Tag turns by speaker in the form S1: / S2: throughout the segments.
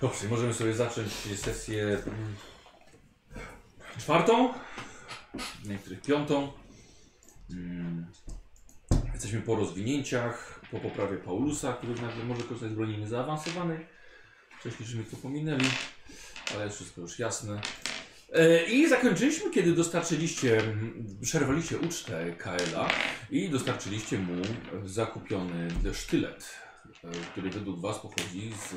S1: Dobrze, możemy sobie zacząć sesję mm, czwartą, dla niektórych piątą. Mm, Jesteśmy po rozwinięciach, po poprawie Paulusa, który nagle może korzystać z broni niezaawansowanej. Wcześniej żeśmy to pominęli, ale jest wszystko już jasne. E, I zakończyliśmy, kiedy dostarczyliście, mm, przerwaliście ucztę Kaela i dostarczyliście mu e, zakupiony sztylet, e, który według was pochodzi z e,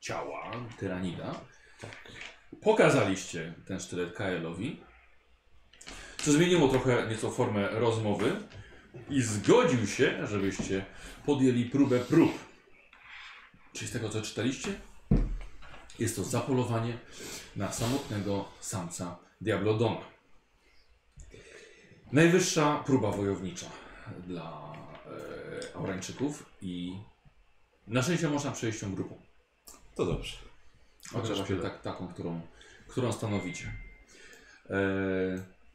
S1: ciała tyranida. Pokazaliście ten sztylet Kaelowi, co zmieniło trochę nieco formę rozmowy i zgodził się, żebyście podjęli próbę prób. Czyli z tego, co czytaliście, jest to zapolowanie na samotnego samca Diablodona. Najwyższa próba wojownicza dla e, Aurańczyków i na szczęście można przejść tą grupą.
S2: To dobrze.
S1: Chociaż
S2: Chociaż
S1: właśnie
S2: tyle.
S1: tak, taką, którą, którą stanowicie. E,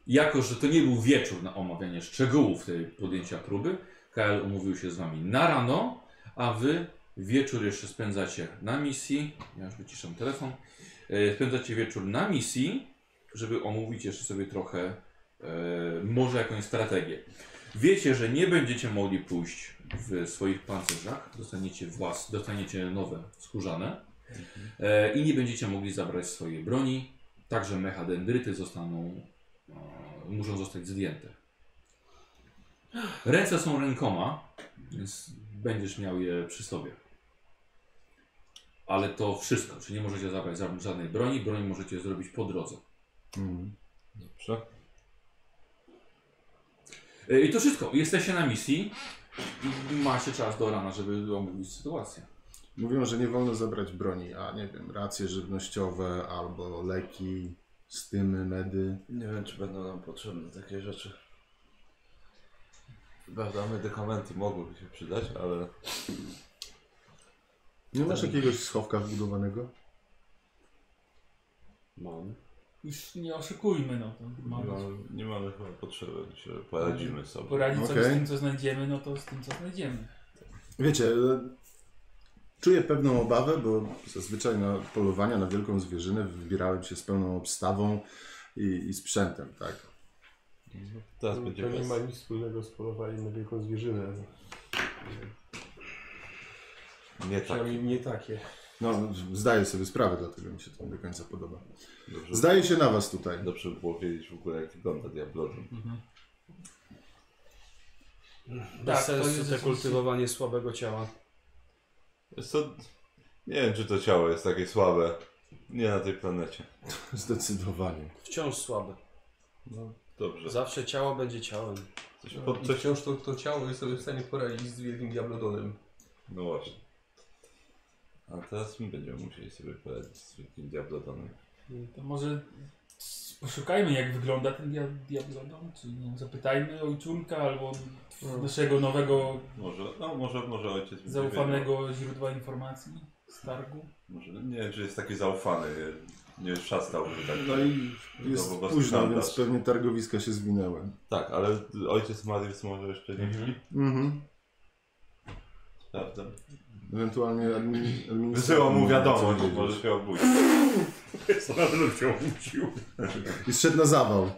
S1: jako, że to nie był wieczór na omawianie szczegółów tej podjęcia próby, KL umówił się z wami na rano, a wy wieczór jeszcze spędzacie na misji. Ja już wyciszam telefon. E, spędzacie wieczór na misji, żeby omówić jeszcze sobie trochę, e, może jakąś strategię. Wiecie, że nie będziecie mogli pójść w swoich pancerzach, dostaniecie, włas, dostaniecie nowe skórzane. E, i nie będziecie mogli zabrać swojej broni. Także mechadendryty zostaną, e, muszą zostać zdjęte. Ręce są rękoma, więc będziesz miał je przy sobie. Ale to wszystko, czyli nie możecie zabrać za- żadnej broni, broń możecie zrobić po drodze.
S2: Dobrze.
S1: E, I to wszystko, jesteście na misji i macie czas do rana, żeby omówić sytuację.
S3: Mówią, że nie wolno zabrać broni, a nie wiem, racje żywnościowe albo leki, stymy, medy.
S2: Nie wiem, czy będą nam potrzebne takie rzeczy. Prawda, medykamenty mogłyby się przydać, ale
S3: Nie masz jakiegoś schowka wbudowanego?
S2: mam.
S4: Już nie oszukujmy, no to
S2: Nie,
S4: mamy.
S2: mamy, nie mamy chyba potrzeby, że poradzimy sobie.
S4: Poradzić sobie
S3: Okej.
S4: z tym, co znajdziemy, no to z tym, co znajdziemy.
S3: Wiecie, e, czuję pewną obawę, bo zazwyczaj na polowania na wielką zwierzynę wybierałem się z pełną obstawą i, i sprzętem, tak?
S2: Teraz
S5: To
S2: będzie
S5: nie
S2: bez.
S5: ma nic wspólnego z polowaniem na wielką zwierzynę.
S2: Nie tak.
S5: Przynajmniej nie takie.
S3: No, zdaję sobie sprawę, dlatego mi się to nie do końca podoba.
S2: Dobrze, Tak
S3: Zdaje się na was tutaj.
S2: dobrze by było wiedzieć w ogóle jak wygląda diablodon.
S6: Bez
S4: Tak, to jest
S6: sensu te
S4: rzeczywiście-
S6: kultywowanie słabego ciała.
S2: Wiesz co, nie wiem czy to ciało jest takie słabe. Nie na tej planecie.
S3: Zdecydowanie.
S6: Wciąż słabe.
S2: No dobrze.
S6: Zawsze ciało będzie ciałem. No.
S2: Coś, po,
S5: To
S2: coś,
S5: wciąż to, to ciało jest sobie w stanie poradzić z wielkim diablodonem.
S2: no właśnie. A teraz my będziemy musieli sobie poradzić z wielkim diablodonem.
S4: To może s- poszukajmy, jak wygląda ten dia diablodon, czy nie wiem, zapytajmy ojczulka albo
S5: No.
S4: naszego nowego,
S2: Może, no może, może ojciec będzie wiedział.
S4: zaufanego źródła informacji z targu.
S2: Może, no, nie wiem czy jest taki zaufany. Nie, nie szastałby tak.
S3: No i jest
S2: To po prostu
S3: późno,
S2: standard.
S3: więc pewnie targowiska się zwinęły.
S2: Tak, ale ojciec Marius może jeszcze nie śpi,
S3: Mhm.
S2: prawda?
S3: Ewentualnie admin-
S2: Wysyła mu
S3: administrator mówi, co
S2: wiadomość,
S3: powiedzieć.
S2: może się obudzi.
S1: Znowu się obudził.
S3: I zszedł na zawał.
S1: Em,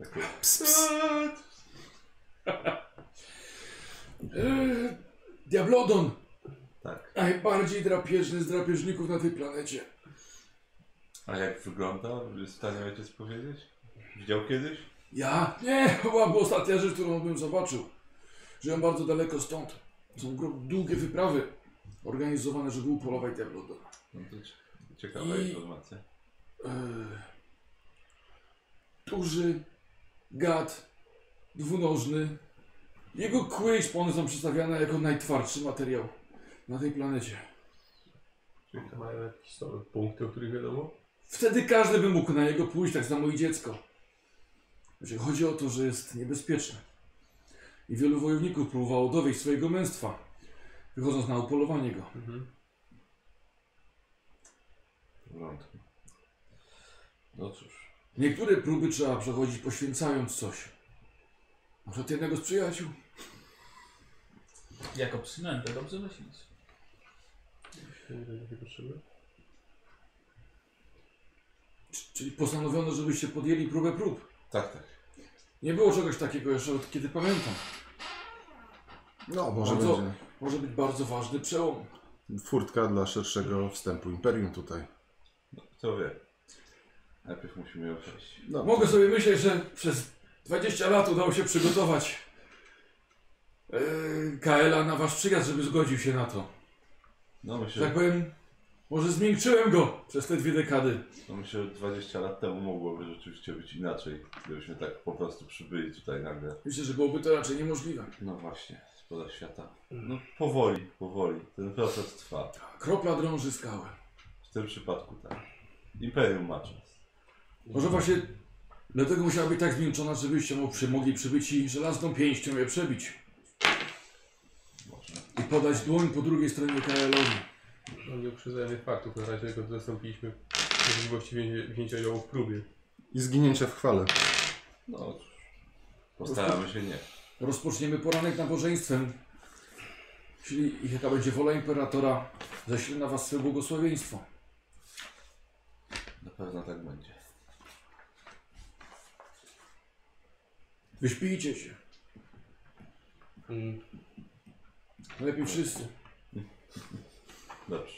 S2: Takie,
S3: Ps, ps.
S7: Eee, Diablodon!
S2: Tak.
S7: Najbardziej drapieżny z drapieżników na tej planecie.
S2: A jak wygląda? Jest w stanie ojciec powiedzieć? Widział kiedyś?
S7: Ja? Nie, chyba była ostatnia rzecz, którą bym zobaczył. Żyłem bardzo daleko stąd. Są gro- długie wyprawy organizowane, żeby upolować Diablodona.
S2: No to cie- ciekawa
S7: I-
S2: informacja.
S7: Eee, duży gad, dwunożny. Jego kły i szpony są przedstawiane jako najtwardszy materiał na tej planecie.
S5: Czyli to mają jakieś stałe punkty, o których wiadomo?
S7: Wtedy każdy by mógł na niego pójść, tak samo i dziecko. Znaczy, chodzi o to, że jest niebezpieczne. I wielu wojowników próbowało dowieść swojego męstwa, wychodząc na upolowanie go.
S2: W porządku. No cóż.
S7: Niektóre próby trzeba przechodzić poświęcając coś. Na przykład jednego z przyjaciół.
S4: Jako przynętę, dobrze myślisz.
S8: Nie wiem, jakie potrzeby.
S7: C- Czyli postanowiono, żebyście podjęli próbę prób.
S2: Tak, tak.
S7: Nie było czegoś takiego jeszcze od kiedy pamiętam.
S3: No, może
S7: Bardzo-
S3: będzie
S7: Może być bardzo ważny przełom.
S3: furtka dla szerszego wstępu Imperium tutaj.
S2: Kto wie. Najpierw musimy ją przejść.
S3: No,
S7: Mogę sobie myśleć, że przez 20 lat udało się przygotować yy, Kaela na wasz przyjazd, żeby zgodził się na to.
S2: No
S7: Że tak
S2: myślę,
S7: powiem, może zmiękczyłem go przez te dwie dekady.
S2: no myślę, że 20 lat temu mogłoby rzeczywiście być inaczej, gdybyśmy tak po prostu przybyli tutaj nagle.
S7: Myślę, że byłoby to raczej niemożliwe.
S2: No właśnie, spoza świata. No powoli, powoli. Ten proces trwa.
S7: Kropla drąży skałę.
S2: W tym przypadku tak. Imperium ma czas.
S7: Może właśnie dlatego musiała być tak zmięczona, żebyście mu przy, mogli przybyć i żelazną pięścią je przebić.
S2: Może.
S7: I podać dłoń po drugiej stronie Kaelowi.
S8: No nie uprzedzajmy faktów, na razie tylko zastąpiliśmy możliwości wzię- wzięcia udziału w próbie.
S3: I zginięcia w chwale.
S2: No cóż. Postaramy się nie.
S7: Rozpoczniemy poranek nabożeństwem. Jeśli jaka będzie wola imperatora, ześlę na was swe błogosławieństwo.
S2: Na pewno tak będzie.
S7: Wyśpijcie się.
S5: Mm.
S7: Lepiej wszyscy.
S2: Dobrze.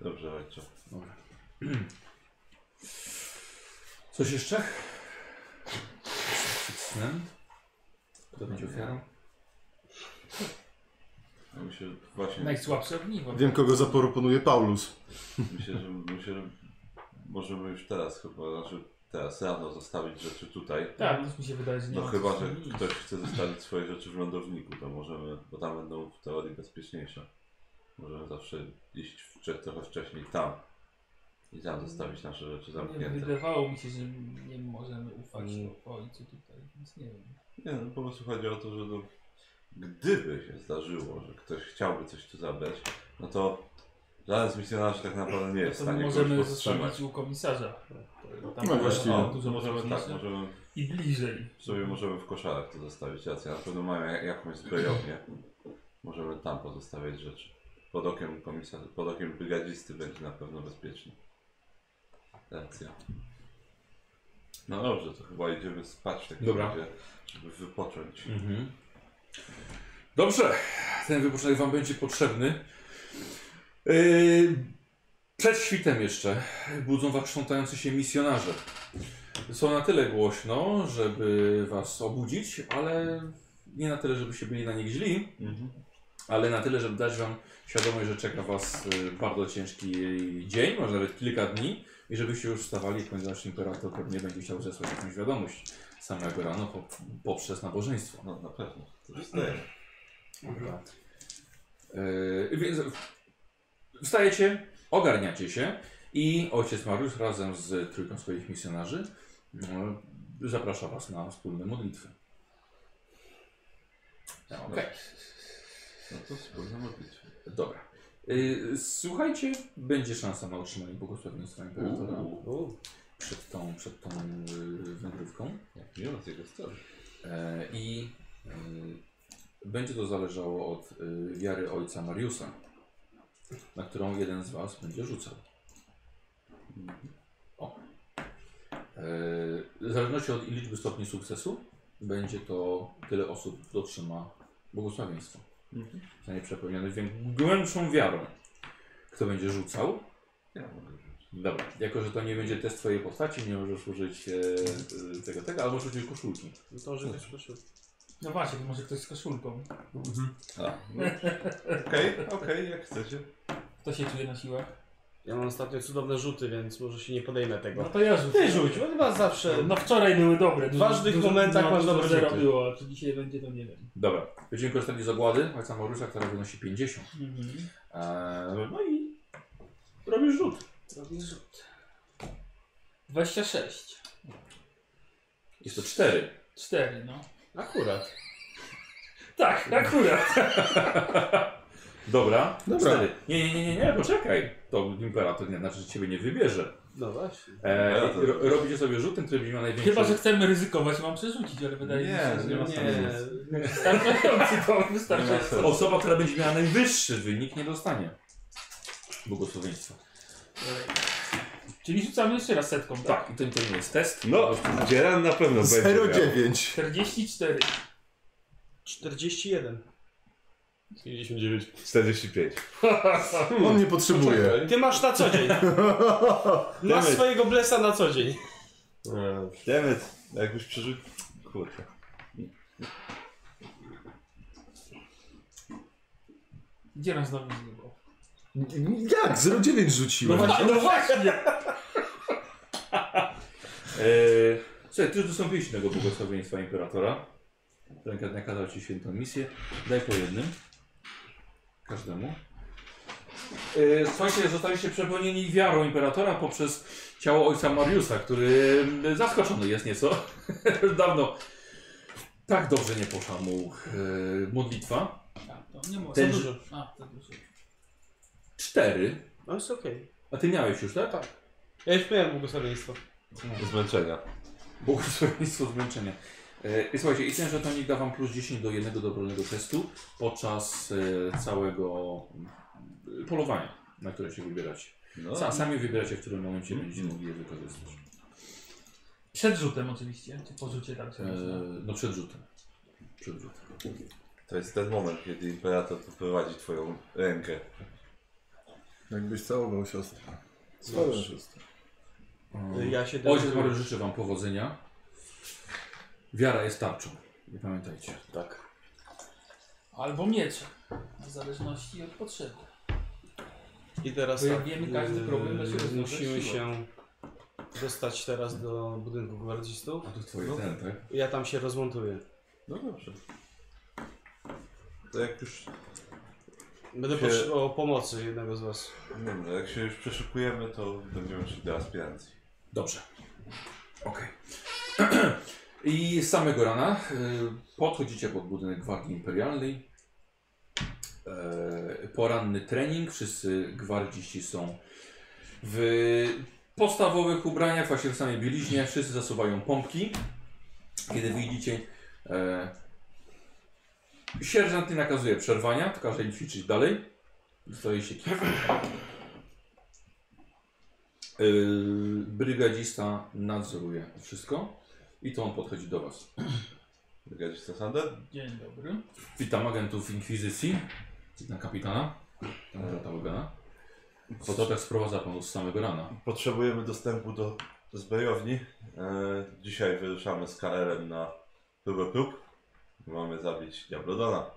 S2: Dobrze, ojcze.
S1: Coś jeszcze? Przed snem? Kto będzie ofiarą?
S2: Ja myślę, że
S6: No.
S2: właśnie
S4: Najsłabsze ogniwo.
S3: Wiem, kogo zaproponuje Paulus.
S2: myślę, że myślę, że możemy już teraz chyba, znaczy teraz rano zostawić rzeczy tutaj.
S4: Tak, no mi się wydaje, że nie
S2: No
S4: ma
S2: chyba,
S4: co
S2: że
S4: zmienić.
S2: ktoś chce zostawić swoje rzeczy w lądowniku, to możemy, bo tam będą w teorii bezpieczniejsze. Możemy zawsze iść wcze- trochę wcześniej tam i tam zostawić nasze rzeczy
S4: Nie, no
S2: zamknięte.
S4: Wydawało mi się, że nie możemy ufać
S5: Mm.
S4: ojcu tutaj, więc nie wiem.
S2: Nie, no po prostu chodzi o to, że no, gdyby się zdarzyło, że ktoś chciałby coś tu zabrać, no to żaden z misjonarzy tak naprawdę nie jest w
S4: No To
S2: stanie kogoś
S4: możemy
S2: powstrzymać.
S4: zostawić u komisarza. Tam
S3: No właściwie.
S2: O,
S4: dużo
S2: możemy tak,
S4: mocniejsze.
S2: możemy
S4: I bliżej.
S2: w sumie możemy w koszarach to zostawić rację. Na pewno mają jak- jakąś zbrojownię. Możemy tam pozostawiać rzeczy. Pod okiem komisarza, pod okiem brygadzisty będzie na pewno bezpiecznie. Racja. No dobrze, to chyba idziemy spać w takim
S1: Dobra.
S2: razie, żeby wypocząć.
S1: Mhm. Dobrze. Ten wypoczynek Wam będzie potrzebny. Yy, przed świtem jeszcze budzą Was krzątający się misjonarze. Są na tyle głośno, żeby Was obudzić, ale nie na tyle, żebyście byli na nich źli,
S2: Mhm.
S1: ale na tyle, żeby dać Wam świadomość, że czeka Was y, bardzo ciężki dzień, może nawet kilka dni i żebyście już wstawali, ponieważ imperator pewnie będzie chciał zesłać jakąś wiadomość samego rano po, poprzez nabożeństwo.
S2: No na pewno, to wstaje.
S1: Yy, więc wstajecie, ogarniacie się i ojciec Mariusz razem z trójką swoich misjonarzy no, zaprasza was na wspólne modlitwy. No, Okej,
S2: No to wspólne modlitwy.
S1: dobra. Yy, słuchajcie, będzie szansa na otrzymanie błogosławieństwa imperatora
S5: U.
S1: przed tą, przed tą yy, wędrówką.
S2: Jak miło z jego strony.
S1: E, I y, będzie to zależało od y, wiary ojca Mariusa, na którą jeden z Was będzie rzucał. O. E, W zależności od liczby stopni sukcesu, będzie to tyle osób dotrzyma błogosławieństwo.
S2: Mhm.
S1: Zostanie przepełniony wię- głębszą wiarą. Kto będzie rzucał?
S2: Ja mogę wziąć.
S1: Dobra, jako że to nie będzie test Twojej postaci, nie możesz użyć e, e, tego, tego, albo możesz użyć koszulki.
S5: No to że też proszę.
S4: No właśnie, to może ktoś z koszulką.
S2: A, no. Okej, okej, jak chcecie.
S4: Kto się czuje na siłach?
S5: Ja mam ostatnio cudowne rzuty, więc może się nie podejmę tego.
S4: No to ja rzucę.
S5: Ty rzuć, bo chyba zawsze.
S4: No wczoraj były dobre.
S5: W ważnych momentach masz dobre
S4: zero
S5: rzuty.
S4: było, czy dzisiaj będzie, to nie wiem.
S1: Dobra, będziemy korzystali z ogłady ojca Mariusza, która wynosi 50.
S4: Mhm.
S1: Eee, no i robisz rzut.
S5: Robię rzut.
S4: 26.
S1: Jest to 4.
S4: 4, no.
S5: Akurat.
S4: Tak, akurat.
S1: Dobra,
S3: Dobra.
S1: Cztery. Nie, nie, nie, nie, nie, poczekaj. To imperator nie znaczy, że ciebie nie wybierze.
S5: No właśnie.
S1: E,
S2: Ja to-
S1: ro, robicie sobie rzut, ten, który będzie miał największą...
S4: Chyba, że chcemy ryzykować, mam przerzucić, ale wydaje mi się, że
S2: nie ma
S5: Nie,
S2: sensu.
S4: wystarczający to
S2: Nie ma
S4: wystarczający.
S2: sensu.
S1: Osoba, która będzie miała najwyższy wynik, nie dostanie błogosławieństwa.
S4: Czyli rzucamy jeszcze raz setką, tak?
S1: Tak, i ten to nie jest test.
S9: No, Dzieran na pewno będzie miał.
S3: 0,9.
S4: 44.
S5: 41.
S10: 59.
S9: 45.
S3: On nie potrzebuje.
S10: Czekaj.
S5: Ty masz na co dzień. Masz
S9: Dawaj.
S5: swojego blesa na co dzień.
S10: Eee,
S9: Demet, jakbyś przeżył... Kurde.
S4: Gdzie nas znowu nie było?
S3: Jak? 0,9 rzuciłem.
S4: No właśnie!
S1: E, słuchaj, ty już dostąpiłeś tego błogosławieństwa imperatora. Ten nakazał ci świętą misję. Daj po jednym. Każdemu. E, słuchajcie, zostaliście przepełnieni wiarą imperatora poprzez ciało ojca Mariusa, który m, zaskoczony jest nieco. Już dawno tak dobrze nie poszła mu e, modlitwa.
S4: A, to nie może.
S1: Ten-
S4: Za dużo. A, to dużo.
S1: Cztery.
S5: No jest okej.
S1: A ty miałeś już, tak? Tak.
S5: Ja już miałem błogosławieństwo.
S2: Zmęczenia.
S1: Błogosławieństwo zmęczenia. E, I słuchajcie, i ten żetonik da wam plus 10 do jednego dobrolnego testu podczas e, całego mm, polowania, na które się wybieracie.
S2: No.
S1: Sa, sami wybieracie, w którym momencie będziecie mogli je wykorzystać.
S4: Przed rzutem oczywiście, czy po rzucie tak
S1: E,
S4: się nazywa.
S1: no przed rzutem. Przed rzutem.
S2: To jest ten moment, kiedy imperator poprowadzi twoją rękę.
S3: Jakbyś całował siostrę.
S5: Dobrze.
S3: siostrę.
S1: E,
S5: E, Ja się
S1: Ojciec Mariusz życzy wam powodzenia. Wiara jest tarczą. Nie pamiętajcie.
S5: Tak.
S4: Albo miecze. W zależności od potrzeby.
S5: I teraz
S4: Bo jak
S5: tak,
S4: wiemy, każdy
S5: yy,
S4: problem da się rozwiązać
S5: Musimy
S4: siłą.
S5: się dostać teraz do budynku gwardzistów.
S1: A to twoje
S5: No.
S1: ten, tak?
S5: Ja tam się rozmontuję.
S2: No dobrze. To jak już,
S5: Będę
S2: Się-
S5: potrzebował pomocy jednego z was.
S2: nie wiem, no jak się już przeszukujemy, to będziemy szli do aspirancji.
S1: Dobrze. Okej. I z samego rana y, podchodzicie pod budynek Gwardii Imperialnej. E, poranny trening. Wszyscy gwardziści są w podstawowych ubraniach, właśnie w samej bieliźnie. Wszyscy zasuwają pompki. Kiedy widzicie, e, sierżant nie nakazuje przerwania, każe im ćwiczyć dalej. Stoi się kif. Yy, brygadzista nadzoruje wszystko i to on podchodzi do Was.
S2: Zgadzasz to, Sander?
S4: Dzień dobry.
S1: Witam agentów Inkwizycji, na kapitana, kapitana Taugana. Pototek sprowadza Panu z samego rana.
S2: Potrzebujemy dostępu do zbrojowni. E, dzisiaj wyruszamy z KR-em na próbę prób. Mamy zabić Diablodona.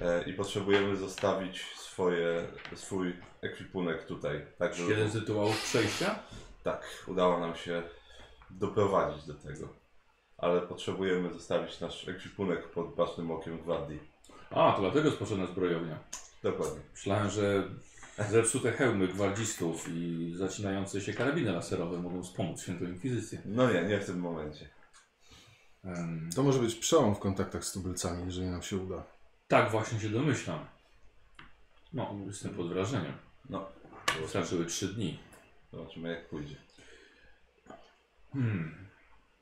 S2: E, I potrzebujemy zostawić swoje, swój ekwipunek tutaj. Tak, żeby-
S1: Jeden z rytuałów przejścia.
S2: Tak, udało nam się doprowadzić do tego. Ale potrzebujemy zostawić nasz ekwipunek pod bacznym okiem Gwardii.
S1: A, to dlatego jest potrzebna zbrojownia.
S2: Dokładnie.
S1: Myślałem, że zepsute hełmy gwardzistów i zacinające się karabiny laserowe mogą wspomóc Świętą Inkwizycję.
S2: No nie, nie w tym momencie.
S1: Em,
S3: To może być przełom w kontaktach z tubylcami, jeżeli nam się uda.
S1: tak właśnie się domyślam. No, jestem pod wrażeniem.
S2: No.
S1: Straciły trzy dni.
S2: Zobaczymy jak pójdzie.
S1: Hmm.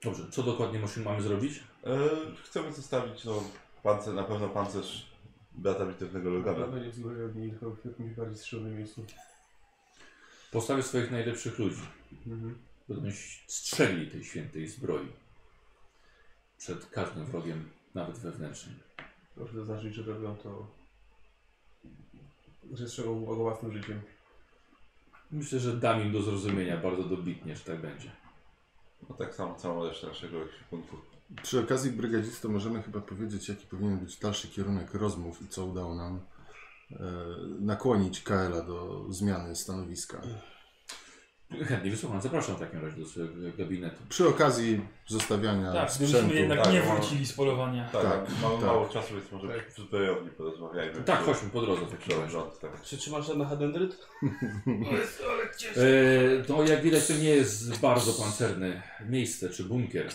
S1: Dobrze, co dokładnie musimy, mamy zrobić?
S2: E, chcemy zostawić no, pancer, na pewno pancerz brata bitewnego Logana.
S10: Dawaj nie zbrojowni, tylko w jakimś bardziej strzelonym miejscu.
S1: Postawię swoich najlepszych ludzi. Będą strzeli tej świętej zbroi. Przed każdym wrogiem, nawet wewnętrznym.
S10: Proszę zaznaczyć, że robią to... Że strzelą o własnym życiem.
S1: Myślę, że dam im do zrozumienia bardzo dobitnie, że tak będzie.
S2: No tak samo całą resztę naszego ekwipunku.
S3: Przy okazji brygadzisty możemy chyba powiedzieć, jaki powinien być dalszy kierunek rozmów i co udało nam e, nakłonić Kaela do zmiany stanowiska.
S1: Chętnie wysłucham, zapraszam w takim razie do swojego gabinetu.
S3: Przy okazji zostawiania
S4: Tak,
S3: sprzętu.
S4: gdybyśmy jednak
S2: tak,
S4: nie
S2: no.
S4: wrócili z polowania.
S2: Tak,
S3: Tak,
S2: mamy
S3: tak.
S2: mało czasu, więc może w zbrojowni porozmawiajmy.
S1: Tak,
S2: Przy-
S1: chodźmy po drodze w
S2: przy
S1: takim razie.
S2: obrządce, tak.
S5: Czy trzymasz na Hadendryt?
S1: E, to jak widać to nie jest bardzo pancerne miejsce czy bunkier.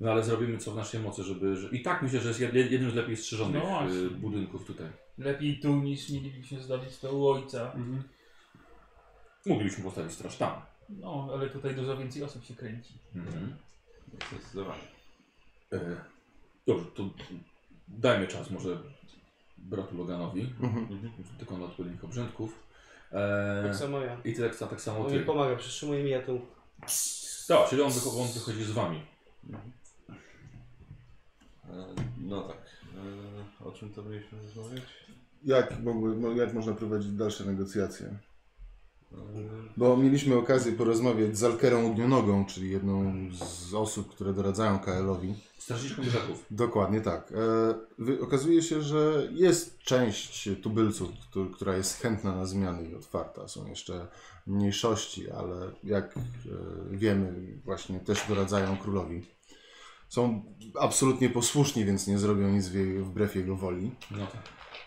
S1: No ale zrobimy co w naszej mocy, żeby... Że... I tak myślę, że jest jed- jednym z lepiej strzeżonych
S4: No właśnie.
S1: e, budynków tutaj.
S4: Lepiej
S10: Mhm.
S4: tu niż mielibyśmy zdobyć to u ojca.
S1: Moglibyśmy postawić straż tam.
S4: No, ale tutaj dużo więcej osób się kręci.
S1: Mhm.
S11: Zdecydowanie.
S1: E, dobrze, to dajmy czas może bratu Loganowi,
S3: Mhm.
S1: tylko na odpowiednich obrzędków. E,
S12: Tak samo No ja.
S1: I ty tak, tak samo
S12: On mi
S1: ty.
S12: pomaga, przytrzymuje mi, ja tu
S1: Tak, czyli on, wycho- on wychodzi z wami.
S11: E, No tak. E, O czym to mieliśmy rozmawiać?
S3: Jak, mogły, mo- jak można prowadzić dalsze negocjacje?
S11: E,
S3: Bo mieliśmy okazję porozmawiać z Alkerą Ognionogą, czyli jedną z osób, które doradzają KL-owi.
S1: Strażniczką grzeków.
S3: Dokładnie tak. E, wy, okazuje się, że jest część tubylców, któ- która jest chętna na zmiany i otwarta. Są jeszcze mniejszości, ale jak e, wiemy, właśnie też doradzają królowi. Są absolutnie posłuszni, więc nie zrobią nic w jej, wbrew jego woli.
S1: No tak.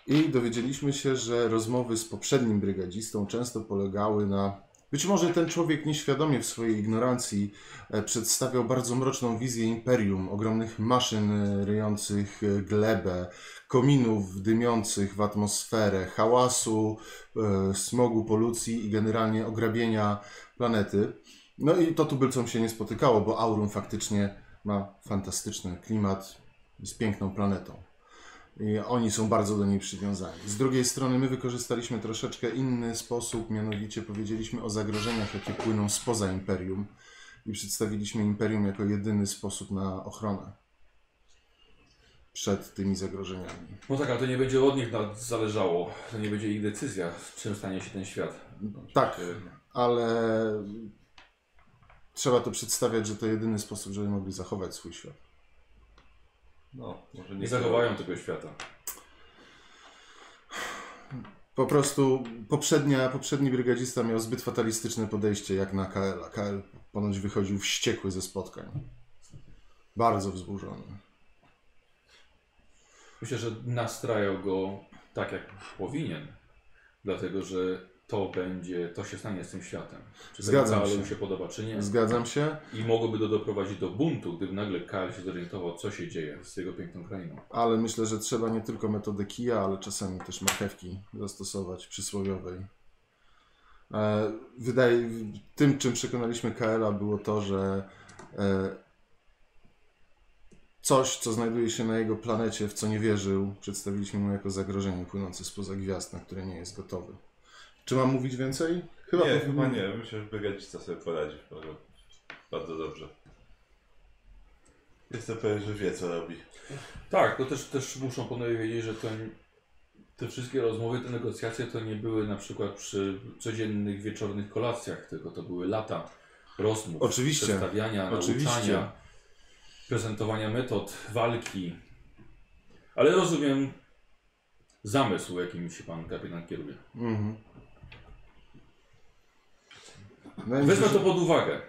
S3: I dowiedzieliśmy się, że rozmowy z poprzednim brygadzistą często polegały na. Być może ten człowiek nieświadomie w swojej ignorancji e, przedstawiał bardzo mroczną wizję imperium, ogromnych maszyn e, ryjących e, glebę, kominów dymiących w atmosferę, hałasu, e, smogu, polucji i generalnie ograbienia planety. No i to tubylcom się nie spotykało, bo Aurum faktycznie ma fantastyczny klimat z piękną planetą. I oni są bardzo do niej przywiązani. Z drugiej strony my wykorzystaliśmy troszeczkę inny sposób, mianowicie powiedzieliśmy o zagrożeniach, jakie płyną spoza imperium i przedstawiliśmy imperium jako jedyny sposób na ochronę przed tymi zagrożeniami.
S1: No tak, ale to nie będzie od nich na- zależało. To nie będzie ich decyzja, czym stanie się ten świat.
S3: Tak, ale trzeba to przedstawiać, że to jedyny sposób, żeby mogli zachować swój świat.
S11: No, może
S1: Nie zachowają tego świata.
S3: Po prostu poprzednia, poprzedni brygadzista miał zbyt fatalistyczne podejście jak na KL. A KL ponoć wychodził wściekły ze spotkań. Bardzo wzburzony.
S1: Myślę, że nastrajał go tak, jak powinien. Dlatego, że to będzie, to się stanie z tym światem. Czy
S3: Zgadzam
S1: się.
S3: się.
S1: mu się podoba, czy nie.
S3: Zgadzam się,
S1: I mogłoby to doprowadzić do buntu, gdyby nagle Karl się zorientował, co się dzieje z jego piękną krainą.
S3: ale myślę, że trzeba nie tylko metodę kija, ale czasami też marchewki zastosować przysłowiowej. E, wydaje, tym, czym przekonaliśmy KL-a było to, że e, coś, co znajduje się na jego planecie, w co nie wierzył, przedstawiliśmy mu jako zagrożenie płynące spoza gwiazd, na które nie jest gotowy. Czy mam mówić więcej? Chyba
S11: nie,
S3: powi-
S11: chyba nie. Myślę, że Brygadzista sobie poradzi bardzo, bardzo dobrze.
S2: Jestem pewien, że wie co robi.
S1: Tak, to też, też muszą panowie wiedzieć, że to, te wszystkie rozmowy, te negocjacje to nie były na przykład przy codziennych wieczornych kolacjach, tylko to były lata rozmów,
S3: Oczywiście.
S1: przedstawiania,
S3: Oczywiście.
S1: nauczania, prezentowania metod, walki. Ale rozumiem zamysł, jakim się pan kapitan kieruje.
S3: Mhm. No i myślę,
S1: Wezmę
S3: że-
S1: to pod uwagę.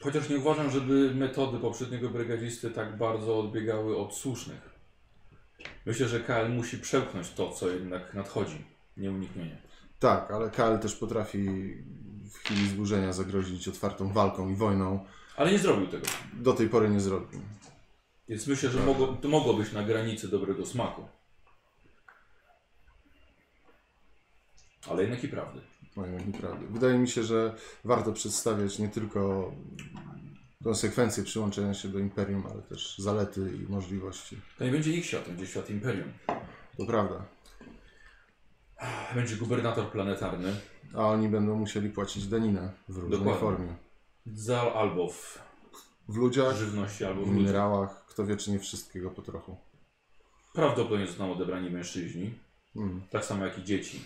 S1: Chociaż nie uważam, żeby metody poprzedniego brygadzisty tak bardzo odbiegały od słusznych. Myślę, że KL musi przełknąć to, co jednak nadchodzi. Nieuniknienie.
S3: Tak, ale KL też potrafi w chwili zburzenia zagrozić otwartą walką i wojną.
S1: Ale nie zrobił tego.
S3: Do tej pory nie zrobił.
S1: Więc myślę, że mogło, to mogło być na granicy dobrego smaku. Ale jednak i prawdy.
S3: Moim zdaniem nieprawdy. Wydaje mi się, że warto przedstawiać nie tylko konsekwencje przyłączenia się do Imperium, ale też zalety i możliwości.
S1: To nie będzie ich świat, to będzie świat Imperium.
S3: To prawda.
S1: Będzie gubernator planetarny.
S3: A oni będą musieli płacić daninę w różnej
S1: Dokładnie.
S3: formie.
S1: Za, albo w
S3: W ludziach,
S1: żywności, albo
S3: w
S1: w ludziach.
S3: minerałach, kto wie czy nie wszystkiego po trochu.
S1: Prawdopodobnie zostaną odebrani mężczyźni.
S3: Mm,
S1: Tak samo jak i dzieci.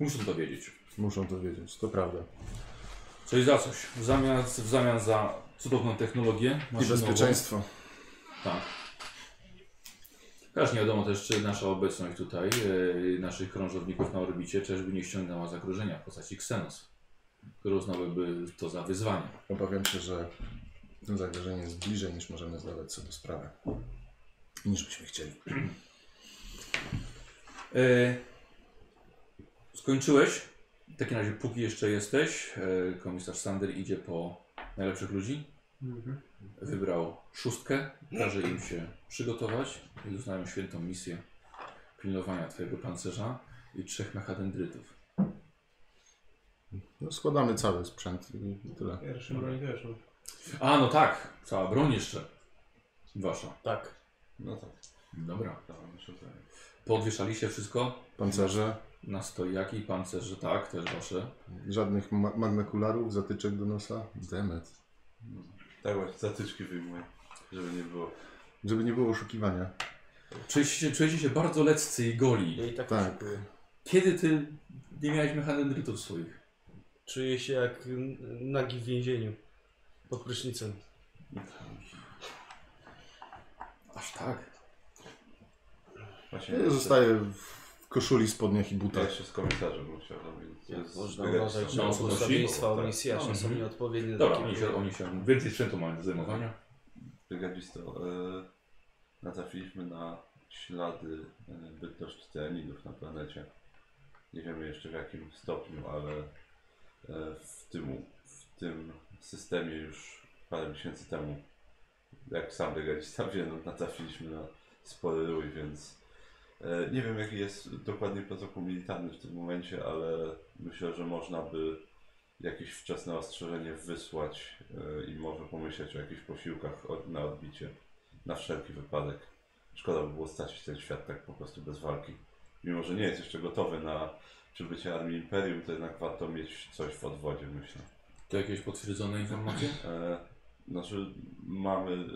S1: Muszą to wiedzieć.
S3: muszą to wiedzieć, to prawda.
S1: Znaczy, Coś za coś. W zamian, w zamian za cudowną technologię.
S3: I
S1: maszynową.
S3: bezpieczeństwo.
S1: Tak. Też nie wiadomo też, czy nasza obecność tutaj, yy, naszych krążowników na orbicie, czyżby nie ściągnęła zagrożenia w postaci Xenos, które uznałyby to za wyzwanie.
S3: Obawiam się, że to zagrożenie jest bliżej niż możemy zdawać sobie sprawę. Niż byśmy chcieli.
S1: E, skończyłeś. W takim razie, póki jeszcze jesteś, e, komisarz Sander idzie po najlepszych ludzi. Wybrał szóstkę, każe im się przygotować i dostają świętą misję pilnowania twojego pancerza i trzech mechadendrytów.
S3: No, składamy cały sprzęt i tyle.
S5: Pierwszy broń też. no.
S1: A, no tak. Cała broń jeszcze. Wasza.
S7: Tak.
S2: No tak,
S1: Dobra.
S2: tam jeszcze tak.
S1: Podwieszali się wszystko
S3: Pancerze,
S1: na stojaki, pancerze, tak, też wasze.
S3: żadnych ma magnakularów, zatyczek do nosa. Demet.
S2: Tak właśnie, zatyczki wyjmuję, żeby nie było.
S3: Żeby nie było oszukiwania.
S1: Czujecie się, czujecie się bardzo leccy i
S7: Ja
S12: No
S1: goli.
S7: i tak,
S3: Tak.
S7: oszukuję.
S1: Kiedy ty nie miałeś mechanendrytów swoich?
S7: Czuję się jak n- nagi w więzieniu. Pod prysznicem.
S1: Aż tak.
S2: Właśnie,
S3: Ja zostaję w koszuli, spodniach i
S2: Ja
S3: butach.
S2: jeszcze z komisarzem bym chciał no robić.
S7: Jak można
S2: biegać
S7: uważać,
S2: tam.
S7: że
S1: No,
S7: błogosławieństwa
S2: tak.
S7: Onisjasza
S1: No,
S7: są
S1: mhm.
S7: nieodpowiednie
S1: Dobra,
S7: do
S1: oni
S7: takiego.
S1: się, oni się więcej sprzętu mają do zajmowania.
S2: Brigadzisto, e, natrafiliśmy na ślady e, bytności teanidów na planecie. Nie wiemy jeszcze w jakim stopniu, ale e, w, tym, w tym systemie już parę miesięcy temu, jak sam brygadzista wie, no, natrafiliśmy na spory rój, więc e, nie wiem jaki jest dokładnie protokół militarny w tym momencie, ale myślę, że można by jakieś wczesne ostrzeżenie wysłać e, i może pomyśleć o jakichś posiłkach od, na odbicie. Na wszelki wypadek. Szkoda by było stracić ten świat tak po prostu bez walki. Mimo, że nie jest jeszcze gotowy na przybycie armii Imperium, to jednak warto mieć coś w odwodzie, myślę.
S1: To jakieś potwierdzone informacje?
S2: E, znaczy, mamy, y,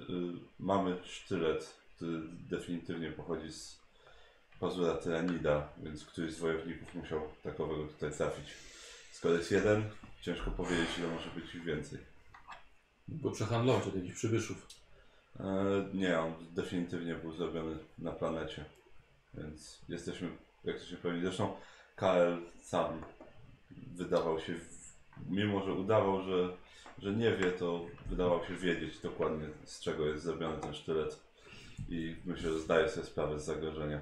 S2: mamy sztylet, który definitywnie pochodzi z pazura tyranida, więc któryś z wojowników musiał takowego tutaj trafić. Skoro jest jeden, ciężko powiedzieć, ile może być ich więcej.
S1: Bo przehandlować od jakichś przybyszów.
S2: E, nie, on definitywnie był zrobiony na planecie, więc jesteśmy, jak to się pewni. Zresztą Karel sam wydawał się, w, mimo że udawał, że, że nie wie, to wydawał się wiedzieć dokładnie, z czego jest zrobiony ten sztylet. I myślę, że zdaje sobie sprawę z zagrożenia.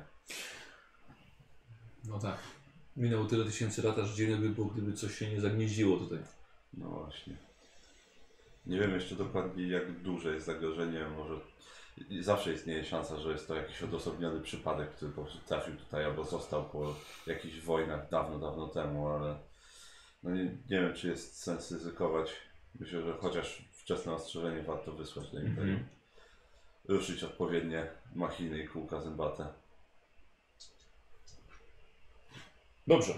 S1: No tak. Minęło tyle tysięcy lat, aż dziwne by było, gdyby coś się nie zagnieździło tutaj.
S2: No właśnie. Nie wiem jeszcze dokładnie, jak duże jest zagrożenie. Może i- zawsze istnieje szansa, że jest to jakiś odosobniony przypadek, który po prostu trafił tutaj albo został po jakichś wojnach dawno, dawno temu, ale no nie, nie wiem, czy jest sens ryzykować. Myślę, że chociaż wczesne ostrzeżenie warto wysłać do imperium. Ruszyć odpowiednie machiny i kółka zębate.
S1: Dobrze.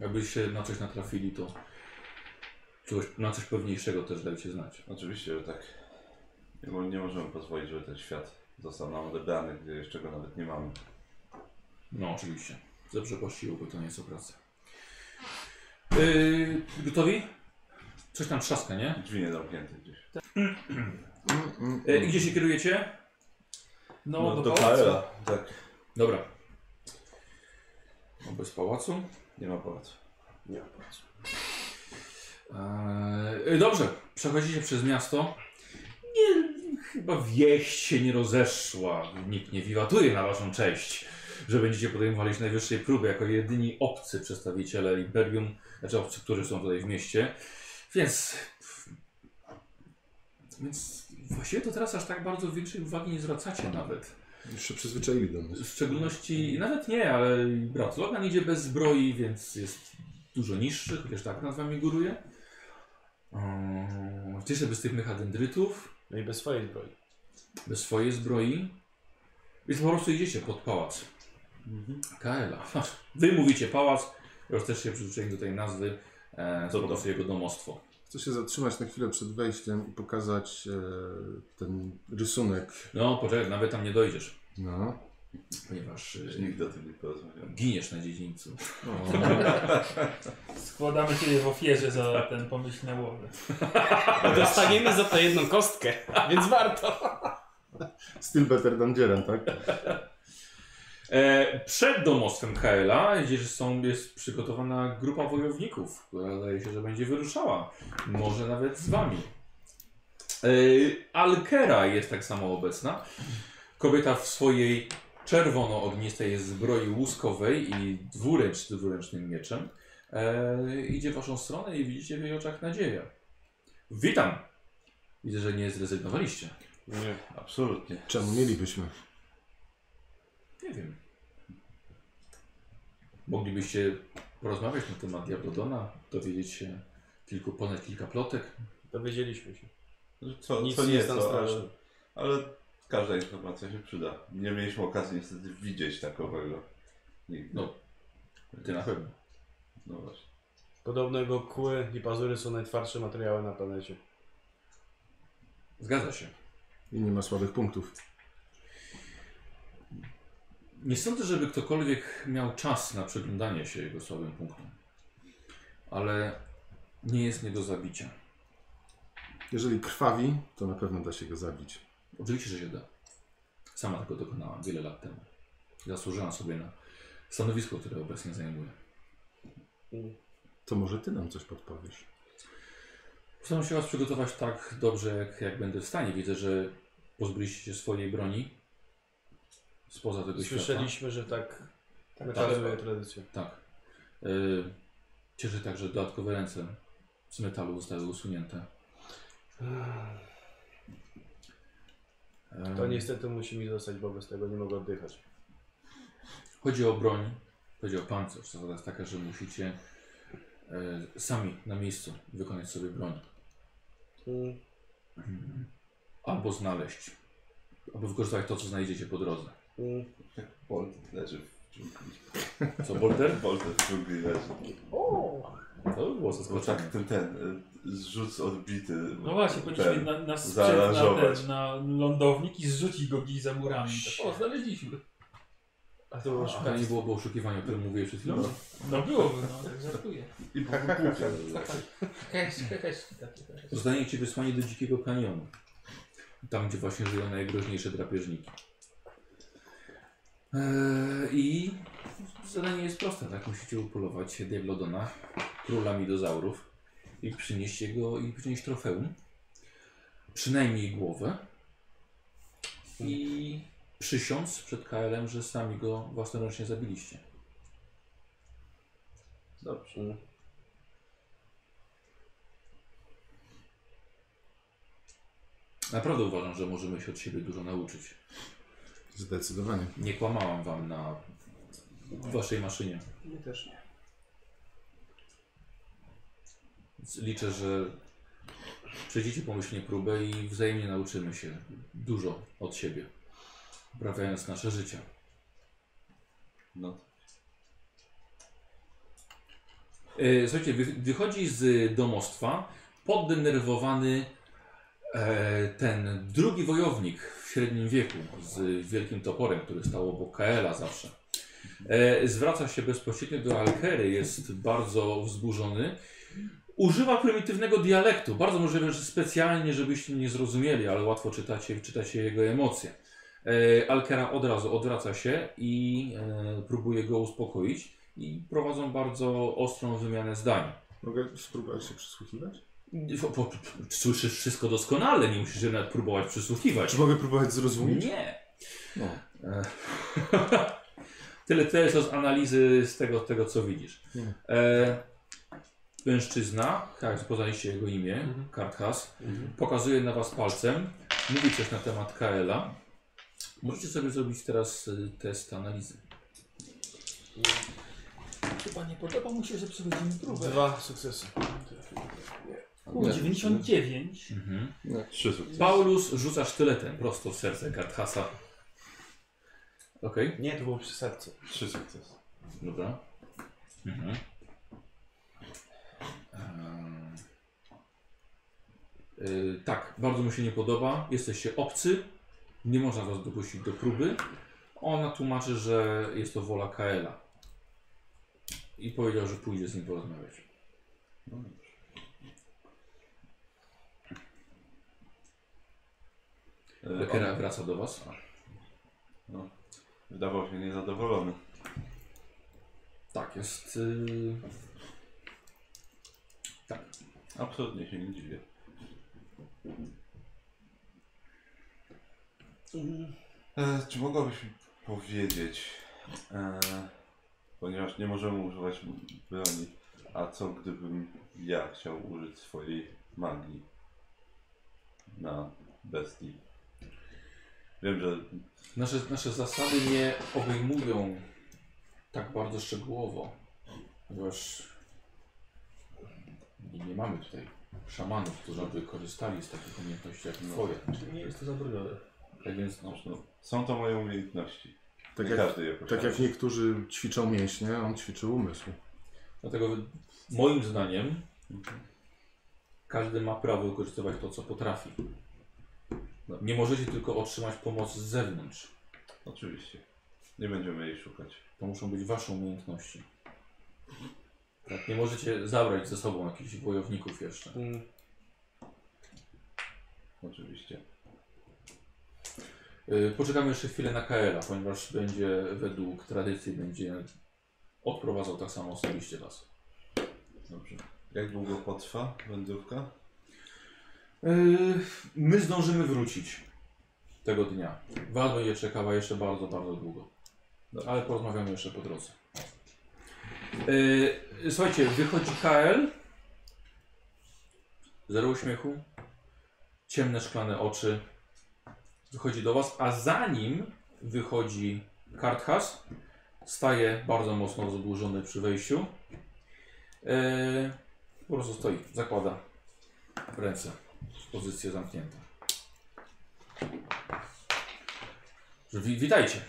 S1: Jakbyście na coś natrafili, to czegoś, na coś pewniejszego też dajcie znać.
S2: Oczywiście, że tak. Nie, mo- nie możemy pozwolić, żeby ten świat został nam odebrany, gdy jeszcze go nawet nie mamy.
S1: No, oczywiście. Dobrze posiłku, to nie jest o pracę. Yy, gotowi? Coś tam trzaska, nie?
S2: Drzwi nie zamknięte gdzieś.
S3: Mm, mm,
S1: Yy,
S3: mm.
S1: gdzie się kierujecie?
S4: No,
S2: No,
S4: do,
S2: do
S4: pałacu.
S2: Kaela. Tak,
S1: Dobra. Bez pałacu.
S2: nie ma pałacu.
S1: Eee, dobrze, przechodzicie przez miasto. Nie, chyba wieść się nie rozeszła. Nikt nie wiwatuje na waszą cześć, że będziecie podejmowali się najwyższej próby jako jedyni obcy przedstawiciele Imperium, znaczy obcy, którzy są tutaj w mieście. Więc... Więc właściwie to teraz aż tak bardzo większej uwagi nie zwracacie nawet.
S3: Już się przyzwyczaili do nas.
S1: W szczególności, nawet nie, ale brat Logan idzie bez zbroi, więc jest dużo niższy, chociaż tak nad wami góruje. Mm, Cieszę bez tych mechadendrytów,
S7: No i bez swojej zbroi.
S1: bez swojej zbroi. Więc po prostu idziecie pod pałac. Kaela. Wy mówicie pałac, już też się przyzwyczaili do tej nazwy. E, to po prostu jego domostwo.
S3: Chcę się zatrzymać na chwilę przed wejściem i pokazać e, ten rysunek.
S1: No, poczekaj, nawet tam nie dojdziesz,
S3: No.
S1: ponieważ
S2: Już
S1: e,
S2: nigdy o tym nie porozmawiamy.
S1: giniesz na dziedzińcu.
S3: O.
S4: Składamy ciebie w ofierze za ten pomyślny łowę.
S7: A dostaniemy za to jedną kostkę, więc warto.
S3: Still better than Dzieran, tak?
S1: E, przed domostwem Kaela gdzieś są, jest przygotowana grupa wojowników, która zdaje się, że będzie wyruszała. Może nawet z wami. E, Alkera jest tak samo obecna. Kobieta w swojej czerwono-ognistej zbroi łuskowej i dwuręcz z dwuręcznym mieczem e, idzie w waszą stronę i widzicie w jej oczach nadzieję. Witam! Widzę, że nie zrezygnowaliście.
S2: Nie, absolutnie.
S3: Czemu mielibyśmy?
S1: Nie wiem. Moglibyście porozmawiać na temat Diablodona, dowiedzieć się kilku, ponad kilka plotek.
S12: Dowiedzieliśmy się.
S11: Co,
S12: Nic
S11: co
S12: nie
S11: nie
S12: jest
S11: jest
S12: tam straszne.
S11: ale, ale każda informacja się przyda. Nie mieliśmy okazji niestety widzieć takowego. Nigdy.
S1: No. Ty na pewno.
S11: No właśnie.
S12: Podobno jego kły i pazury są najtwardsze materiały na planecie.
S1: Zgadza się.
S3: I nie ma słabych punktów.
S1: Nie sądzę, żeby ktokolwiek miał czas na przeglądanie się jego słabym punktom. Ale nie jest nie do zabicia.
S3: Jeżeli krwawi, to na pewno da się go zabić.
S1: Oczywiście, że się da. Sama tego dokonałam wiele lat temu. Zasłużyłam sobie na stanowisko, które obecnie zajmuję.
S3: To może ty nam coś podpowiesz.
S1: Postaram się Was przygotować tak dobrze, jak, jak będę w stanie. Widzę, że pozbyliście się swojej broni spoza tego świata.
S12: Słyszeliśmy, że tak
S1: tak,
S12: nakazuje
S1: tak.
S12: tradycja.
S1: Tak. Y, cieszę także, że dodatkowe ręce z metalu zostały usunięte. Em,
S7: Mm.
S12: To niestety musi mi zostać, bo bez tego nie mogę oddychać.
S1: E, Chodzi o broń, chodzi o pancerz. Zasada jest taka, że musicie y, sami na miejscu wykonać sobie broń.
S12: Mm,
S1: Albo znaleźć, albo wykorzystać to, co znajdziecie po drodze.
S12: mm.
S11: Bolt leży w dżungli.
S1: Co, Bolter?
S11: Bolt w dżungli leży.
S1: To by było
S11: Bo
S1: zaskoczenie.
S11: tak ten, ten y, zrzut odbity.
S4: No właśnie, powinniśmy
S11: ten.
S4: na, na sprzęt, na,
S11: zaaranżować.
S4: ten, na lądownik i zrzucić go gdzieś za murami. Tak, o, znaleźliśmy.
S12: A to było
S1: A to nie
S12: szukanie.
S1: byłoby oszukiwania, o którym mówiłem przed chwilą.
S4: No, no byłoby, no, tak żartuję. Hmm.
S11: I po
S12: tak,
S11: kukurydzy.
S4: Heheszki, heheszki takie. heheszki.
S1: Zostanie ci wysłanie do Dzikiego Kanionu. Tam, gdzie właśnie żyją najgroźniejsze drapieżniki. Eee, I zadanie jest proste, tak? Musicie upolować Diablodona, króla midozaurów i przynieść jego i przynieść trofeum. Przynajmniej głowę. I przysiąc przed KL-em, że sami go własnoręcznie zabiliście.
S12: Dobrze.
S1: Naprawdę uważam, że możemy się od siebie dużo nauczyć.
S3: Zdecydowanie.
S1: Nie kłamałam wam na waszej maszynie.
S13: My też nie.
S1: Więc Liczę, że przejdziecie pomyślnie próbę i wzajemnie nauczymy się dużo od siebie, uprawiając nasze życie.
S11: No.
S1: E, słuchajcie, wy, wychodzi z domostwa poddenerwowany e, ten drugi wojownik w średnim wieku z wielkim toporem, który stał obok Kaela zawsze. E, zwraca się bezpośrednio do Alkery, jest bardzo wzburzony. Używa prymitywnego dialektu, bardzo możliwe, że specjalnie, żebyście nie zrozumieli, ale łatwo czytacie, czytacie jego emocje. E, Alkera od razu odwraca się i e, próbuje go uspokoić i prowadzą bardzo ostrą wymianę zdań.
S3: Mogę spróbować się przysłuchiwać?
S1: Po- po- po- Słyszysz wszystko doskonale, nie musisz się nawet próbować przysłuchiwać.
S3: Czy mogę próbować zrozumieć?
S1: Nie.
S3: No.
S1: E, Tyle, tyle co z analizy z tego, tego co widzisz.
S3: Nie.
S1: E, mężczyzna, tak, poznaliście jego imię,
S3: Mhm.
S1: Karthas, pokazuje na was palcem, mówi coś na temat Kaela. Możecie sobie zrobić teraz y, test analizy.
S4: Chyba nie podoba mu się, że przechodzimy próbę.
S12: Dwa sukcesy.
S4: U, 99.
S1: Mhm.
S2: Trzy sukcesy.
S1: Paulus rzuca sztyletem prosto w serce Karthasa. Okej.
S12: Nie, to było przy sercu.
S2: Trzy sukcesy.
S1: Dobra. Mhm. Ehm. Y, tak, bardzo mu się nie podoba. Jesteście obcy. Nie można was dopuścić do próby. Ona tłumaczy, że jest to wola Kaela. I powiedział, że pójdzie z nim porozmawiać.
S11: E,
S1: Lekera
S11: on
S1: wraca do was.
S11: Wydawał się niezadowolony.
S1: Tak, jest. y,
S11: Absolutnie się nie dziwię. E, czy mogłabyś mi powiedzieć, e, ponieważ nie możemy używać broni, a co gdybym ja chciał użyć swojej magii na bestii? Wiem, że
S1: Nasze, nasze zasady nie obejmują tak bardzo szczegółowo, ponieważ nie, nie mamy tutaj szamanów, którzy by korzystali z takich umiejętności
S11: no,
S1: jak twoje.
S12: Nie jest to zabronione.
S1: Tak więc no,
S11: Zresztą są to moje umiejętności.
S3: Tak
S11: nie
S3: jak,
S11: każdy je
S3: tak
S11: posiada.
S3: jak niektórzy ćwiczą mięśnie, on ćwiczy umysł.
S1: dlatego wy- moim zdaniem każdy ma prawo wykorzystywać to, co potrafi. No, Nie możecie tylko otrzymać pomocy z zewnątrz.
S11: Oczywiście. Nie będziemy jej szukać.
S1: To muszą być wasze umiejętności. Tak, nie możecie zabrać ze sobą jakichś wojowników jeszcze.
S12: Mm,
S11: Oczywiście.
S1: Y, Poczekamy jeszcze chwilę na Kaela, ponieważ będzie według tradycji będzie odprowadzał tak samo osobiście nas.
S11: Dobrze. Jak długo potrwa wędrówka?
S1: Yy, My zdążymy wrócić tego dnia. Was będzie czekała jeszcze bardzo, bardzo długo. No, Ale porozmawiamy jeszcze po drodze. Yy, Słuchajcie, wychodzi Kael. Zero uśmiechu. Ciemne szklane oczy. Wychodzi do was, a za nim wychodzi Karthas. Staje bardzo mocno zadłużony przy wejściu. Yy, po prostu stoi, zakłada ręce pozycja zamknięta. Że Wi witajcie.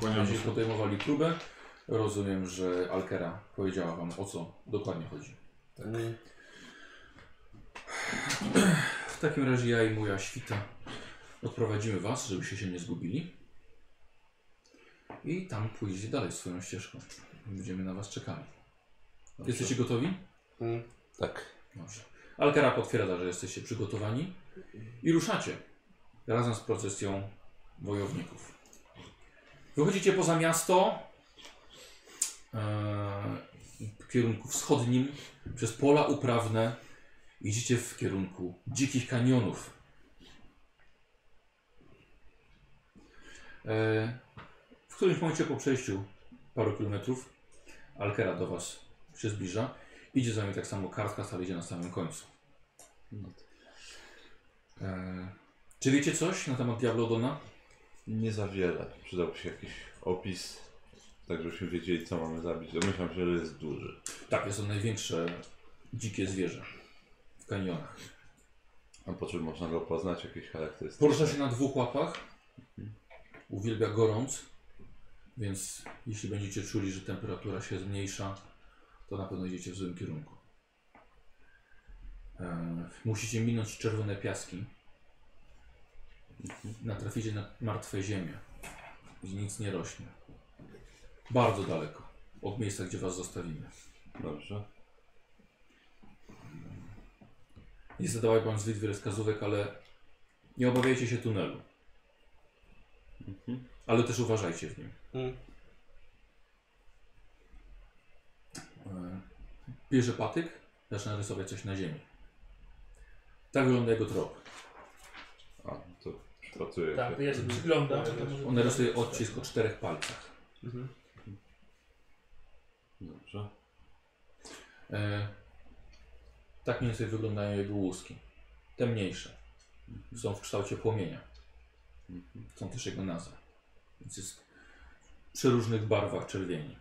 S3: Kłaniam
S1: Będziecie
S3: się.
S1: podejmowali próbę. Rozumiem, że Alkera powiedziała wam o co dokładnie chodzi.
S12: mm.
S1: W takim razie ja i moja świta odprowadzimy was, żebyście się nie zgubili. I tam pójdziecie dalej swoją ścieżką. Będziemy na was czekali. Jesteście gotowi?
S11: Tak.
S1: Dobrze. Alkara potwierdza, że jesteście przygotowani i ruszacie razem z procesją wojowników. Wychodzicie poza miasto e, w kierunku wschodnim, przez pola uprawne, idziecie w kierunku dzikich kanionów. E, w którymś momencie po przejściu paru kilometrów Alkera do Was się zbliża. Idzie za nami tak samo kartka, ale idzie na samym końcu. E, czy wiecie coś na temat Diablodona?
S2: Nie za wiele. Przydałby się jakiś opis, tak żebyśmy wiedzieli, co mamy zabić. Domyślam się, że jest duży.
S1: Tak, jest to największe dzikie zwierzę w kanionach.
S2: A po czym można go poznać, jakieś charakterystyki.
S1: Porusza się na dwóch łapach. Uwielbia gorąc. Więc jeśli będziecie czuli, że temperatura się zmniejsza, to na pewno idziecie w złym kierunku. E, musicie minąć czerwone piaski. Natraficie na martwe ziemię. Gdzie nic nie rośnie. Bardzo daleko. Od miejsca, gdzie was zostawimy.
S11: Dobrze.
S1: Nie zadałem wam zbyt wiele wskazówek, ale nie obawiajcie się tunelu. Ale też uważajcie w nim.
S12: Mhm.
S1: E, Bierze patyk, zaczyna rysować coś na ziemi. Tak wygląda jego trop.
S2: A, to przypatruję
S4: Tak, to
S2: się.
S4: ja się przyglądam. czy to może
S1: On
S4: być-
S1: rysuje odcisk o czterech palcach.
S2: Dobrze.
S1: E, tak mniej więcej wyglądają jego łuski. Te mniejsze. Są w kształcie płomienia. Są też jego nazwy. Więc jest przy różnych barwach czerwieni.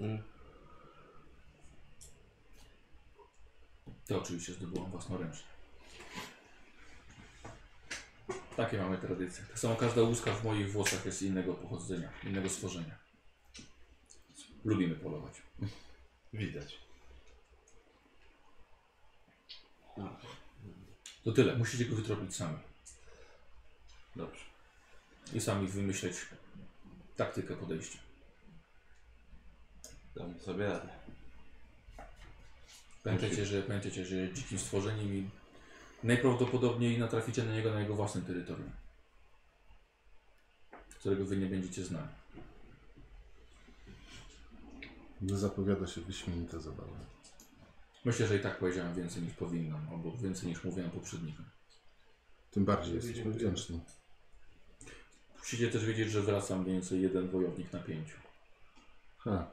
S12: Mm.
S1: Te oczywiście zdobyłam własnoręcznie. Takie mamy tradycje. Tak samo każda łuska w moich włosach jest innego pochodzenia, innego stworzenia. Lubimy polować.
S2: Widać.
S1: To tyle. Musicie go wytropić sami.
S11: Dobrze.
S1: I sami wymyśleć taktykę podejścia.
S11: Damy sobie radę.
S1: Pamiętajcie, że, pamiętajcie, że jest dzikim stworzeniem i najprawdopodobniej natraficie na niego na jego własnym terytorium. Którego wy nie będziecie znali.
S3: Zapowiada się wyśmienita zabawa.
S1: Myślę, że i tak powiedziałem więcej niż powinnam, albo więcej niż mówiłem poprzednikom.
S3: Tym bardziej jesteśmy wdzięczni.
S1: Musicie też wiedzieć, że wraca mniej więcej jeden wojownik na pięciu.
S3: Ha.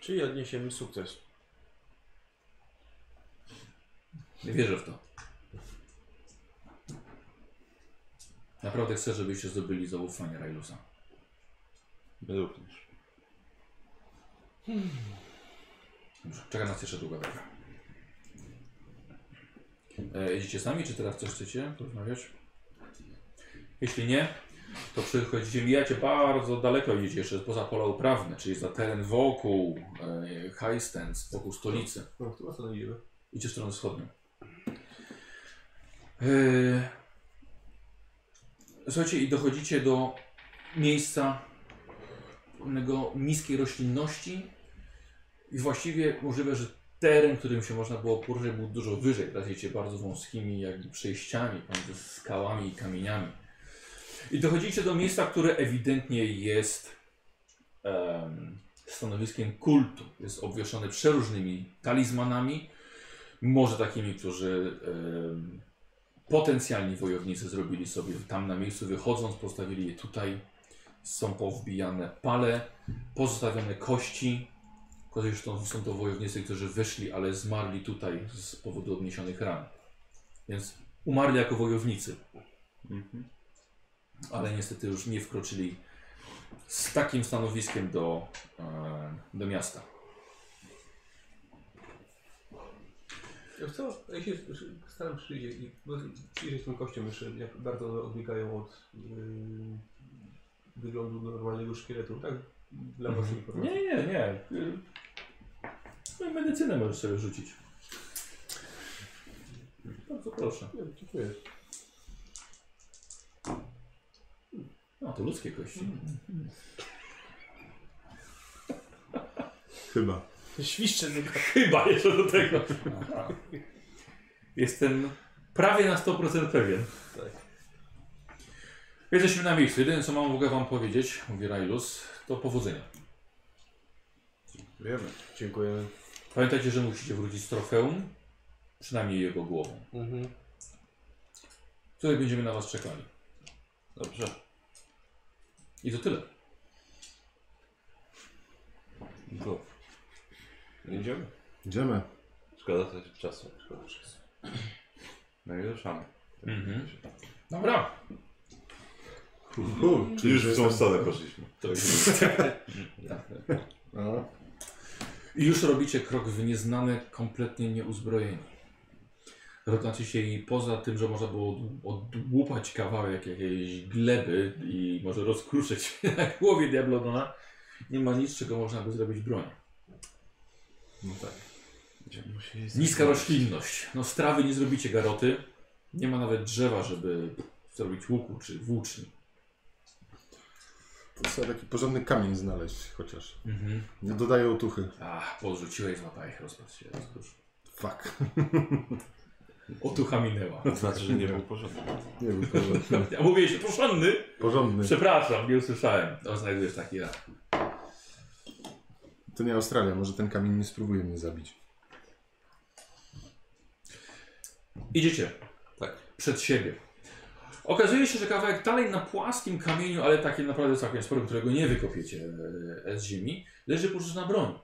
S12: Czyli odniesiemy sukces.
S1: Wierzę w to. Naprawdę chcę, żebyście zdobyli zaufanie Railusa.
S2: My również.
S1: Dobrze, czeka nas jeszcze długa droga. E, idziecie sami, czy teraz coś chcecie porozmawiać? Jeśli nie, to przychodzicie, mijacie bardzo daleko, idziecie jeszcze poza pola uprawne, czyli za teren wokół e, Highstands, wokół stolicy.
S5: No, w którą stronę idziemy?
S1: Idzie w stronę wschodnią. E, słuchajcie, i dochodzicie do miejsca pewnego niskiej roślinności, i właściwie możliwe, że teren, którym się można było poruszać, był dużo wyżej. Teraz jedziecie bardzo wąskimi jakby przejściami pomiędzy skałami i kamieniami. I dochodzicie do miejsca, które ewidentnie jest em, stanowiskiem kultu. Jest obwieszone przeróżnymi talizmanami, może takimi, którzy em, potencjalni wojownicy zrobili sobie tam na miejscu, wychodząc, postawili je tutaj. Są powbijane pale, pozostawione kości, Zresztą są to wojownicy, którzy wyszli, ale zmarli tutaj z powodu odniesionych ran. Więc umarli jako wojownicy, ale niestety już nie wkroczyli z takim stanowiskiem do, e, do miasta.
S5: Ja co? Ja się przy- staram przyjrzeć, i- bo- przyjrzeć tym kościom jeszcze, jak bardzo one odbiegają od yy, wyglądu normalnego szkieletu, tak? Dla
S2: Mhm.
S5: waszej informacji.
S1: Nie, nie, nie. Swoją medycynę możesz sobie rzucić. Bardzo proszę.
S5: Nie, dziękuję.
S1: No to ludzkie kości.
S3: Chyba.
S12: Świszcze tylko.
S1: Chyba jeszcze do tego. Aha. Jestem prawie na 100% pewien. Jesteśmy na miejscu. Jedyne co mam mogę wam powiedzieć, mówi Railus, to powodzenia.
S12: Wiemy. Dziękujemy.
S1: Pamiętajcie, że musicie wrócić z trofeum, przynajmniej jego głową.
S12: Mhm.
S1: Tutaj będziemy na was czekali.
S2: Dobrze.
S1: I to tyle.
S2: Go. Idziemy.
S3: Idziemy.
S2: Szkoda też czasu. Szkoda czasu. No i ruszamy.
S1: Mhm. Dobra.
S3: U, czyli
S2: Już
S3: że
S2: w tą
S3: jestem-
S2: stronę poszliśmy.
S3: A,
S1: I już robicie krok w nieznane, kompletnie nieuzbrojeni. Znaczy się i poza tym, że można było od- odłupać kawałek jakiejś gleby i może rozkruszyć na głowie Diablodona, nie ma nic, z czego można by zrobić broń.
S3: No tak.
S2: Będziemy musieli
S1: Niska
S2: znaleźć.
S1: roślinność. No z trawy nie zrobicie garoty. Nie ma nawet drzewa, żeby zrobić łuku czy włóczni.
S3: To trzeba taki porządny kamień znaleźć chociaż.
S1: Mhm.
S3: Nie dodaję otuchy.
S1: Ach, podrzuciłeś, złapałeś, rozpadł się. rozkrusz.
S3: Fuck.
S1: Otucha minęła.
S2: To znaczy, że nie był porządek.
S3: Nie był porządny.
S1: Ja mówię się porządny.
S3: znaczy. porządny.
S1: Przepraszam, nie usłyszałem. O, znajdujesz taki raz.
S3: To nie Australia, może ten kamień nie spróbuje mnie zabić.
S1: Idziecie.
S11: Tak.
S1: Przed siebie. Okazuje się, że kawałek dalej na płaskim kamieniu, ale takim naprawdę całkiem sporym, którego nie wykopiecie e, z ziemi, leży pożyczna broń.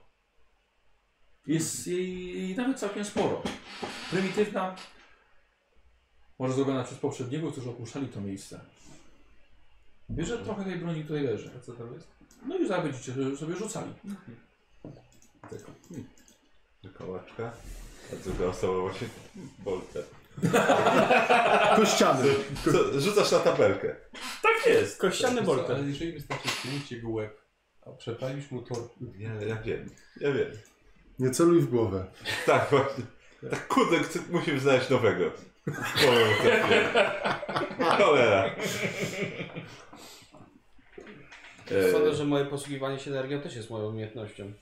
S1: Jest jej, jej nawet całkiem sporo. Prymitywna, może zrobiona przez poprzedniego, którzy opuszczali to miejsce. Bierze trochę tej broni tutaj leży.
S5: A co tam jest?
S1: No i zaraz będziecie sobie rzucali.
S2: Kołaczka. A druga osoba właśnie bolce.
S3: Kościany!
S2: Co, rzucasz na tabelkę.
S1: Tak jest!
S12: Kościany
S5: Co,
S12: bolter.
S5: Ale jeżeli wystarczy skinić jego łeb, a przepalisz mu tor...
S2: Ja, ja wiem, ja wiem.
S3: Nie celuj w głowę.
S2: Tak właśnie. Tak kurde, chcę- musimy znaleźć nowego. Powiem o tym. Cholera.
S1: E,
S12: Sądzę, że moje posługiwanie się energią też jest moją umiejętnością.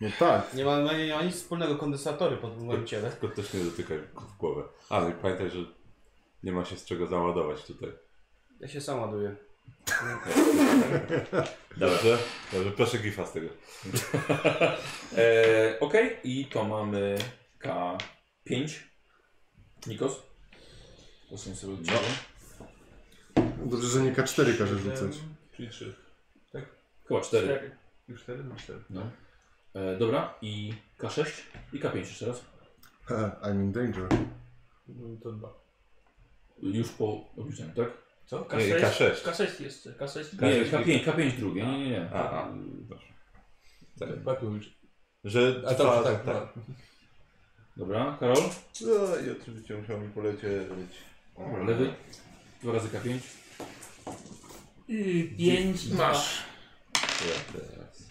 S3: No tak.
S12: Nie ma, nie ma nic wspólnego kondensatory pod
S2: Tak.
S12: moim ciele.
S2: Tylko też nie dotykaj w głowę. A, no i pamiętaj, że nie ma się z czego załadować tutaj.
S12: Ja się sam ładuję.
S2: Dobrze? Dobrze, proszę gifa z tego.
S1: E, ok, i to mamy K5. Nikos? Posunię sobie od ciebie.
S3: Dobrze, że nie K4 każe rzucać.
S5: Czyli trzy.
S1: Chyba 4.
S5: Już cztery? No cztery.
S1: No. E, dobra, i K6 i K5 jeszcze raz.
S3: Ha, I'm in danger.
S5: No To dwa.
S1: Już po obliczeniu, tak?
S11: Co?
S2: Nie,
S4: K6,
S2: K6.
S4: K6 jeszcze, K6.
S1: Nie,
S2: K6.
S1: K5, K5 drugie, nie, nie, nie.
S2: A, a. Tak.
S5: Tak mówisz.
S2: Że
S5: A
S2: trwa-
S5: to tak, tak.
S1: Dobra, Karol?
S2: No i oczywiście musiał mi polecieć.
S1: Dobra, lewy. Dwa razy K5.
S4: Y, 5 i Masz.
S2: Ja teraz.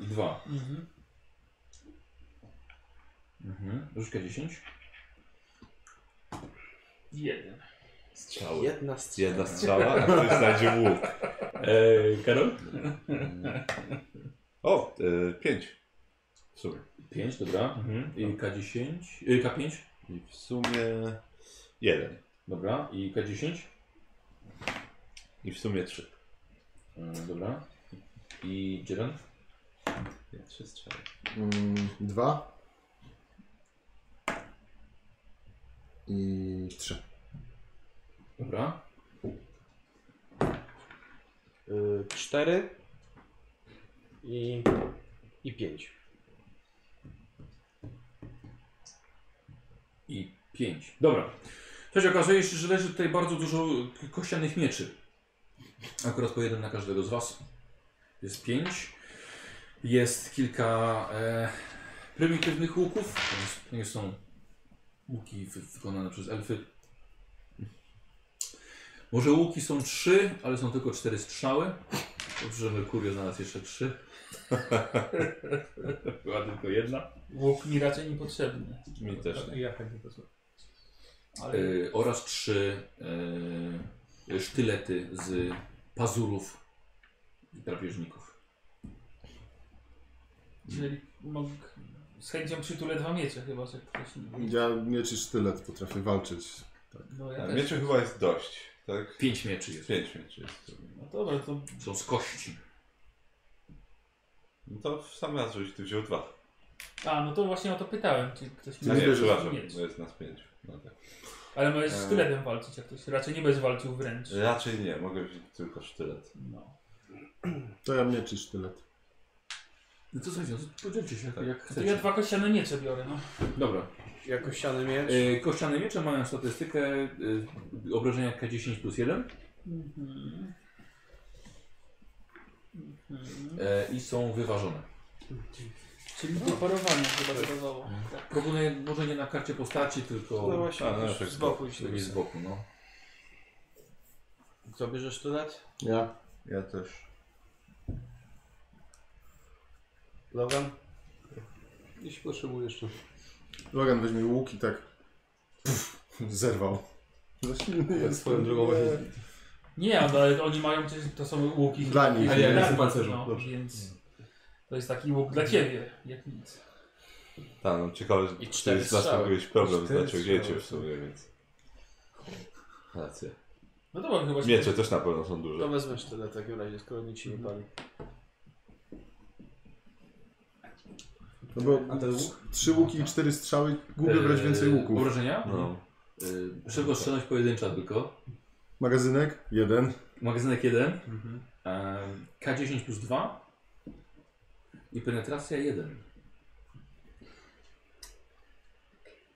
S1: I dwa.
S4: Mhm.
S1: Mhm. Rzuć K10.
S4: Jeden.
S2: Strzały.
S12: Jedna strzała.
S2: Jedna strzała, a ktoś znajdzie łuk.
S1: Eee, Karol?
S2: O, e, pięć. W sumie.
S1: Pięć, dobra. Mhm. I K10. Y, K5.
S2: I w sumie jeden.
S1: Dobra. I K10.
S2: I w sumie trzy.
S1: Yy, dobra. I Jiren.
S2: Nie, trzy strzały.
S3: Mm, dwa. I trzy.
S1: Dobra.
S12: Y, Cztery i, i pięć.
S1: I pięć. Dobra. Słuchajcie, okazuje się, że leży tutaj bardzo dużo kościanych mieczy. Akurat po jeden na każdego z was. Jest pięć. Jest kilka e, prymitywnych łuków. To jest- To nie są łuki wy- wykonane przez elfy. Może łuki są trzy, ale są tylko cztery strzały. Dobrze, że Merkurio znalazł jeszcze trzy. Była tylko jedna.
S4: Łuk mi raczej niepotrzebny.
S2: Mi też tak. nie.
S5: Ja chętnie to znam.
S4: Ale
S1: E, oraz trzy e, sztylety z pazurów drapieżników.
S4: czyli mógł, z chęcią przytulę dwa miecze chyba, że ktoś nie
S3: Ja mieczy sztylet potrafię walczyć.
S4: No ja
S2: A
S4: też.
S2: mieczy Tak, chyba jest dość, tak?
S1: Pięć mieczy jest.
S2: Pięć mieczy jest w sumie.
S4: No dobra, to
S1: Są z kości.
S2: No to w sam raz, żebyś ty wziął dwa.
S4: A, no to właśnie o to pytałem, czy ktoś
S2: A
S4: ma
S2: nie,
S4: jakiś
S2: przepraszam,
S4: miecz.
S2: bo jest nas pięć. No tak.
S4: Ale możesz
S2: Eee.
S4: z tyletem walczyć, jak ktoś raczej nie będziesz walczył wręcz.
S2: Raczej nie, mogę wziąć tylko sztylet.
S4: No.
S3: To ja mieczy sztylet.
S1: No to słuchajcie, no to podzielcie się jak, jak
S4: To ja
S1: chcecie.
S4: dwa kościane miecze biorę, no.
S1: Dobra.
S12: Jako ściany miecz.
S2: Y,
S1: E, kościane miecze mają statystykę e, obrażenia K10 plus 1
S4: Mhm. Mhm.
S1: e, i są wyważone.
S4: Czyli to porowanie chyba zadawało. Tak.
S1: Proponuję może nie na karcie postaci, tylko
S12: No właśnie,
S2: A, no,
S12: jakoś
S2: tak
S12: z
S2: z
S12: boku iść.
S1: nie z boku. No.
S12: Kto bierze sztylet?
S3: Ja.
S2: Ja też.
S12: Logan?
S5: Jeśli potrzebuję jeszcze.
S3: Logan weźmie łuk i tak. Pff, zerwał. Za silny jest.
S5: swoją drogą właśnie-
S4: Nie, ale oni mają też to są łuki.
S3: Dla nich.
S5: A ja
S4: Dla
S5: jestem
S4: nich,
S5: pancerzem,
S4: No,
S5: dobrze.
S4: więc to jest taki łuk dla ciebie, jak nic.
S2: Tak, no ciekawe,
S12: I
S2: czy
S12: cztery
S2: jest nas
S12: strzały.
S2: jakiś problem z
S11: Cztery strzały.
S2: naciągnięciem w sumie, więc... Racja.
S4: No dobra, chyba się-
S2: Miecze też na pewno są
S12: To
S2: duże.
S12: wezmę sztylet w takim razie, skoro nic się nie pali.
S3: No bo
S5: A ten łuk? Eee,
S3: trzy łuki i cztery strzały. Głupio brać
S1: E,
S3: więcej łuków.
S1: Obrażenia?
S2: No.
S1: E, Przewostrzelność pojedyncza tylko.
S3: Magazynek? Jeden.
S1: Magazynek 1. Em, K10 plus 2 i penetracja 1.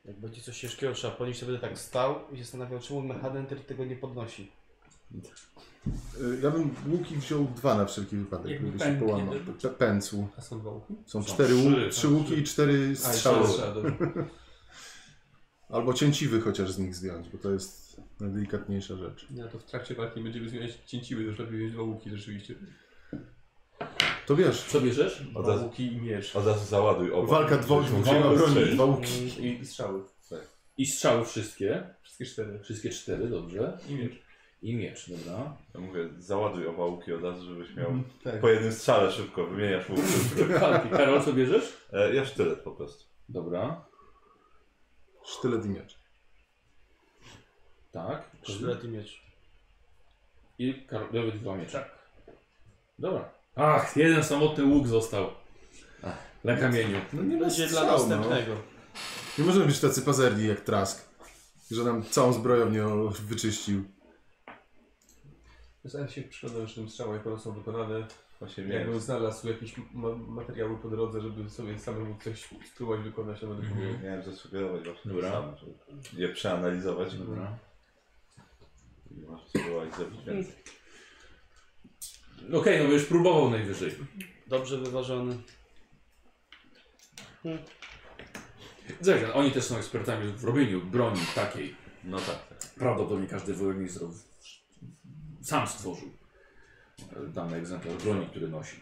S12: Jak będzie coś ciężkiego trzeba podnieść, to będę tak stał i się zastanawiał, czemu Mechadenter tego nie podnosi.
S3: Y, Ja bym łuki wziął dwa na wszelki wypadek,
S4: Jakby
S3: gdyby się
S4: pęk
S3: połamał.
S4: jeden.
S3: Pe- Pęcł.
S5: A są dwa łuki?
S3: Są
S1: Są
S3: cztery
S1: trzy,
S3: łuki,
S1: tak,
S3: trzy łuki
S5: trzy.
S3: i cztery
S5: A, jeszcze
S3: strzały.
S5: strzał, dobrze.
S3: Albo cięciwy chociaż z nich zdjąć, bo to jest najdelikatniejsza rzecz.
S5: Nie, to w trakcie walki będziemy zmieniać cięciły, to już lepiej mieć dwa łuki rzeczywiście.
S3: To wiesz,
S1: Co bierzesz?
S2: Od
S5: Dwa
S2: razu,
S5: łuki i miecz.
S2: od razu załaduj oba.
S3: walka dwóch,
S2: Żebyśmy
S3: dwóch
S2: mogli
S3: na broni,
S2: strzelić.
S3: dwa łuki.
S5: I, I strzały.
S1: I strzały wszystkie.
S5: Wszystkie cztery.
S1: Wszystkie cztery, dobrze.
S5: I miecz.
S1: I miecz, dobra.
S2: Ja mówię, załaduj oba łuki od razu, żebyś miał
S5: Tak.
S2: po jednym strzale szybko, wymieniasz łuk.
S1: Walki. Karol, co bierzesz?
S2: E, ja sztylet po prostu.
S1: Dobra,
S3: Sztylet i miecz.
S1: tak.
S12: Sztylet i miecz.
S1: I Karol, nawet dwa miecze. Tak. Dobra. Ach, jeden samotny łuk został. Na kamieniu.
S3: No nie
S12: Będzie
S3: będzie
S12: dla
S3: strzał, no.
S12: następnego.
S3: Nie możemy być tacy pazerni jak Trask, że nam całą zbrojownię o- wyczyścił.
S5: Zastanawiam się, przyglądam się tym strzałom, jak one są wykonane.
S2: Właśnie miałem.
S5: Jakbym znalazł jakieś ma materiały po drodze, żeby sobie samemu coś spróbować wykonać, to będę
S1: Mhm.
S5: próbował.
S2: Miałem zasugerować właśnie
S1: Dobra.
S2: to samo, żeby je przeanalizować
S1: Dobra.
S2: i
S11: Nie masz spróbować zrobić więcej.
S1: Okej, no już próbował najwyżej.
S12: Dobrze wyważony.
S1: Zresztą, oni też są ekspertami w robieniu broni takiej.
S11: No tak, tak.
S1: Prawdopodobnie każdy wojownik zrobił, sam stworzył e, dany egzemplarz broni, który nosi.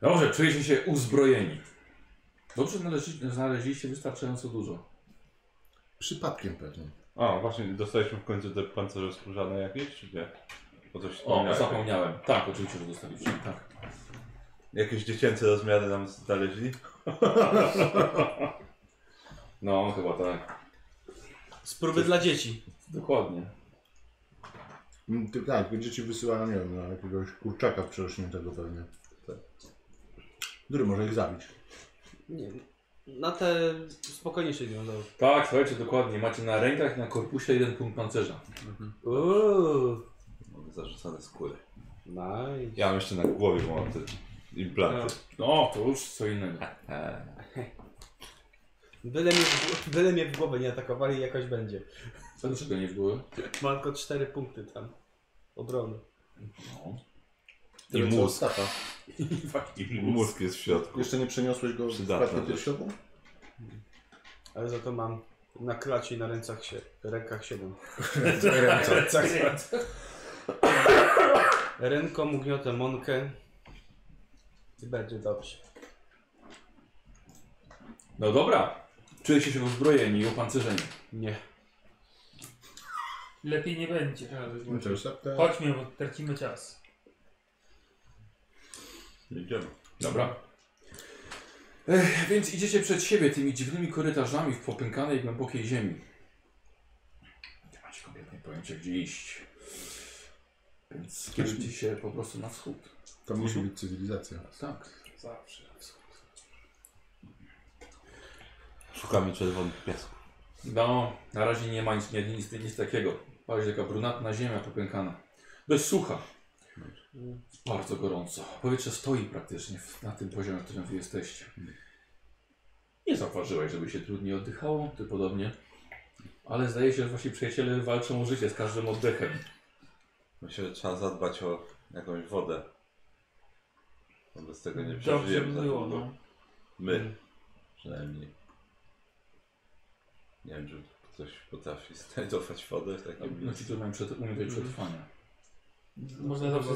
S1: Dobrze, czujecie się uzbrojeni. Dobrze, znaleźli- znaleźliście wystarczająco dużo.
S3: Przypadkiem pewnie.
S2: A, właśnie, dostaliśmy w końcu te pancerze skórzane jakieś, czy nie? Bo coś
S1: O,
S2: wspomniałeś.
S1: zapomniałem. Tak, oczywiście, że dostaliście. Tak.
S2: Jakieś dziecięce rozmiary nam znaleźli?
S1: No, chyba tak.
S12: Spróby dla dzieci.
S1: Dokładnie.
S3: Mm, ty- Tak, będziecie wysyłała, nie wiem, na jakiegoś kurczaka przerośniętego pewnie. Który może ich zabić.
S12: Nie, na te spokojniejsze dinozaury.
S1: Tak, słuchajcie, dokładnie. Macie na rękach i na korpusie jeden punkt pancerza.
S12: Uuu,
S11: Mamy zarzucane skóry.
S12: nice.
S2: Ja mam jeszcze na głowie, bo mam te implanty. E,
S1: No, to już co innego.
S2: No.
S12: Byle mnie, w gł- byle mnie w głowę nie atakowali, jakoś będzie.
S1: Dlaczego nie w głowie?
S12: Mam tylko 4 punkty tam. Obrony.
S1: No.
S2: I
S3: Tyle co
S2: mózg.
S3: Ostapa.
S2: I mózg jest w środku.
S3: Jeszcze nie przeniosłeś go w
S2: Przydatna
S3: klatkę
S2: rzecz.
S3: piersiową?
S12: Ale za to mam na klacie i na ręcach się, rękach 7. Ręką ugniotę mąkę. I będzie dobrze.
S1: No dobra. Czujecie się uzbrojeni i opancerzeni.
S12: Nie.
S4: Lepiej nie będzie.
S3: Intercepta.
S4: Chodźmy, bo tracimy czas.
S11: Idziemy.
S1: Dobra. Ech, więc idziecie przed siebie tymi dziwnymi korytarzami w popękanej, głębokiej ziemi. Nie macie kompletnie pojęcia, gdzie iść. Więc kierujcie się po prostu na wschód.
S3: To musi być cywilizacja.
S1: Tak.
S7: Zawsze na wschód.
S2: Szukamy czerwonych piasków.
S1: No, na razie nie ma nic, nie, nic, nic takiego. Bardziej taka brunatna ziemia popękana. Dość sucha. Bardzo gorąco. Powietrze stoi praktycznie w- na tym poziomie, na którym wy jesteście. Nie zauważyłeś, żeby się trudniej oddychało, ty podobnie. Ale zdaje się, że wasi przyjaciele walczą o życie z każdym oddechem.
S11: Myślę, że trzeba zadbać o jakąś wodę. Bo bez tego nie
S4: Dobrze
S11: przeżyjemy
S4: by
S11: za
S4: było,
S2: tak.
S11: długo.
S4: no.
S11: My. Przynajmniej. Nie wiem, czy ktoś potrafi znajdować wodę w takim
S1: No ci,
S11: miejscu.
S1: którzy mają przed, umiejętność przetrwania.
S4: Można dobrze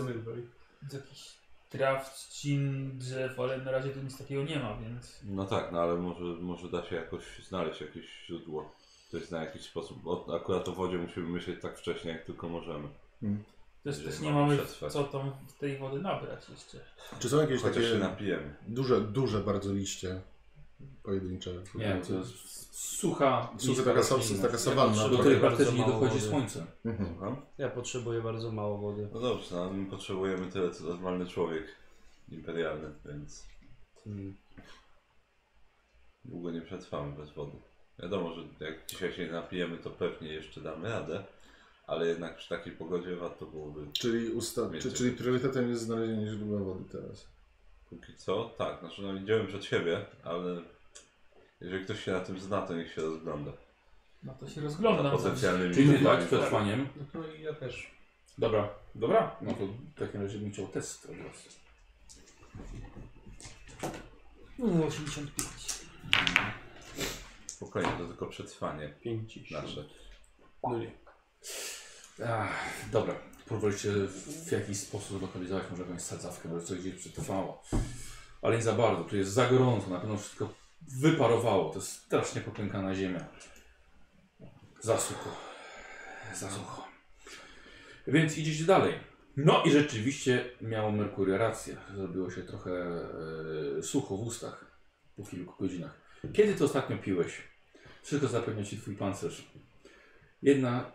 S4: z jakichś traw, trzcin, drzew, ale na razie tu nic takiego nie ma, więc...
S2: No tak, no ale może, może da się jakoś znaleźć jakieś źródło. To jest na jakiś sposób. O, akurat o wodzie musimy myśleć tak wcześnie, jak tylko możemy.
S4: Też,
S11: Jeżeli
S4: też nie
S11: mamy
S4: mamy
S11: przetrwać.
S4: co tam w tej wody nabrać jeszcze.
S3: Czy są jakieś
S11: Chociaż się
S3: takie
S11: napijemy.
S3: duże, duże bardzo liście pojedyncze?
S1: Nie wiem, to jest no. sucha,
S3: Słuchaj,
S1: niska
S3: taka, sa-
S1: roślina,
S3: taka sawanna.
S1: do
S12: Potrzebuje
S1: której
S3: trochę.
S12: bardzo
S1: praktycznie nie
S12: mało
S1: dochodzi
S12: wody.
S1: słońce.
S3: Mhm.
S2: No.
S11: Słucham?
S12: Ja potrzebuję bardzo mało wody.
S11: No dobrze, no, my potrzebujemy tyle, co normalny człowiek imperialny, więc
S12: Mm.
S11: długo nie przetrwamy bez wody. Wiadomo, że jak dzisiaj się napijemy, to pewnie jeszcze damy radę, ale jednak przy takiej pogodzie warto byłoby
S3: Czyli, usta-
S11: Wiecie.
S3: czy, czyli priorytetem jest znalezienie źródła wody teraz.
S11: Póki co, tak, znaczy no idziemy przed siebie, ale jeżeli ktoś się na tym zna, to niech się rozgląda.
S4: No to się rozglądam.
S11: Potencjalnymi
S1: Czyli ty
S11: źródłami
S1: tak,
S11: wody.
S1: przetrwaniem.
S5: No i ja też.
S1: Dobra, dobra. No to w takim razie bym chciał test od razu.
S4: No, 85.
S11: Spokojnie, to tylko przetrwanie
S12: 5
S11: nasze.
S12: No nie.
S1: Ach, dobra, próbowaliście w, w jakiś sposób zlokalizować może jakąś sadzawkę, może coś gdzieś przetrwało. Ale nie za bardzo, tu jest za gorąco, na pewno wszystko wyparowało. To jest strasznie popękana ziemia. Za sucho. Za sucho. Więc idziecie dalej. No i rzeczywiście miał Merkury rację. Zrobiło się trochę e, sucho w ustach po kilku godzinach. Kiedy to ostatnio piłeś? Wszystko zapewnia ci twój pancerz. Jedna,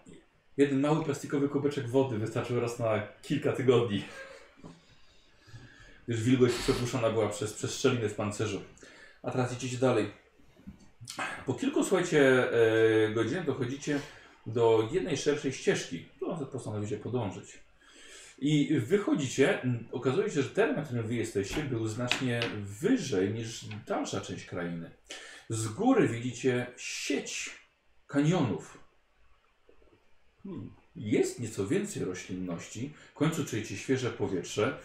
S1: Jeden mały plastikowy kubeczek wody wystarczył raz na kilka tygodni. Już wilgoć przepuszczana była przez, przez szczeliny w pancerzu. A teraz idziecie dalej. Po kilku, słuchajcie, e, godzinach dochodzicie do jednej szerszej ścieżki, którą postanowicie podążyć. I wychodzicie, m, okazuje się, że teren, na którym wy jesteście, był znacznie wyżej niż dalsza część krainy. Z góry widzicie sieć kanionów Jest nieco więcej roślinności. W końcu czujecie świeże powietrze.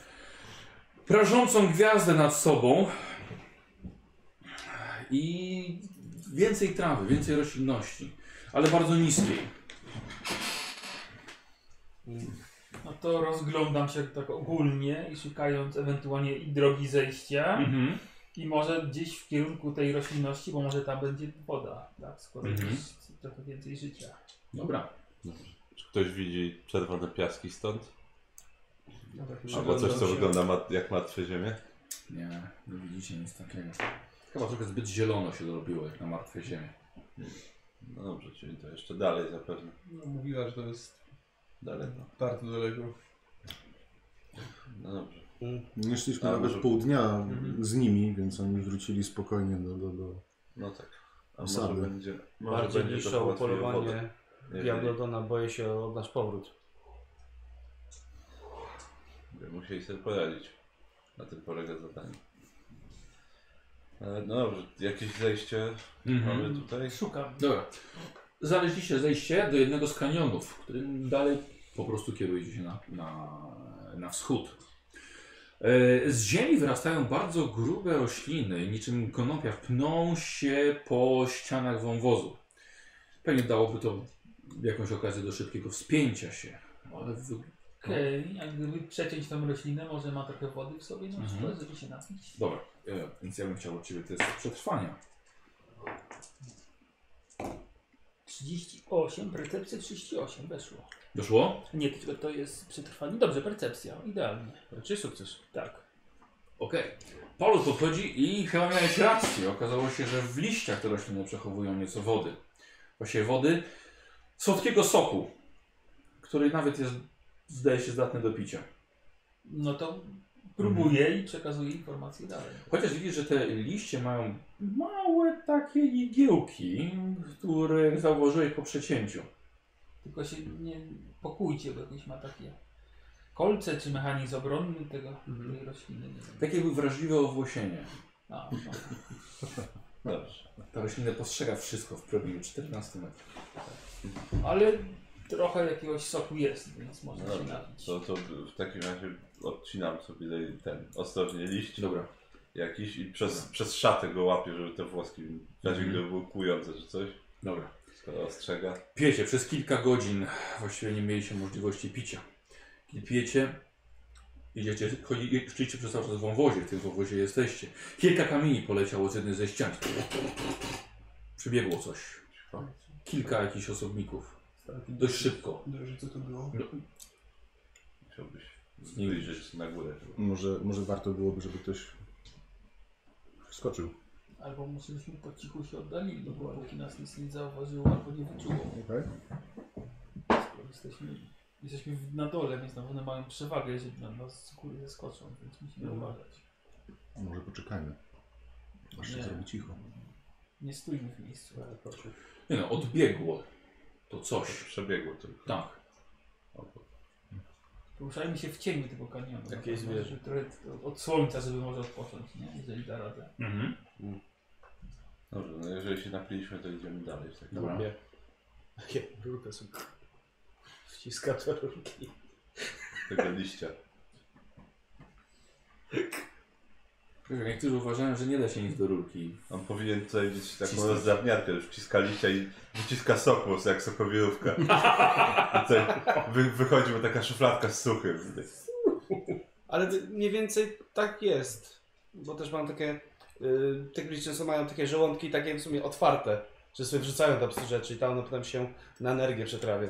S1: Prażącą gwiazdę nad sobą. I więcej trawy, więcej roślinności. Ale bardzo niskiej.
S4: No to rozglądam się tak ogólnie i szukając ewentualnie i drogi zejścia
S1: Mhm.
S4: i może gdzieś w kierunku tej roślinności, bo może tam będzie woda, tak? Skoro
S1: Mhm.
S4: jest trochę więcej życia.
S1: Dobra.
S2: Czy ktoś widzi czerwone piaski stąd?
S12: No
S5: Ja tak
S2: Albo coś, co
S5: się-
S2: wygląda mat jak martwe ziemie?
S1: Nie, nie widzicie nic takiego. Chyba trochę zbyt zielono się zrobiło, jak na martwej ziemi.
S2: No dobrze, czyli to jeszcze dalej zapewne.
S5: No, mówiła, że to jest
S2: Daleko.
S5: bardzo daleko.
S2: No dobrze.
S3: Nie szliśmy
S2: A,
S3: nawet
S2: może-
S3: pół dnia z nimi, więc oni wrócili spokojnie do... do, do...
S2: No tak. A może
S3: Osady.
S2: będzie, może
S12: Bardziej
S2: będzie
S12: niż o
S2: to polowanie.
S12: upolowanie Diablodona boję się o nasz powrót.
S2: Musieli sobie poradzić. Na tym polega zadanie. E, No dobrze, jakieś zejście mamy tutaj?
S4: Szukam.
S1: Dobra. Znaleźliście zejście do jednego z kanionów, w którym dalej po prostu kierujecie się na, na, na wschód. E, Z ziemi wyrastają bardzo grube rośliny, niczym konopia pną się po ścianach wąwozu. Pewnie dałoby to jakąś okazję do szybkiego wspięcia się, ale wy...
S4: Okej, a gdyby przeciąć tą roślinę, może ma trochę wody w sobie, no
S1: Mhm.
S4: mhm. żeby się napić.
S1: dobra, e, więc ja bym chciał od Ciebie test przetrwania.
S4: 38, percepcja 38, weszło.
S1: Doszło?
S4: Nie, tylko to jest przetrwanie. Dobrze, percepcja, idealnie.
S12: Czy sukces?
S4: Tak.
S1: Okej. Paulus podchodzi i chyba miałeś rację. Okazało się, że w liściach te rośliny przechowują nieco wody. Właśnie wody słodkiego soku, który nawet jest, zdaje się, zdatny do picia.
S4: No to próbuję i przekazuję informacje dalej.
S1: Chociaż widzisz, że te liście mają małe takie igiełki, które zauważyłeś po przecięciu.
S4: Tylko się nie pokójcie, bo jakoś ma takie kolce czy mechanizm obronny tego,
S5: Mhm.
S4: tej rośliny. Nie wiem.
S1: Takie jakby wrażliwe owłosienie.
S4: A, no.
S2: Dobrze.
S1: Ta roślina postrzega wszystko w promieniu 14 metrów.
S4: Ale trochę jakiegoś soku jest, więc
S2: No
S4: można się
S2: dobrze.
S4: napić.
S2: To, to w takim razie odcinam sobie ten- ten ostrożnie liść
S1: Dobra.
S2: jakiś i przez, przez szatę go łapię, żeby te włoski w razie
S1: Mhm.
S2: gdyby były kłujące czy coś,
S1: Dobra.
S2: skoro ostrzega.
S1: Pijecie przez kilka godzin, właściwie nie mieliście możliwości picia. Kiedy pijecie, idziecie, chodzi, chodzicie przez cały czas w wąwozie, w tym wąwozie jesteście. Kilka kamieni poleciało z jednej ze ścian. Przybiegło coś. Kilka jakichś osobników. Dość szybko.
S5: Dobrze, co to było?
S2: Musiałbyś
S1: Nie
S2: zbliżyć na górę.
S3: Może, może warto byłoby, żeby ktoś wskoczył.
S4: Albo musieliśmy po cichu się oddalili, bo póki nas nic nie zauważyło albo nie wyczuło.
S3: Okay.
S4: Skoro Jesteśmy, jesteśmy w- na dole, więc na pewno mają przewagę, jeżeli na nas z góry zaskoczą, więc musimy uważać.
S3: Może poczekajmy. Aż się
S4: Nie.
S3: zrobi cicho.
S4: Nie stójmy w miejscu.
S5: Ale proszę.
S1: Nie no, odbiegło to coś.
S2: Przebiegło tylko.
S1: Tak.
S4: Poruszajmy się w cieniu tego kanionu. No,
S12: Jakieś zwierzę.
S4: Żeby Trochę od słońca, żeby może odpocząć, nie? jeżeli da radę.
S1: Mhm.
S2: Dobrze, no jeżeli się napiliśmy, to idziemy dalej. W takim
S1: Dobra.
S12: Nie. Jakie rurkę są. Wciska te rurki.
S2: tego liścia.
S1: Niektórzy uważają, że nie da się nic do rurki.
S2: On powinien tutaj mieć taką
S1: Wcisnąć.
S2: rozdrabniarkę, już wciska liścia i wyciska sokłos jak sokowirówka. I tutaj wy, wychodzi mu taka szufladka z suchym.
S12: Ale ty- mniej więcej tak jest. Bo też mam takie. y, Te gry często mają takie żołądki takie w sumie otwarte. Że sobie wrzucają tam prostu rzeczy i tam one potem się na energię przetrawia.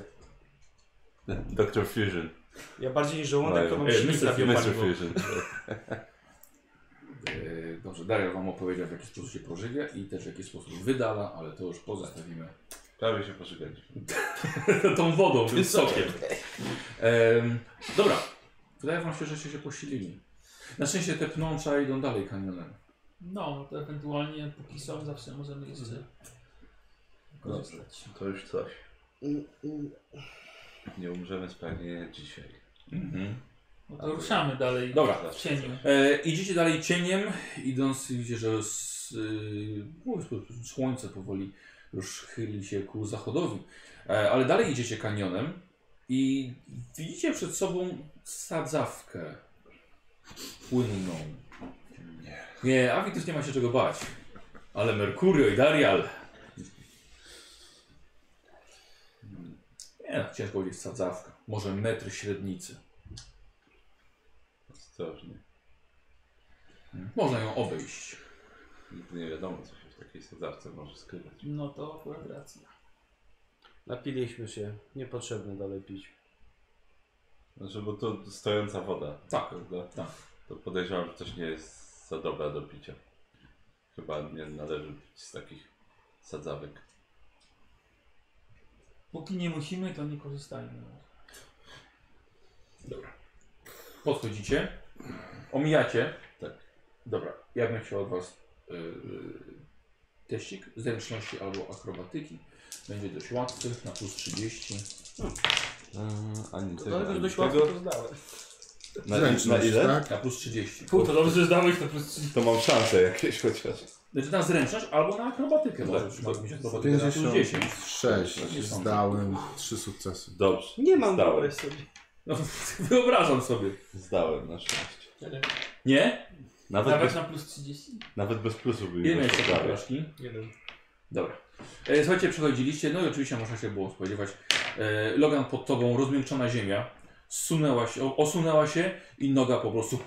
S2: Dr. Fusion.
S12: Ja bardziej niż
S7: No
S12: żołądek to mam
S1: Ej,
S12: silnik na
S2: Mr.
S12: biopaliwo.
S2: Fusion.
S1: Eee, Dobrze, Daria Wam opowiedział, w jaki sposób się pożywia i też w jaki sposób wydala, ale to już pozostawimy
S2: Prawie się pożegaliśmy.
S1: tą wodą, tym sokiem. Em, dobra, wydaje wam się, żeście się posilili. Na szczęście te pnącza idą dalej kanionem.
S4: No, to ewentualnie póki są, zawsze możemy jeszcze korzystać.
S2: To już coś.
S12: Mm, mm.
S2: Nie umrzemy z pragnienia dzisiaj.
S4: No to ruszamy dalej
S1: Dobra.
S4: w cieniu.
S1: E, idziecie dalej cieniem, idąc, widzicie, że s, y, no, s- słońce powoli już chyli się ku zachodowi. E, Ale dalej idziecie kanionem i widzicie przed sobą sadzawkę płynną. Nie, Avi też nie ma się czego bać. Ale Merkurio i Darial. Nie, ciężko powiedzieć sadzawka. Może metr średnicy.
S2: Ostrożnie.
S1: Można ją obejść.
S2: Nigdy nie wiadomo, co się w takiej sadzawce może skrywać.
S4: No to akurat racja.
S14: Napiliśmy się. Niepotrzebne dalej pić.
S2: Znaczy, bo to stojąca woda.
S1: Tak,
S2: prawda?
S1: tak.
S2: To podejrzewam, że też nie jest za dobra do picia. Chyba nie należy pić z takich sadzawek.
S4: Póki nie musimy, to nie korzystajmy.
S1: Podchodzicie, omijacie.
S2: Tak.
S1: Dobra, ja bym chciał od Was yy, teścik zręczności albo akrobatyki. Będzie dość łatwy, na plus 30.
S2: Ani
S14: To dlatego, że dość łatwo to zdałem.
S2: Na,
S3: Zręczność,
S2: ile?
S3: tak?
S1: Na plus 30.
S4: Pół, to dobrze, że zdałeś to plus 30.
S2: Znaczy, tak? To mam szanse jakieś chociaż.
S1: Znaczy na zręczność albo na akrobatykę.
S2: Tak,
S1: Może przypadku się akrobatykę na plus 10.
S3: 56. Zdałem. Trzy sukcesy.
S2: Dobrze.
S14: Nie mam
S2: zdałem.
S14: dobrej sobie.
S1: No, wyobrażam sobie.
S2: Zdałem na szczęście.
S1: Nie?
S2: Nawet,
S4: Nawet
S2: bez,
S4: na plus 30?
S2: nawet bez plusu bym
S1: Ile
S2: nie
S1: miałeś takie
S2: prawie.
S1: porażki?
S5: Jeden.
S1: Dobra. E, Słuchajcie, przechodziliście, no i oczywiście można się było spodziewać. E, Logan pod tobą, rozmiękczona ziemia, sunęła się, o- osunęła się i noga po prostu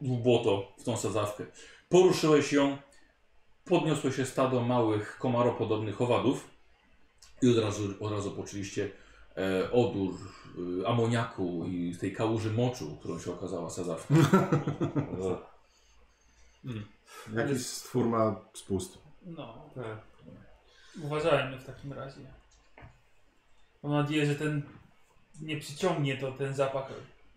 S1: w błoto, w tą sadzawkę. Poruszyłeś ją, podniosło się stado małych komaropodobnych owadów i od razu, od razu poczuliście e, odór e, amoniaku i z tej kałuży moczu, którą się okazała sadzawka.
S3: Jakiś stwór ma spust.
S4: No,
S5: Tak.
S4: uważajmy w takim razie. Mam nadzieję, że ten nie przyciągnie to ten zapach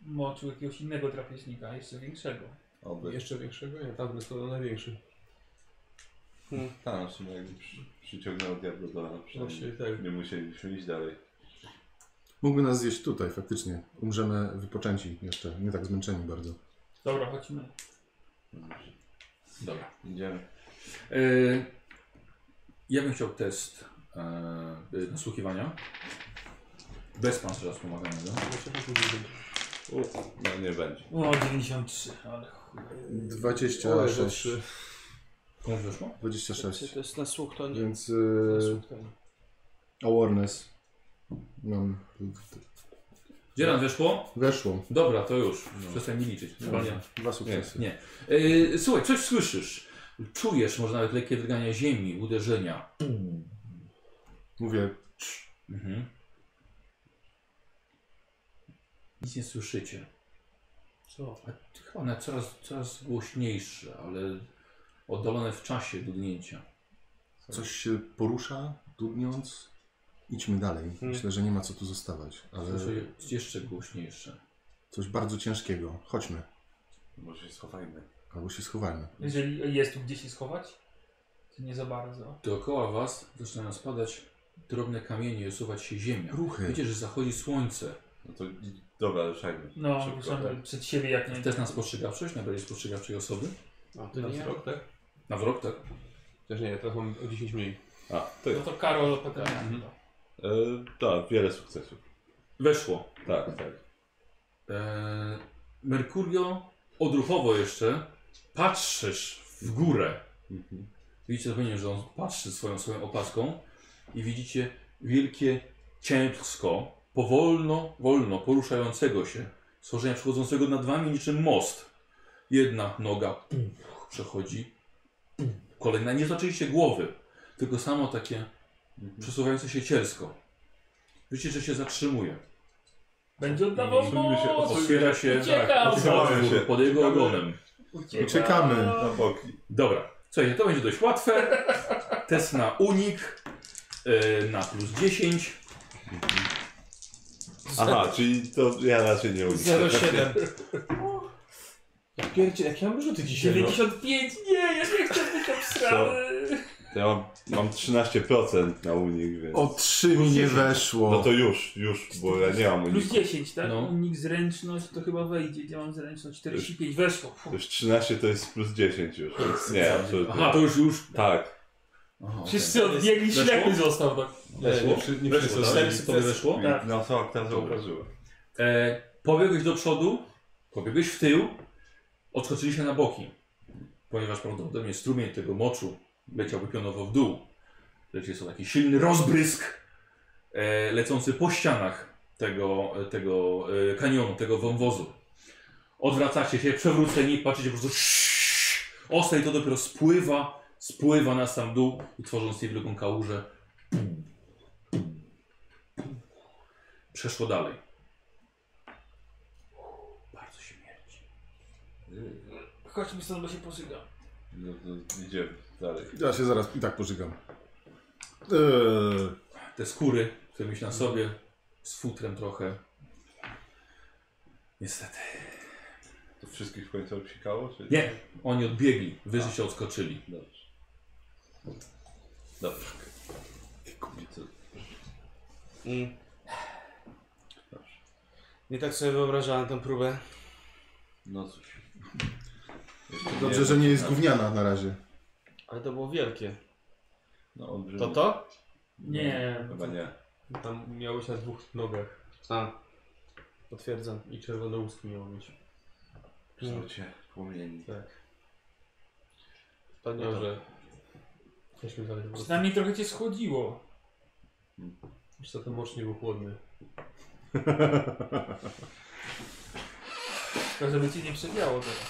S4: moczu jakiegoś innego drapieżnika, jeszcze większego.
S2: Oby.
S5: Jeszcze większego? Nie, tam jest to największy.
S2: Tam Tak, w sumie jakby przy, przyciągnął diablo do nas.
S5: Właściwie
S2: przynajmniej
S5: tak.
S2: Nie musieliśmy iść dalej.
S3: Mógłby nas zjeść tutaj, faktycznie. Umrzemy wypoczęci jeszcze, nie tak zmęczeni bardzo.
S4: Dobra, chodźmy.
S1: Dobra.
S2: Idziemy.
S1: E, Ja bym chciał test e, e, nasłuchiwania. Bez pancerza wspomaganego.
S5: Jeszcze większy będzie.
S2: No nie będzie.
S4: O, 93, ale chuj.
S5: Ojej, że
S3: 26.
S5: trzy.
S1: Komuś wyszło?
S14: Czy
S3: 26.
S14: to jest na słuch, to nie.
S3: Więc y, awareness. Mam.
S1: Dzieran weszło?
S3: Weszło.
S1: Dobra, to już. Przestań mi liczyć. Chyba nie.
S3: Dwa sukcesy.
S1: Nie. E, Słuchaj, coś słyszysz. Czujesz może nawet lekkie drgania ziemi, uderzenia.
S3: Mówię,
S1: Mhm. Nic nie słyszycie.
S4: Co?
S1: A ty Chyba one coraz, coraz głośniejsze, ale oddalone w czasie dudnięcia.
S3: Tak. coś się porusza, dudniąc. Idźmy dalej. Myślę, że nie ma co tu zostawać, ale
S1: Słyszę je- jeszcze głośniejsze.
S3: coś bardzo ciężkiego. Chodźmy.
S2: Może się schowajmy.
S3: Albo się schowajmy.
S4: Jeżeli jest tu gdzie się schować, to nie za bardzo.
S1: Dookoła was zaczynają spadać drobne kamienie, usuwać się ziemia.
S3: Ruchy.
S1: Wiecie, że zachodzi słońce.
S2: No to i- dobra, ruszajmy.
S4: No,
S2: Szybko,
S4: ruszamy przed siebie jak
S1: Test
S4: najmniej.
S1: na spostrzegawczość, najbardziej spostrzegawczej osoby.
S14: A, to
S5: Na
S14: nie.
S5: wzrok, tak?
S1: Na wzrok, tak?
S5: Też nie, teraz mam o 10 mniej.
S2: A, to
S4: No
S2: jest.
S4: to Karol opeka.
S2: E, tak, wiele sukcesów.
S1: Weszło.
S2: Tak, tak.
S1: Eee, Merkurio, odruchowo jeszcze, patrzysz w górę.
S2: Mhm.
S1: Widzicie zupełnie, że on patrzy swoją, swoją opaską i widzicie wielkie ciężko, powolno, wolno poruszającego się stworzenia przechodzącego nad wami niczym most. Jedna noga pum, przechodzi, pum, kolejna. Nie zaczęliście głowy, tylko samo takie przesuwające się cielsko. Widzicie, że się zatrzymuje.
S4: Będzie oddawał moc!
S1: Otwiera się tak,
S4: Uciekam!
S1: otwiera się pod jego ogonem.
S4: Uciekam.
S3: Uciekamy.
S2: Na boki.
S1: Dobra, słuchajcie, to będzie dość łatwe. Test na unik e, na plus 10.
S2: Aha, czyli to ja raczej nie uniknę.
S14: 07.
S5: Ja pierdzie, jakie mam rzuty
S4: no.
S5: dzisiaj? no?
S4: 95! Nie, ja nie chcę być obstrany!
S2: To ja mam, mam 13% na unik, więc.
S3: O trzy mi nie weszło.
S2: No to już, już, bo ja nie mam
S4: Plus
S2: uniku.
S4: 10, tak?
S1: No.
S4: No. Unik zręczność to chyba wejdzie. Gdzie mam zręczność? 45, weszło.
S2: To już 13 to jest plus 10 już, więc nie, absolutnie.
S1: Aha, to już już.
S2: Tak.
S1: Aha,
S4: Wszyscy odbiegli,
S1: Weszło?
S4: ślepy został tak.
S2: Weszło?
S5: nie
S2: Weszło,
S5: wszyscy.
S2: tak?
S1: Stepsy tobie weszło?
S4: Tak.
S2: No co, która zauważyła.
S1: E, pobiegłeś do przodu, pobiegłeś w tył, odskoczyliście na boki, ponieważ prawdopodobnie strumień tego moczu leciałby pionowo w dół. Lecz jest to taki silny rozbrysk e, lecący po ścianach tego, tego e, kanionu, tego wąwozu. Odwracacie się, przewróceni, patrzycie po prostu szysz, ostro i to dopiero spływa, spływa na sam dół i tworząc jej wielką kałużę przeszło dalej. Bardzo śmierdzi.
S4: Chodźmy stąd, bo się posygam.
S2: No to idziemy dalej.
S3: Ja się zaraz i tak pożygam. Eee,
S1: Te skóry, które mieć na sobie, z futrem trochę. Niestety.
S2: To wszystkich w końcu obsikało? Czy...
S1: Nie, oni odbiegli, wyżej się odskoczyli.
S2: Dobrze. Dobrze. I co?
S7: Mm. Nie tak sobie wyobrażałem tę próbę.
S2: No cóż. Jeszcze
S3: dobrze, że nie jest gówniana na razie.
S7: Ale to było wielkie.
S2: No, olbrzymi.
S7: To to?
S4: Nie.
S2: Chyba nie.
S5: Tam miałeś na dwóch nogach
S7: A. Potwierdzam.
S5: i czerwone łuski miało mieć.
S2: Kształcie płomieni.
S5: Tak.
S7: To nie to.
S5: Dobrze. Weźmy dalej. po prostu.
S4: Przynajmniej trochę cię schłodziło.
S5: Wiesz co, ten mocz nie był chłodny.
S4: Tylko żeby cię nie przewiało teraz.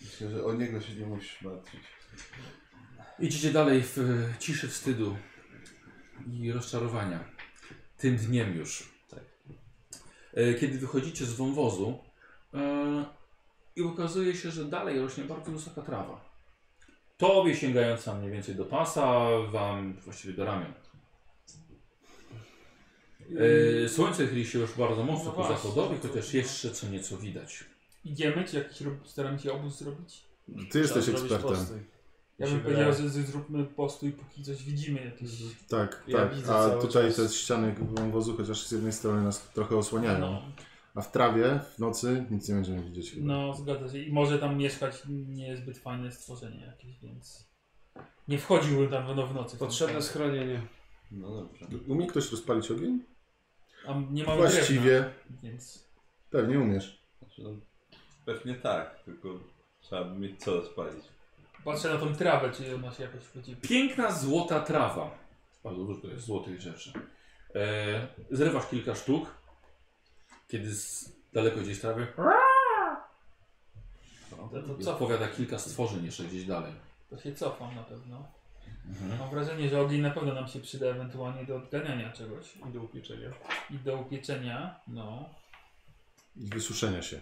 S2: Myślę, że o niego się nie musisz martwić.
S1: Idziecie dalej w e, ciszy wstydu i rozczarowania. Tym dniem już.
S4: Tak.
S1: E, Kiedy wychodzicie z wąwozu e, i okazuje się, że dalej rośnie bardzo wysoka trawa. Tobie sięgająca mniej więcej do pasa, wam właściwie do ramion. E, Słońce chyli się już bardzo mocno
S4: Mm. No
S1: ku
S4: właśnie.
S1: zachodowi, chociaż jeszcze co nieco widać.
S4: Idziemy, czy jakiś rob... staramy się obóz zrobić?
S3: Ty jesteś
S7: Trzeba zrobić
S3: ekspertem.
S7: postój.
S4: Ja
S5: Mi się
S4: bym powiedział,
S5: wydaje.
S4: że z- zróbmy postój, póki coś widzimy. Jakieś...
S3: Tak,
S7: Ja
S3: tak.
S7: widzę
S3: A
S7: cały
S3: tutaj
S7: czas.
S3: te ściany wąwozu, chociaż z jednej strony nas trochę osłaniają.
S4: No,
S3: A w trawie w nocy nic nie będziemy widzieć chyba.
S4: no, zgadza się. I może tam mieszkać niezbyt fajne stworzenie jakieś, więc... Nie wchodziłbym tam no, w nocy.
S7: Potrzebne schronienie.
S2: No dobrze.
S3: Umie ktoś rozpalić ogień?
S4: A nie mamy
S3: Właściwie.
S4: drewna, więc...
S3: Pewnie umiesz.
S2: Znaczy, no, pewnie tak, tylko trzeba by mieć co spalić.
S4: Patrzę na tą trawę, czy ona się jakoś wchodzi.
S1: Piękna złota trawa. Bardzo dużo jest złotych rzeczy. E, zrywasz kilka sztuk. Kiedy z daleko gdzieś trawy.
S4: To, to
S1: No, Co
S4: co?
S1: powiada kilka stworzeń jeszcze gdzieś dalej.
S4: To się cofam na pewno.
S3: Mhm.
S4: Mam wrażenie, że ogień na pewno nam się przyda ewentualnie do odganiania czegoś.
S5: I do upieczenia.
S4: I do upieczenia, no.
S3: I wysuszenia się.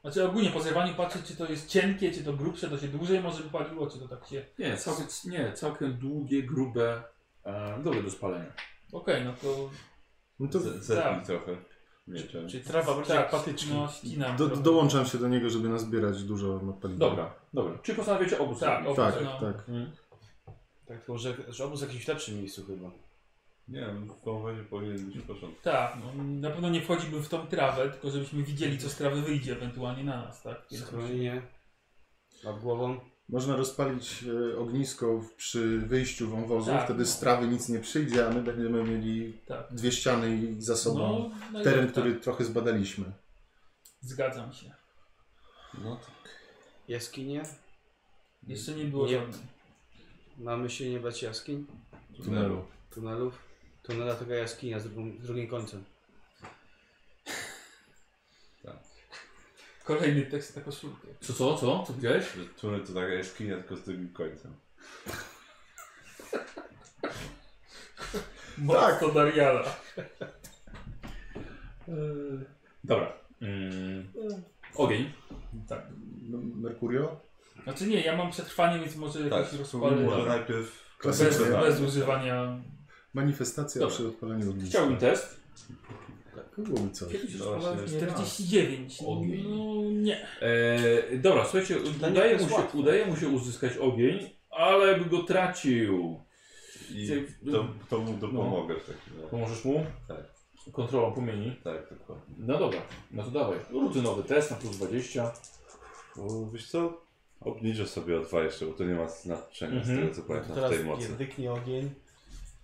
S4: Znaczy ogólnie po zerwaniu patrzeć, czy to jest cienkie, czy to grubsze, to się dłużej może by paliło, czy to tak się...
S1: Nie, całkiem, nie, całkiem długie, grube, e, dobre do spalenia.
S4: Okej, no to...
S3: No to
S2: Z- Zerwij
S4: tak.
S2: trochę mieczem.
S7: Czyli trawa bardziej jak patyczki.
S4: No, ścinam.
S3: do,
S4: trochę.
S3: dołączam się do niego, żeby nazbierać dużo paliwa.
S1: Dobra, dobra. Czy postanawiacie obóz?
S4: Tak,
S1: zrobić?
S4: obóz,
S3: Tak,
S4: no.
S3: tak.
S7: Tak, tylko że, że obóz w jakimś lepszym miejscu chyba.
S2: Nie wiem, w wąwozie powinien być w porządku.
S4: Tak, no, na pewno nie wchodziłbym w tą trawę, tylko żebyśmy widzieli, co z trawy wyjdzie ewentualnie na nas, tak? Więc-
S7: Schronienie. Nad głową.
S3: Można rozpalić e, ognisko w- przy wyjściu wąwozu,
S4: Tak.
S3: wtedy z trawy nic nie przyjdzie, a my będziemy mieli
S4: Tak.
S3: dwie ściany i za sobą
S4: No, no i
S3: teren,
S4: tak,
S3: który trochę zbadaliśmy.
S4: Zgadzam się.
S2: No tak.
S7: Jaskinie.
S4: Jeszcze nie było
S7: Nie.
S4: żadnej.
S7: Mamy się nie bać jaskiń.
S3: Tunelu.
S7: Tunelów. Tunela taka jaskinia z drugim, z drugim końcem.
S4: Kolejny tekst tak na koszulkę.
S1: Co, co, co? Co powiedziałeś?
S2: Że Tunel to taka jaskinia tylko z drugim końcem.
S4: Tak, to Dariala.
S1: Dobra. Mm, ogień.
S4: Tak.
S3: M- Merkurio?
S4: Znaczy nie, ja mam przetrwanie, więc może jakoś
S2: Tak,
S4: rozpalę.
S2: Może najpierw... tak.
S4: Bez,
S1: tak.
S3: Klasyczne.
S4: bez używania.
S3: Manifestacja
S1: Dobra.
S3: przy odpaleniu ogniska.
S1: Chciałbym test.
S3: To byłoby coś.
S1: Kiedyś
S2: No
S1: rozpalałem
S2: właśnie.
S1: nie raz.
S4: 49.
S1: Ogień.
S4: No nie.
S1: E, dobra, słuchajcie,
S7: Dla niego
S1: udaje
S7: jest
S1: mu, się,
S7: łatwo.
S1: udaje mu się uzyskać ogień, ale by go tracił.
S2: I to, to mu
S11: No.
S2: dopomogę w takim razie.
S1: Pomożesz mu?
S2: Tak.
S1: Kontrolą płomieni.
S2: Tak, dokładnie.
S1: No dobra, no to dawaj. Rutynowy test na plus 20.
S2: Bo wiesz co? Obniżę sobie o dwa jeszcze, bo to nie ma znaczenia z
S1: Mhm.
S2: tego co
S11: No
S2: pamiętam w
S12: Teraz
S2: tej mocy.
S12: pierdyknie ogień.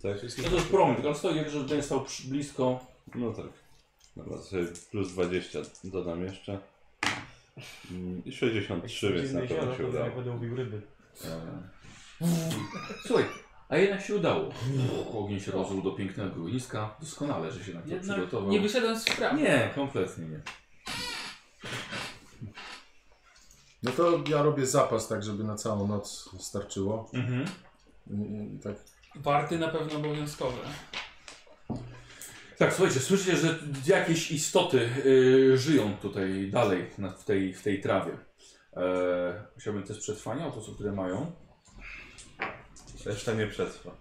S2: Tak?
S1: No to jest prąd, tylko on stoi, jak żeby ten stał przy- blisko.
S2: No tak. Dobra, to sobie plus 20 dodam jeszcze. Mm, I 63, więc na
S12: Codziennie
S2: pewno
S12: ziarno,
S2: się
S12: to
S11: no
S2: udało.
S12: Jak będę mówił ryby.
S1: Słuchaj, a jednak się udało. Uch, Ogień się rozrósł do pięknego ogniska. Doskonale, że się na to
S4: Jednak
S1: przygotował.
S4: nie wyszedłem z sprawy.
S1: nie, kompletnie nie.
S3: No to ja robię zapas tak, żeby na całą noc starczyło.
S1: Mhm.
S3: I- i Tak.
S4: Warty na pewno obowiązkowe.
S1: Tak, słuchajcie, słyszycie, że jakieś istoty y, żyją tutaj dalej na, w, tej, w tej trawie. E, chciałbym też przetrwania od osób, które mają.
S11: Reszta nie przetrwa.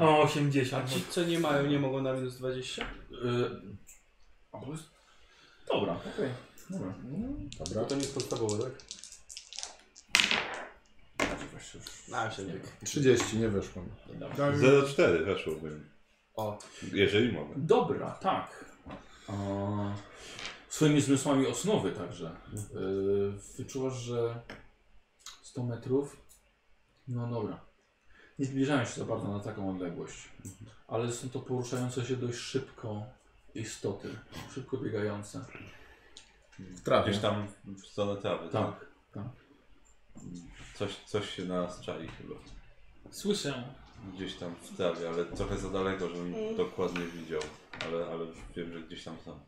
S4: O,
S12: A
S4: 80.
S12: ci, co nie mają, nie mogą na minus 20?
S1: E, a bo jest- Dobra, okej. Dobra.
S5: Bo
S3: Dobra.
S5: to nie jest podstawowe, tak?
S1: Macie właśnie już-
S12: Na siebie.
S3: 30, nie weszło mi.
S1: Dobra.
S2: Tak. 0,4 weszłbym.
S12: O.
S2: Jeżeli mogę.
S1: Dobra, tak. A, swoimi zmysłami osnowy także. Yy, wyczuwasz, że 100 metrów. No dobra. Nie zbliżają się za bardzo na taką odległość. Ale są to poruszające się dość szybko istoty. Szybko biegające.
S3: W trawie.
S11: Gdzieś tam w stronę trawy, tak?
S1: Tak.
S11: Coś, coś się na nas czai chyba.
S4: Słyszę.
S11: Gdzieś tam w trawie, ale trochę za daleko, żebym dokładnie widział. Ale, ale wiem, że gdzieś tam są.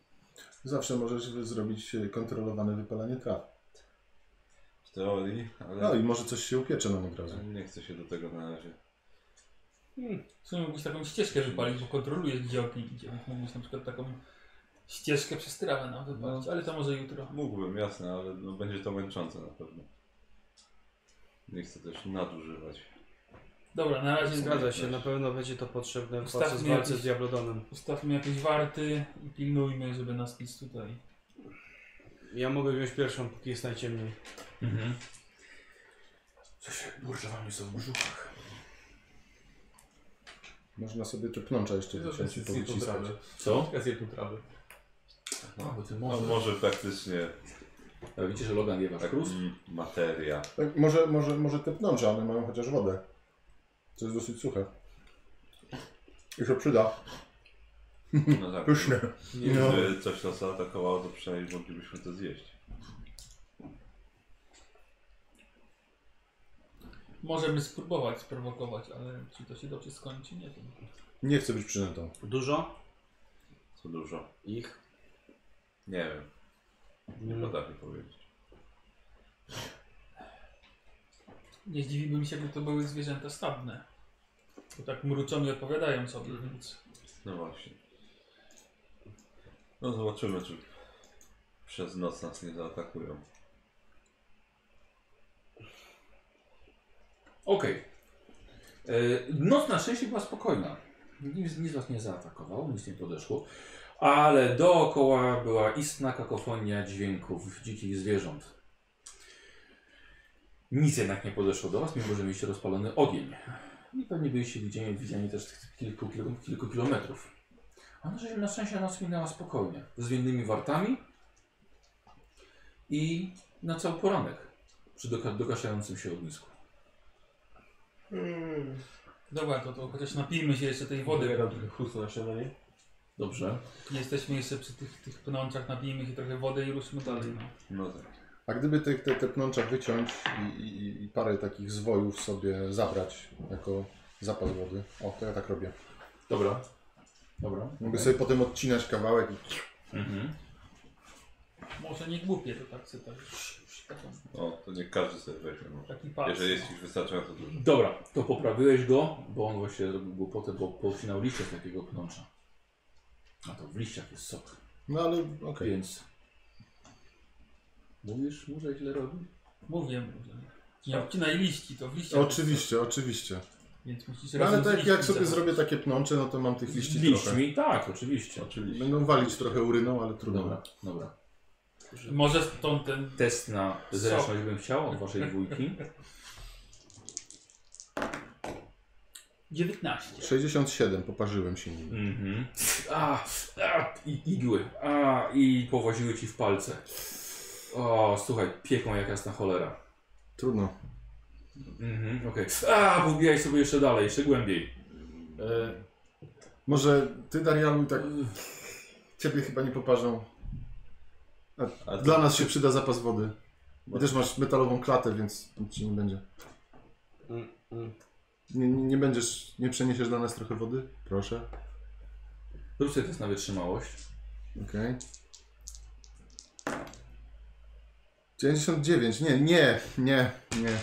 S3: Zawsze możesz wy- zrobić e, kontrolowane wypalenie traw.
S11: W teorii,
S3: No i
S11: ale
S3: może coś się upiecze na od razu.
S11: nie chcę się do tego na razie.
S4: W sumie mógłbyś taką ścieżkę wypalić, bo kontrolujesz gdzie ogień idzie. Mógłbyś na przykład taką ścieżkę przez trawę nam wypalić, ale to może jutro.
S11: Mógłbym, jasne, ale no, będzie to męczące na pewno. Nie chcę też nadużywać.
S4: Dobra, na razie
S12: Zgadza się, na
S5: no.
S12: pewno będzie to potrzebne
S4: Ustawmy
S12: podczas walce
S4: jakiś-
S12: z Diablodonem.
S4: Ustawmy jakieś warty i pilnujmy, żeby nas nic tutaj.
S12: Ja mogę wziąć pierwszą, póki jest najciemniej.
S1: Mhm. Coś burza wam jest w brzuchach.
S3: Można sobie te pnącza jeszcze wyciąć i
S5: zjedną
S3: powyciskać.
S5: trawę.
S1: Co?
S5: Ja zjedną trawę.
S1: No, bo ty
S11: No
S1: może.
S11: może faktycznie
S1: A Widzicie, że Logan je wasz
S11: tak,
S1: krus?
S11: mm, materia.
S3: Tak, może, może, może te pnącza, one mają chociaż wodę. To jest dosyć suche. I się przyda.
S11: No tak.
S3: Pyszne.
S5: Nie
S3: No.
S11: Gdyby coś nas zaatakowało, to przynajmniej moglibyśmy to zjeść.
S4: Możemy spróbować sprowokować, ale czy to się dobrze skończy, nie wiem.
S3: Nie chcę być przynętą.
S12: Dużo?
S11: Co dużo.
S12: Ich?
S11: Nie wiem. Nie potrafię powiedzieć.
S4: Nie zdziwiłbym się, gdyby to były zwierzęta stadne. Bo tak mruczą i odpowiadają sobie,
S3: Mhm.
S4: więc
S11: No właśnie. No zobaczymy, czy przez noc nas nie zaatakują.
S1: Okej. E, Noc na szczęście była spokojna. Nic, nic was nie zaatakowało, nic nie podeszło. Ale dookoła była istna kakofonia dźwięków dzikich zwierząt. Nic jednak nie podeszło do was, mimo że mieliście rozpalony ogień. I pewnie byliście widziani, widziani też z tych kilku, kilo- kilku kilometrów. A nasza ziemia na szczęście noc minęła spokojnie. Z winnymi wartami i na cały poranek przy doka- dogaszającym się ognisku.
S4: dobra, to, to chociaż napijmy się jeszcze tej
S5: Wody
S4: wody.
S5: gadam trochę chrustu na śniadanie.
S1: Dobrze.
S4: Jesteśmy jeszcze przy tych, tych pnączach, napijmy się trochę wody i ruszmy dalej. No.
S11: No tak.
S3: A gdyby te, te, te pnącza wyciąć i, i, i parę takich zwojów sobie zabrać jako zapas wody. O, to ja tak robię.
S1: Dobra. Dobra.
S3: Mogę sobie potem odcinać kawałek i
S1: Mhm.
S4: Może nie głupie to tak sobie tak, taką,
S11: O, to nie każdy sobie weźmie może.
S4: taki pas.
S11: Jeżeli jest ich wystarczająco dużo.
S1: Dobra, to poprawiłeś go, bo on właśnie robił głupotę, bo pocinał liście z takiego pnącza. A to w liściach jest sok.
S3: No ale okej.
S1: Więc. Mówisz, może źle robi?
S4: Mówię, mówię. Nie obcinaj liści, to w liściach.
S3: Oczywiście, oczywiście.
S4: Więc musisz
S3: No, ale
S4: razem z
S3: tak jak, jak
S4: liśćmi
S3: sobie
S4: zabrać.
S3: zrobię takie pnącze, no to mam tych liści trochę.
S1: Liśćmi? Tak, oczywiście.
S11: Oczywiście.
S3: Będą walić trochę uryną, ale trudno.
S1: Dobra, dobra.
S4: Może stąd ten
S1: Test na zręczność bym chciał od waszej dwójki.
S4: 19.
S3: 67, poparzyłem się nim.
S1: Mhm. A, a, i igły. A, i powoziły ci w palce. O, słuchaj, pieką jak jasna cholera.
S3: Trudno.
S1: Mhm, okej. A, pobijaj sobie jeszcze dalej, jeszcze głębiej.
S3: E, Może ty, Darialu, tak. Ciebie chyba nie poparzą.
S11: A
S3: Dla nas się przyda zapas wody. Bo też masz metalową klatę, więc nic ci nie będzie.
S12: Mm, mm.
S3: Nie, nie nie będziesz, nie przeniesiesz dla nas trochę wody? Proszę.
S1: Rób sobie test na wytrzymałość.
S3: Okej. 99, nie, nie, nie, nie.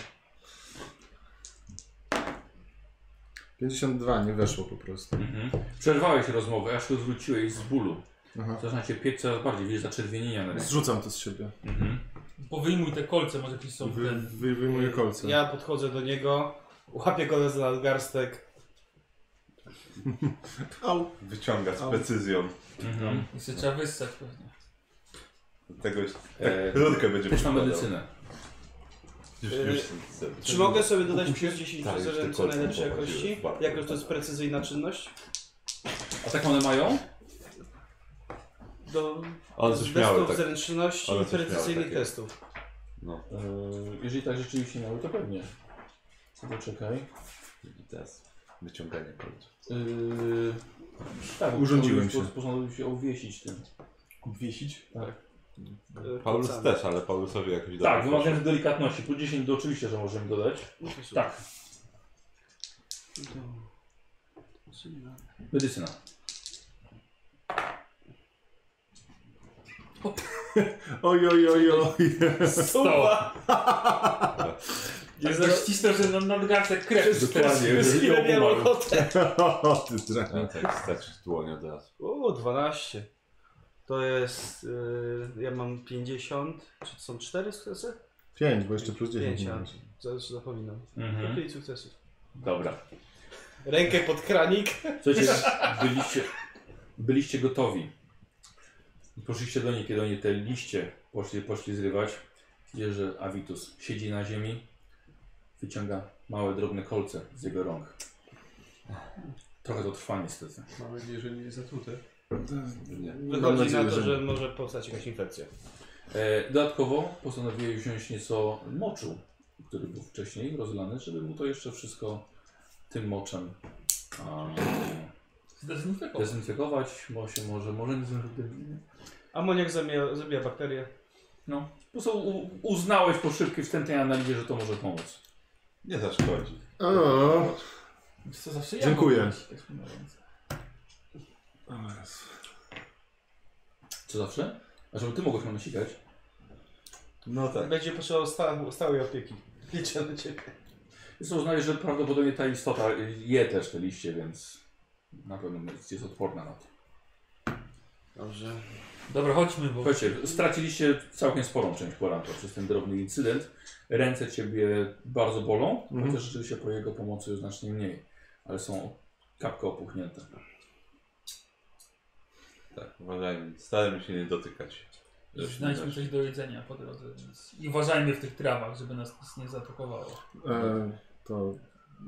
S3: 52, nie weszło po prostu.
S1: Mhm. Przerwałeś rozmowę, aż się odwróciłeś z bólu.
S3: Aha.
S1: Zaczyna cię piec coraz bardziej, widzisz zaczerwienienia na ręce.
S3: Zrzucam to z siebie.
S1: Mhm.
S4: Powyjmuj te kolce, może jakieś są
S3: Wy,
S4: ten.
S3: wy, wyjmuję kolce.
S12: Ja podchodzę do niego, łapię go za nadgarstek.
S3: Au.
S11: Wyciąga z
S3: Au.
S11: precyzją.
S1: Mhm.
S4: I se trzeba wyssać pewnie.
S11: Tego już-
S1: E,
S11: tak, rurkę będzie
S1: Też na
S11: przykładał.
S1: medycynę.
S11: Już,
S12: E,
S11: już,
S12: Czy mogę sobie dodać plus
S11: Tak,
S12: 10
S11: już te
S12: że co
S11: kolce popatrzyłem.
S12: najlepszej jakości?
S11: Bardzo.
S12: Jako, że to jest precyzyjna czynność?
S1: A tak one mają?
S12: Do
S11: On coś miały,
S12: testów
S11: tak.
S12: zręczności
S11: One
S12: i
S11: coś miały
S12: precyzyjnych
S11: takie.
S12: testów.
S11: No,
S1: E, jeżeli tak rzeczywiście miały, to pewnie. Poczekaj.
S11: i teraz wyciąganie kolców.
S1: Yy, tak,
S3: Urządziłem się.
S1: Postanowił się obwiesić tym. Obwiesić? Tak.
S12: E,
S11: Paulus
S12: palcami.
S11: też, ale Paulusowi jakoś
S1: Tak,
S11: dobrze
S1: wymagając delikatności. Plus 10 do oczywiście, że możemy dodać. Tak, medycyna.
S3: Oj, oj, oj, oj.
S12: Suwa!
S4: Tak to ścisnął, że na nadgarstek krew.
S12: Przez chwilę miałem ochotę.
S3: O, ty dra-
S11: poszło. Tak, stać w dłonie od razu.
S12: O, 12. To jest... e, ja mam 50. Czy to są 4 sukcesy?
S3: Pięć, bo jeszcze plus 10.
S12: Pięć,
S3: nie
S12: a,
S3: miałeś.
S12: zawsze zapominam.
S1: Mhm.
S12: 5 sukcesów.
S1: Dobra.
S12: Rękę pod kranik.
S1: Słuchajcie, byliście, byliście gotowi. Poszliście do niej, kiedy oni te liście poszli, poszli zrywać. Widzicie, że Avitus siedzi na ziemi, wyciąga małe, drobne kolce z jego rąk. Trochę to trwa niestety.
S5: Mam nadzieję, że nie jest zatrute.
S3: Mam
S12: Wychodzi
S3: nadzieję,
S12: na to,
S3: że
S12: że
S3: nie.
S12: może powstać jakaś infekcja.
S1: E, dodatkowo postanowiłem wziąć nieco moczu, który był wcześniej rozlany, żeby mu to jeszcze wszystko tym moczem a,
S4: Zdezynfekował.
S1: dezynfekować, bo się może, może nie zdezynfekować.
S12: Amoniak zabija, zabija bakterie.
S1: No. Po prostu u- uznałeś po szybkiej wstępnej analizie, że to może pomóc.
S11: Nie zaszkodzi.
S3: O,
S4: Co zawsze ja tak
S3: Dziękuję.
S4: mam jakieś takie mające.
S1: Co zawsze? A żeby ty mogłeś nam nasikać?
S11: No tak.
S12: Będzie potrzebował sta, stałej opieki. Liczę na ciebie.
S1: Więc uznaję, że prawdopodobnie ta istota je też te liście, więc na pewno jest- jest odporna na to.
S12: Dobrze.
S4: Dobra, chodźmy, bo
S1: Słuchajcie, straciliście całkiem sporą część kwaranta przez ten drobny incydent. Ręce ciebie bardzo bolą,
S3: Mhm.
S1: chociaż rzeczywiście po jego pomocy znacznie mniej, ale są kapkę opuchnięte.
S11: Tak, uważajmy. Staramy się nie dotykać.
S4: znajdźmy coś do jedzenia po drodze. Więc... I uważajmy w tych trawach, żeby nas nic nie zaatakowało.
S3: e, to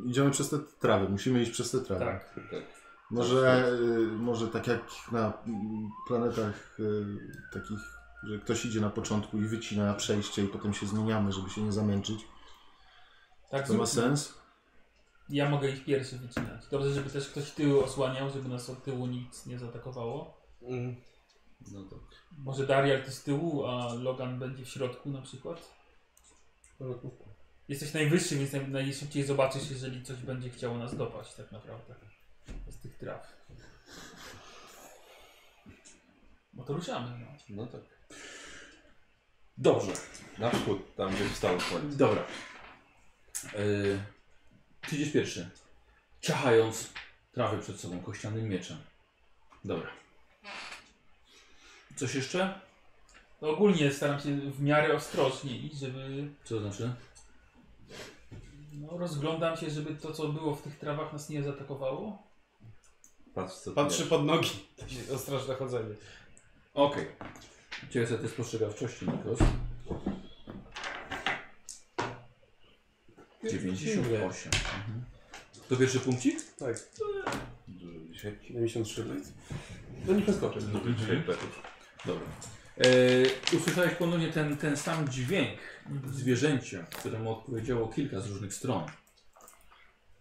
S3: idziemy przez te trawy, musimy iść przez te trawy.
S4: Tak.
S3: Może, y, może tak jak na mm, planetach y, takich, że ktoś idzie na początku i wycina przejście i potem się zmieniamy, żeby się nie zamęczyć.
S4: Tak,
S3: To ma
S4: zróbmy.
S3: sens?
S4: Ja mogę ich pierwszy wycinać. Dobrze, żeby też ktoś tyły osłaniał, żeby nas od tyłu nic nie zaatakowało.
S12: Mm.
S11: No to
S4: Może Darial ty z tyłu, a Logan będzie w środku na przykład. Jesteś najwyższy, więc naj- najszybciej zobaczysz, jeżeli coś będzie chciało nas dopaść tak naprawdę. Z tych traw. Bo to ruszamy. No.
S11: No tak.
S1: Dobrze.
S11: Na wschód, tam gdzie wstał koniec.
S1: Dobra. Yy, ty idziesz pierwszy. Ciachając trawę przed sobą kościanym mieczem. Dobra. Coś jeszcze?
S4: To ogólnie staram się w miarę ostrożnie iść, żeby...
S1: Co to znaczy?
S4: No, rozglądam się, żeby to, co było w tych trawach, nas nie zaatakowało.
S11: Patrz co
S12: Patrzy pod nogi. Ostrożne chodzenie.
S1: Okej. Ciebie sobie test postrzegawczości, Nikos. 98. Mhm. To pierwszy punkcik?
S5: Tak,
S11: Dużo dzisiaj.
S12: 73.
S5: no nie przeskoczę.
S11: Dużo dzisiaj petów.
S1: Dobra. E, E, usłyszałeś ponownie ten, ten sam dźwięk Mhm. zwierzęcia, któremu odpowiedziało kilka z różnych stron.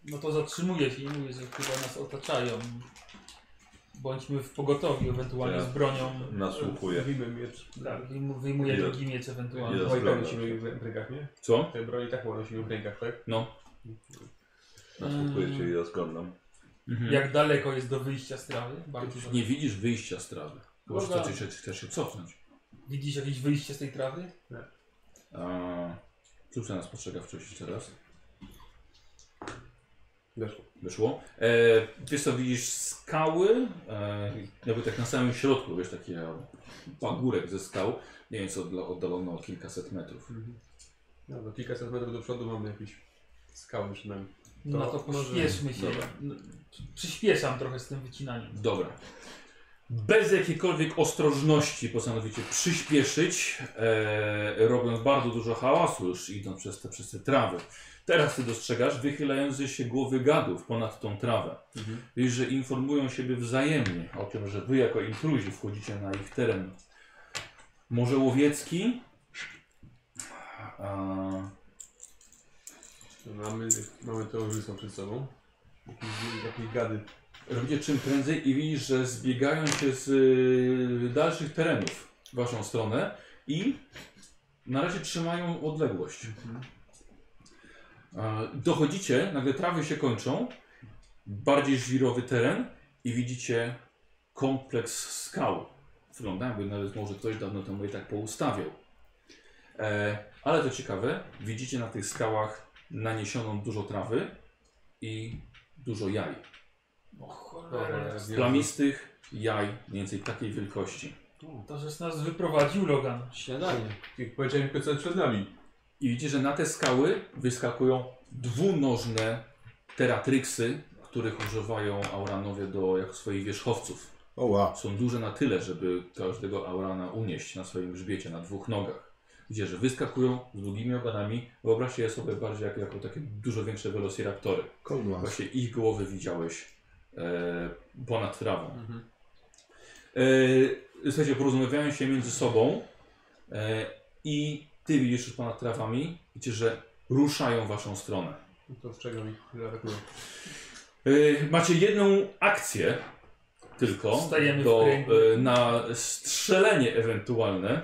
S4: No to zatrzymuje się i mówię, że chyba nas otaczają. Bądźmy w pogotowiu, ewentualnie
S11: Ja
S4: z bronią.
S2: No.
S11: Nasłuchuję.
S5: Mówimy miecz.
S4: Tak, i mu- wyjmuje
S11: Ile-
S4: drugi miecz ewentualnie.
S11: ile-
S5: No i tak nosimy w rękach, nie?
S1: Co?
S5: Te broni tak chyba nosimy w rękach, tak?
S1: No.
S11: Nasłuchuję cię i rozglądam.
S1: Mhm.
S4: Jak daleko jest do wyjścia z trawy? Bardzo daleko.
S1: Nie widzisz wyjścia z trawy. Chyba, że
S4: Dobra.
S1: chcesz, chcesz- chcesz się cofnąć.
S4: Widzisz jakieś wyjście z tej trawy?
S1: Eee, Cóż nas postrzegawczość jeszcze raz?
S5: Weszło.
S1: Wyszło. E, wiesz co, widzisz skały, e, jakby tak na samym środku, wiesz, taki e, pagórek ze skał, nie wiem, co odla- oddalono o kilkaset metrów.
S5: No, do kilkaset metrów do przodu mamy jakieś skały przed nami.
S4: No to,
S5: To może-
S4: pośpieszmy się.
S1: Dobra.
S4: No, Przyspieszam trochę z tym wycinaniem.
S1: Dobra. Bez jakiejkolwiek ostrożności postanowicie przyspieszyć, e, robiąc bardzo dużo hałasu już idąc przez te, przez te trawy. Teraz ty dostrzegasz wychylające się głowy gadów ponad tą trawę. Widzisz, że informują siebie wzajemnie o tym, że wy jako intruzi wchodzicie na ich teren. Może łowiecki. A,
S5: No, Mamy, mamy towarzystwo przed sobą. Jakieś, jakieś gady.
S1: robicie czym prędzej i widzisz, że zbiegają się z y, dalszych terenów w waszą stronę i na razie trzymają odległość. E, Dochodzicie, nagle trawy się kończą, bardziej żwirowy teren i widzicie kompleks skał. Wygląda jakby nawet może ktoś dawno temu je tak poustawiał. E, ale to ciekawe, widzicie na tych skałach naniesioną dużo trawy i dużo jaj.
S4: O
S5: Dobra,
S4: cholera.
S5: ja
S1: Plamistych jaj, mniej więcej takiej wielkości.
S4: To, żeś nas wyprowadził, Logan.
S12: Śniadanie.
S5: Jak powiedziałem, tylko co jest przed nami.
S1: I widzicie, że na te skały wyskakują dwunożne teratryksy, których używają auranowie do, jako swoich wierzchowców.
S3: O wow.
S1: Są duże na tyle, żeby każdego aurana unieść na swoim grzbiecie, na dwóch nogach. Widzicie, że wyskakują z długimi ogonami. Wyobraźcie je sobie bardziej jak, jako takie dużo większe velociraptory.
S3: Cold ones.
S1: Właśnie ich głowy widziałeś e, ponad trawą.
S5: Mhm.
S1: E, słuchajcie, porozmawiają się między sobą e, i ty widzisz już ponad trawami, widzicie, że ruszają w waszą stronę.
S5: No To z czego mi atakują.
S1: E, macie jedną akcję tylko
S4: Stajemy w
S1: do,
S4: kręgu.
S1: e, na strzelenie ewentualne.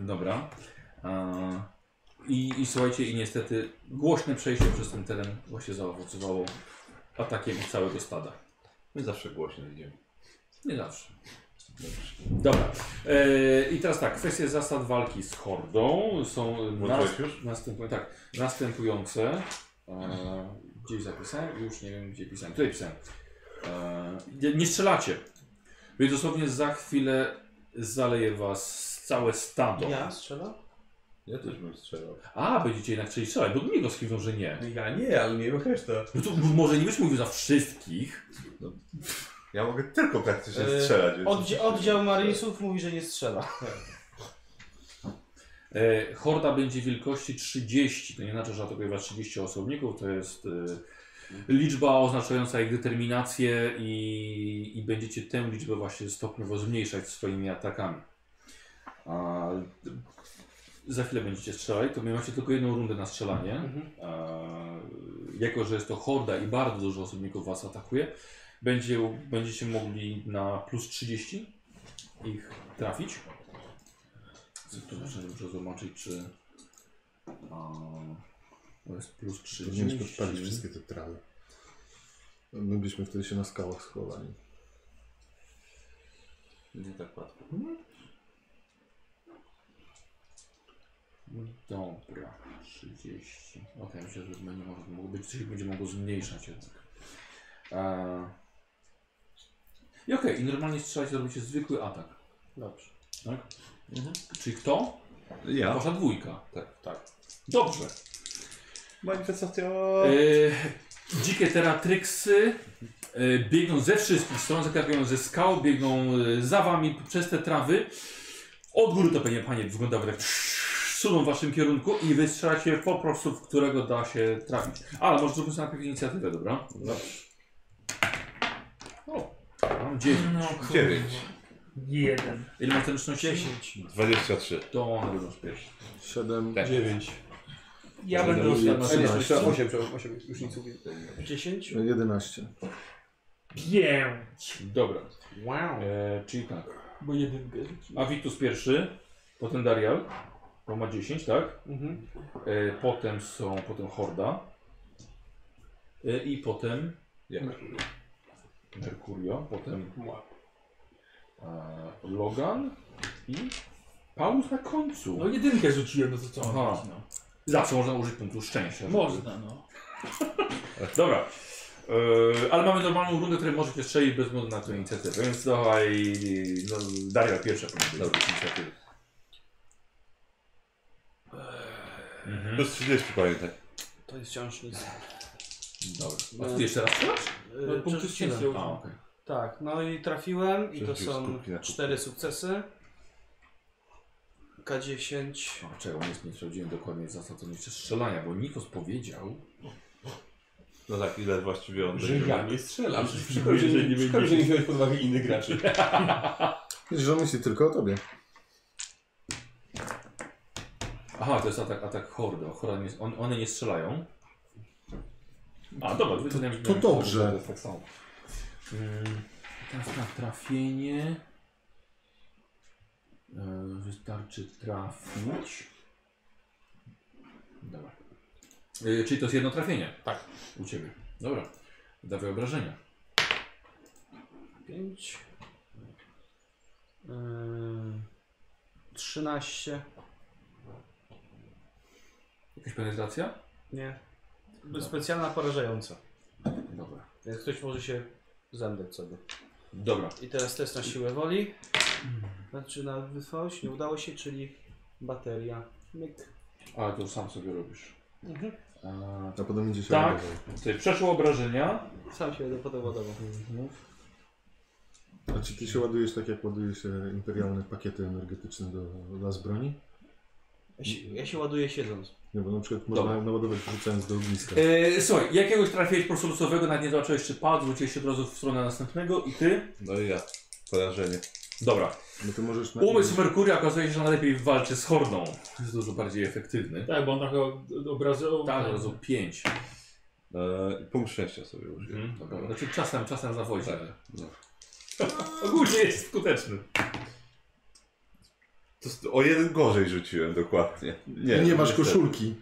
S1: Dobra. A, i, I słuchajcie, i niestety głośne przejście przez ten teren właśnie zaowocowało atakiem całego stada.
S2: No
S11: My zawsze głośno idziemy.
S1: Nie zawsze. Dobra. E, I teraz tak, kwestie zasad walki z hordą są nas,
S11: Włączyłeś już?
S1: następu, tak, następujące. E, gdzieś zapisałem? Już nie wiem gdzie pisałem. Tutaj pisałem. E, nie, nie strzelacie. Więc dosłownie za chwilę zaleje was całe stado.
S12: Ja strzela?
S11: Ja też bym strzelał.
S1: A, będziecie jednak chcieli strzelać, bo do niego skrzywdzą, że nie.
S5: Ja nie, ale nie wiem reszta.
S1: No to m- może nie byś mówił za wszystkich.
S11: Ja mogę tylko
S2: tak
S11: praktycznie
S12: Yy,
S11: strzelać. więc-
S12: Oddzie oddział Marinusów mówi, że nie strzela.
S1: E, horda będzie wielkości 30. To nie znaczy, że atakuje was 30 osobników, to jest e, liczba oznaczająca ich determinację i, i będziecie tę liczbę właśnie stopniowo zmniejszać swoimi atakami. A, d- za chwilę będziecie strzelać, to macie tylko jedną rundę na strzelanie. E, jako, że jest to horda i bardzo dużo osobników was atakuje, będzie, będziecie mogli na plus 30 ich trafić. To znaczy, że muszę zobaczyć, czy. A, to jest plus
S3: Powinieneś
S1: 30.
S3: podpalić wszystkie te trawy. My byśmy wtedy się na skałach schowali.
S11: Nie tak łatwo.
S1: Dobra, 30. Okej, myślę, że będzie może, mogło być, coś będzie mogło zmniejszać jednak. E, I okej, i normalnie strzelać robicie zwykły atak.
S12: Dobrze.
S1: Tak? Czyli kto?
S11: Ja?
S1: Wasza dwójka.
S11: Tak, tak.
S1: Dobrze.
S11: Manifestacja!
S1: E, dzikie teratryksy e, biegną ze wszystkich stron, zakrakają ze skał, biegną e, za wami przez te trawy. Od góry to pewnie panie wygląda jak tak suną w waszym kierunku i wystrzelacie po prostu, w którego da się trafić. Ale może zróbmy sobie najpierw inicjatywę,
S11: No.
S1: dobra? O, mam dziewięć.
S4: No,
S11: Dziewięć.
S4: kurwa. Jeden.
S1: Ile masz zręczności? 10.
S2: 23.
S1: To on już pierwszy.
S3: 7.
S1: Tak.
S5: 9.
S4: Ja będę
S3: mówił,
S4: dostał
S3: ja mam
S4: 13.
S5: 8, przepraszam, 8, już nic mówię.
S12: 10?
S3: 11.
S4: Pięć.
S1: Dobra,
S12: Wow.
S1: e, czyli tak.
S5: Bo jedynkę.
S1: Avitus pierwszy, potem Darial, bo ma 10, tak?
S12: Mhm.
S1: E, potem są, potem Horda. E, I potem
S11: Jak?
S1: Mercurio, potem e, Logan i Paulus na końcu.
S4: No jedynkę rzuciłem, no to co?
S1: Aha.
S4: No.
S1: Zawsze można użyć punktu szczęścia. żeby-
S4: Można, no.
S1: Dobra. E, ale mamy normalną rundę, której możecie strzelić bez względu na tę inicjatywę, więc dawaj, no, Daria pierwsza powinna być inicjatywy. Mhm.
S2: Plus 30 pamiętaj.
S12: To jest wciąż nic.
S1: Dobra. A ty jeszcze raz strzelasz?
S12: Yy,
S4: no punkty
S12: przerzuciłem.
S4: szczęścia
S1: A, okej.
S12: Tak, no i trafiłem i to
S2: Przerzucił
S12: są
S2: skupki na kupki.
S12: cztery sukcesy. K10.
S1: A, Czekaj, nie, nie sprawdziłem dokładnie zasad odnośnie strzelania, bo Nikos powiedział,
S2: No tak, ile właściwie on
S5: Że
S2: będzie
S5: ja nie strzelam. Szkoda, że nie, szkoda, że nie wziąłeś pod uwagę innych graczy.
S3: Wiesz, że on myśli tylko o tobie.
S1: Aha, to jest atak, atak hordy. Horda nie, on, one nie strzelają. A, dobra, to,
S3: to dobrze.
S1: To jest tak samo. Mm, Teraz na trafienie. E, Wystarczy trafić. Dobra. E, Czyli to jest jedno trafienie? Tak. U ciebie. Dobra. Dawaj obrażenia.
S12: 5. Yy, 13.
S1: Jakaś penetracja?
S12: Nie. Specjalna porażająca.
S1: Dobra.
S12: Więc ktoś może się zemdleć sobie.
S1: Dobra.
S12: I teraz test na siłę woli. Znaczy na wytrwałość. Nie udało się, czyli bateria. Myk.
S1: Ale to sam sobie robisz.
S12: Mhm.
S1: E,
S3: A potem będzie się
S1: Tak.
S3: odbywał.
S1: Tutaj przeszło obrażenia.
S12: Sam się będę potem ładował.
S3: A czy ty się ładujesz tak, jak ładuje się imperialne pakiety energetyczne do las broni?
S12: Ja się, ja się ładuję siedząc.
S3: Nie, bo na przykład można
S1: Dobra.
S3: ją naładować wrzucając do ogniska.
S1: E, słuchaj, jakiegoś trafiłeś po prostu losowego, nawet nie zobaczyłeś czy padł, rzuciłeś się od razu w stronę następnego i ty?
S2: No i ja. Porażenie.
S1: Dobra.
S3: No to możesz na...
S1: Umysł Merkuria okazuje się, że najlepiej walczy z Hordą. Jest dużo bardziej efektywny.
S4: Tak, bo on trochę od- obrazował.
S1: Tak, od razu 5.
S2: E, punkt szczęścia sobie użyję.
S1: Mhm, dobra. Znaczy czasem, czasem zawodzi.
S2: Tak.
S1: ale-
S2: No.
S1: Ogólnie jest skuteczny.
S2: To s- o jeden gorzej rzuciłem dokładnie.
S3: I nie masz
S2: niestety.
S3: koszulki.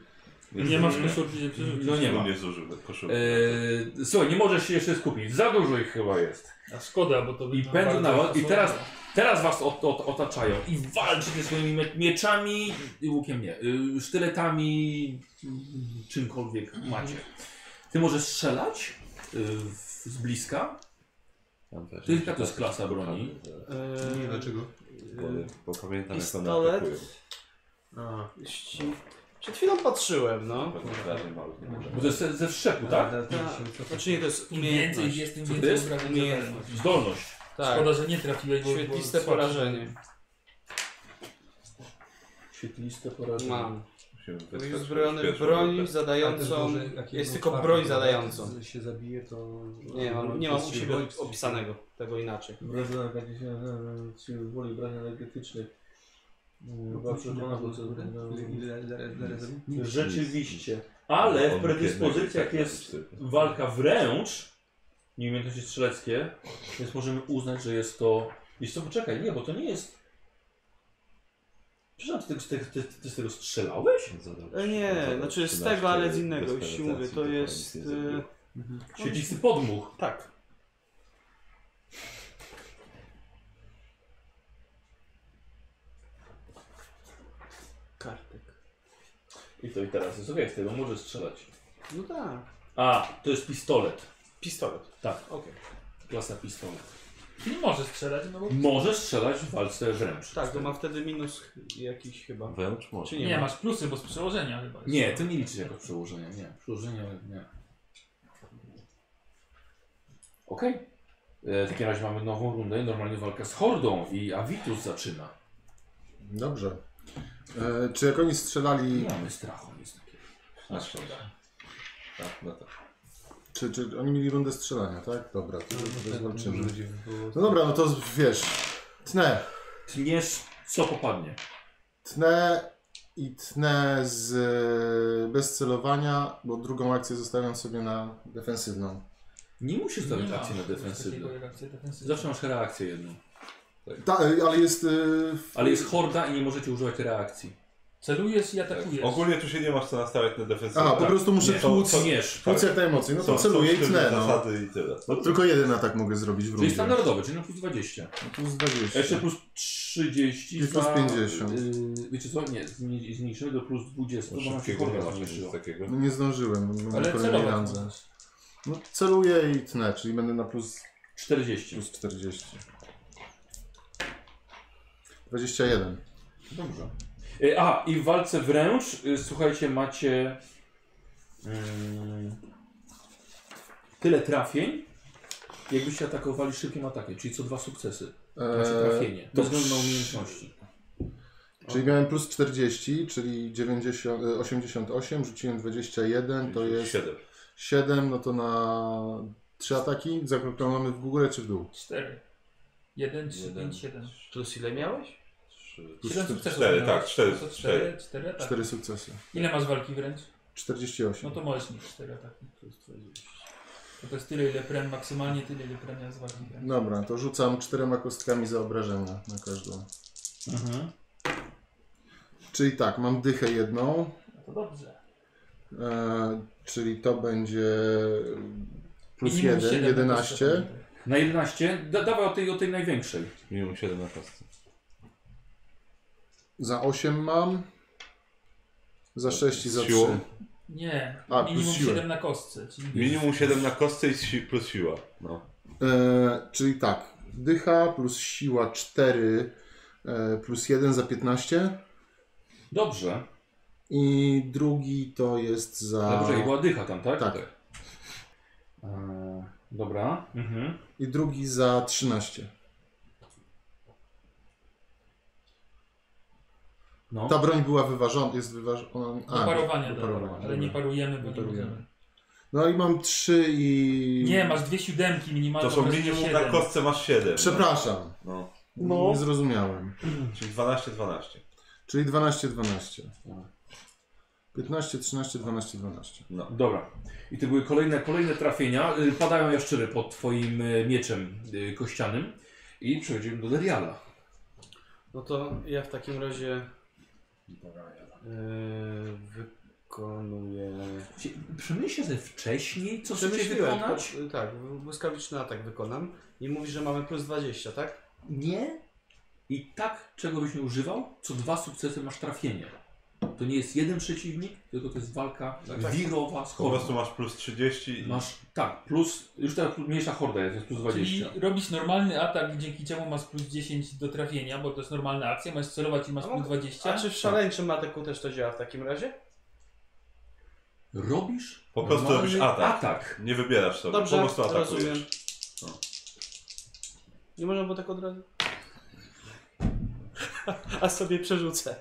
S4: Nie masz koszulki, że przerzucić.
S1: No nie ma.
S2: Nie zużyłem koszulki.
S1: E, słuchaj, nie możesz się jeszcze skupić. Za dużo ich chyba jest.
S4: A szkoda, bo to by
S1: I
S4: nam
S1: pędzą
S4: bardzo
S1: na was- i
S4: zasłużyło.
S1: teraz- Teraz was ot, ot, otaczają i walczycie swoimi mie- mieczami i łukiem nie, y, sztyletami, y, czymkolwiek macie. Ty możesz strzelać y, w- z bliska.
S2: Tam też
S1: To jest
S2: jeszcze
S1: jaka to jest klasa broni?
S12: Yy,
S2: Bo, e, bo pamiętam jak one
S12: Pistolet.
S2: atakują.
S12: ści- Przed chwilą patrzyłem, no.
S2: Pewnie zdarzeń małych nie może.
S1: Bo to jest ze, ze wszczepu, tak?
S12: e, Ta, znaczy nie, to jest
S4: Im więcej
S12: umiejętność.
S4: jest, tym
S1: Co Tak. to
S4: więcej
S1: jest?
S4: obrażeń.
S12: Umiejętność.
S1: Zdolność.
S12: Tak,
S4: Szkoda, że nie trafiłeś, bo
S12: świetliste
S4: bo słabszy.
S12: porażenie.
S1: Świetliste porażenie.
S12: Mam.
S2: Musimy wytrzeć
S12: Byłeś uzbrojony w
S2: pierwszą
S12: broń
S2: rundę.
S12: zadającą... Jest tylko broń zadającą.
S5: się zabije, to...
S12: Nie mam, nie mam u siebie opisanego tego inaczej.
S5: Obrażenia e, siły woli, obrażenia energetyczne. Chyba przekonana, bo co...
S1: Rzeczywiście. Ale w
S2: On jednak
S1: predyspozycjach
S2: tak
S1: jest
S2: typy.
S1: walka wręcz, nieumiejętności strzeleckie, więc możemy uznać, że jest to... Jest to, poczekaj, nie, bo to nie jest... Przepraszam, ty, ty, ty, ty, ty z tego strzelałeś?
S2: Zadał-
S12: E, Nie,
S2: zadał
S12: znaczy z
S2: 13
S12: tego, ale z
S2: bez
S12: innego, już ci
S2: penetracji,
S12: mówię, to
S2: chyba nic
S12: jest...
S2: nie
S12: e,
S2: zrobiło.
S1: Świetlisty podmuch.
S12: Tak. Kartek.
S1: I to i teraz jest okej, z tego możesz strzelać.
S12: No tak.
S1: A, to jest pistolet.
S12: Pistolet.
S1: Tak,
S12: Okej.
S1: klasa pistolet.
S4: Nie może strzelać, no bo
S1: Może strzelać w walce wręcz.
S12: Tak, to ma wtedy minus ch- jakiś chyba.
S2: Wręcz może.
S12: Czy
S4: nie,
S12: nie, ma?
S4: masz plusy, bo z przełożenia chyba. jest.
S1: Nie, to nie liczy jako przełożenie, nie. Przełożenie, nie. Okej. E, W takim razie mamy nową rundę, normalnie walkę z Hordą i Avitus zaczyna.
S3: Dobrze. E, czy jak oni strzelali,
S1: Nie mamy strachu, nic takiego.
S2: Na szkoda. Tak, no tak.
S3: czy, no, czy oni mieli rundę strzelania, tak? Dobra, to, to, to zobaczymy. No dobra, no to no z- wiesz, Tnę.
S1: Tniesz co popadnie.
S3: Tnę i tnę z e, bez celowania, bo drugą akcję zostawiam sobie na defensywną.
S1: Nie musisz stawiać
S4: Nie ma
S1: akcji na
S4: czegoś
S1: defensywną.
S4: takiego jak akcja defensywna.
S1: Zawsze masz reakcję jedną.
S3: Ta, e, ale jest. e, w-
S1: Ale jest horda i nie możecie używać reakcji.
S4: Celujesz i atakujesz.
S2: Tak. Ogólnie tu się nie masz co nastawiać na defensywę. Tak.
S3: Aha, po prostu muszę
S1: Nie,
S3: tłuc.
S1: Tniesz.
S3: Tłuc jak te emocje. No to
S2: Są- są
S3: celuję i
S2: sztywne
S3: tnę. No.
S2: zasady i tyle.
S3: No, tylko jeden atak mogę zrobić w
S1: Czyli
S3: rundzie.
S1: standardowe, czyli na plus 20.
S3: No to zdawiłeś
S1: Jeszcze
S3: się.
S1: plus 30.
S3: I plus
S1: za,
S3: 50.
S1: Yy, wiecie co? Nie, zmniej- zmniejszymy do plus 20, bo nam się
S2: Szybkiego
S1: horda
S2: nie masz
S1: zmniejszyła.
S2: nic takiego.
S3: No nie zdążyłem, bo mam
S4: Ale
S3: kolejnej
S4: celowo.
S3: randze. No celuję i tnę, czyli będę na plus,
S1: 40.
S3: plus 40. 21.
S1: Dobrze. Y, A, i w walce wręcz, y, słuchajcie, macie mm, tyle trafień, jakbyście atakowali szybkim atakiem, czyli co dwa sukcesy. Macie
S4: Znaczy
S1: trafienie. E, To
S3: dobrze.
S1: względne umiejętności.
S3: E, Czyli miałem plus 40, czyli 90, e, 88, rzuciłem 21, to jest
S2: 7.
S3: 7, no to na 3 ataki. Zakroklamy w górę czy w dół?
S4: 4. 1, 3,
S11: Jeden.
S4: 5, 7.
S12: Plus ile miałeś?
S4: 7 sukcesów.
S2: cztery,
S4: miałeś.
S2: tak, cztery,
S4: No to cztery, cztery ataki.
S3: 4 sukcesy.
S4: Ile masz walki wręcz? No
S3: 48.
S4: to możesz mieć 4 ataki. To, to jest tyle, ile prem, maksymalnie tyle, ile premia z walki wręcz.
S3: Dobra, to rzucam czterema kostkami za obrażenia na każdą.
S1: Mhm.
S3: Czyli tak, mam dychę jedną,
S4: No to dobrze.
S3: e, czyli to będzie plus
S4: Minimum
S3: 1,
S4: siedem na kostce
S3: 11.
S4: pamiętaj.
S1: Na 11, da, dawaj o tej, o tej największej.
S2: Minimum 7 na kostce.
S3: Za 8 mam. Za 6 i za
S2: Z
S3: 3.
S2: siłą?
S4: Nie,
S3: A, plus
S4: minimum
S3: siłę.
S4: 7 na kostce. Czyli
S2: Minimum 7 na kostce i si plus siła. No.
S3: E, czyli tak, dycha plus siła 4 e, plus 1 za 15.
S1: Dobrze.
S3: I drugi to jest za.
S1: Dobrze, i była dycha tam, tak?
S3: Tak.
S1: E, dobra. Mhm.
S3: I drugi za 13.
S1: No.
S3: Ta broń była wyważona, jest wyważona.
S4: Do parowania, do
S3: parowania,
S4: parowania, ale nie
S3: dobra.
S4: parujemy, bo
S3: Nie
S4: nie
S3: parujemy.
S4: możemy.
S3: No i mam 3 i.
S4: Nie, masz dwie siódemki minimalnie.
S2: To są
S4: obecnie
S2: minimum
S4: siedem.
S2: na kostce masz 7.
S3: Przepraszam.
S2: No.
S3: Nie zrozumiałem.
S2: Czyli 12, 12.
S3: Czyli 12, 12. 15, 13, 12, 12.
S1: Dobra. I to były kolejne, kolejne trafienia. Y, Padają jaszczury pod twoim y, mieczem y, kościanym. I przechodzimy do Deriala.
S12: No to ja w takim razie yy, wykonuję...
S1: Cie- Przemyślcie sobie wcześniej, co chcecie
S12: Przemyśliłem,
S1: wykonać.
S12: po- tak, bł- błyskawiczny atak wykonam i mówi, że mamy plus 20, tak?
S1: Nie. I tak, czego byś nie używał, co dwa sukcesy masz trafienie. To nie jest jeden przeciwnik, tylko to jest walka wirowa z
S2: Po prostu
S1: hordą.
S2: masz plus 30 i
S1: Masz, tak, plus, już teraz plus- mniejsza horda jest, jest plus 20.
S4: Czyli robisz normalny atak, dzięki czemu masz plus 10 do trafienia, bo to jest normalna akcja, masz celować i masz
S12: A
S4: plus
S12: mogę-
S4: 20.
S12: A czy w szaleńczym ataku też to działa w takim razie?
S1: Robisz
S2: Po prostu
S1: normalny
S2: robisz atak.
S1: atak.
S2: nie wybierasz sobie.
S12: Dobrze,
S2: po prostu atakujesz.
S12: rozumiem.
S2: No.
S12: Nie można było tak od razu? A sobie przerzucę.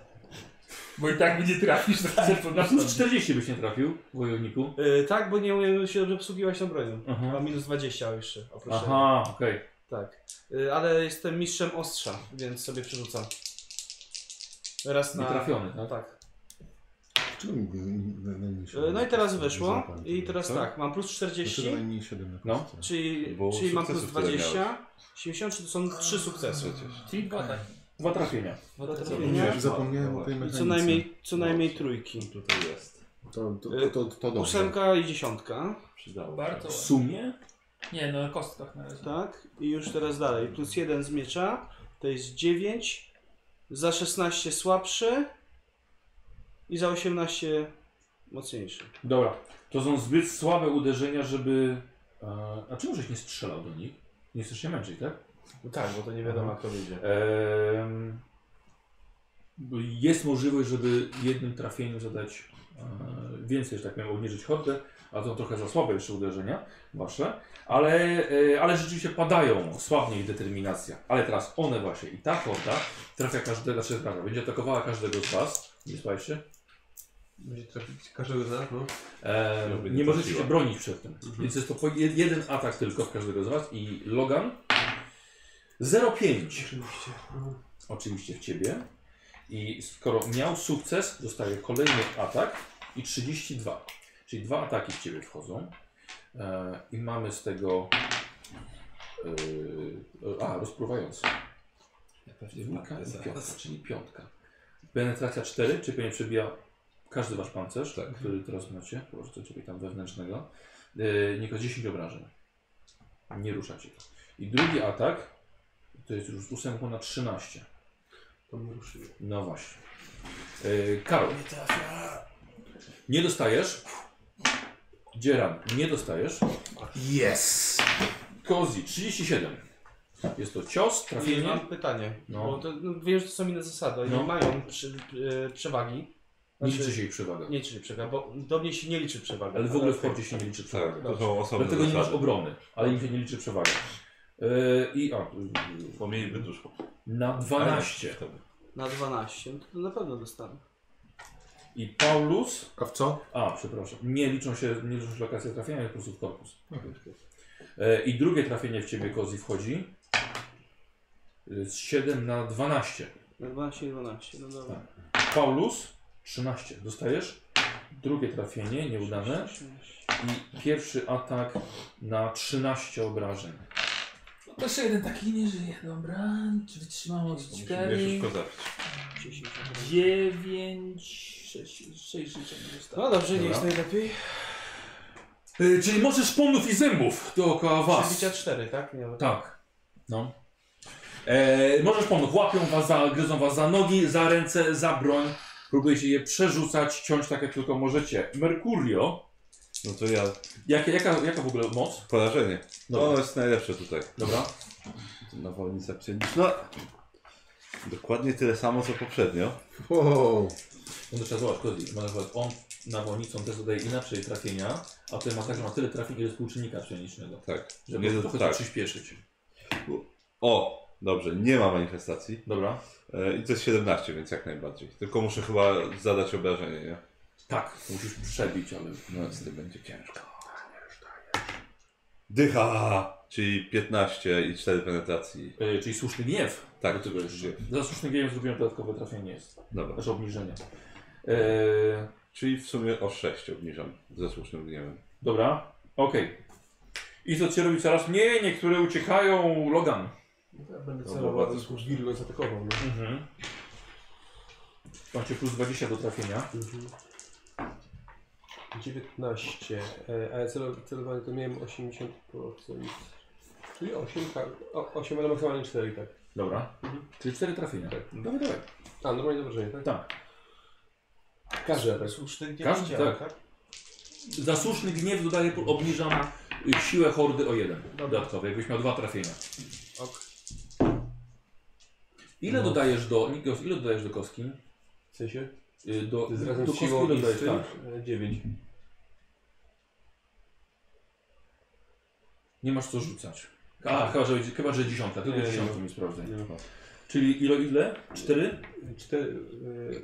S4: Bo i tak będzie trafisz na
S1: Na plus 40 byś nie trafił, wojowniku.
S12: Yy, tak, bo nie umiem się dobrze obsługiwać tą bronią.
S1: Aha.
S12: Mam minus 20 jeszcze, oprócz tego.
S1: Aha, okej.
S12: Tak. Yy, ale jestem mistrzem ostrza, więc sobie przerzucam. Raz na...
S1: Nietrafiony, tak?
S12: Tak.
S3: Czyli najmniejszy.
S12: Yy, no i teraz weszło. I teraz tak, mam plus 40,
S3: najmniej 7 na
S1: No.
S3: kostce.
S12: czyli,
S2: Bo
S12: czyli mam plus
S2: sukcesów tyle
S12: 20. 73 to są 3 sukcesy.
S4: Czyli dwa ataki.
S1: Dwa trafienia.
S4: Dwa
S12: Dwa
S4: trafienia.
S12: trafienia.
S3: Ja Zapomniałem o tej
S12: No I
S3: mechanice.
S12: co najmniej, co najmniej trójki.
S2: No, Tutaj jest.
S3: To, to, to, to, to dobrze.
S12: Ósemka i dziesiątka.
S2: Przydało się.
S4: Bardzo
S1: W
S4: ładnie.
S1: sumie
S4: Nie, no na kostkach na razie.
S12: Tak, i już teraz dalej. Plus 1 z miecza, to jest 9. Za 16 słabszy. I za 18 mocniejszy.
S1: Dobra, to są zbyt słabe uderzenia, żeby... E, a czemu żeś nie strzelał do nich? Nie chcesz się męczyć, tak?
S12: No tak, bo to nie
S1: wiadomo,
S12: jak to wyjdzie.
S1: Em, bo jest możliwość, żeby jednym trafieniem zadać e, więcej, że tak powiem, obniżyć hordę, a to trochę za słabe jeszcze uderzenia wasze, ale, e, ale rzeczywiście padają, słabnie ich determinacja. Ale teraz one właśnie i ta horda trafia każdego, znaczy trafia, będzie atakowała każdego z was, nie spajcie.
S5: Będzie trafić każdego z nas, no.
S1: E,
S2: Żeby
S1: nie
S2: nie
S1: możecie
S2: trafiła.
S1: się bronić przed tym. Więc jest to po jed, jeden atak tylko w każdego z was i Logan. 0,5.
S5: Oczywiście. Mhm.
S1: oczywiście w ciebie. I skoro miał sukces, dostaje kolejny atak i 32. Czyli dwa ataki w ciebie wchodzą. E, I mamy z tego. E, a, rozpruwający.
S12: Ja pewnie
S1: Jedynka
S12: wpadnę
S1: i
S12: zaraz.
S1: piątka, czyli piątka. Penetracja 4, czy pewnie przebija każdy wasz pancerz, który teraz macie, proszę co ciebie tam wewnętrznego. Yy, Niko 10 obrażeń. Nie ruszacie to. I drugi atak to jest już z ósemką na 13.
S5: To mnie ruszyło.
S1: No właśnie. Yy, Karol. Nie dostajesz. Dzieran, nie dostajesz.
S3: Yes!
S1: Kozi, 37. Jest to cios,
S12: I
S1: trafienie.
S12: mam pytanie.
S1: No.
S12: No. Bo to, no, wiem, że to są inne zasady. Oni
S1: No.
S12: nie mają przy, e, przewagi.
S1: Nie liczy się jej przewaga.
S12: Nie liczy się przewaga, bo do mnie się nie liczy przewaga.
S1: Ale w ogóle w porcie się nie liczy przewaga.
S2: Tak, to są osobne
S1: Dlatego nie masz
S2: zasady.
S1: obrony, ale im się nie liczy przewaga. Yy, I a,
S2: Bo mieliby dużo.
S1: na 12.
S2: Wtedy.
S12: Na 12, no to na pewno dostanę.
S1: I Paulus.
S3: A w co?
S1: A, przepraszam. Nie liczą się, nie liczą się lokacje trafienia, ale po prostu w korpus. E, I drugie trafienie w ciebie Kozi wchodzi. e, Z 7 na 12.
S12: Na 12 i 12, no dobra.
S1: Tak. Paulus 13. Dostajesz drugie trafienie, nieudane. I pierwszy atak na 13 obrażeń.
S4: No to jeszcze jeden taki nie żyje. Dobra, czy wytrzymałość
S2: Musimy je
S4: 4,
S2: szybko zabić.
S4: 9, 6, 6 życia nie zostało.
S12: No dobrze, nie
S1: Dobra.
S12: jest najlepiej.
S1: E, czyli możesz pomnów i zębów dookoła was.
S12: Przebicia 4, tak? Nie, ale-
S1: Tak. No. E, możesz pomóc. Łapią was, za, gryzą was za nogi, za ręce, za broń. Próbujecie je przerzucać, ciąć tak jak tylko możecie. Mercurio.
S2: No to ja.
S1: Jak, jaka, jaka w ogóle moc?
S2: Porażenie. No
S1: Dobra.
S2: ono jest najlepsze tutaj.
S1: Dobra.
S2: Nawolnica psioniczna. No. Dokładnie tyle samo co poprzednio.
S3: Wow.
S1: No to trzeba zobaczyć, Kozi. Ma na przykład on nawolnicą też dodaje inaczej trafienia, a ten masaż ma tyle trafień, ile jest współczynnika pszenicznego.
S2: Tak.
S1: Żeby
S2: Nie,
S1: nie,
S2: to,
S1: trochę
S2: tak.
S1: przyspieszyć.
S2: O! Dobrze, nie ma manifestacji.
S1: Dobra.
S2: E, I to jest 17, więc jak najbardziej. Tylko muszę chyba zadać obrażenie, nie?
S1: Tak, musisz przebić, ale...
S2: No więc to będzie ciężko. Dycha! Czyli 15 i 4 penetracji.
S1: E, czyli słuszny gniew.
S2: Tak,
S1: do tego jeszcze.
S2: gniew.
S1: Za słuszny gniew zrobiłem dodatkowe trafienie. Jest.
S2: Dobra.
S1: Znaczy obniżenie. E,
S2: Czyli w sumie o 6 obniżam ze słusznym gniewem.
S1: Dobra, okej. I co ci robi coraz mniej? Niektóre uciekają. Logan.
S5: Ja będę
S2: To
S5: celował,
S2: było
S5: aby
S2: bardzo
S5: służb Virgo zaatakował. No.
S1: Mhm. Macie plus 20 do trafienia.
S5: 19, no. e, ale celo- celowanie to miałem 80%. Czyli 8, tak. O, 8, ale maksymalnie 4, tak.
S1: Dobra. Czyli 4 trafienia.
S5: Tak.
S1: Dawaj, dawaj.
S5: A, normalnie obrażenie, tak?
S1: Tak.
S5: Każdy atak.
S12: Słuszny nie
S1: Każdy,
S12: widziałem,
S1: tak. Za słuszny gniew dodaję, obniżam y, siłę hordy o 1. Dodatkowo, jakbyś miał dwa trafienia.
S12: Ok.
S1: Ile dodajesz do. Nikos, ile dodajesz do kostki?
S5: W sensie?
S1: Y, Do,
S5: Z
S1: do
S5: razem z
S1: kostki
S5: siłą
S1: ile
S5: i e, z
S1: dodajesz?
S5: tym?
S1: Tak.
S5: 9.
S1: Nie masz co rzucać. A, chyba, że, będzie- chyba, że dziesiątka, tylko
S5: Nie, nie.
S1: dziesiątka mi sprawdzę. Czyli ile, ile? Cztery?
S5: E, 4,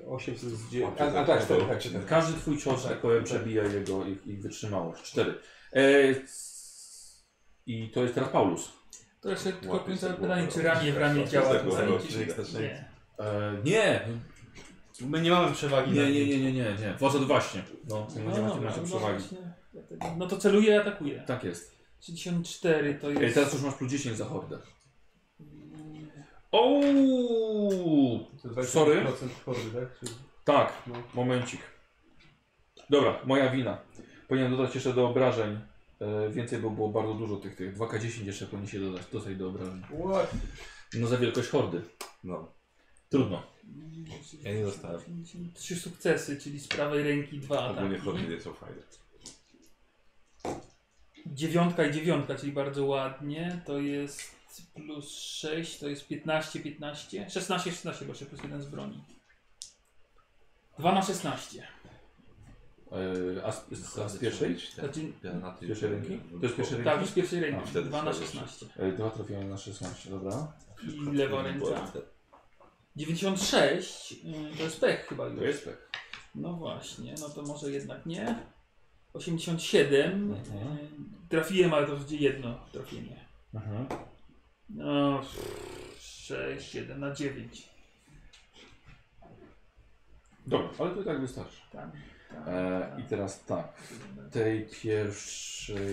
S5: 8 e, z 9.
S2: Łapie
S5: A, a
S2: za
S5: tak,
S2: głowę.
S5: tak, tak, tak.
S1: Każdy twój cios, tak powiem, przebija jego ich, ich wytrzymałość. Cztery. E, c- I to jest teraz Paulus.
S4: To jeszcze tylko
S2: Łapię za
S4: pyta-
S2: głowę.
S4: pytanie, czy ramię w ramię
S2: Łapię
S4: działa
S2: za
S4: to
S2: głowę.
S4: zajęcie?
S2: Łapię za
S4: Nie.
S1: E, nie,
S12: My nie mamy przewagi.
S1: nie,
S12: nad
S1: nie,
S12: nim.
S1: nie, nie, nie, nie. Facet właśnie. No, nie macie, macie,
S4: dobra,
S1: macie
S4: no
S1: przewagi.
S4: właśnie. Dlatego- No to celuję i atakuję.
S1: Tak jest.
S4: 64 to
S1: Ej,
S4: jest...
S1: teraz już masz plus 10 za hordę. Ouu!
S5: To 20%
S1: Sorry?
S5: chordy, tak? Czy...
S1: Tak,
S5: No.
S1: momencik. Dobra, moja wina. Powinienem dodać jeszcze do obrażeń. E, więcej, bo było bardzo dużo tych, tych 2K10 jeszcze powinien się dodać tutaj do obrażeń.
S5: What?
S1: No za wielkość hordy.
S2: No.
S1: Trudno.
S2: Ja nie dostałem.
S4: Trzy sukcesy, czyli z prawej ręki dwa
S2: tak. Ogólnie chodzi
S4: ataki.
S2: nie są fajne.
S4: Dziewiątka i dziewiątka, czyli bardzo ładnie. To jest plus 6, to jest 15, 15. 16, 16, bo jeszcze plus jeden z broni. 2 na 16.
S1: Yy, a z, z, a z pierwszej?
S2: Tak.
S4: Znaczy,
S1: Z pierwszej ręki? To jest pierwszej Tak.
S4: tak,
S1: ręki?
S4: już z pierwszej
S1: A,
S4: ręki.
S2: wtedy
S4: 2 na
S2: wtedy
S4: 16.
S1: Yy, Dwa trafiają na 16, dobra.
S4: I lewa ręka. 96 y, to jest pech chyba już.
S1: tak.
S4: No właśnie, no to może jednak nie. 87.
S1: Mhm.
S4: y, Trafiłem, ale to będzie jedno trafienie.
S1: Mhm.
S4: No, 6, 7 na 9.
S1: Dobra, ale to i tak wystarczy.
S4: Tam, tam,
S1: E,
S4: tam.
S1: I teraz tak, w tej pierwszej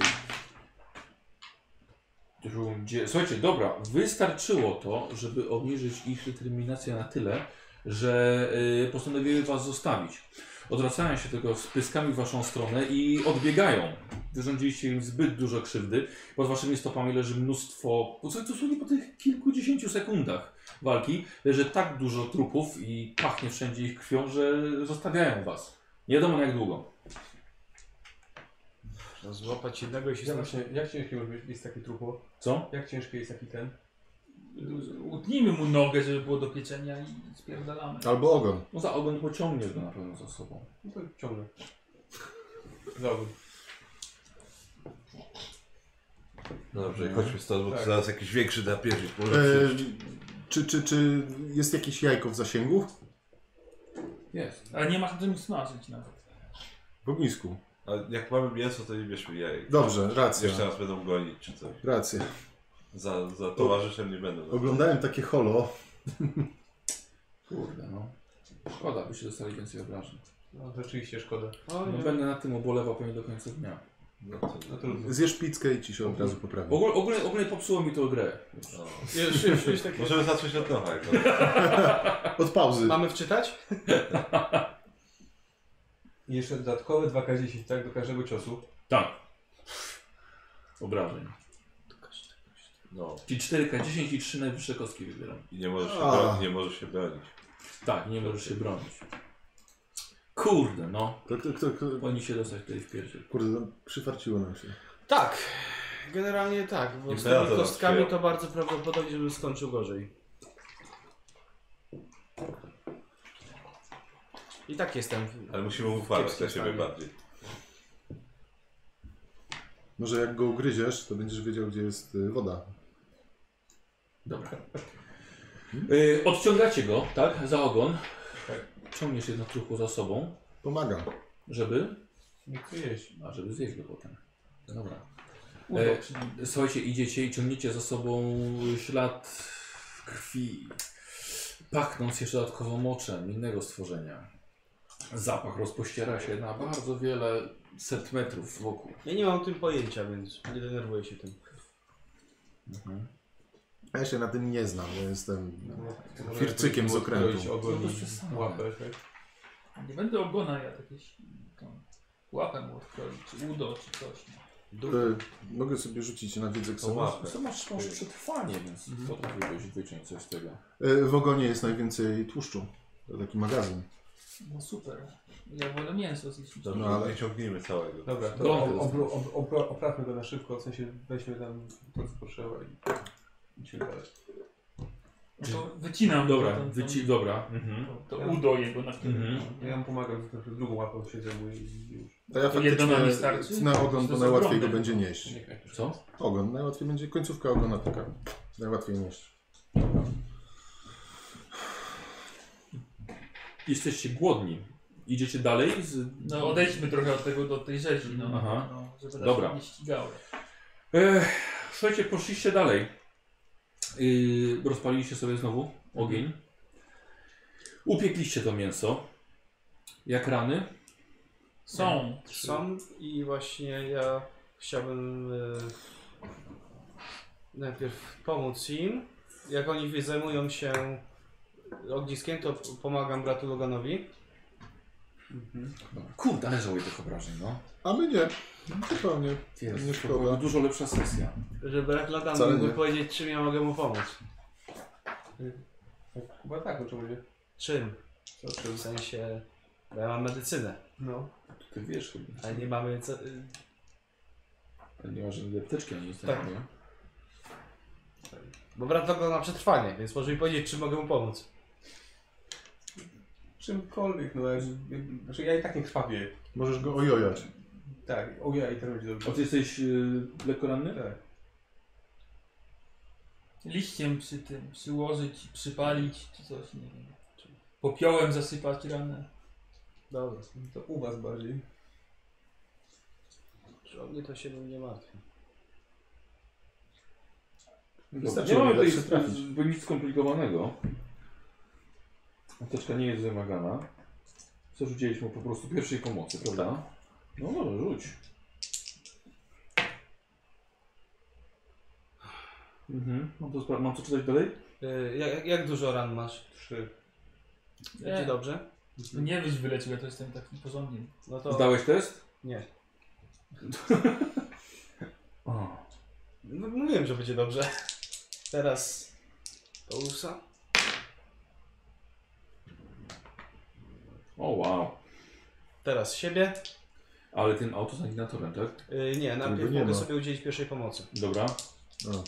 S1: rundzie... Słuchajcie, dobra, wystarczyło to, żeby obniżyć ich determinację na tyle, że y, postanowiły was zostawić. Odwracają się tylko z pyskami w waszą stronę i odbiegają. Wyrządziliście im zbyt dużo krzywdy. Pod waszymi stopami leży mnóstwo, po co- dosłownie po tych kilkudziesięciu sekundach walki, leży tak dużo trupów i pachnie wszędzie ich krwią, że zostawiają was. Nie wiadomo na jak długo.
S12: No, złapać jednego i się
S5: Ja
S12: stąd-
S5: właśnie, jak ciężkie może być- jest takie trupo?
S1: Co?
S5: Jak ciężkie jest taki ten?
S4: Utnijmy mu nogę, żeby było do pieczenia i spierdalamy.
S3: Albo ogon.
S1: No za ogon pociągniesz go na pewno za sobą.
S5: No to ciągle. Dobry.
S2: No Dobrze,
S3: No.
S2: chodźmy stąd, bo
S5: Tak.
S2: tu zaraz jakiś większy da pierdzić. Może
S3: E,
S2: przyjść.
S3: czy, czy, czy jest jakieś jajko w zasięgu?
S1: Jest.
S4: Ale nie masz na tym smażyć nawet.
S3: W ognisku.
S2: A jak mamy mięso, to nie bierzmy jaj.
S3: Dobrze, racja.
S2: Jeszcze nas będą gonić czy coś.
S3: Racja.
S2: Za, za towarzyszem nie będą.
S3: Oglądałem takie holo.
S1: Kurde, no. Szkoda, byście dostali więcej obrażeń.
S5: No rzeczywiście szkoda.
S1: No, będę nad tym ubolewał pewnie do końca dnia.
S2: No to,
S5: No trudno.
S3: Zjesz pizzkę i ci się od razu poprawi.
S1: Ogólnie, ogólnie, ogólnie popsuło mi to grę.
S2: no.
S12: Już, już, już takie...
S2: Możemy zacząć od nowa. jak
S3: Od pauzy.
S12: Mamy wczytać?
S5: I jeszcze dodatkowe 2K10, tak? Do każdego ciosu.
S1: Tak. Obrażeń.
S2: No
S1: Czyli 4K10 i 3 najwyższe kostki wybieram.
S2: i nie możesz się,
S3: A.
S2: bronić, nie możesz się bronić.
S1: Tak, nie możesz się bronić. Kurde, no.
S3: To, to, to, to,
S1: Powinni się dostać tutaj w piersi.
S3: kurde, przyfarciło nam się.
S12: Tak. Generalnie tak, bo z tymi
S2: Imperator
S12: kostkami
S2: przyjął.
S12: to bardzo prawdopodobnie, żebym skończył gorzej. I tak jestem.
S2: Ale musimy ufalać
S12: Kiepskim
S2: dla siebie
S12: stanie.
S2: bardziej.
S3: Może jak go ugryziesz, to będziesz wiedział, gdzie jest y, woda.
S1: Dobra. Y, odciągacie go, tak? Za ogon.
S5: Tak.
S1: Ciągniesz jedno truchło za sobą,
S3: Pomagam.
S1: żeby...
S5: Nie chcę jeść.
S1: A, żeby zjeść go potem. Dobra.
S4: Udo,
S1: E,
S4: czyli
S1: Słuchajcie, idziecie i ciągniecie za sobą ślad krwi, pachnąc jeszcze dodatkowo moczem innego stworzenia. Zapach rozpościera się na bardzo wiele set metrów wokół.
S12: Ja nie mam o tym pojęcia, więc nie denerwuję się tym.
S3: Ja się na tym nie znam, bo jestem...
S5: No, Może
S3: Fircykiem
S5: jakoś
S3: z okrętu.
S5: uzbroić Ogon
S1: No to przesadzone.
S5: i łapę, tak?
S4: Nie będę ogona ja jakieś tam, łapę mu odkroić, czy udo, czy coś. No.
S3: Y, mogę sobie rzucić na wiedzę ksowa.
S1: Co masz, masz przetrwanie, więc potrafiłbyś wyciąć coś z tego.
S3: Y, w ogonie jest najwięcej tłuszczu. To taki magazyn.
S4: no super. Ja wolę mięso zjeść. niż-
S2: Dobrze,
S3: No, ale-
S2: nie ciągnijmy całego.
S5: Dobra, to
S1: Dobra.
S5: ob, ob, ob, ob, oprawmy go na szybko, w sensie weźmy tam to, co potrzeba i idźmy dalej.
S4: No to wycinam
S1: Dobra,
S4: to,
S1: wyci... Dobra. Mhm.
S4: to, to udo jego na chwilę.
S1: Mhm.
S5: Ja mu pomagam, trochę drugą łapą się zajmuję i już.
S3: A ja
S4: To jedno nam nie starczy?
S3: faktycznie na ogon
S4: To
S3: to
S4: jest
S3: najłatwiej
S4: ogromne.
S3: go będzie nieść.
S1: Co?
S3: Ogon, najłatwiej będzie końcówka ogona taka. Najłatwiej nieść.
S1: Jesteście głodni. Idziecie dalej z...
S4: No odejdźmy trochę od tego, do tej rzezi, no,
S1: Aha.
S4: no żeby nas
S1: Dobra.
S4: nie ścigały.
S1: Ech, słuchajcie, poszliście dalej. Yy, rozpaliliście sobie znowu ogień. Upiekliście to mięso. Jak rany?
S4: Są.
S12: Sam i właśnie ja chciałbym e, najpierw pomóc im. Jak oni wie- zajmują się ogniskiem, to p- pomagam bratu Loganowi.
S1: Dobra. Kurde, ale żałuję tych obrażeń, no.
S3: A my nie. Zupełnie.
S1: Jest,
S3: Nie
S1: to
S3: szkoda.
S1: była dużo lepsza sesja.
S12: Że brat Logan
S3: Wcale
S12: mógłby
S3: nie.
S12: powiedzieć, czym ja mogę mu pomóc.
S5: Chyba tak, o czym mówię.
S12: Czym?
S5: Co, czym?
S12: W sensie, bo ja mam medycynę,
S5: No.
S1: Ty wiesz chyba.
S12: ale nie mamy co... y,
S1: Ale Nie ma żadnej apteczki ani nic takiego.
S12: Bo brat Logan ma przetrwanie, więc może mi powiedzieć, czym mogę mu pomóc.
S5: Czymkolwiek, no jak, jak, znaczy ja i tak nie krwawię.
S3: Możesz go ojojać.
S5: Tak, o ja i tak będzie
S1: A
S5: dobrze.
S1: ty jesteś yy, lekko ranny?
S5: Tak.
S4: Liściem przy tym przyłożyć, przypalić, czy coś, nie wiem. Popiołem zasypać ranę.
S12: Dobra.
S5: To u was bardziej.
S12: Czy o mnie to się nie martwi.
S1: Nie
S3: Wystarczyło
S1: mamy
S3: mi
S1: tutaj
S3: lepszy trafić.
S1: bo nic skomplikowanego. Apteczka nie jest wymagana. Zarzuciliśmy po prostu pierwszej pomocy, prawda? No może rzuć. Mhm. Mam, to, spra- mam co czytać dalej?
S12: Y, Jak, jak dużo ran masz?
S5: Trzy.
S12: Będzie dobrze?
S4: Nie wyś wylecił, ja to jestem taki porządny.
S12: No to...
S1: Zdałeś test?
S12: Nie.
S1: O.
S12: No, mówiłem, że będzie dobrze. Teraz... Paulusa?
S1: o wow.
S12: Teraz siebie.
S1: Ale tym autosanitatorem, tak?
S12: Y, nie, najpierw
S3: nie
S12: mogę
S3: ma.
S12: sobie udzielić pierwszej pomocy.
S1: Dobra.
S3: O,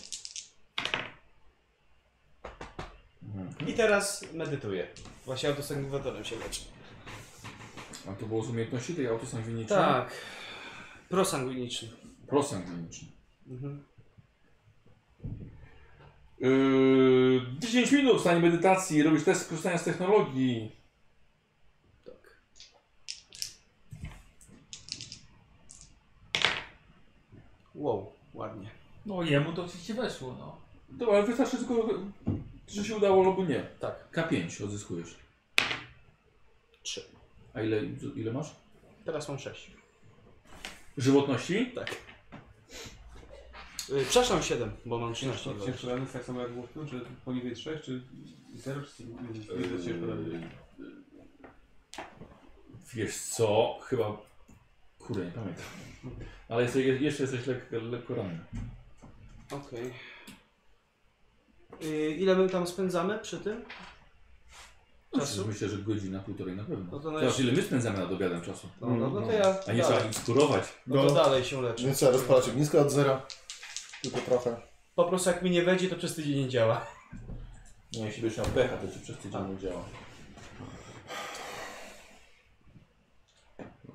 S1: Mhm.
S12: I teraz medytuję. Właśnie autosangwatorem się leczy.
S1: A to było z umiejętności tej autosangwinicznej?
S12: Tak. Prosanguiniczny.
S1: Prosangwinicznej.
S12: Mhm.
S1: Yy, 10 minut w stanie medytacji, robisz test korzystania z technologii.
S12: Tak. Wow, ładnie.
S4: No jemu to oczywiście weszło, no.
S1: Dobra, ale wystarczy tylko, czy się udało albo nie.
S12: Tak.
S1: K5 odzyskujesz.
S12: Trzy.
S1: A ile, ile masz?
S12: Teraz mam sześć.
S1: Żywotności?
S12: Tak. Y, Przepraszam, 7, bo mam 13.
S5: Ciężko ciężko rannych tak samo jak główny, czy poniżej trzech, czy zero, czy nie jest ciężko rannych?
S1: Wiesz co, chyba... Kurde, nie pamiętam. Ale jesteś, jeszcze jesteś lekko, lekko ranny.
S12: Okej. Y, Ile my tam spędzamy przy tym? Czasu?
S1: Myślę, że godzina, półtorej na pewno.
S12: No
S1: No
S12: to
S1: to
S12: nawet-
S1: ile my spędzamy nad obiadem czasu?
S12: No, no, no to ja.
S1: A nie trzeba
S12: dalej.
S1: nic kurować.
S12: No to dalej się leczę.
S3: Więc trzeba rozpalać ognisko od zera. Tylko trochę.
S12: Po prostu jak mi nie wejdzie, to przez tydzień nie działa.
S1: No jeśli byś miał pecha, to ci przez tydzień nie działa.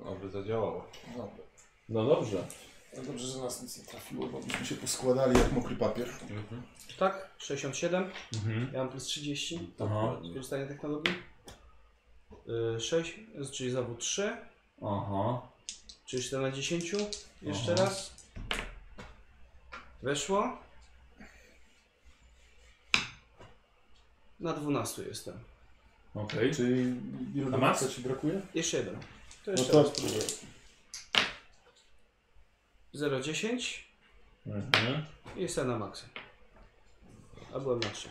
S11: Oby zadziałało.
S3: No,
S1: No dobrze.
S3: to dobrze, że nas nic nie trafiło, bo byśmy się poskładali jak mokry papier.
S12: Tak? 67.
S1: Mhm.
S12: Ja mam plus 30.
S1: Aha.
S12: Wykorzystanie technologii. 6, czyli znowu 3,
S1: Aha.
S12: czyli 4 na 10. Jeszcze
S1: Aha.
S12: raz. Weszło. Na 12 jestem.
S1: Okej.
S3: Czyli
S1: A
S3: ilu
S1: max?
S3: co ci brakuje?
S12: Jeszcze jeden. To
S3: No
S12: jeszcze
S3: to
S12: raz. 0, 10
S1: Mhm.
S12: i jestem na maksa. A byłem na 3.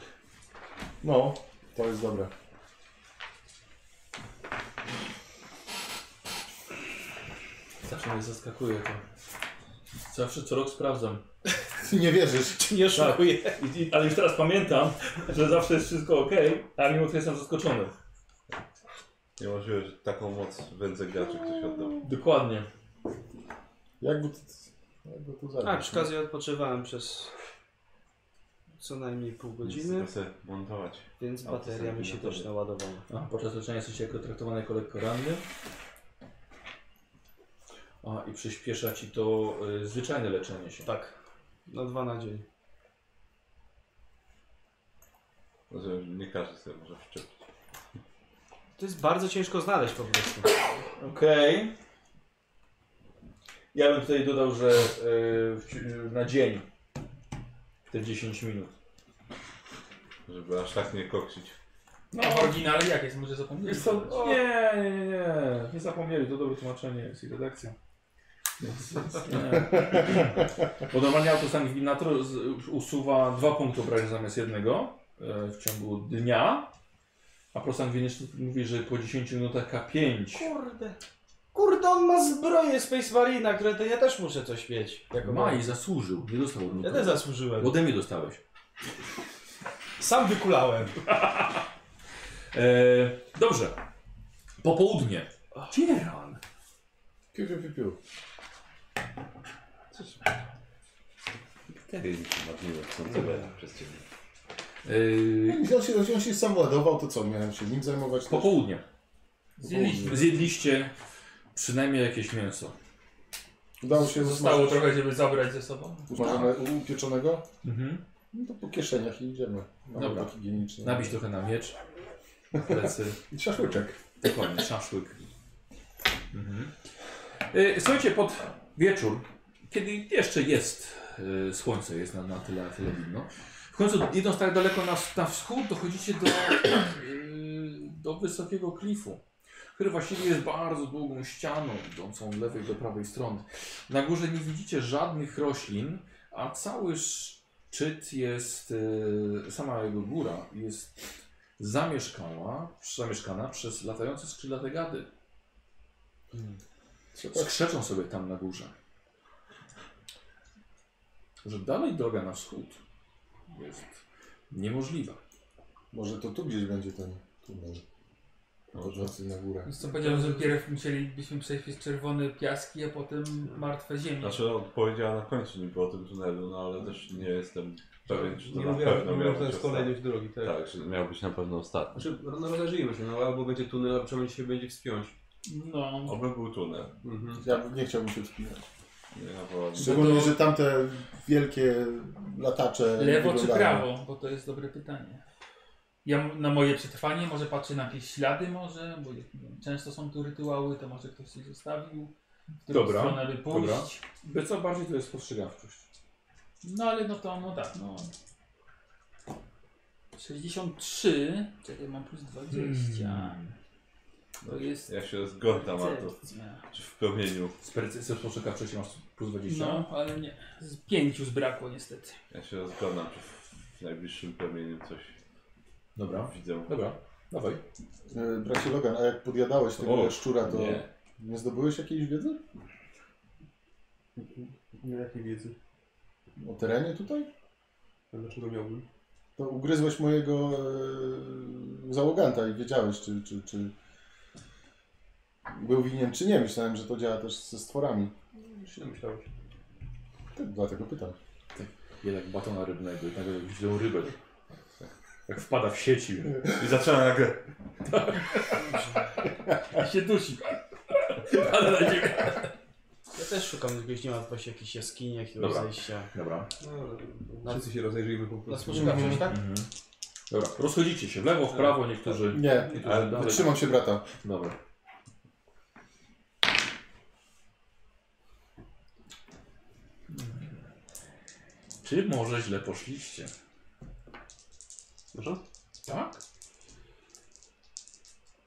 S3: No, to jest dobre.
S1: Zawsze Tak mnie zaskakuje to. Zawsze co rok sprawdzam.
S3: Ty nie wierzysz.
S12: Nie oszukuję.
S1: I, i, ale już teraz pamiętam, że zawsze jest wszystko ok, a mimo to jestem zaskoczony.
S11: Nie możliwe, że taką moc wędze graczy ktoś oddał.
S1: Dokładnie.
S3: Jakby to, jakby to zabrać.
S12: A, Tak, przy okazji odpoczywałem przez co najmniej pół godziny,
S11: Chcę sobie montować.
S12: więc
S11: A, to
S12: bateria mi się
S11: sobie
S12: też naładowała.
S1: A, podczas leczenia jesteś jako traktowany jako lekko ranny. A, i przyspiesza ci to y, zwyczajne leczenie się.
S12: Tak, na dwa na dzień.
S11: Rozumiem, że nie każdy sobie może wszczepić.
S12: To jest bardzo ciężko znaleźć po prostu.
S1: Okej. Ja bym tutaj dodał, że y, w, ci- na dzień te 10 minut.
S11: Żeby aż tak nie koksić.
S4: No, w oryginale jak jest, może zapomnieć.
S1: Nie, nie, nie, nie. Nie zapomnieli, to dobre tłumaczenie jest i redakcja. Więc- więc nie. Bo normalnie autosangwinator z- usuwa dwa punkty obrażeń zamiast jednego e, w ciągu dnia, a prosangwiniczny mówi, że po 10 minutach K5.
S12: Kurde. Kurde, on ma zbroję Space Marina, które to ja też muszę coś mieć. Jako
S1: Ma i zasłużył, nie dostał od
S12: Ja
S1: nikogo.
S12: też zasłużyłem.
S1: Ode mnie dostałeś.
S12: Sam wykulałem.
S1: E, dobrze. Popołudnie. Kieran.
S3: Piu, piu, piu, piu.
S11: Bakterie mi się marniły, są tyle przez ciebie.
S1: E,
S3: Jak On się, on się sam ładował, to co? Miałem się nim zajmować? też?
S1: popołudnie.
S4: Zjedliśmy.
S1: Zjedliście przynajmniej jakieś mięso.
S3: Udało się
S4: Zostało
S3: zasmażyć
S4: trochę, żeby zabrać ze sobą.
S3: usmażone, u- upieczonego?
S1: Mhm.
S3: No to po kieszeniach i idziemy. Mamy
S1: Dobra.
S3: tak higienicznie.
S1: Nabić trochę na miecz, na plecy,
S3: I szaszłyczek.
S1: dokładnie, szaszłyk. Mhm. Y, Słuchajcie, pod wieczór, kiedy jeszcze jest y, słońce, jest na, na tyle, na tyle widno, W końcu idąc tak daleko na, na wschód, dochodzicie do, yy, do wysokiego klifu, który właściwie jest bardzo długą ścianą idącą od lewej do prawej strony. Na górze nie widzicie żadnych roślin, a cały szczyt jest, yy, sama jego góra jest zamieszkała, zamieszkana przez latające skrzydlate gady. Skrzeczą sobie tam na górze. Że dalej droga na wschód jest niemożliwa.
S3: Może to tu gdzieś będzie ten tunel. Chodzący na górę.
S4: Więc co powiedziałem, że pierw musielibyśmy przejść przez czerwone piaski, a potem martwe ziemie.
S2: Znaczy odpowiedziała na końcu niby o tym tunelu, no ale też nie jestem pewien, czy to
S5: Nie
S2: na
S5: mówiłem,
S2: pewno
S5: nie
S2: miał
S5: mówiłem, to
S2: być
S5: jest
S2: ostatni.
S5: kolejność drogi, tak.
S2: Tak, że miał być na pewno ostatni.
S5: Znaczy, no, no rozejrzyjmy się, no albo będzie tunel, albo przynajmniej się będzie wspiąć.
S4: No.
S2: Oby był tunel.
S5: Mhm.
S3: Ja bym- nie chciałbym się wspinać.
S2: Nie, no, bo...
S3: Szczególnie,
S4: to-
S3: że tamte wielkie latacze.
S4: Lewo czy
S3: wyglądają.
S4: prawo? Bo to jest dobre pytanie. Ja m- na moje przetrwanie może patrzę na jakieś ślady może, bo jak- nie wiem, często są tu rytuały, to może ktoś coś zostawił, w którą
S1: Dobra,
S4: stronę by
S1: dobra.
S4: pójść.
S1: By co bardziej to jest spostrzegawczość.
S4: No ale no to, no tak, no. 63, czekaj, mam plus 20. To jest...
S2: No, Ja się zgodzę, Marto.
S4: percepcja.
S2: Czy w promieniu.
S1: Z percepcji spostrzegawczości masz plus 20.
S4: No, ale nie. Z pięciu zbrakło niestety.
S2: Ja się rozglądam, czy w najbliższym promieniu coś
S1: Dobra,
S2: widzę.
S5: No
S1: dobra, dawaj.
S3: E, Bracie Logan, a jak podjadałeś tego
S2: O,
S3: szczura, to nie.
S2: nie.
S3: zdobyłeś jakiejś wiedzy?
S5: Nie jakiej wiedzy.
S3: O terenie tutaj?
S5: A Dlaczego miałbym?
S3: To ugryzłeś mojego e, załoganta i wiedziałeś, czy, czy, czy był winien, czy nie. Myślałem, że to działa też ze stworami.
S5: Już nie myślałeś.
S3: Tak, dlatego pytam.
S1: Jednak tak batona rybnego, jednak źle rybę. Jak wpada w sieci.
S2: I zaczynam nagle.
S4: I się dusi. Ale na ziemię.
S12: Ja też szukam jakiegoś, nie ma właśnie jakichś jaskini, jakiegoś
S1: Dobra.
S12: zejścia.
S1: Dobra.
S5: No, wszyscy się rozejrzyjmy po
S12: Na
S5: prostu.
S12: spostrzegawczość, tak?
S1: Mhm. Dobra, rozchodzicie się w lewo, w prawo, niektórzy.
S3: Nie,
S1: niektórzy dalej.
S3: wytrzymam się brata.
S1: Dobra. Czy może źle poszliście?
S5: Może?
S1: Tak?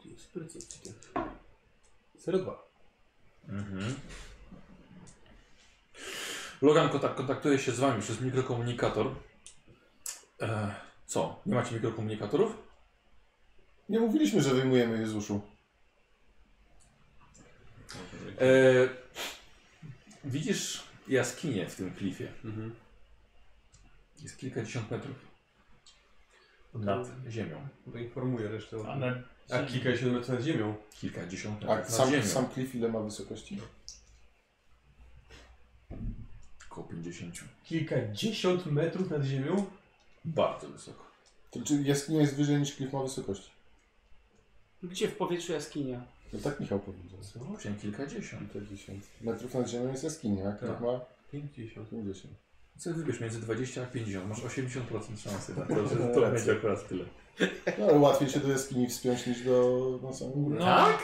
S5: To jest percepcja. 02.
S1: Mhm. Logan kontak- kontaktuje się z wami przez mikrokomunikator. E, co? Nie macie mikrokomunikatorów?
S3: Nie mówiliśmy, że wyjmujemy je z uszu.
S1: E, widzisz jaskinię w tym klifie.
S5: Mhm.
S1: Jest kilkadziesiąt metrów nad ziemią.
S5: To informuję resztę o
S4: A
S5: tym.
S4: na
S5: A
S4: ziemię.
S5: kilkadziesiąt metrów nad ziemią.
S1: Kilkadziesiąt
S3: A
S1: metrów nad
S3: sam,
S1: ziemią.
S3: sam klif ile ma wysokości?
S1: Około 50.
S5: Kilkadziesiąt metrów nad ziemią?
S1: Bardzo wysoko.
S3: To czy jaskinia jest wyżej niż klif ma wysokości?
S12: Gdzie w powietrzu jaskinia?
S3: No tak Michał powiedział.
S1: Właśnie No, kilkadziesiąt.
S3: 50 metrów nad ziemią jest jaskinia, a klif
S1: Tak.
S3: ma
S5: 50.
S3: 50.
S1: Co wybierz między 20 a 50? Masz 80% szansy na to, że to będzie akurat tyle.
S3: No ale łatwiej się do jaskini wspiąć niż do na samą górę.
S1: Tak.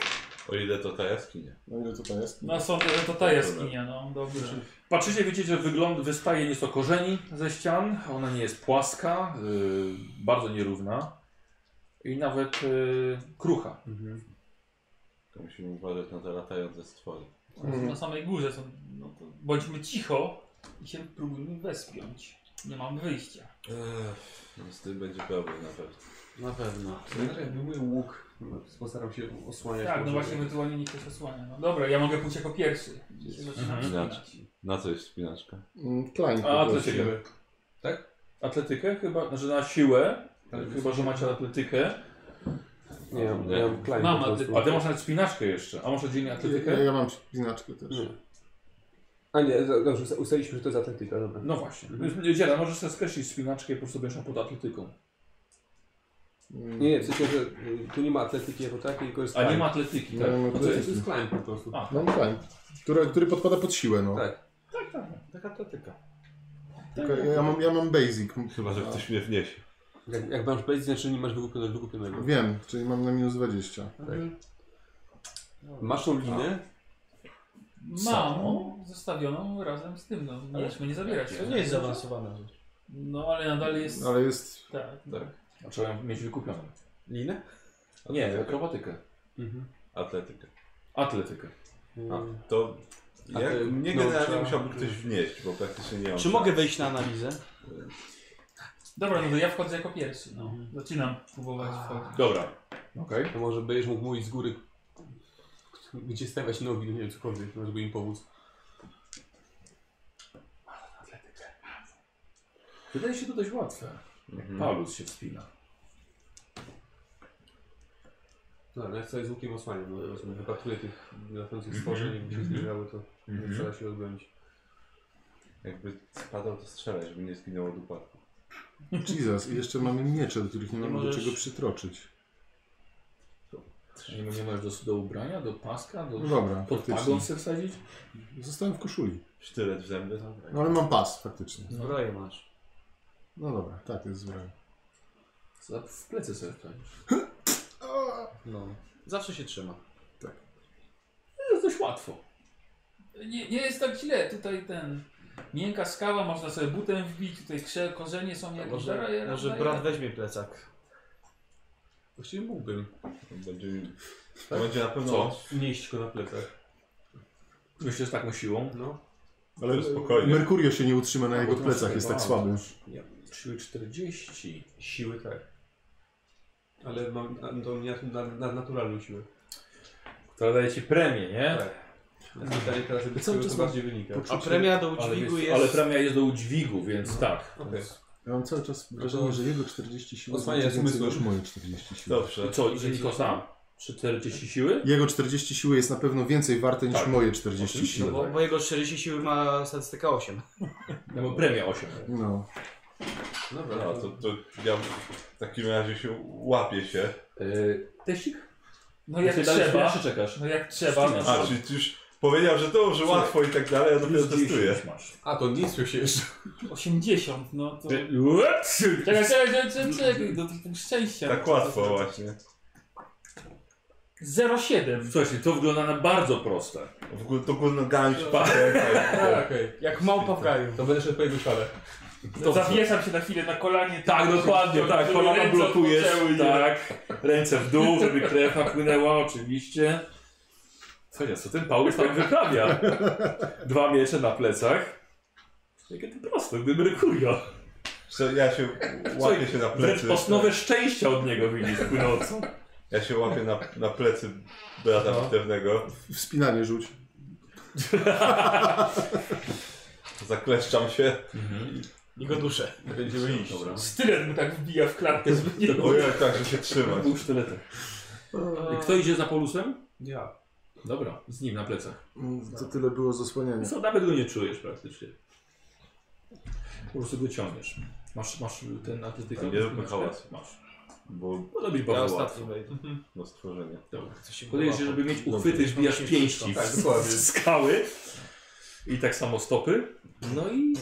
S4: No,
S2: O ile to ta jaskinia.
S3: No ile tutaj jest?
S4: no sądzę, że to ta jaskinia, no dobrze.
S1: Patrzycie, wiecie, że wygląd wystaje nieco korzeni ze ścian. Ona nie jest płaska, yy, bardzo nierówna i nawet yy, krucha.
S5: Mhm.
S2: To musimy uważać na te latające stwory.
S4: Na samej górze są. No to bądźmy cicho i się próbujmy wespiąć. Nie mamy wyjścia.
S2: No z tym będzie problem na pewno.
S12: Na pewno.
S5: Był mój łuk. Postaram się osłaniać.
S4: tak,
S5: może.
S4: no właśnie ewentualnie nikt się osłania. No dobra, ja mogę pójść jako pierwszy. Ja się zaczynam
S2: Mhm.
S4: wspinać.
S2: Na co jest wspinaczka?
S3: Mm, Klein. po
S1: No. A, to
S3: prostu.
S1: ciekawe. Atletykę chyba, że na siłę,
S5: Tak,
S1: chyba, że macie atletykę.
S5: Nie, ja
S2: Nie.
S5: mam
S1: Tak,
S5: klein.
S4: Mam,
S5: po
S4: a ty-
S5: prostu.
S1: A ty masz nawet spinaczkę jeszcze. A masz oddzielnie
S3: Ja,
S1: atletykę?
S3: ja mam spinaczkę też.
S5: Nie. A nie, za- dobrze, usta- ustaliliśmy, że to jest atletyka, dobra.
S1: No właśnie. Niedziela, możesz sobie skreślić spinaczkę i po prostu będziesz pod atletyką.
S3: Mm,
S5: Nie, nie, w sensie, że y, tu nie ma atletyki jako takiej, tylko jest
S1: A
S5: climb.
S1: nie ma atletyki,
S3: Nie
S1: tak?
S3: mam
S5: No to jest,
S3: atletyki.
S5: jest climb po prostu.
S1: A.
S3: Mam Klein. Który, który podpada pod siłę, no.
S5: Tak.
S1: Tak, tak. Taka atletyka.
S4: Tak,
S3: Tylko
S1: Tak.
S3: ja, ja, mam, ja mam basic.
S2: Chyba,
S5: No.
S2: że ktoś mnie wniesie.
S5: Jak, jak masz powiedzieć, znaczy nie masz wykupionego. wykupionego.
S3: Wiem, czyli mam na minus 20.
S5: Masz tą linę?
S4: Mam zostawioną razem z tym, no mieliśmy nie zabierać.
S12: To nie jest zaawansowana rzecz.
S4: No ale nadal jest.
S3: Ale jest...
S4: Tak.
S1: A trzeba ją mieć wykupioną.
S12: Linę?
S1: Nie, akrobatykę.
S11: Atletykę.
S1: Atletykę.
S11: A, to
S5: No. A
S11: jak,
S5: ty-
S11: mnie
S5: no,
S11: generalnie
S5: trzeba-
S11: musiałby ktoś wnieść, bo praktycznie nie mam.
S12: Czy mogę wejść na analizę?
S4: Dobra, no to ja wchodzę jako pierwszy. No. Zaczynam próbować wchodzić.
S1: Dobra. Okej.
S5: To może będziesz mógł mówić z góry, gdzie stawiać nogi, nie wiem, cokolwiek, może by im pomóc.
S1: Wydaje się to dość łatwe. Jak Paulus się wspina.
S5: No, ale co jest łukiem No, osłania, bo rozumiem, wypatruje tych latających stworzeń, jakby się zbliżały, to
S1: Mhm.
S5: nie trzeba się odbronić.
S11: Jakby spadał, to strzelać, żeby nie zginął od upadku.
S3: Jesus. I jeszcze mamy miecze, do których nie mamy do
S4: możesz-
S3: czego przytroczyć.
S1: Nie, nie masz do, do ubrania, do paska, do
S3: No dobra,
S1: pod
S3: faktycznie.
S1: pagon sobie wsadzić?
S3: Zostałem w koszuli.
S11: Sztylet w zęby? tak. Dobra.
S3: No ale mam pas, faktycznie.
S12: Zbroję masz.
S3: No dobra, tak, jest zbroja.
S1: Za, w plecy sobie wsadzisz.
S12: No. Zawsze się trzyma.
S1: To jest dość łatwo.
S4: Nie, nie jest tak źle. Tutaj ten. Miękka skawa, można sobie butem wbić, tutaj krze, korzenie są
S12: To
S4: jakieś. Dobra,
S12: Może,
S4: ja- no
S12: może
S4: dobra,
S12: brat
S4: ja-
S12: weźmie plecak.
S5: Właściwie mógłbym
S11: Będzie, to będzie na pewno
S1: Co?
S5: nieść go na plecach.
S1: Myślę, że z taką siłą.
S5: No.
S3: Ale
S11: spokojnie.
S3: Merkurio się nie utrzyma na jego
S1: Albo to
S3: plecach,
S1: sobie
S3: jest tak
S1: walnąć.
S3: słaby.
S1: Czyli 40.
S5: Siły tak. Ale mam na- tą na, na, na naturalną siłę.
S1: Która daje ci premię, nie?
S5: Tak. Więc Pytanie teraz, jakby
S3: Ja cały
S5: z czego
S3: czas
S5: to
S3: mam
S5: bardziej wynika.
S12: A
S3: Poczucie-
S12: premia do
S1: Ale,
S12: udźwigu
S1: jest, ale
S12: jest...
S1: premia jest do udźwigu, więc tak.
S5: Okej.
S3: Ja mam cały czas wrażenie, że jego 40 sił
S5: Osłaniaj
S3: znaczy więcej
S5: zmysły.
S3: niż moje 40 sił.
S11: Dobrze.
S1: I co, i że tylko sam? 40 siły?
S3: Jego 40 sił jest na pewno więcej warte niż
S1: Tak.
S3: moje 40
S1: Oczywiście,
S12: No
S3: sił.
S12: bo, bo jego 40 siły ma statystyka 8.
S1: Ja mam premię 8.
S3: No.
S5: Dobra,
S11: No, to, to ja w takim razie się łapię się.
S1: Yy, teścik?
S4: No jak
S1: Ty dalej
S4: trzeba.
S1: śpiewasz, czy czekasz?
S4: No jak trzeba.
S1: Wcinasz.
S11: A, czyli ty już powiedział, że to, że łatwo i tak dalej, a
S2: no
S11: dopiero testuję.
S1: 10 masz.
S5: A, to nie się jeszcze.
S4: 80, no to.
S1: Ty- What?
S4: Czekaj, czekaj, czekaj, czekaj, czekaj, do typu szczęścia.
S11: Tak łatwo właśnie.
S4: 07.
S1: Słuchajcie, to wygląda na bardzo proste.
S11: W gó- to górno gałąź pada.
S5: Okej.
S12: Jak małpa w raju.
S5: To będę szedł po jego szale.
S1: Dobrze.
S4: Zawieszam się na chwilę na kolanie.
S1: Tak, dokładnie,
S4: żeby-
S1: tak,
S4: żeby
S1: kolana
S4: ręce
S1: blokujesz,
S4: odpoczęły, nie?
S1: tak, ręce w dół, żeby krew napłynęła, oczywiście. Co jest, co ten Paulus tak wyprawia? Dwa miecze na plecach. Jakie to proste, gdy Merkurio.
S11: Co, Ja się łapię się na
S1: Wręcz
S11: plecy. tak.
S1: osnowę szczęścia od niego widzisz płynącą.
S11: Ja się łapię na, na plecy brata
S5: No.
S11: bitewnego.
S3: Wspinanie rzuć.
S11: Zakleszczam się.
S12: I go duszę.
S11: Będziemy iść. Mhm. Dobra.
S4: Stylet mu tak wbija w klatkę, żeby nie
S11: Ojej, tak, że się trzymać.
S1: Był sztyletem. Kto idzie za Paulusem?
S5: Ja.
S1: Dobra, z nim na plecach.
S3: Mm, To tyle było z osłaniania.
S1: Co, nawet go nie czujesz praktycznie. Po prostu go ciągniesz. Masz, masz ten atletykę?
S11: Nie róbmy hałasu.
S1: Masz.
S11: Bo
S1: No to mi
S12: Ja
S1: bardzo łatwo.
S12: ostatni wejdę.
S11: no stworzenie.
S1: Dobra.
S12: Coś Tak się
S1: Podaje się,
S12: wyłapał.
S1: żeby mieć uchwyty,
S12: Dobrze.
S1: wbijasz pięści
S12: No, Tak,
S1: w, w skały i tak samo stopy. No i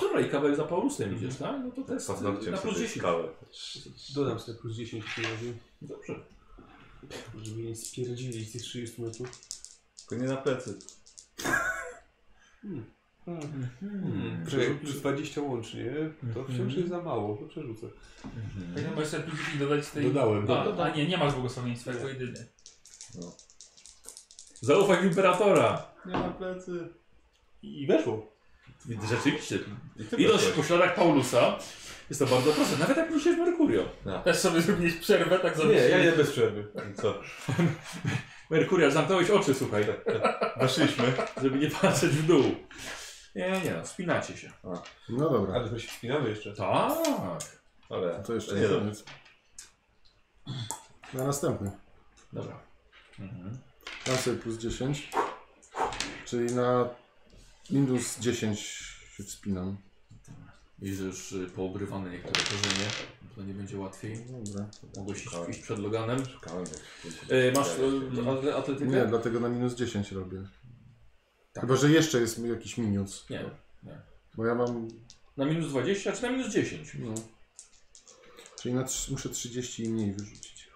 S1: dobra, i kawałek za Paulusem idziesz, tak? No to test y,
S11: Paznokciem
S1: na plus
S11: sobie
S1: 10.
S11: skałę.
S5: Dodam sobie plus 10 w tym razie,
S1: Dobrze.
S5: żeby nie spierdzili z tych 30 metrów.
S11: Tylko nie na plecy.
S12: Mhm.
S1: Hmm.
S5: Przerzut plus 20 łącznie, to wciąż jest za mało, to przerzucę.
S4: Ja Możesz sobie plus dodać z tej...
S5: Dodałem,
S4: A,
S5: dodałem.
S4: a nie, nie masz błogosławieństwa, jako jedyny.
S1: Zaufaj w imperatora.
S11: Nie na plecy.
S5: I weszło.
S1: Rzeczywiście.
S11: I ty
S1: Idąc
S11: weszłeś.
S1: po śladach Paulusa, jest to bardzo proste. Nawet jak myślisz Merkurio.
S4: Też sobie zrobiłeś przerwę, tak
S5: Nie,
S4: zawiesiłeś.
S5: ja nie bez przerwy.
S11: I Co?
S1: Merkuria, zamknąłeś oczy, słuchaj,
S11: Weszliśmy.
S1: tak, żeby nie patrzeć w dół. Nie, nie, nie, no, wspinacie się.
S3: No dobra.
S5: Ale my się wspinamy jeszcze.
S1: Tak.
S11: Ale
S3: To jeszcze
S11: nie
S3: nie
S11: dobrze.
S3: koniec. Na następny.
S1: Dobra. Mhm.
S3: Mam sobie plus 10. Czyli na minus 10 się wspinam.
S1: I że już y, poobrywane niektóre korzenie, to nie będzie łatwiej.
S3: Dobra.
S1: Mogłeś iść,
S11: Szukałem.
S1: iść przed Loganem.
S11: Szukałem.
S1: E, masz e, atle- atletykę?
S3: Nie, dlatego na minus 10 robię.
S1: Tak.
S3: Chyba, że jeszcze jest mi jakiś minus.
S1: Nie.
S3: Bo ja mam.
S1: Na minus 20, czy na minus 10?
S3: No. Czyli na trz- muszę 30 i mniej wyrzucić.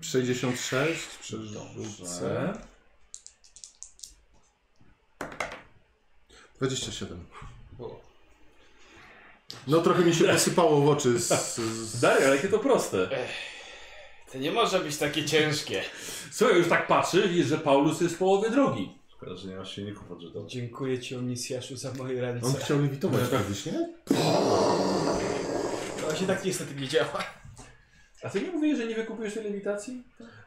S3: 66 przerzucę.
S1: Dobrze.
S3: 27.
S5: O.
S3: No trochę mi się posypało w oczy. Z, z...
S1: Dalej, ale jakie to proste.
S12: To nie może być takie ciężkie.
S1: Słuchaj, już tak patrzy, widzisz, że Paulus jest w połowie drogi.
S2: Szkoda, że nie masz silników odrzutowych.
S12: Dziękuję ci, Onisjaszu, za moje
S3: On
S12: ręce.
S3: chciał
S1: No
S3: lewitować, tak, wiesz, nie? No.
S12: To się tak niestety nie działa.
S1: A ty nie mówisz, że nie wykupujesz tej lewitacji?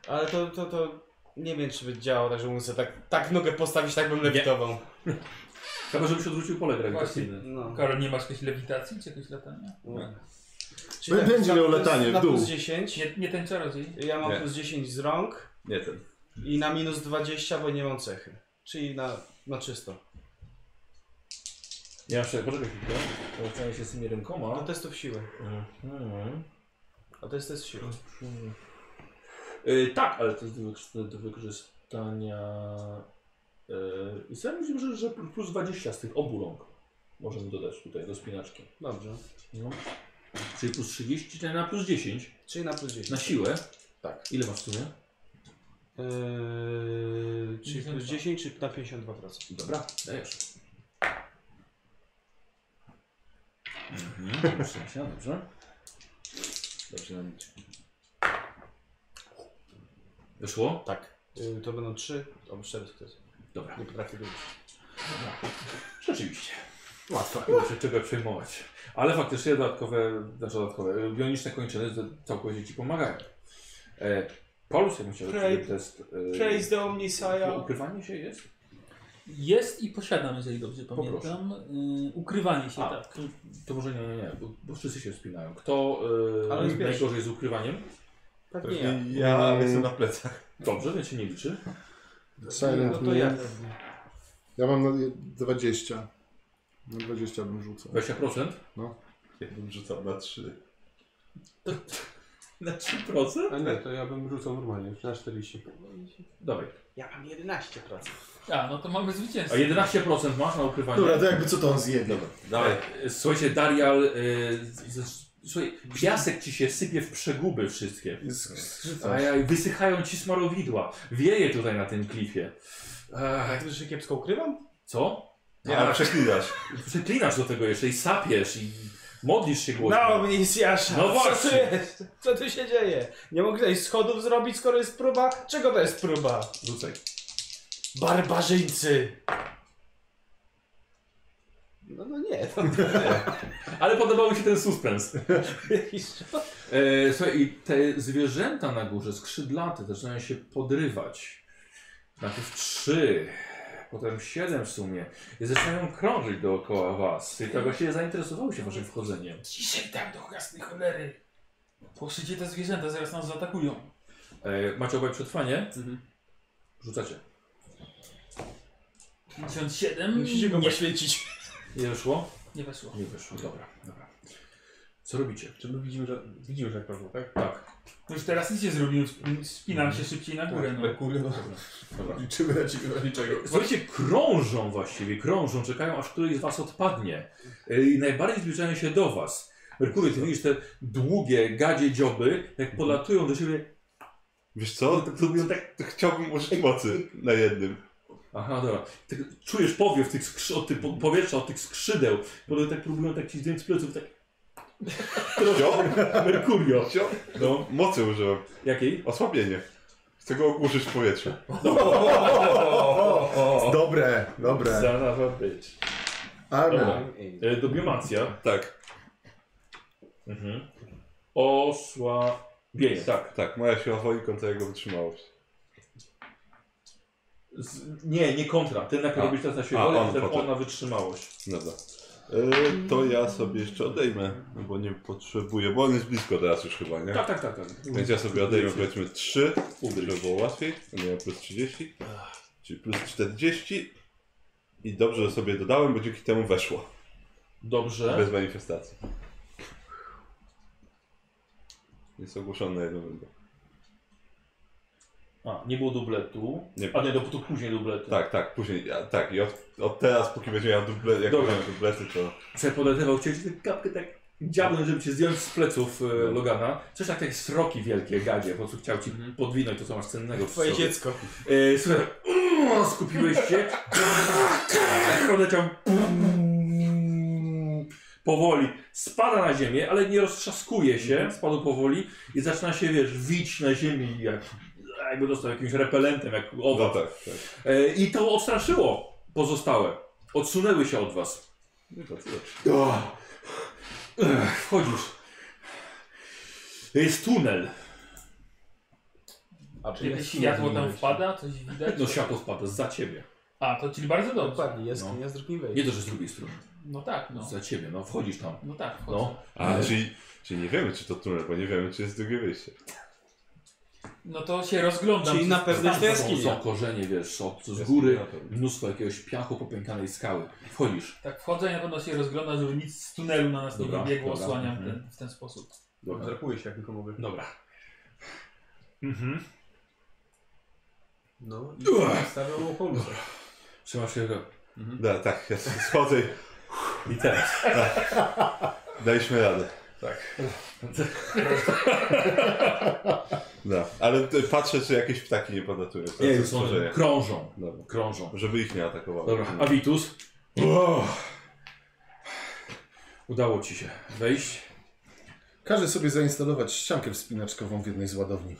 S12: Ale to, to, to... Nie wiem, czy by działało, także muszę tak, tak nogę postawić, tak bym lewitował.
S1: Chyba, żebyś odwrócił pole
S7: Tak,
S1: grawitacyjne.
S12: No.
S4: Karol, nie masz jakiejś lewitacji czy jakiegoś latania?
S12: Czyli
S3: Bę- będzie
S12: tak, na-
S3: miał
S12: to jest
S3: latanie w
S12: na
S3: dół.
S12: plus 10.
S4: Nie, nie ten czarodziej.
S12: Ja mam
S2: Nie.
S12: plus 10 z rąk
S2: Nie ten.
S12: i na minus 20, bo nie mam cechy. Czyli na, na czysto.
S7: Ja jeszcze, poczekaj chwilkę. Zastanawiam się z tymi
S12: Do
S7: rękoma.
S12: testów siły.
S7: Mhm.
S12: A to jest test siły.
S7: Y, tak, ale to jest do, wykorzyst- do wykorzystania... Yy, I sobie myślę, że, że plus 20 z tych obu rąk. Możemy dodać tutaj do spinaczki.
S12: Dobrze.
S7: No.
S1: Czyli plus 30 czyli na plus 10.
S12: Czyli na plus 10.
S1: Na siłę.
S12: Tak.
S1: Ile masz w sumie?
S12: Eee, czyli plus
S4: 52.
S12: 10, czy na 52%.
S1: Dobra, dajesz. Mhm, dobrze, Asia, dobrze.
S2: Dobrze na nic.
S1: Wyszło?
S12: Tak. Eee, to będą 3 albo 4 sukcesy.
S1: Dobra.
S12: Nie potrafię doliczyć.
S1: Rzeczywiście. Łatwo. Nie muszę czego przejmować. Ale faktycznie dodatkowe, znaczy dodatkowe, y, bioniczne kończyny z- całkowicie ci pomagają. E, Paulus, ja bym chciał
S12: Pray-
S1: żeby test. e,
S12: Praise the
S1: no,
S12: Omnisaya.
S1: Ukrywanie się jest?
S4: Jest i posiadam, jeżeli dobrze
S1: Poproszę.
S4: pamiętam. Y, ukrywanie się,
S1: A,
S4: tak.
S1: to, to może nie, nie, nie, bo, bo wszyscy się wspinają. Kto e,
S12: Ale jest
S1: najgorzej z ukrywaniem?
S12: Pewnie ja.
S2: Ja
S3: Eee,
S2: jestem na plecach.
S1: Dobrze, więc się nie liczy.
S12: No
S3: Silent
S12: to ja.
S3: ja. ja mam na 20. Na 20 bym rzucał.
S1: 20%.
S2: Ja bym rzucał na trzy.
S1: Na 3%?
S5: A nie, to ja bym rzucał normalnie, na 40.
S1: Dobra.
S12: Ja mam 11%.
S4: A, no to mamy
S1: A
S4: zwycięstwo.
S1: 11% masz na ukrywanie?
S3: Dobra, to jakby co to on zje.
S2: Dawaj.
S1: E, Słuchajcie, Darial, y, z- z- słuchaj, piasek ci się sypie w przeguby wszystkie. Ajaj, wysychają ci smarowidła. Wieje tutaj na tym klifie.
S12: Tak,
S1: Ech,
S12: to się kiepsko ukrywam?
S1: co?
S2: Nie, ale
S1: A,
S2: przeklinasz.
S1: Przeklinasz do tego jeszcze i sapiesz i modlisz się głośno.
S12: No, Omnisjasza.
S1: No
S12: Co
S1: właśnie.
S12: tu jest? Co tu się dzieje? Nie mogłeś schodów zrobić, skoro jest próba? Czego to jest próba?
S1: Rzucaj.
S12: Barbarzyńcy! No, no nie, to
S1: Ale podobał mi się ten suspens.
S12: jakiś...
S1: E, słuchaj, i te zwierzęta na górze, skrzydlaty, zaczynają się podrywać. Najpierw trzy, potem siedem w sumie. I zaczynają krążyć dookoła was. I to właściwie zainteresowało się waszym wchodzeniem.
S4: Ciszej tam do jasnej cholery. Płoszycie te zwierzęta, zaraz nas zaatakują.
S1: E, macie obaj przetrwanie? Rzucacie.
S4: 57?
S12: Musicie go
S4: nie,
S12: poświęcić.
S1: Nie wyszło?
S4: nie weszło.
S1: Nie wyszło, dobra, dobra. Co robicie?
S5: Czy my widzimy, że, widzimy, że jak proszę, tak?
S1: Tak.
S4: No już teraz nic nie zrobiłem, sp- spinam się szybciej na górę. No.
S5: Kurde,
S1: Dobra.
S5: liczymy na ciebie, na niczego.
S1: Słuchajcie, krążą właściwie, krążą, czekają aż któryś z was odpadnie. E, I najbardziej zbliżają się do was. Merkury, ty widzisz te długie, gadzie dzioby, jak podlatują do siebie.
S2: Wiesz co? To, to, to chciałbym użyć mocy na jednym.
S1: Aha, dobra. Ty czujesz powiew tych skrzy... od tych po- powietrza, od tych skrzydeł. Potem tak próbują tak ci zdjąć z pleców, tak.
S2: Wziął?
S1: Merkurio.
S2: Wziął?
S1: No,
S2: Mocy użyłem.
S1: jakiej?
S2: Osłabienie. Chcę go ogłuszyć w powietrzu.
S3: Dobre, dobre.
S1: Zarawa być.
S3: Armia.
S1: Dobra. E, Dobiomacja.
S2: Tak,
S1: Mhm. Osłabienie, tak.
S2: tak. Moja siła woli kontra jego wytrzymałość.
S1: Z, nie, nie kontra. Ty najpierw
S2: A.
S1: robisz teraz na siłę
S2: A,
S1: woli,
S2: on
S1: potem
S2: potem.
S1: on na wytrzymałość.
S2: No Dobra. E, to ja sobie jeszcze odejmę, no bo nie potrzebuję, bo on jest blisko teraz już chyba, nie?
S1: Tak, tak, tak. tak.
S2: Więc ja sobie odejmę powiedzmy 3,
S1: Ubryź.
S2: żeby było łatwiej. Będę miał plus 30, czyli plus 40. I dobrze, że sobie dodałem, bo dzięki temu weszło.
S1: Dobrze.
S2: Bez manifestacji. Jest ogłoszone na jedną rundę.
S1: A, nie było dubletu.
S2: Nie.
S1: A nie, dopóki później dublety.
S2: Tak, tak, później, a, tak. I od, od teraz, póki będzie miał duble, jak
S1: Dobra.
S2: będzie miał dublety, to...
S1: Przepodletywał cię tę kapkę tak dziabłem, żeby cię zdjąć z pleców e, Logana. Coś tak jak sroki wielkie gadzie, po prostu chciał ci podwinąć to, co masz cennego w
S12: Twoje
S1: sobie.
S12: dziecko.
S1: E, słuchaj, O, skupiłeś się. Odleciał. Powoli. Spada na ziemię, ale nie roztrzaskuje się. Spadł powoli i zaczyna się, wiesz, wić na ziemi jak, jakby dostał jakimś repelentem, jak
S2: No
S1: owad.
S2: tak, tak.
S1: E, I to odstraszyło pozostałe. Odsunęły się od was. O. Ech, Wchodzisz. Jest tunel.
S12: A
S4: Czy jakieś światło tam wpada? Coś widać?
S1: No światło spada za ciebie.
S4: A, to czyli bardzo dobrze.
S5: Tak,
S12: Dokładnie, jaskinia z drugim
S1: Nie
S12: wejściem.
S1: to, że z drugiej strony.
S4: No tak, no.
S1: Za ciebie, no wchodzisz tam.
S4: No tak, wchodzę.
S1: No.
S4: No,
S2: A, czyli, czyli nie wiemy, czy to tunel, bo nie wiemy, czy jest drugie wyjście.
S4: No to się rozglądam.
S12: Czyli na pewno jest to
S4: Tam są-
S1: Są,
S12: jaskinia.
S1: są korzenie, wiesz, od, z
S2: Jaskinia
S1: góry
S2: na pewno.
S1: mnóstwo jakiegoś piachu popękanej skały. Wchodzisz.
S4: Tak, wchodzę i na pewno się rozglądam, żeby nic z tunelu na nas
S1: Dobra,
S4: nie wybiegło,
S1: dobra,
S4: osłaniam
S1: mhm.
S4: ten, w ten sposób.
S1: Dobra.
S5: Zrapuję się jak tylko mogę.
S1: Dobra. Mhm.
S5: No i
S1: Ua.
S5: stawiam mu pomysł.
S1: Trzymasz się go.
S2: Da, tak, ja schodzę i
S1: I teraz.
S2: daliśmy radę. Tak. Da, No, ale ty- patrzę, czy jakieś ptaki nie podlatują. To
S1: Nie,
S2: jest
S1: są,
S2: stworzenie.
S1: krążą.
S2: Dobra.
S1: Krążą.
S2: Żeby ich nie atakowało. No.
S1: Dobra. Avitus. Udało ci się wejść.
S3: Każę sobie zainstalować ściankę wspinaczkową w jednej z ładowni.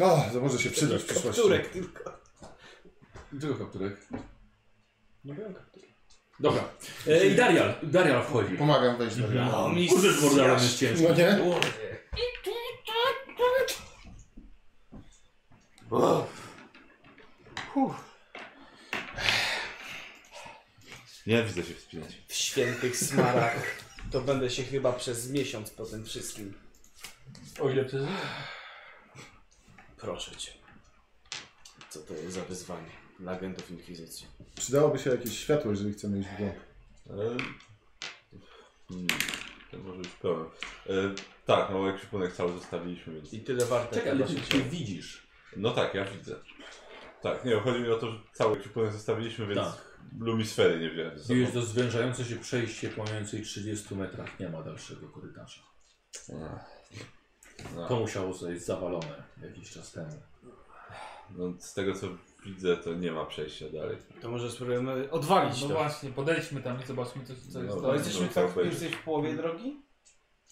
S3: O, to może się przydać w przyszłości.
S12: Turek tylko.
S1: Czego kapturek? Dobra. E, I Darial. Darial wchodzi.
S3: Pomagam wejść do domu.
S12: No, mi
S1: Kurde, z Mordorem jest ciężko.
S3: No nie?
S2: Nie widzę się wspinać.
S12: w świętych smarach. To będę się chyba przez miesiąc po tym wszystkim.
S4: O ile przez...
S12: Proszę cię. Co to jest za wyzwanie dla agentów Inkwizycji?
S3: Przydałoby się jakieś światło, jeżeli chcemy iść w głąb.
S2: Ale... Hmm, to może już pełen. E, tak, no ekwipunek cały zostawiliśmy, więc...
S12: I tyle warte.
S1: Czekaj, ale ty, ty widzisz.
S2: No tak, ja widzę. Tak, nie, chodzi mi o to, że cały ekwipunek zostawiliśmy, więc
S1: Tak.
S2: lumisfery nie wziąłem ze sobą.
S1: Widzisz to zwężające się przejście pomiędzy 30 metrach. Nie ma dalszego korytarza.
S2: No,
S1: To musiało zostać zawalone jakiś czas temu.
S2: no, z tego co widzę, to nie ma przejścia dalej.
S12: To może spróbujemy odwalić
S4: No
S12: to.
S4: właśnie, podejdźmy tam i zobaczmy, co, co
S2: No,
S4: jest
S12: Bo
S4: dalej.
S12: jesteśmy
S2: No,
S12: tak,
S2: tak
S12: już jesteś w połowie drogi?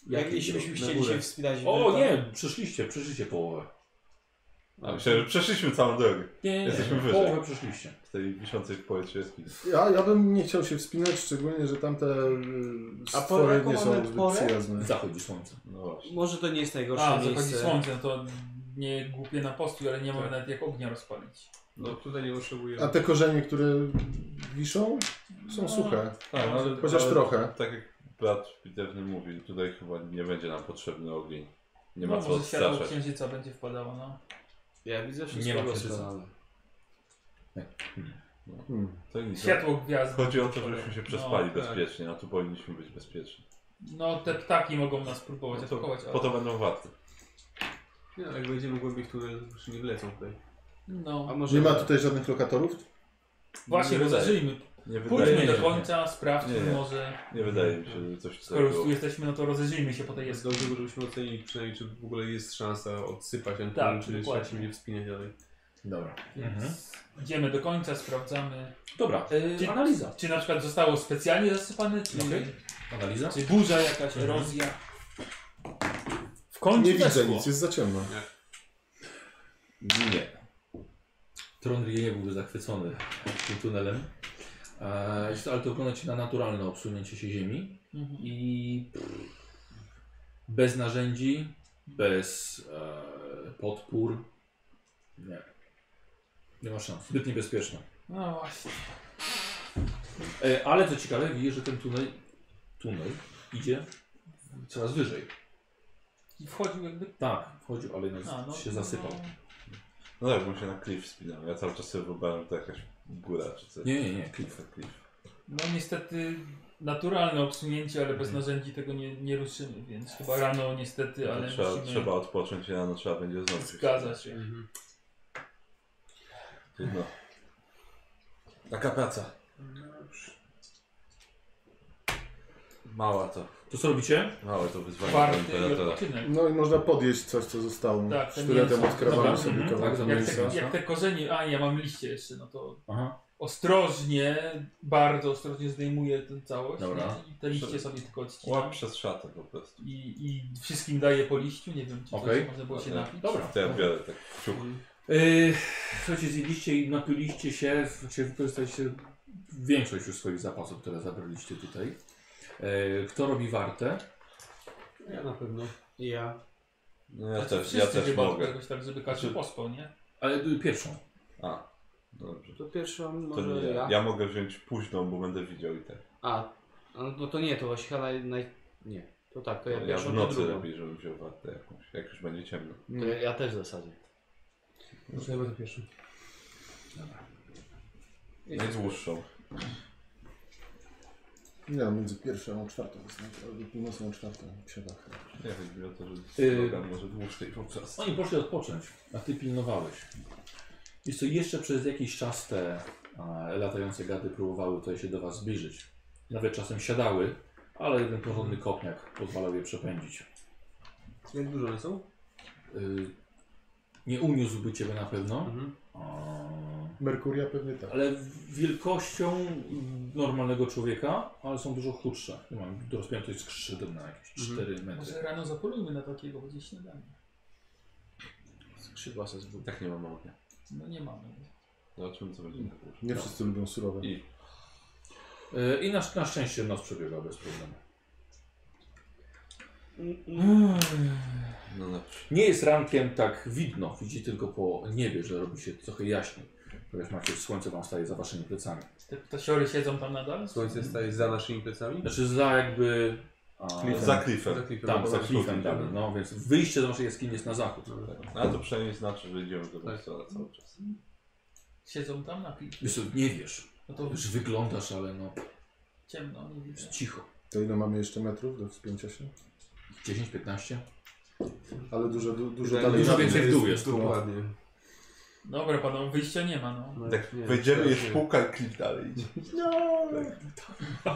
S12: Jak
S1: Jakiej
S12: jeśli byśmy
S1: drogi?
S12: chcieli
S1: Na górę.
S12: się wspinać
S1: O
S12: wyżej,
S1: nie, przeszliście, przeszliście połowę.
S2: A myślę, że przeszliśmy całą drogę.
S1: Nie, nie, nie,
S2: Jesteśmy
S1: nie.
S2: wyżej.
S1: połowę przeszliście.
S2: Z tej wiszącej w powietrzu jaskini.
S3: Ja, ja bym nie chciał się wspinać, szczególnie, że tamte y,
S12: A
S3: stwory
S12: po-
S3: nie są
S12: mamy
S3: zbyt
S12: porę?
S3: przyjazne.
S1: Zachodzi słońce.
S2: No właśnie.
S12: Może to nie jest najgorsze
S4: A, zachodzi
S12: miejsce.
S4: słońce, no to nie głupie na postój, ale nie
S2: Tak.
S4: mamy nawet jak ognia rozpalić.
S5: No tutaj nie potrzebuję.
S3: A te korzenie, które wiszą, są suche.
S2: A, no, ale-
S3: Chociaż
S2: ale
S3: trochę.
S2: Tak jak brat bitewny mówił, tutaj chyba nie będzie nam potrzebny ogień. Nie ma
S4: no,
S2: co
S4: może światło
S2: odstraszać.
S4: księżyca będzie wpadało, no.
S12: Ja widzę
S1: Nie ma
S12: wszystko
S1: przesady.
S12: rozwiązane.
S3: Hmm.
S2: To nic.
S4: Światło gwiazd.
S2: Chodzi o to, żebyśmy się przespali
S5: tak.
S2: bezpiecznie, a tu powinniśmy być bezpieczni.
S4: No, te ptaki mogą nas próbować
S2: No to,
S4: atakować, ale...
S2: po to będą warty.
S5: Nie, no, jak będziemy głębiej w tunel, to już nie wlecą tutaj.
S12: A
S4: No,
S12: może
S3: Nie ma tutaj żadnych lokatorów?
S4: właśnie,
S2: nie wydaje.
S4: rozejrzyjmy.
S2: Nie wydaje,
S4: Pójdźmy
S2: mi
S4: do
S2: się,
S4: końca, sprawdźmy
S2: Nie, nie.
S4: może...
S2: nie wydaje mi się, że coś
S4: Skoro
S2: tutaj
S4: już
S2: było.
S4: tu jesteśmy, no to rozejrzyjmy się po tej
S5: Jest
S4: jaskini.
S5: dobrze, żebyśmy ocenili przynajmniej, czy w ogóle jest szansa odsypać ten
S4: Tak,
S5: tunel, czy trzeba
S4: dokładnie.
S5: się nie wspinać dalej.
S1: Dobra.
S4: Więc
S1: Mhm.
S4: idziemy do końca, sprawdzamy.
S1: Dobra,
S4: Czy-
S1: E, analiza.
S4: Czy na przykład zostało specjalnie zasypane, czy,
S1: Okej. Analiza?
S4: czy burza jakaś,
S2: Mhm.
S4: erozja. W końcu
S3: Nie widzę
S4: weszło.
S3: nic, jest za ciemno.
S2: Nie.
S1: Trondri nie byłby zachwycony tym tunelem. E, jest- Ale to wygląda ci na naturalne obsunięcie się ziemi
S4: Mhm.
S1: i bez narzędzi, bez e, podpór. Nie. Nie ma szans. Zbyt niebezpieczne.
S4: No właśnie.
S1: E, Ale co ciekawe, widzisz, że ten tunel, tunel idzie coraz wyżej.
S4: I wchodził jakby...
S1: Tak, wchodził, ale no,
S4: A, no,
S1: się zasypał.
S2: No tak, bo się na klif wspinał. Ja cały czas sobie wyobrażam, że to jakaś góra czy coś.
S1: Nie, nie, nie, klif.
S2: klif.
S4: No niestety naturalne obsunięcie, ale
S11: Mhm.
S4: bez narzędzi tego nie, nie ruszymy, więc chyba
S11: Tak.
S4: rano niestety, ale
S2: trzeba,
S4: musimy...
S2: trzeba odpocząć i rano trzeba będzie znowu. się
S4: Zgadza
S2: wspinać.
S4: się.
S11: no.
S2: Trudno. Taka praca. Mała to.
S1: To co robicie?
S2: Małe to wyzwanie dla
S4: Kwarty i
S2: imperatora.
S4: odpoczynek.
S3: No i można podjeść coś, co zostało.
S4: Tak, te
S3: Sztyletem
S4: mięso. Dobra,
S3: odkrawamy sobie
S1: mhm,
S3: kawałek
S1: tak,
S4: Jak
S1: mięso.
S4: te, jak te korzenie, a ja mam liście jeszcze, no to
S1: Aha.
S4: ostrożnie, bardzo ostrożnie zdejmuję tę całość no
S1: Dobra.
S4: i te liście sobie tylko odcinam
S11: Łap przez szatę po prostu.
S4: i, i wszystkim daję po liściu, nie wiem czy
S1: Okej.
S4: coś można było się
S11: Dobra.
S4: napić.
S1: Dobra.
S11: To ja biorę tak kciuk.
S1: Yy, słuchajcie, zjedliście i napiliście się, znaczy wykorzystaliście większość już swoich zapasów, które zabraliście tutaj. Yy, kto robi wartę?
S5: Ja na pewno.
S12: I ja.
S11: No ja
S4: Znaczy,
S11: też, ja
S4: wszyscy
S11: też
S4: chyba
S11: mogę.
S4: Jakoś tak, żeby każdy
S11: Znaczy-
S4: pospał, nie?
S1: Ale y, pierwszą.
S11: A, dobrze.
S12: To pierwszą
S11: To
S12: może
S11: nie,
S12: ja.
S11: ja. ja mogę wziąć późną, bo będę widział i tak.
S12: A, no no to nie, to właśnie chyba naj... naj... Nie. To tak,
S2: No,
S12: to ja
S11: Ja
S12: pierwszą,
S11: w
S12: to
S11: nocy
S12: drugą.
S11: lepiej, żebym wziął wartę jakąś, jak już będzie ciemno.
S12: To ja, ja też w zasadzie.
S5: Zaczynamy to pierwszy.
S11: Najdłuższą.
S3: Nie, no, między pierwszą a czwartą. jest naj- Albo północną a czwartą. Siada.
S11: Nie chodzi mi o to, że
S1: Yy.
S11: program może dłuższy i po prostu.
S1: Oni poszli odpocząć, a ty pilnowałeś. I co jeszcze przez jakiś czas te e, latające gady próbowały tutaj się do was zbliżyć. Nawet czasem siadały, ale jeden porządny kopniak pozwalał je przepędzić.
S5: Jak dużo one są?
S1: Y, nie uniósłby ciebie na pewno,
S5: Mhm.
S1: a,
S3: Merkuria pewnie tak.
S1: ale wielkością normalnego człowieka, ale są dużo chudsze. Nie Mam rozpiętość skrzydeł na jakieś 4 metry.
S4: Może rano zapolujmy na takiego, będzie śniadanie.
S12: Skrzydła se zbudzi.
S11: Tak nie mam ognia.
S4: No nie mamy.
S11: Zobaczymy co będzie na górze.
S1: No.
S3: Nie wszyscy lubią surowe.
S11: I-
S1: Y, I na, na szczęście noc przebiegła bez problemu.
S11: No dobrze.
S1: Nie jest rankiem tak widno, widzi tylko po niebie, że robi się trochę jaśniej. Ponieważ macie słońce wam staje za waszymi plecami.
S4: Te tasiory siedzą tam nadal?
S5: Słońce staje za naszymi plecami? Tak,
S1: Znaczy za jakby... A,
S3: Klifem.
S11: Za klifem.
S5: klifem. tak.
S1: tam,
S5: Dobra.
S1: za klifem dalej, no więc wyjście z waszej jaskini jest na zachód.
S11: Tak. Ale to przynajmniej znaczy, że idziemy do
S4: Tak.
S11: Westola cały czas.
S4: Siedzą tam na piwie.
S1: Wiesz co, nie wiesz,
S4: No to
S1: już wyglądasz, ale no
S4: ciemno, nie widzę.
S1: jest cicho.
S3: To ile mamy jeszcze metrów do wspięcia się?
S1: 10, 15?
S3: Ale dużo, du, dużo
S5: Dużo
S3: dalej.
S1: więcej
S3: jest-
S1: w dół jest.
S5: Dokładnie.
S4: Dobra panowie, wyjścia nie ma no.
S5: No,
S11: Tak,
S5: nie,
S11: wejdziemy,
S5: tak,
S11: jest
S5: nie.
S11: półka i klif dalej idzie.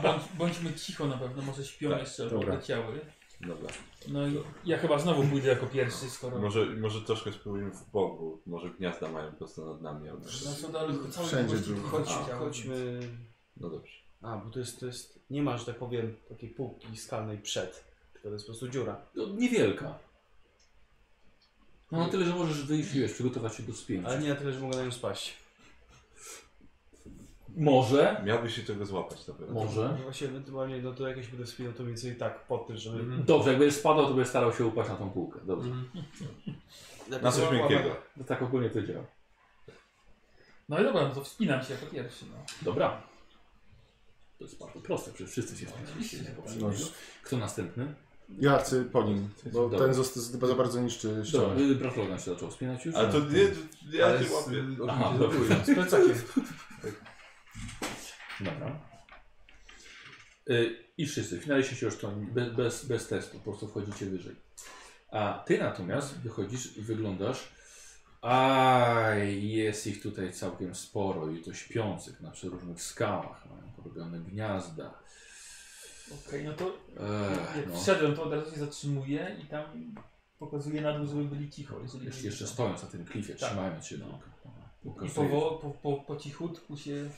S4: Bądź, bądźmy cicho na pewno, może śpią
S11: Tak,
S4: jeszcze, bo
S3: dobra.
S4: leciały.
S11: Dobra.
S4: No i ja chyba znowu pójdę jako pierwszy, skoro... No
S11: Może, może troszkę spróbujemy w bogu. Może gniazda mają prosto nad nami. albo-
S4: co dalej, cały
S3: Wszędzie
S4: gość
S3: drugi.
S4: chodzi,
S12: A,
S4: chciał.
S12: chodźmy...
S11: No dobrze.
S12: A, bo to jest, to jest... Nie ma, że tak powiem, takiej półki skalnej przed. Tylko to jest po prostu dziura.
S1: No, niewielka. No na tyle, że możesz wyjść i wiesz, przygotować się do spięcia.
S12: Hmm. Ale nie na tyle, że mogę na nią spaść.
S1: Może,
S11: Miałbyś się tego złapać na pewno.
S1: może.
S12: No Właśnie ewentualnie, no to jakieś będę wspinał, to więcej tak, pod tym, żeby...
S5: Mhm.
S1: Dobrze, jak będziesz spadał, to będziesz starał się upaść na tą półkę. Dobrze.
S12: Hmm.
S5: Mhm.
S11: Na coś miękkiego.
S1: No, tak ogólnie to działa.
S4: No i dobra, no to wspinam się jako pierwszy no.
S1: Dobra. To jest bardzo proste, przecież wszyscy się
S4: Oczywiście.
S1: wspinaliście. poprzedniego.
S12: tak.
S1: Kto następny?
S3: Ja chcę po nim, bo
S1: Dobra.
S3: ten został chyba za bardzo niszczy
S1: Dobra,
S3: ścianę.
S1: y, Bratlogan się zaczął wspinać już.
S11: Ale to nie, ja
S5: Ale
S11: cię
S5: z,
S11: łapię.
S1: Aha,
S5: oczywiście
S1: dobra.
S5: zabuję.
S12: Z plecakiem.
S1: Dobra. Y, I wszyscy, finaliście się już to bez, bez, bez testu, po prostu wchodzicie wyżej. A ty natomiast wychodzisz, wyglądasz. Aj, jest ich tutaj całkiem sporo i to śpiących na przeróżnych skałach, mają porobione gniazda.
S4: Okej, no to
S1: Ech,
S4: jak
S1: no.
S4: wszedłem, to od razu się zatrzymuję i tam pokazuję na dół, żeby byli cicho. Jeżeli
S1: Jeszcze,
S4: byli
S1: jeszcze
S4: cicho.
S1: stojąc na tym klifie,
S4: Tak.
S1: trzymając się na no.
S4: I powo, po, po, po cichutku się...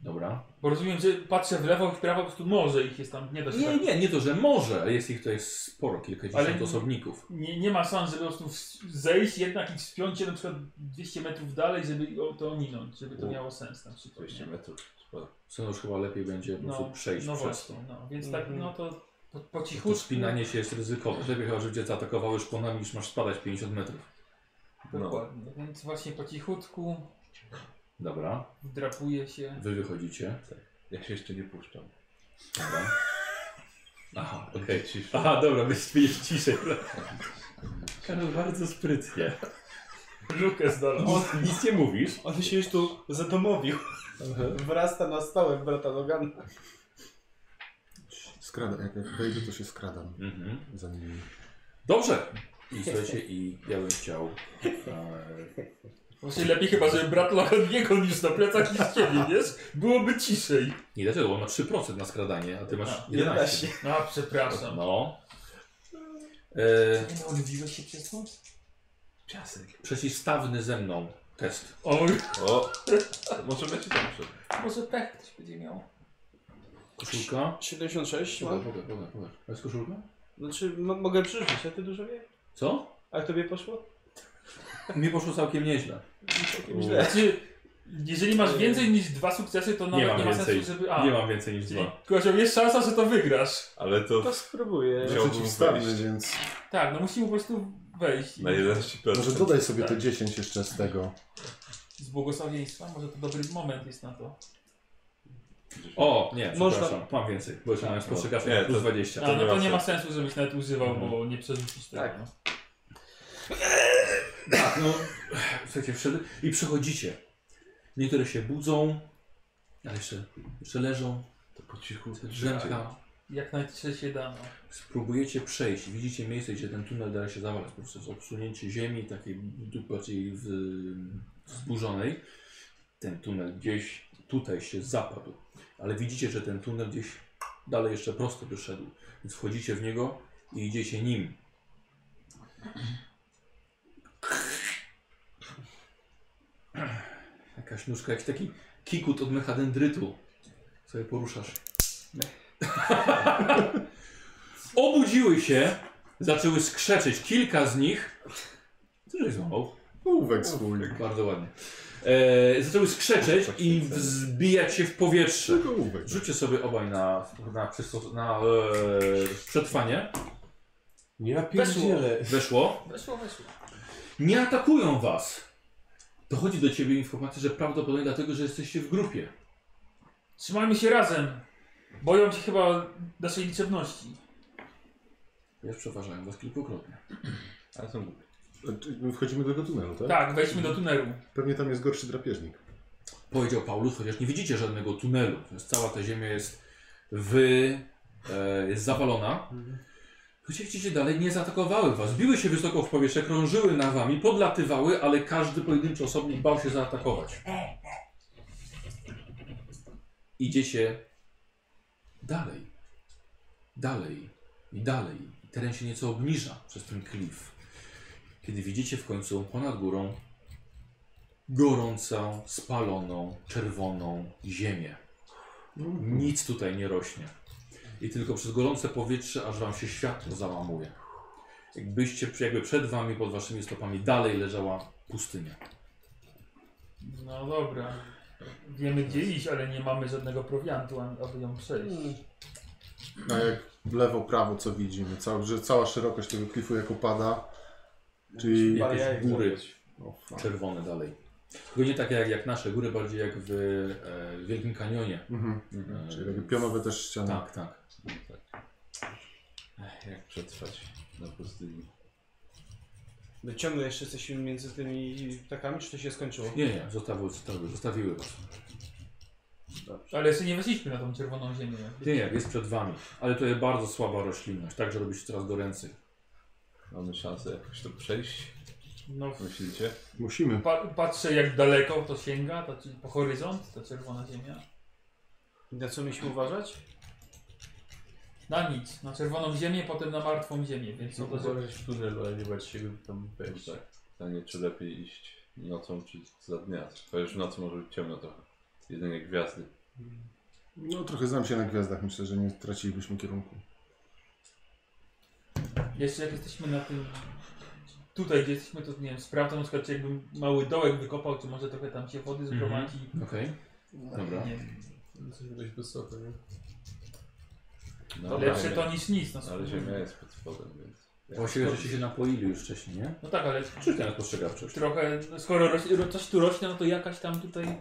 S1: Dobra.
S4: Bo rozumiem, że patrzę w lewo i w prawo, po prostu może ich jest tam, nie da się
S1: Nie,
S4: tak...
S1: nie, nie to, że może, ale jest ich tutaj sporo, kilkadziesiąt
S4: Ale-
S1: osobników.
S4: Nie, nie ma szans, żeby po prostu ws- zejść jednak i wspiąć się na przykład 200 metrów dalej, żeby o- to ominąć, żeby to
S11: U.
S4: miało sens na przykład.
S11: 200
S4: nie?
S11: metrów. Sporo.
S1: Co już chyba lepiej będzie po prostu
S4: No,
S1: przejść
S4: no
S1: przez
S4: właśnie,
S1: to.
S4: no, więc tak, no to po, po cichu
S1: To spinanie się jest ryzykowne. Lepiej chyba, żeby cię zaatakowały szponami, niż masz spadać 50 metrów.
S11: No.
S4: Dokładnie, więc właśnie po cichutku
S1: Dobra,
S4: wdrapuje się.
S1: wy wychodzicie.
S11: Ja się jeszcze nie puszczam.
S1: Dobra. Aha, okej.
S11: Będzie cisza.
S1: Aha, dobra, my śpiewasz ciszej. Karol, bardzo sprytnie.
S4: Lukę znalazł.
S1: Nic, nic nie mówisz.
S12: On się już tu zadomowił. Wrasta na stołek brata Logana.
S3: Skrada, jak, jak wejdę, to się skradam
S1: Mhm.
S3: za nimi.
S1: Dobrze. I słuchajcie, i ja bym chciał e,
S4: Właśnie lepiej chyba, żeby brat Lachoniego niż na plecach niż ciebie, wiesz? Byłoby ciszej.
S1: Nie dlaczego, on ma 3% na skradanie, a ty masz 11.
S12: 11.
S4: A, przepraszam.
S1: No. E,
S4: Nie odbiłeś się przez to?
S1: przeciwstawny ze mną test.
S4: O,
S11: O! Może będzie dobrze.
S4: może pech ktoś będzie miał.
S1: Koszulka.
S12: 76
S1: Pokaż,
S12: mam?
S1: pokaż, pokaż, pokaż. A jest koszulka?
S12: no? Znaczy, mo- mogę przeżyć, a ty dużo wie?
S1: Co?
S12: A tobie poszło?
S1: Mi poszło całkiem nieźle.
S12: Całkiem źle.
S4: Znaczy, jeżeli masz więcej niż dwa sukcesy, to nawet nie,
S1: mam
S4: ma
S1: więcej.
S4: sensu, żeby... A,
S1: Nie mam więcej niż
S4: czyli,
S1: dwa.
S4: Kozioł, jest szansa, że to wygrasz.
S11: Ale to
S12: To spróbuję.
S11: Wziąłbym
S3: Przeciwstawny,
S11: wejść.
S3: Znaczy, więc
S4: Tak, no musimy po prostu wejść. i-
S11: na 11%.
S3: może dodaj sobie te 10 jeszcze z tego.
S4: Z błogosławieństwa, może to dobry moment jest na to.
S1: O, nie,
S12: Można-
S1: przepraszam. Mam więcej, bo jeszcze mam spostrzegawczy
S11: Nie,
S1: plus
S11: to-
S1: 20.
S4: A, no to
S11: ma
S4: nie ma sensu, żebyś nawet używał, bo nie przerzucisz tego.
S12: Tak.
S4: no.
S1: Tak, no. Słuchajcie, wszedł i przechodzicie. Niektóre się budzą, ale jeszcze, jeszcze leżą.
S11: To po cichu.
S1: Drzemka.
S4: Jak najciszej się da, no.
S1: Spróbujecie przejść. Widzicie miejsce, gdzie ten tunel dalej się zawarł. Po prostu jest obsunięcie ziemi, takiej du- bardziej w, wzburzonej. Ten tunel gdzieś tutaj się zapadł. Ale widzicie, że ten tunel gdzieś dalej jeszcze prosto wyszedł. Więc wchodzicie w niego i idziecie nim. Jakaś nóżka, jakiś taki kikut od mechadendrytu. Sobie poruszasz. Obudziły się, zaczęły skrzeczeć. Kilka z nich. Co żeś złamał?
S3: Półwek swój.
S1: Bardzo ładnie. E, zaczęły skrzeczeć i wzbijać się w powietrze.
S3: Tylko ołówek.
S1: Rzućcie sobie obaj na, na, przystos- na e, przetrwanie.
S5: Ja pierdzielę.
S1: Weszło.
S4: Weszło, weszło.
S1: Nie atakują was. Dochodzi do ciebie informacja, że prawdopodobnie dlatego, że jesteście w grupie.
S4: Trzymajmy się razem. Boją się chyba naszej liczebności.
S1: Ja przeważałem was kilkukrotnie.
S11: Ale są głupie.
S3: My No, Wchodzimy do tego tunelu, tak?
S4: Tak, wejdźmy do tunelu.
S3: Pewnie tam jest gorszy drapieżnik.
S1: Powiedział Paulus, chociaż nie widzicie żadnego tunelu. To jest, cała ta ziemia jest wy, e, jest zapalona. Chociaż widzicie, dalej nie zaatakowały was. Biły się wysoko w powietrze, krążyły na wami, podlatywały, ale każdy pojedynczy osobnik bał się zaatakować. Idziecie dalej, dalej i dalej. Teren się nieco obniża przez ten klif. Kiedy widzicie w końcu ponad górą gorącą, spaloną, czerwoną ziemię. Nic tutaj nie rośnie. I tylko przez gorące powietrze, aż wam się światło załamuje. Jakbyście, jakby przed wami, pod waszymi stopami dalej leżała pustynia.
S4: No dobra. Wiemy gdzie iść, ale nie mamy żadnego prowiantu, ani- aby ją przejść.
S11: Hmm.
S3: A jak w lewo, prawo co widzimy? Cała, że cała szerokość tego klifu jak opada. Czyli...
S12: Parę
S1: Jakieś
S12: jajek
S1: góry
S3: O, fuck.
S1: czerwone dalej. Tylko nie takie jak, jak nasze góry, bardziej jak w e, Wielkim Kanionie.
S3: Mhm.
S1: E,
S3: Czyli no. takie pionowe też ściany.
S1: Tak, tak.
S11: Jak przetrwać na pustyni?
S12: No ciągle jeszcze jesteśmy między tymi ptakami, czy to się skończyło?
S1: Nie, nie, zostawiły, zostawiły, zostawiły was.
S4: Ale jeszcze nie weszliśmy na tą czerwoną ziemię.
S1: Nie, nie, jest przed wami. Ale to jest bardzo słaba roślinność, także robi się coraz goręcej.
S11: Mamy szansę jakoś to przejść?
S4: No,
S11: Myślicie?
S3: Musimy.
S4: pa patrzę jak daleko to sięga, to, czy- po horyzont, ta czerwona ziemia.
S12: Na co mieliśmy uważać?
S4: Na nic, na czerwoną ziemię, potem na martwą ziemię, więc
S5: Co
S4: no
S5: to
S4: to że...
S5: za w tunelu, ale nie bać się go tam wejść.
S11: No tak. Pytanie, czy lepiej iść nocą, czy za dnia? Bo już w nocy może być ciemno trochę. Jedynie gwiazdy.
S3: No trochę znam się na gwiazdach, myślę, że nie tracilibyśmy kierunku.
S4: Jeszcze jak jesteśmy na tym... Tutaj gdzie jesteśmy, to nie wiem, sprawdzam na przykład, czy jakbym mały dołek wykopał, czy może trochę tam się wody
S11: Mhm.
S4: zgromadzi.
S1: Okej? Dobra.
S4: Nie wiem.
S5: Jesteśmy dość wysoko, nie?
S11: No,
S4: To
S11: ale-
S4: Lepsze to niż nic, no
S11: Ale
S4: spokojnie.
S11: ziemia jest pod spodem, więc...
S1: Właściwie żeście się napoili już wcześniej, nie?
S4: No tak, ale
S1: Czy teraz postrzegawczość?
S4: trochę, no skoro roś, ro- coś tu rośnie, no to jakaś tam tutaj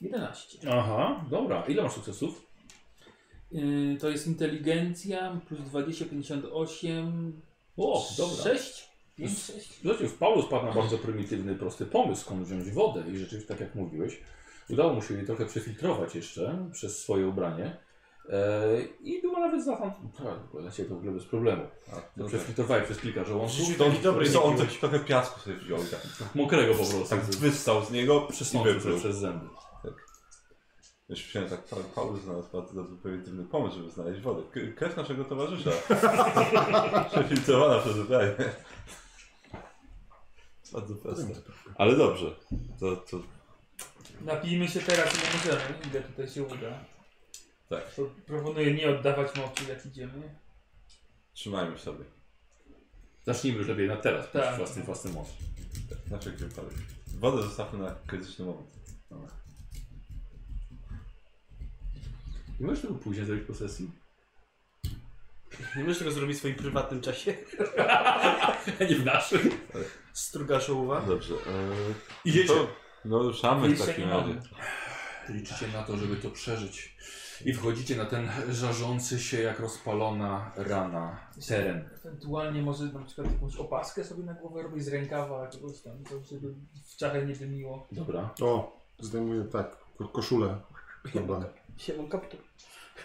S4: 11.
S1: Aha, dobra. Ile masz sukcesów?
S4: Yy, to jest inteligencja plus 20, 58,
S1: O, dobra.
S4: 6? 5, 6?
S1: Przecież Paulus padł na bardzo prymitywny, prosty pomysł, skąd wziąć wodę i rzeczywiście, tak jak mówiłeś, udało mu się jej trochę przefiltrować jeszcze przez swoje ubranie. E, I Duma nawet zna tam, dla ciebie to w ogóle bez problemu.
S2: no
S11: tak.
S1: Przefiltrowałem przez kilka żołądków,
S12: Rzeczywiście
S2: To,
S12: taki dobry
S2: to on
S12: nikił.
S2: taki trochę piasku sobie wziął i tak,
S1: mokrego po prostu,
S2: tak wystał z niego i
S1: przesączył sobie
S2: wypluł.
S1: przez zęby.
S2: Już myślałem, tak Paul- Paul znalazł bardzo, bardzo prymitywny pomysł, żeby znaleźć wodę. K- krew naszego towarzysza. Przefiltrowana przez ubranie. Bardzo proste. Ale dobrze. To, to
S4: Napijmy się teraz, ile możemy, ile no tutaj się uda.
S2: Tak.
S4: Pro- Proponuję nie oddawać mocy, jak idziemy.
S2: trzymajmy sobie.
S1: Zacznijmy już lepiej na teraz,
S4: Tak.
S1: tak. własny, własny mąż.
S2: Na wszelki wypadek. Znaczy, Wodę zostawmy na krytyczny moment. Dobra.
S1: Nie możesz tego później zrobić po sesji?
S12: Nie możesz tego zrobić w swoim prywatnym czasie.
S1: nie w naszym.
S12: Strugasz ołówka.
S2: Dobrze. Eee,
S1: Idziecie.
S2: to- no ruszamy w
S4: Wyjścia
S2: takim
S4: nie mamy.
S2: razie.
S1: Liczycie na to, żeby to przeżyć. I wchodzicie na ten żarzący się jak rozpalona rana teren.
S4: Ewentualnie może na przykład jakąś opaskę sobie na głowę robić z rękawa, czegoś tam, to żeby w czachę nie dymiło.
S1: Dobra,
S3: O, zdejmuję tak, ko- koszulę. Dobra.
S12: Siemą kaptur.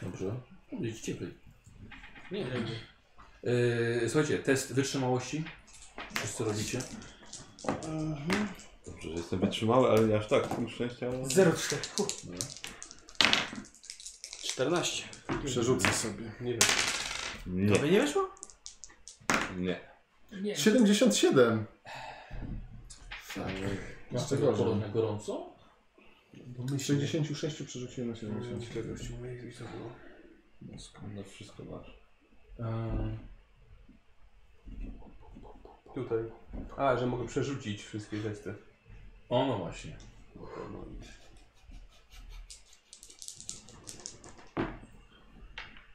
S1: dobrze. Będzie ci cieplej.
S12: Nie wiem.
S1: Yy, słuchajcie, test wytrzymałości. Wszyscy robicie.
S2: Dobrze, że jestem wytrzymały, ale nie aż tak. Punkt szczęścia. ale-
S4: 0,4.
S12: 14.
S3: Przerzucę sobie.
S5: Nie wiem.
S2: Nie.
S12: Tobie nie wyszło?
S2: Nie.
S4: Nie.
S3: 77. Jeszcze
S1: tego
S3: gorzej.
S1: porą na gorąco?
S3: Z 66 przerzuciłem na 77.
S2: No wszystko masz.
S1: Yy,
S5: Tutaj. A, że mogę przerzucić wszystkie testy.
S1: o, no właśnie.
S12: no,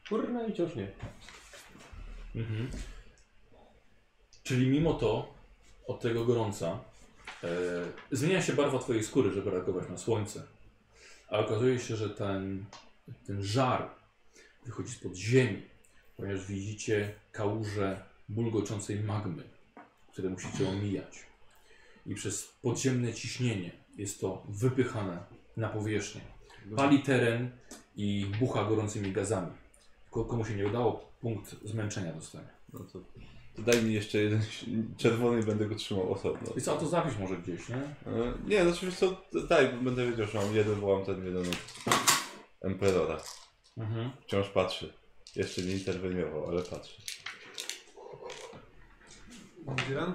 S5: Kurna i wciąż nie.
S1: Mhm. Czyli mimo to od tego gorąca e, zmienia się barwa twojej skóry, żeby reagować na słońce. A okazuje się, że ten, ten żar wychodzi spod ziemi, ponieważ widzicie kałuże bulgoczącej magmy, które musicie omijać. I przez podziemne ciśnienie jest to wypychane na powierzchnię. Pali teren i bucha gorącymi gazami. Ko- Komu się nie udało, punkt zmęczenia dostanie.
S2: No to, to daj mi jeszcze jeden ś- czerwony i będę go trzymał osobno.
S1: I co, to zapisz może gdzieś, nie?
S2: E, Nie, znaczy wiesz co, daj, bo będę wiedział, że mam jeden wołam ten jeden od emperora.
S1: Mhm.
S2: Wciąż patrzy. Jeszcze nie interweniował, ale patrzy.
S5: Dzielan?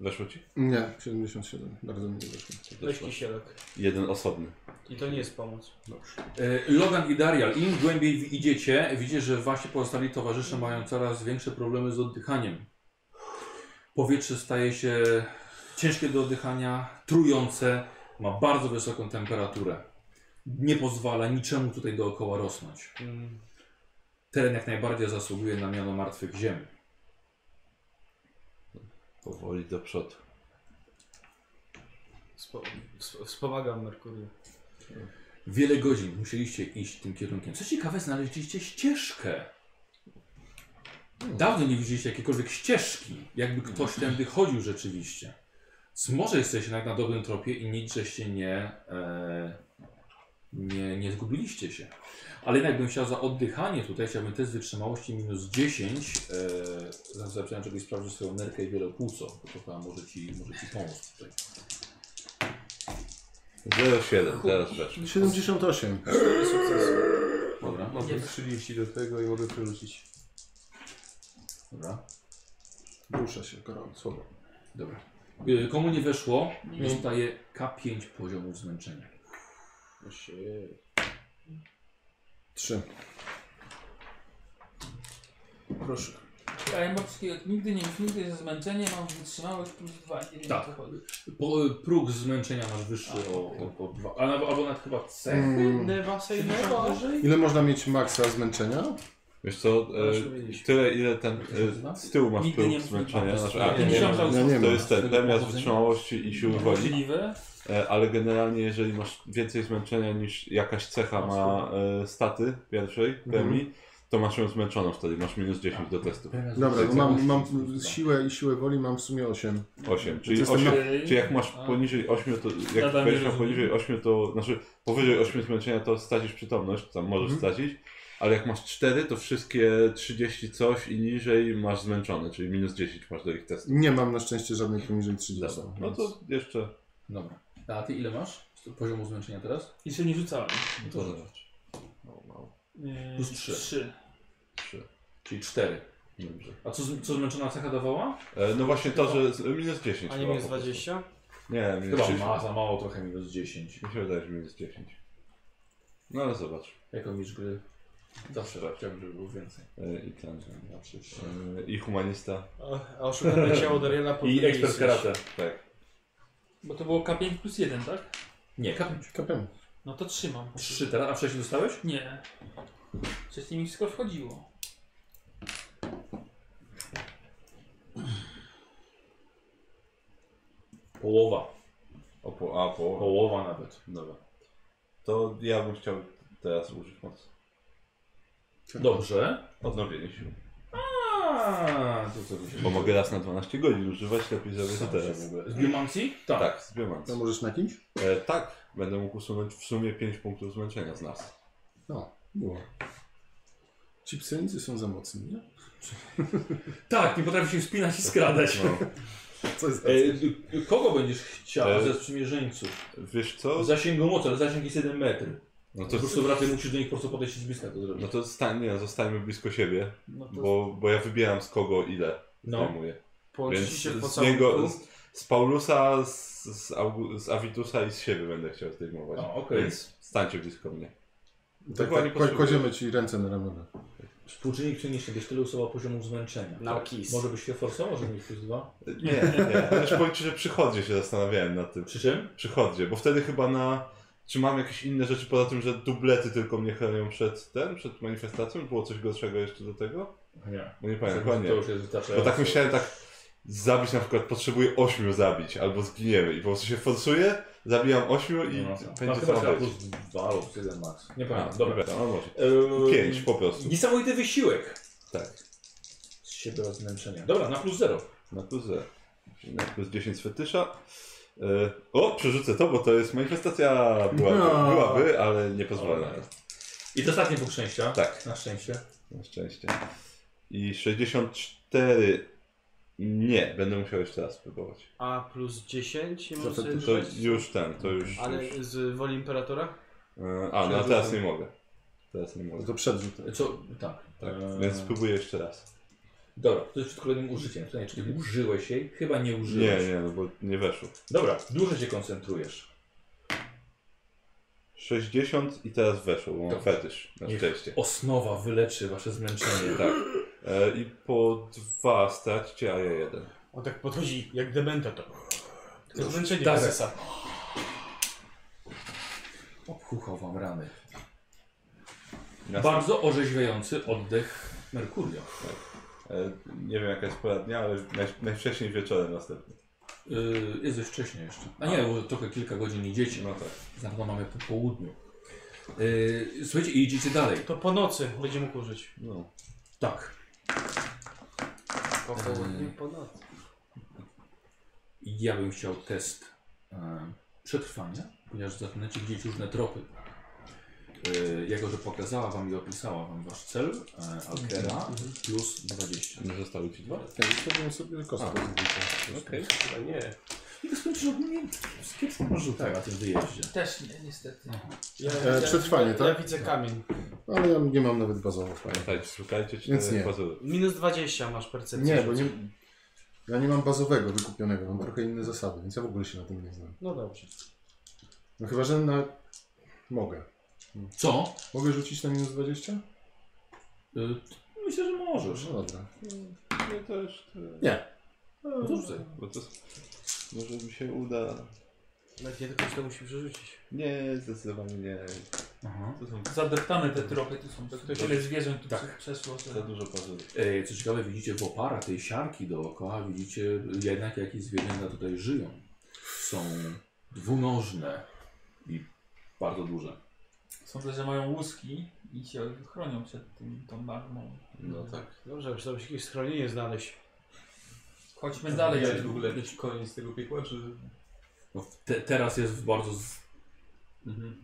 S2: Weszło ci?
S3: Nie, 77. Bardzo mi nie wyszło.
S12: Weź kisielek.
S2: Jeden osobny.
S12: I to nie jest pomoc.
S1: E, Logan i Darial, im głębiej w- idziecie, widzicie, że wasi pozostali towarzysze mają coraz większe problemy z oddychaniem. Powietrze staje się ciężkie do oddychania, trujące, ma bardzo wysoką temperaturę. Nie pozwala niczemu tutaj dookoła rosnąć.
S12: Mm.
S1: Teren jak najbardziej zasługuje na miano martwych ziem.
S2: Powoli do przodu.
S12: Spo- ws- wspomagam Merkury.
S1: Wiele godzin musieliście iść tym kierunkiem. Co ciekawe, znaleźliście ścieżkę. Dawno nie widzieliście jakiejkolwiek ścieżki, jakby ktoś tędy chodził rzeczywiście. Więc Może jesteście jednak na dobrym tropie i nic, żeście nie, e, nie, nie zgubiliście się. Ale jednak bym chciał za oddychanie tutaj, chciałbym test wytrzymałości minus 10. E, zaraz zacząłem czegoś sprawdzić swoją nerkę i wielopłuco, bo to chyba może ci, może ci pomóc tutaj.
S2: 07, teraz weszło.
S3: 78.
S1: Dobra,
S5: Mam plus 30 do tego i mogę przerzucić.
S1: dobra.
S3: Ruszę się gorąco.
S1: Dobra. Y, Komu nie weszło, dostaje K5 poziomu zmęczenia.
S3: 3.
S12: Proszę.
S4: A ja mam wszystkie, nigdy nie nigdy ze zmęczenia mam wytrzymałość plus 2, nie wiem
S1: Tak.
S4: o co chodzi.
S1: Po, próg zmęczenia masz wyższy o, o, o dwa, albo, albo nawet chyba C.
S3: Mm.
S12: Never say never.
S3: Ile można mieć maksa zmęczenia?
S2: Wiesz co, e, tyle ile ten e, z tyłu masz
S4: Nigdy nie
S2: próg
S4: wiem, co to
S2: zmęczenia.
S4: jest.
S2: Znaczy,
S1: A,
S2: a,
S1: nie
S2: nie
S1: wiem.
S2: ma.
S4: Myślałem,
S3: Ja
S4: że
S3: nie
S2: To
S3: mam.
S2: jest ten premia z wytrzymałości i siły woli.
S4: możliwe.
S2: E, ale generalnie jeżeli
S4: Mhm.
S2: masz więcej zmęczenia niż jakaś cecha ma e, staty pierwszej premii, To masz ją zmęczoną wtedy, masz minus 10 do testu.
S3: Dobra, bo mam, mam siłę i siłę woli mam w sumie 8.
S2: 8, czyli
S3: Jestem
S2: 8,
S3: na-
S2: Czy jak masz
S4: A.
S2: poniżej 8, to
S4: Ja
S2: jak
S4: tam nie
S2: będziesz miał
S4: rozumiem.
S2: poniżej 8, to znaczy powyżej 8 zmęczenia to stracisz przytomność, tam możesz stracić, ale jak masz 4, to wszystkie 30 coś i niżej masz zmęczone, czyli minus 10 masz do ich testu.
S3: Nie mam na szczęście żadnej poniżej 30.
S2: No
S3: więc-
S2: to jeszcze
S1: Dobra. A ty ile masz poziomu zmęczenia teraz?
S4: Jeszcze nie rzucałem.
S2: no to zobacz. No,
S4: Yy,
S1: Plus trzy.
S4: trzy.
S1: Czyli 4.
S2: Dobrze.
S1: A co, z- co zmęczona cecha dawała?
S2: E, No właśnie to, że z- minus 10.
S12: A nie
S2: chyba
S12: minus
S2: po prostu.
S12: 20?
S2: Nie, minus
S1: Chyba
S2: 10.
S1: ma za mało, trochę minus 10.
S2: Mi się wydaje, że minus 10. No ale zobacz.
S1: Jako mistrz gry zawsze chciałbym, żeby było więcej. No,
S2: E, I ten.
S1: Zawsze trzy.
S2: E, I humanista.
S12: A- A oszukane ciało Dariela
S1: I
S12: powinno
S1: ekspert
S12: istnieć.
S1: karate.
S2: Tak.
S4: Bo to było K5 plus 1, tak?
S1: Nie, K5.
S3: Kapiam.
S4: No to trzymam.
S1: 3 teraz, a wcześniej dostałeś?
S4: Nie. Wcześniej mi wszystko wchodziło.
S1: Połowa.
S2: O, po, a, po.
S1: Połowa nawet.
S2: Dobra. To ja bym chciał teraz użyć mocy. Tak.
S1: Dobrze.
S2: Odnowienie sił.
S1: A, to co by się
S2: Bo mogę raz na 12 godzin używać, lepiej zrobię to
S1: Sam się
S2: teraz.
S1: w ogóle- Z Biomancji? Tak.
S2: Tak, z biomans.
S3: To możesz na kimś?
S2: E, tak, będę mógł usunąć w sumie 5 punktów zmęczenia z nas.
S3: No, było. Ci psionicy są za mocni, nie?
S1: Tak, nie potrafi się wspinać i skradać.
S2: No,
S3: Co jest za
S1: E, y, y, kogo będziesz chciała
S2: E,
S1: ze sprzymierzeńców?
S2: wiesz co?
S1: Zasięgu mocy, ale zasięg jest 1 metr.
S2: No
S1: To
S2: to,
S1: po prostu raczej musisz do nich po prostu podejść i z bliska to
S2: no
S1: zrobić.
S2: to stań, nie, zostańmy blisko siebie,
S4: No to
S2: bo, bo ja wybieram z kogo ile
S1: No.
S2: zajmuję.
S12: Połączyli się w
S2: Więc z
S12: pocałunku.
S2: niego, z, z Paulusa, z, z, Augu- z Avitusa i z siebie będę chciał zdejmować.
S1: A, okej.
S2: Tak. Więc stańcie blisko mnie.
S3: tak,
S2: dokładnie
S3: tak, ko-
S2: potrzebuję.
S3: kładziemy ci ręce na ramiona.
S1: Współczynnik przyniesie, byś tyle usuwał poziomu zmęczenia.
S12: Na kiss.
S1: Może byś się forsował, żeby mieć plus 2?
S2: Nie, nie. Chociaż powiem ci, że przychodzie się zastanawiałem nad tym.
S1: Przy czym?
S2: przychodzie, bo wtedy chyba na. Czy mam jakieś inne rzeczy poza tym, że dublety tylko mnie chronią przed ten, przed manifestacją? Było coś gorszego jeszcze do tego?
S1: Nie.
S2: Bo nie pamiętam, chyba
S1: To
S2: nie.
S1: już jest wystarczające.
S2: Bo tak myślałem tak, zabić na przykład, potrzebuję ośmiu zabić, albo zginiemy i po prostu się forsuję, zabijam ośmiu i
S1: No, no,
S2: będzie
S1: chyba
S2: co ma
S1: trzeba
S2: być.
S1: plus 2 lub 1 max. Nie
S2: A,
S1: pamiętam,
S2: dobra,
S1: dobra.
S2: no może.
S1: Eee,
S2: Pięć po prostu.
S1: Niesamowity wysiłek
S2: Tak,
S1: z siebie oraz zmęczenia. Dobra, na plus 0.
S2: na plus zero. Na plus 10 z fetysza. E, O, przerzucę to, bo to jest manifestacja. Byłaby,
S3: No.
S2: byłaby ale nie pozwolę.
S1: I to ostatni punkt szczęścia.
S2: Tak.
S1: Na szczęście.
S2: Na szczęście. I 64. Nie, będę musiał jeszcze raz spróbować.
S12: A plus 10 nie
S3: Za
S12: mogę sobie
S3: fetysz.
S2: To
S12: wyrzucać?
S2: już ten, to już. już.
S12: Ale z woli imperatora?
S2: E, A, no a teraz nie mogę. Teraz nie
S3: No
S2: mogę.
S3: to przedrzut.
S1: Co? Tak.
S2: Tak,
S1: Eee,
S2: więc spróbuję jeszcze raz.
S1: Dobra, to jest przed kolejnym użyciem. Pytanie, czy kiedy użyłeś jej? Chyba nie
S2: Mhm. Nie,
S1: użyłeś.
S2: nie, no bo nie weszło.
S1: Dobra, dłużej się koncentrujesz.
S2: 60 i teraz weszło, bo mam
S1: Dobrze.
S2: fetysz. Na
S1: Niech
S2: szczęście.
S1: Osnowa wyleczy wasze zmęczenie.
S2: Tak. E, I po dwa straćcie, a ja jeden.
S12: On tak podchodzi jak dementa to. Tylko zmęczenie
S1: tak.
S12: prezesa.
S1: Obchuchał wam rany.
S2: Jasne.
S1: Bardzo orzeźwiający oddech Merkurio.
S2: E, nie wiem jaka jest pora dnia, ale naj, najwcześniej wieczorem następny.
S1: Yy, jest dość wcześnie jeszcze. A nie, bo tylko kilka godzin idziecie.
S2: No tak.
S1: Na pewno mamy po południu. Yy, słuchajcie, i idziecie dalej.
S12: To po nocy będzie mógł użyć.
S2: No.
S1: Tak. E,
S12: Po południu, po nocy.
S1: Ja bym chciał test e, przetrwania, ponieważ zaczynacie widzieć różne tropy. E, jako, że pokazała wam i opisała wam wasz cel, e, Alkera, plus 20.
S2: Nie zostały ci dwa?
S3: Ja zostawiam sobie kostkę.
S2: Okej.
S5: Chyba nie.
S1: I to skończysz ogólnie z kiepskim rzutem na tym wyjeździe.
S4: też nie, niestety.
S12: Ja,
S3: E, przetrwanie,
S12: ja,
S3: tak?
S12: Ja widzę kamień.
S3: Ale ja nie mam nawet bazowo.
S2: Pamiętajcie, szukajcie
S3: Więc
S2: czterech
S3: nie.
S2: pazurów.
S12: Minus 20 masz percepcję.
S3: Nie, bo nie... Ja nie mam bazowego wykupionego, mam trochę inne zasady, więc ja w ogóle się na tym nie znam.
S12: No dobrze.
S3: No chyba, że na... Mogę.
S1: Co?
S3: Mogę rzucić na minus 20?
S1: Y, myślę, że możesz.
S3: No dobra.
S2: Nie, to już...
S1: No to rzucaj.
S2: Bo to... Może mi się uda...
S12: Nawet nie tylko to musi przerzucić.
S2: Nie, zdecydowanie nie.
S1: Aha.
S2: To są
S4: Zadeptane te tropy tu są. Tak, tyle zwierząt tu
S1: Tak.
S4: przeszło,
S2: za
S4: że...
S2: dużo pazurów.
S1: E, co ciekawe, widzicie w opara tej siarki dookoła, widzicie jednak jakie zwierzęta tutaj żyją. Są dwunożne i bardzo duże.
S4: Sądzę, że mają łuski i się chronią przed tym, tą magmą.
S11: No tak.
S12: Dobrze, trzeba się jakieś schronienie znaleźć.
S4: Chodźmy dalej.
S5: Jest w ogóle jakiś koniec tego piekła, czy...
S1: No, te, teraz jest w bardzo z... mhm,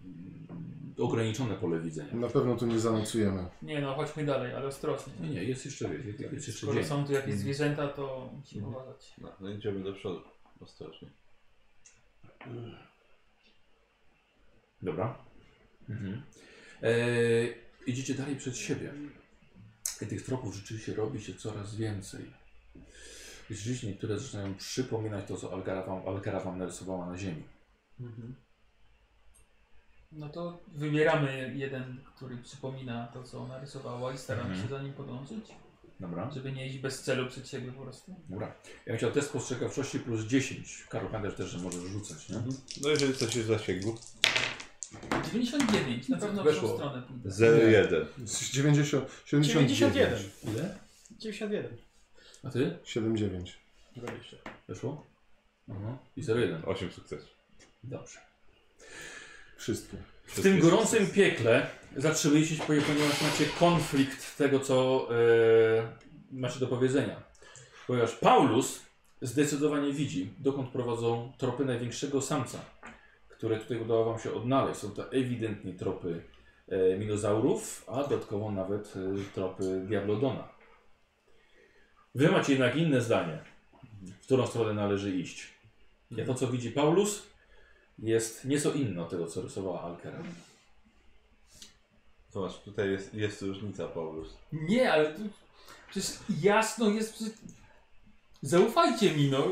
S1: ograniczone pole widzenia.
S3: Na pewno tu nie zanocujemy.
S4: Nie no, chodźmy dalej, ale ostrożnie.
S1: Nie, nie, jest jeszcze, jest, jest jeszcze
S4: Tak, Skoro
S1: dzień.
S4: są tu jakieś zwierzęta, to musimy uważać.
S11: No, no idziemy do przodu. Ostrożnie.
S1: Dobra. Mhm. Eee, idziecie dalej przed siebie. I tych tropów rzeczywiście robi się coraz więcej. I Rzeczywiście niektóre zaczynają przypominać to, co Alkara wam, Alkara wam narysowała na ziemi.
S4: No to wybieramy jeden, który przypomina to, co ona rysowała i staramy
S1: Mhm.
S4: się za nim podążyć,
S1: Dobra.
S4: żeby nie iść bez celu przed siebie po prostu.
S1: Dobra. Ja bym chciał test spostrzegawczości plus 10. Karol, pamiętasz też, że możesz rzucać, nie?
S2: No jeżeli coś jest w zasięgu.
S4: 99, na pewno w
S5: Weszło.
S4: tą stronę pójdę.
S2: 0,1.
S3: 90,
S12: 91.
S3: 79.
S1: Ile?
S12: 91.
S1: A ty?
S3: 79.
S1: Weszło? Aha. I 01.
S2: 8 sukcesów.
S1: Dobrze.
S3: Wszystkie.
S1: W tym gorącym piekle zatrzymujecie się, ponieważ macie konflikt tego, co e, macie do powiedzenia. Ponieważ Paulus zdecydowanie widzi, dokąd prowadzą tropy największego samca, które tutaj udało wam się odnaleźć. Są to ewidentnie tropy e, minozaurów, a dodatkowo nawet e, tropy diablodona. Wy macie jednak inne zdanie, w którą stronę należy iść. Ja to, co widzi Paulus, jest nieco inne od tego, co rysowała Alkera.
S11: Zobacz, tutaj jest, jest różnica, Paulus.
S4: Nie, ale tu przecież jasno jest. Przecież... Zaufajcie mi, no.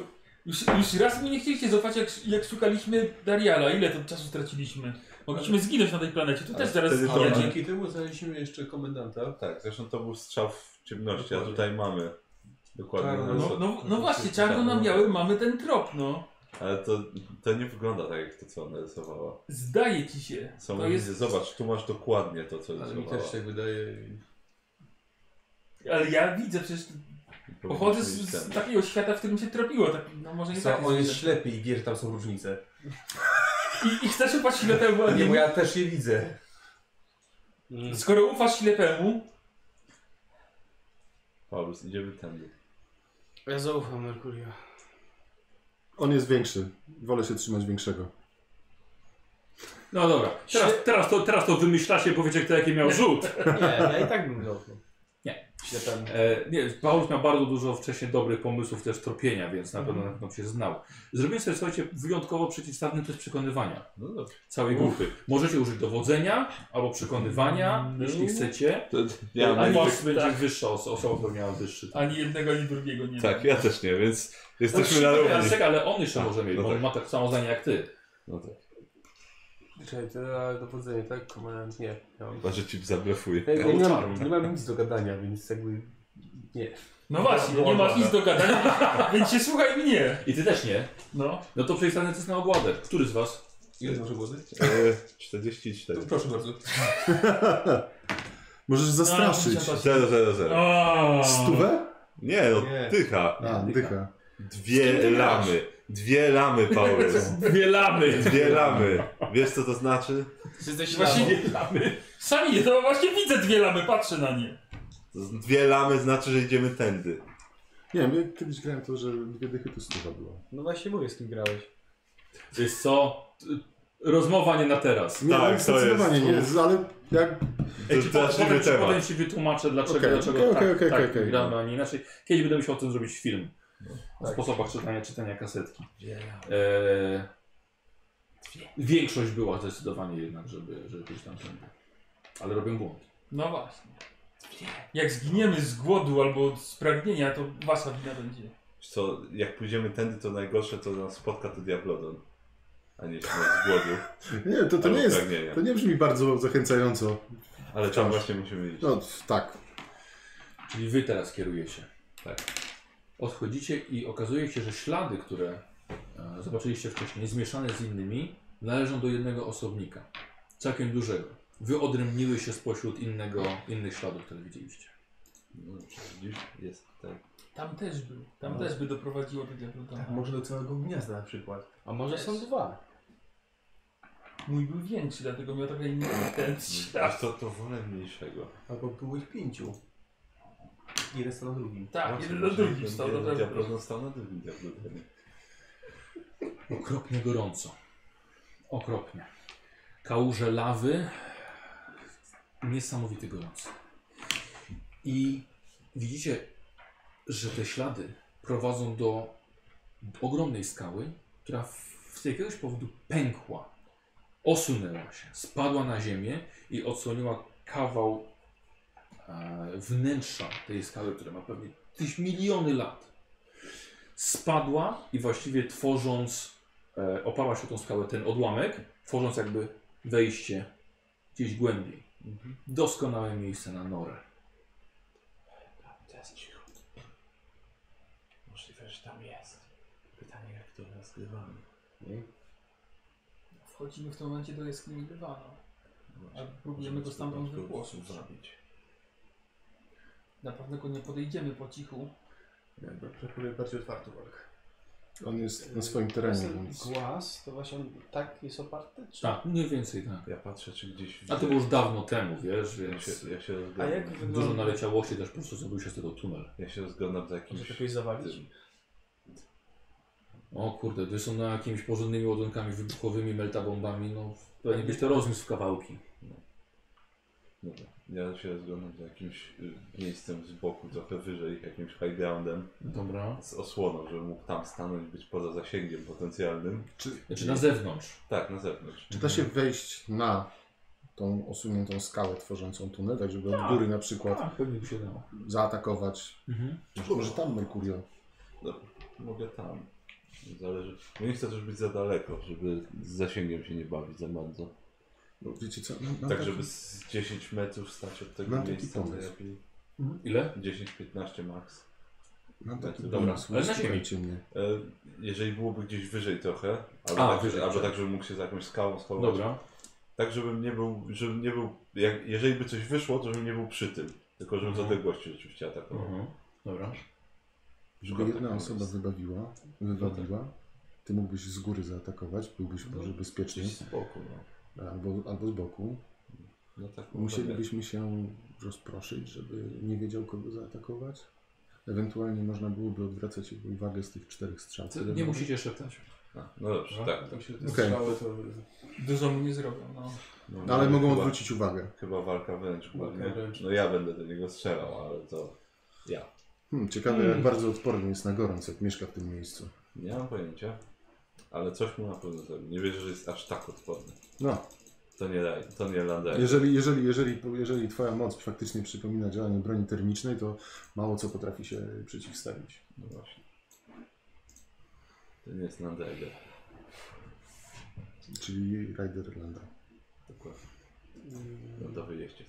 S4: Już, już raz mi nie chcieliście zaufać, jak, jak szukaliśmy Dariala. Ile to czasu straciliśmy? Mogliśmy zginąć na tej planecie. Tu
S2: Ale
S4: też zaraz
S2: wtedy to
S5: Ale
S2: Dobra.
S4: zginiemy.
S5: dzięki temu znaleźliśmy jeszcze komendanta.
S11: Tak, zresztą to był strzał w ciemności, a
S5: Dokładnie.
S11: tutaj mamy. Dokładnie.
S5: Czarno.
S4: No, no, no właśnie, czarno na białym mamy ten trop, no.
S11: Ale to, to nie wygląda tak jak to, co ona rysowała.
S4: Zdaje ci się.
S11: Są
S4: to
S11: jest...
S4: jest,
S11: Zobacz, tu masz dokładnie to, co
S5: Ale
S11: rysowała.
S5: mi też się tak wydaje.
S4: ale ja widzę, przecież pochodzę z, tak- z takiego świata, w którym się tropiło. Tak, no może nie tak
S5: Co, on jest
S4: źle.
S5: ślepy i wie, że tam są różnice.
S4: I, I chcesz ufać ślepemu, a
S5: Nie, bo
S4: nie...
S5: ja też je widzę.
S4: Skoro ufasz ślepemu,
S11: Paulus, idziemy tędy.
S12: Ja zaufam Merkurio.
S3: On jest większy. Wolę się trzymać większego.
S1: No dobra, teraz, teraz, to, teraz to wymyślacie, powiecie kto jaki miał rzut.
S12: Nie, ja i tak bym zaufał.
S1: Nie.
S12: Ślepemu.
S1: E, nie, Paulus miał bardzo dużo wcześniej dobrych pomysłów też tropienia, więc na
S2: Mhm.
S1: pewno na pewno się znał. Zrobiłem sobie, słuchajcie, wyjątkowo przeciwstawny test przekonywania
S11: No dobrze.
S1: całej grupy. Możecie użyć dowodzenia albo przekonywania,
S4: No.
S1: jeśli chcecie.
S2: To,
S1: Ja,
S2: ja
S1: A
S2: mam tak.
S1: moc będzie wyższa oso- osoba, która miała wyższy.
S4: ani jednego, ani drugiego nie
S2: Tak,
S4: ma.
S2: ja też nie, więc jesteśmy
S4: No
S2: na
S1: Czekaj,
S2: równi.
S1: czekaj, ale on jeszcze może mieć,
S2: no
S1: bo on
S2: tak.
S1: ma tak samo zdanie jak ty.
S2: No tak.
S5: Czekaj, to dowodzenie, tak? Komendant nie. Ja mam-
S2: Chyba, że ci zablefuje.
S5: Ja, ja nie, mam, nie mam nic do gadania, więc jakby nie.
S4: No właśnie, nie masz nic do gadania, więc się słuchaj mnie.
S1: I ty też nie.
S4: No.
S1: No to przeciwstawny test na ogładę. Który z was?
S5: Ile masz głosy?
S2: E, 44.
S5: Proszę bardzo.
S3: Możesz
S2: No,
S3: zastraszyć.
S4: A,
S2: 0, 0,
S4: No.
S2: 0.
S4: A.
S3: Stówę?
S2: Nie, no
S5: Nie.
S2: dycha.
S3: A, dycha.
S4: Z kim
S2: Dwie
S4: ty grasz?
S2: lamy. Dwie lamy, Paulus.
S1: Wielamy!
S2: Dwie lamy. Wiesz co to znaczy?
S12: Jesteś
S4: Właśnie
S12: Właśnie...
S4: dwie lamy. Sami nie, to właśnie widzę dwie lamy, patrzę na nie.
S2: To z- Dwie lamy znaczy, że idziemy tędy.
S3: Nie wiem, ja kiedyś grałem to, że dwie dychy to stuwa było.
S12: No właśnie mówię, z kim grałeś.
S1: Wiesz co? T- Rozmowa nie na teraz.
S3: Nie,
S2: Tak,
S3: ale
S2: to
S3: zdecydowanie
S2: jest.
S3: nie jest, ale jak...
S2: To jest straszliwy
S1: potem, ci- potem
S2: temat.
S1: ci wytłumaczę dlaczego,
S3: Okej,
S1: dlaczego
S3: okej,
S1: tak,
S3: okej, okej,
S1: tak
S3: okej. No,
S1: gramy, a nie inaczej. Kiedyś będę musiał o tym zrobić film. O
S5: Tak.
S1: sposobach czytania, czytania kasetki. Eee, większość była zdecydowanie jednak, żeby, żeby pójść tam tędy. Ale robią błąd.
S4: No właśnie. Jak zginiemy z głodu albo z pragnienia, to wasza wina będzie.
S11: Wiesz Co, jak pójdziemy tędy, to najgorsze, co nas spotka, to Diablodon. A nie śmierć z głodu.
S3: Nie, to, to
S11: albo
S3: nie jest...
S2: tak.
S11: pragnienia.
S3: To nie brzmi bardzo zachęcająco.
S11: Ale tam właśnie musimy iść.
S3: No, tak.
S1: Czyli wy teraz kierujecie.
S11: Tak.
S1: Odchodzicie i okazuje się, że ślady, które e, zobaczyliście wcześniej, zmieszane z innymi, należą do jednego osobnika. Całkiem dużego. Wyodrębniły się spośród innego, innych śladów, które widzieliście.
S11: No, widzisz, jest tutaj.
S4: Tam też był. Tam
S5: No.
S4: też by
S5: Tak.
S4: doprowadziło do diabłotona.
S5: Może do całego gniazda na przykład.
S12: A może są dwa.
S4: Mój był większy, dlatego miał trochę inny ten
S2: A
S4: ślad.
S2: to to wolę mniejszego.
S5: Albo było ich pięciu. Jeden stał na drugim.
S2: No,
S4: Tak, jeden na drugim stał, naprawdę.
S2: Diablozna stał na drugim diablozna.
S1: Okropnie gorąco. Okropnie. Kałuże lawy. Niesamowity gorąco. I widzicie, że te ślady prowadzą do ogromnej skały, która w- z jakiegoś powodu pękła. Osunęła się, spadła na ziemię i odsłoniła kawał e, wnętrza tej skały, która ma pewnie tyś miliony lat. Spadła i właściwie tworząc e, oparła się o tą skałę ten odłamek, tworząc jakby wejście gdzieś głębiej. Mhm. Doskonałe miejsce na norę.
S15: Teraz cicho. Możliwe, że tam jest. Pytanie, jak to rozgrywamy.
S4: Wchodzimy w tym momencie do jaskini Lywano. A próbujemy go stamtąd wygłosić.
S15: zrobić.
S4: Na pewno go nie podejdziemy po cichu.
S5: Proponuję bardziej otwartą walkę.
S3: On jest na swoim terenie,
S12: Ten
S3: więc...
S12: głaz, to właśnie on tak jest oparty? Czy...
S1: Tak, mniej więcej tak.
S2: Ja patrzę, czy gdzieś
S1: A to było już dawno temu, wiesz,
S2: Ja
S1: więc
S2: się, ja się
S12: A
S2: rozglądam.
S12: jak
S1: dużo
S12: wygląda?
S1: naleciałości też po prostu zrobił się z tego tunel.
S2: Ja się rozglądam za
S12: Może
S2: jakimś...
S12: jakoś zawalić?
S2: tym.
S1: O kurde, gdy są na jakimiś porządnymi ładunkami wybuchowymi, meltabombami, no pewnie byś to rozniósł w kawałki.
S2: Dobra. Ja się rozglądam za jakimś y, miejscem z boku, trochę wyżej, jakimś high groundem,
S1: Dobra.
S2: z osłoną, żebym mógł tam stanąć, być poza zasięgiem potencjalnym.
S1: Znaczy na zewnątrz.
S2: Tak, na zewnątrz.
S3: Czy da się wejść na tą osuniętą skałę tworzącą tunel, tak żeby od góry na przykład
S1: Tak, pewnie by się dało.
S3: zaatakować?
S1: Mhm.
S3: Może tam Merkurio.
S2: Mogę tam. Zależy. No nie chcę też być za daleko, żeby z zasięgiem się nie bawić za bardzo.
S3: No, Wiecie co? Mam, mam
S2: Tak,
S3: taki-
S2: żeby z 10 metrów stać od tego
S3: Mam taki
S2: miejsca
S3: pomysł.
S2: najlepiej.
S1: Ile?
S2: 10-15 max.
S3: Mam taki
S2: Dobra,
S3: pomysł,
S1: ale na
S3: słuchajcie mnie.
S2: E, Jeżeli byłoby gdzieś wyżej trochę, albo,
S1: A,
S2: tak,
S1: wyżej,
S2: albo
S1: tak.
S2: tak, żebym mógł się za jakąś skałą schować.
S1: Dobra.
S2: Tak, żebym nie był, żebym nie był, jak, jeżeli by coś wyszło, to żebym nie był przy tym. Tylko żebym z
S1: Mhm.
S2: odległości rzeczywiście atakował.
S1: Mhm. Dobra.
S3: Żeby
S2: Szkoda,
S3: jedna
S2: tak
S3: osoba
S2: jest.
S3: wybawiła, wybawiła, ty mógłbyś z góry zaatakować, byłbyś może bezpieczny,
S2: No, Gdzieś z boku, no.
S3: albo, albo z boku.
S2: No tak,
S3: Musielibyśmy się rozproszyć, żeby nie wiedział, kogo zaatakować. Ewentualnie można byłoby odwracać jego uwagę z tych czterech strzał.
S1: Co,
S3: które
S1: nie
S3: mamy.
S1: musicie szeptać.
S2: A, no dobrze, tak.
S5: Tam się te
S3: Okej.
S5: strzały to...
S4: Dużo mu nie zrobią, no.
S2: No,
S3: No, ale mogą
S2: chyba-
S3: odwrócić uwagę.
S2: Chyba walka wręcz głównie.
S5: wręcz.
S2: No ja będę do niego strzelał, ale to ja.
S3: Hmm, ciekawe, jak bardzo odporny jest na gorąc, jak mieszka w tym miejscu.
S2: Nie mam pojęcia, ale coś mu na pewno zrobi. Nie wierzę, że jest aż tak odporny.
S3: No,
S2: To nie, Rai- to nie
S4: Tak.
S2: Landair.
S3: jeżeli, jeżeli, jeżeli, jeżeli twoja moc faktycznie przypomina działanie broni termicznej, to mało co potrafi się przeciwstawić.
S2: No właśnie. To nie jest Landair.
S3: Czyli Rider Landa.
S2: Dokładnie. No to wyjeździec.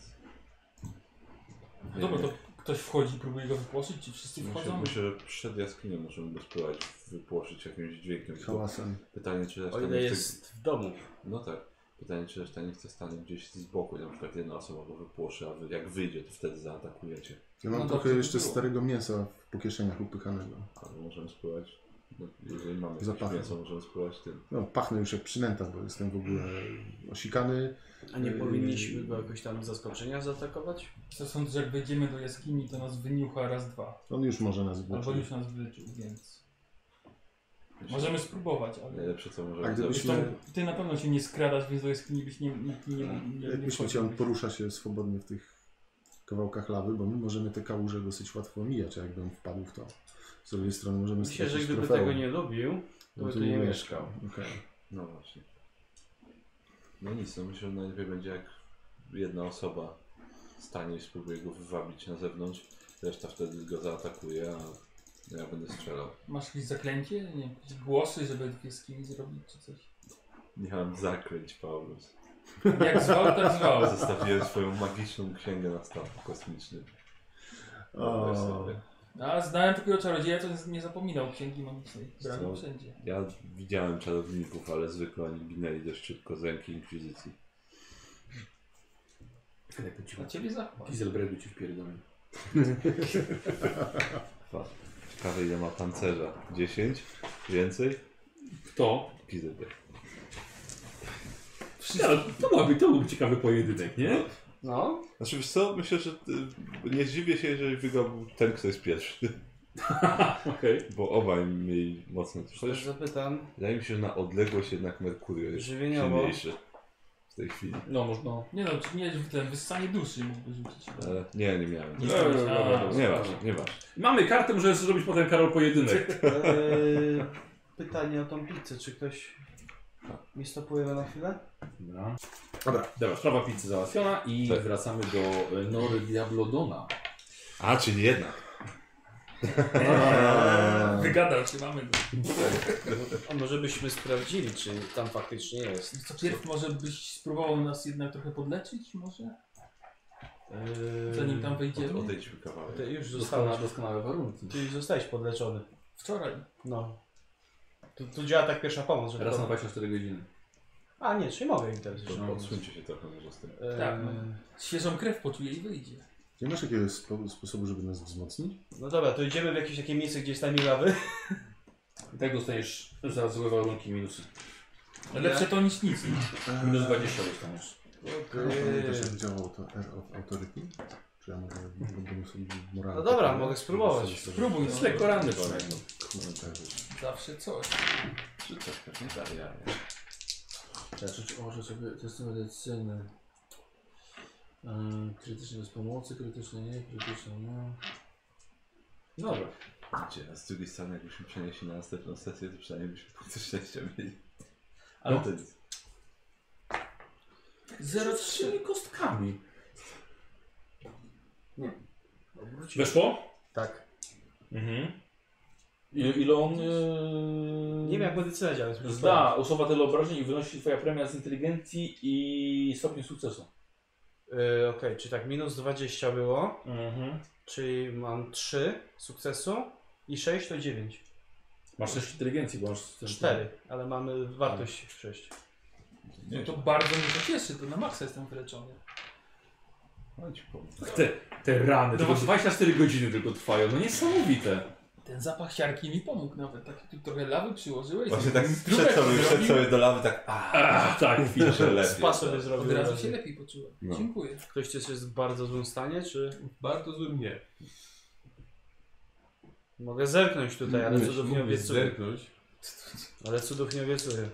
S4: no dobra, to ktoś wchodzi i próbuje go wypłoszyć, czy wszyscy
S2: Myślę,
S4: wchodzą?
S2: myślę, że przed jaskinią możemy go spróbować wypłoszyć jakimś dźwiękiem. tylko
S3: Hałasem.
S2: Pytanie, czy reszta
S12: O
S2: nie
S12: ile
S2: chce...
S12: jest w domu.
S2: No tak. Pytanie, czy reszta nie chce stanie gdzieś z boku. Na przykład jedna osoba go wypłoszy, a wy, jak wyjdzie, to wtedy zaatakujecie.
S3: Ja mam
S4: No
S3: trochę
S4: dobrze by
S3: jeszcze
S4: było.
S3: starego mięsa w- po kieszeniach upychanego.
S2: Albo możemy spływać. No, jeżeli mamy jakieś
S3: Zapachem.
S2: mięso, możemy spływać tym.
S3: No, pachnę już jak przynęta, bo jestem w ogóle osikany.
S12: A nie
S3: Yy.
S12: powinniśmy go jakoś tam z zaskoczenia zaatakować?
S4: Co sądzę, że jak wejdziemy do jaskini, to nas wyniucha raz, dwa.
S3: On już może nas
S4: Albo
S3: włóczyć.
S4: już nas wyczuł, więc... Możemy spróbować, ale...
S2: Najlepsze co możemy
S3: A gdybyś-
S4: Zresztą ty na pewno się nie skradasz, więc do jaskini byś nie... nie, nie, nie, nie
S3: Myślę, że on porusza się swobodnie w tych kawałkach lawy, bo my możemy te kałuże dosyć łatwo mijać, a jakbym wpadł w to. Z drugiej strony możemy
S12: Myślę, że
S3: stracić
S12: gdyby
S3: trofeum.
S12: tego nie lubił, to by
S3: No
S12: tu nie mieszkał.
S3: Okej.
S2: No właśnie. No nic, no myślę, że najlepiej będzie jak jedna osoba stanie i spróbuje go wywabić na zewnątrz, reszta wtedy go zaatakuje, a ja będę strzelał.
S4: Masz jakieś zaklęcie? Nie wiem, jakieś głosy, żeby w jaskini zrobić, czy coś?
S2: Nie mam zakręć, Paulus.
S4: Jak zwał, tak zwał.
S2: Zostawiłem swoją magiczną księgę na statku kosmicznym.
S3: O.
S2: Wyobraź sobie.
S4: A znałem takiego czarodzieja, co nie zapomniał księgi magicznej. Brałem
S2: Co?
S4: wszędzie.
S2: Ja widziałem czarowników, ale zwykle oni ginęli dość szybko z ręki Inkwizycji.
S4: A ciebie zachwał.
S1: Gizelbredu ci wpierdolę.
S2: Fa- Ciekawe ile ma pancerza. 10? Więcej?
S1: Kto?
S2: Pizdy.
S1: No, to byłaby, to byłby ciekawy pojedynek, nie?
S12: No.
S2: Znaczy wiesz co, myślę, że y, nie zdziwię się, jeżeli wygrał ten, kto jest pierwszy,
S1: Okej.
S2: bo obaj mieli mocne tuż.
S12: Też
S2: Chociaż
S12: zapytam.
S2: wydaje mi się, że na odległość jednak Merkurio jest
S12: Żywieniowo.
S2: silniejszy w tej chwili.
S1: No, można.
S4: Nie no, czy nie, ten wyssanie duszy mógłbyś rzucić.
S2: Ale nie, nie miałem.
S4: Nie
S2: Nie,
S4: miałeś, a.
S2: nieważne, nieważne.
S1: Mamy kartę, możemy zrobić potem Karol pojedynek.
S12: Eee, pytanie o tą pizzę. Czy ktoś mi stopuje na chwilę?
S1: Dobra.
S3: Dobra.
S1: Dobra, sprawa pizzy załatwiona i
S2: Tak.
S1: wracamy do e, Nory Diablodona.
S2: A, czyli jednak.
S4: Eee, Wygadał się, mamy go.
S12: A może byśmy sprawdzili, czy tam faktycznie jest.
S4: Wiesz Co pierw może byś spróbował nas jednak trochę podleczyć może?
S12: E,
S4: Zanim tam wejdziemy?
S2: Odejdźmy kawałek.
S12: Ty już
S1: Doskonałe,
S12: zostałeś.
S1: doskonałe warunki.
S12: Ty już zostałeś podleczony.
S4: Wczoraj.
S12: No. Tu, tu działa tak pierwsza pomoc, że
S1: Raz na
S12: to...
S1: 24 godziny.
S12: A nie, czy mogę im teraz jeszcze.
S2: Że Odsuńcie się trochę może z tym.
S12: Eee,
S4: Tak, no. Świeżą krew poczuje i wyjdzie.
S3: Nie masz jakiegoś spo- sposobu, żeby nas wzmocnić?
S12: No dobra, to idziemy w jakieś takie miejsce, gdzie jest najmniej lawy.
S1: I tak dostaniesz za złe warunki minusy.
S4: Lepsze to niż nic.
S1: Minus 20 dostaniesz.
S12: Eee.
S3: Pamiętasz jak działało to R od autoryty? Czy ja mogę mogę sobie moralnie...
S12: No dobra, mogę spróbować.
S3: Sobie- sobie-
S4: Spróbuj,
S1: Jest
S4: no.
S1: lekko ranny kolejny.
S3: Kurde.
S4: Zawsze coś.
S11: Czy coś tak nie daje, ale...
S13: Leczyć może sobie testy medycyny. Yy, krytyczne bez pomocy, krytyczne nie, krytyczne nie.
S1: Dobra.
S2: Gdzie, a z drugiej strony jakbyśmy przenieśli na następną sesję, to przynajmniej byśmy punkty szczęścia mieli.
S1: Ale-
S2: Ale No to jest...
S1: 0,3 kostkami. Weszło?
S12: Tak.
S1: Mhm. Ile, ile on... e,
S12: Nie wiem, jak medycyna działa. więc muszę
S1: Zda osoba tyle obrażeń i wynosi twoja premia z inteligencji i stopień sukcesu.
S12: Yy, Okej, czy tak minus 20 było,
S1: Mhm.
S12: czyli mam 3 sukcesu i 6 to 9.
S1: Masz też inteligencji, bo masz...
S12: 4, ale mamy wartość 6.
S4: No to bardzo mnie to cieszy, to na maksa jestem wyleczony.
S2: Chodź, pomóc.
S1: Te, te rany,
S4: No
S1: tylko
S4: właśnie.
S1: 24 godziny tylko trwają, no niesamowite.
S4: Ten zapach siarki mi pomógł nawet. Tak, tu trochę lawy przyłożyłeś.
S2: Właśnie tak
S4: Trubek
S2: przed sobie,
S4: zrobił.
S2: przed sobie do lawy tak... A,
S1: A, tak, widzę.
S2: że lepiej.
S12: Spa sobie
S4: Od
S12: zrobiłem.
S4: razu się lepiej poczułem.
S2: No.
S4: Dziękuję.
S12: Ktoś też jest w bardzo złym stanie, czy
S5: Bardzo złym nie.
S12: mogę zerknąć tutaj, ale
S5: Mógłbyś-
S12: cudów nie
S5: mógłbyś
S12: obiecuję.
S5: zerknąć.
S12: Ale cudów nie obiecuję.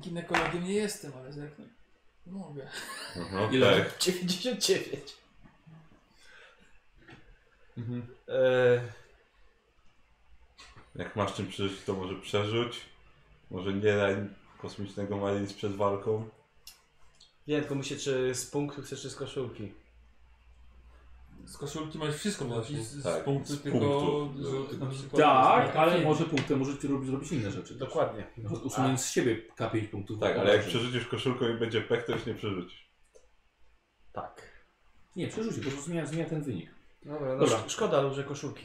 S4: Ginekologiem nie jestem, ale zerknę. Mogę.
S2: Aha,
S1: Ile?
S2: tak.
S12: 99.
S5: Mhm.
S12: Eee,
S2: Jak masz czym przeżyć, to może przerzuć. Może nie rań kosmicznego Marines przed walką.
S12: nie, tylko myślę, czy z punktu chcesz, czy z koszulki.
S4: Z koszulki masz wszystko, bo
S5: Właśnie,
S4: z, z
S2: tak,
S4: punktu
S2: z
S4: tylko
S2: punktu.
S4: rzut na przykład.
S1: Tak, ale
S4: Film.
S1: może punktem możecie robić, zrobić inne rzeczy.
S12: Dokładnie.
S1: Na przykład Usuniejąc z siebie K5 punktów.
S2: Tak, ale jak
S1: obrażeń.
S2: przerzucisz koszulką i będzie pech, to już nie przerzucisz.
S12: Tak.
S1: Nie, przerzucie, po prostu zmienia, zmienia ten wynik.
S12: Dobra, no
S1: Dobra.
S12: sz- szkoda, ale że koszulki.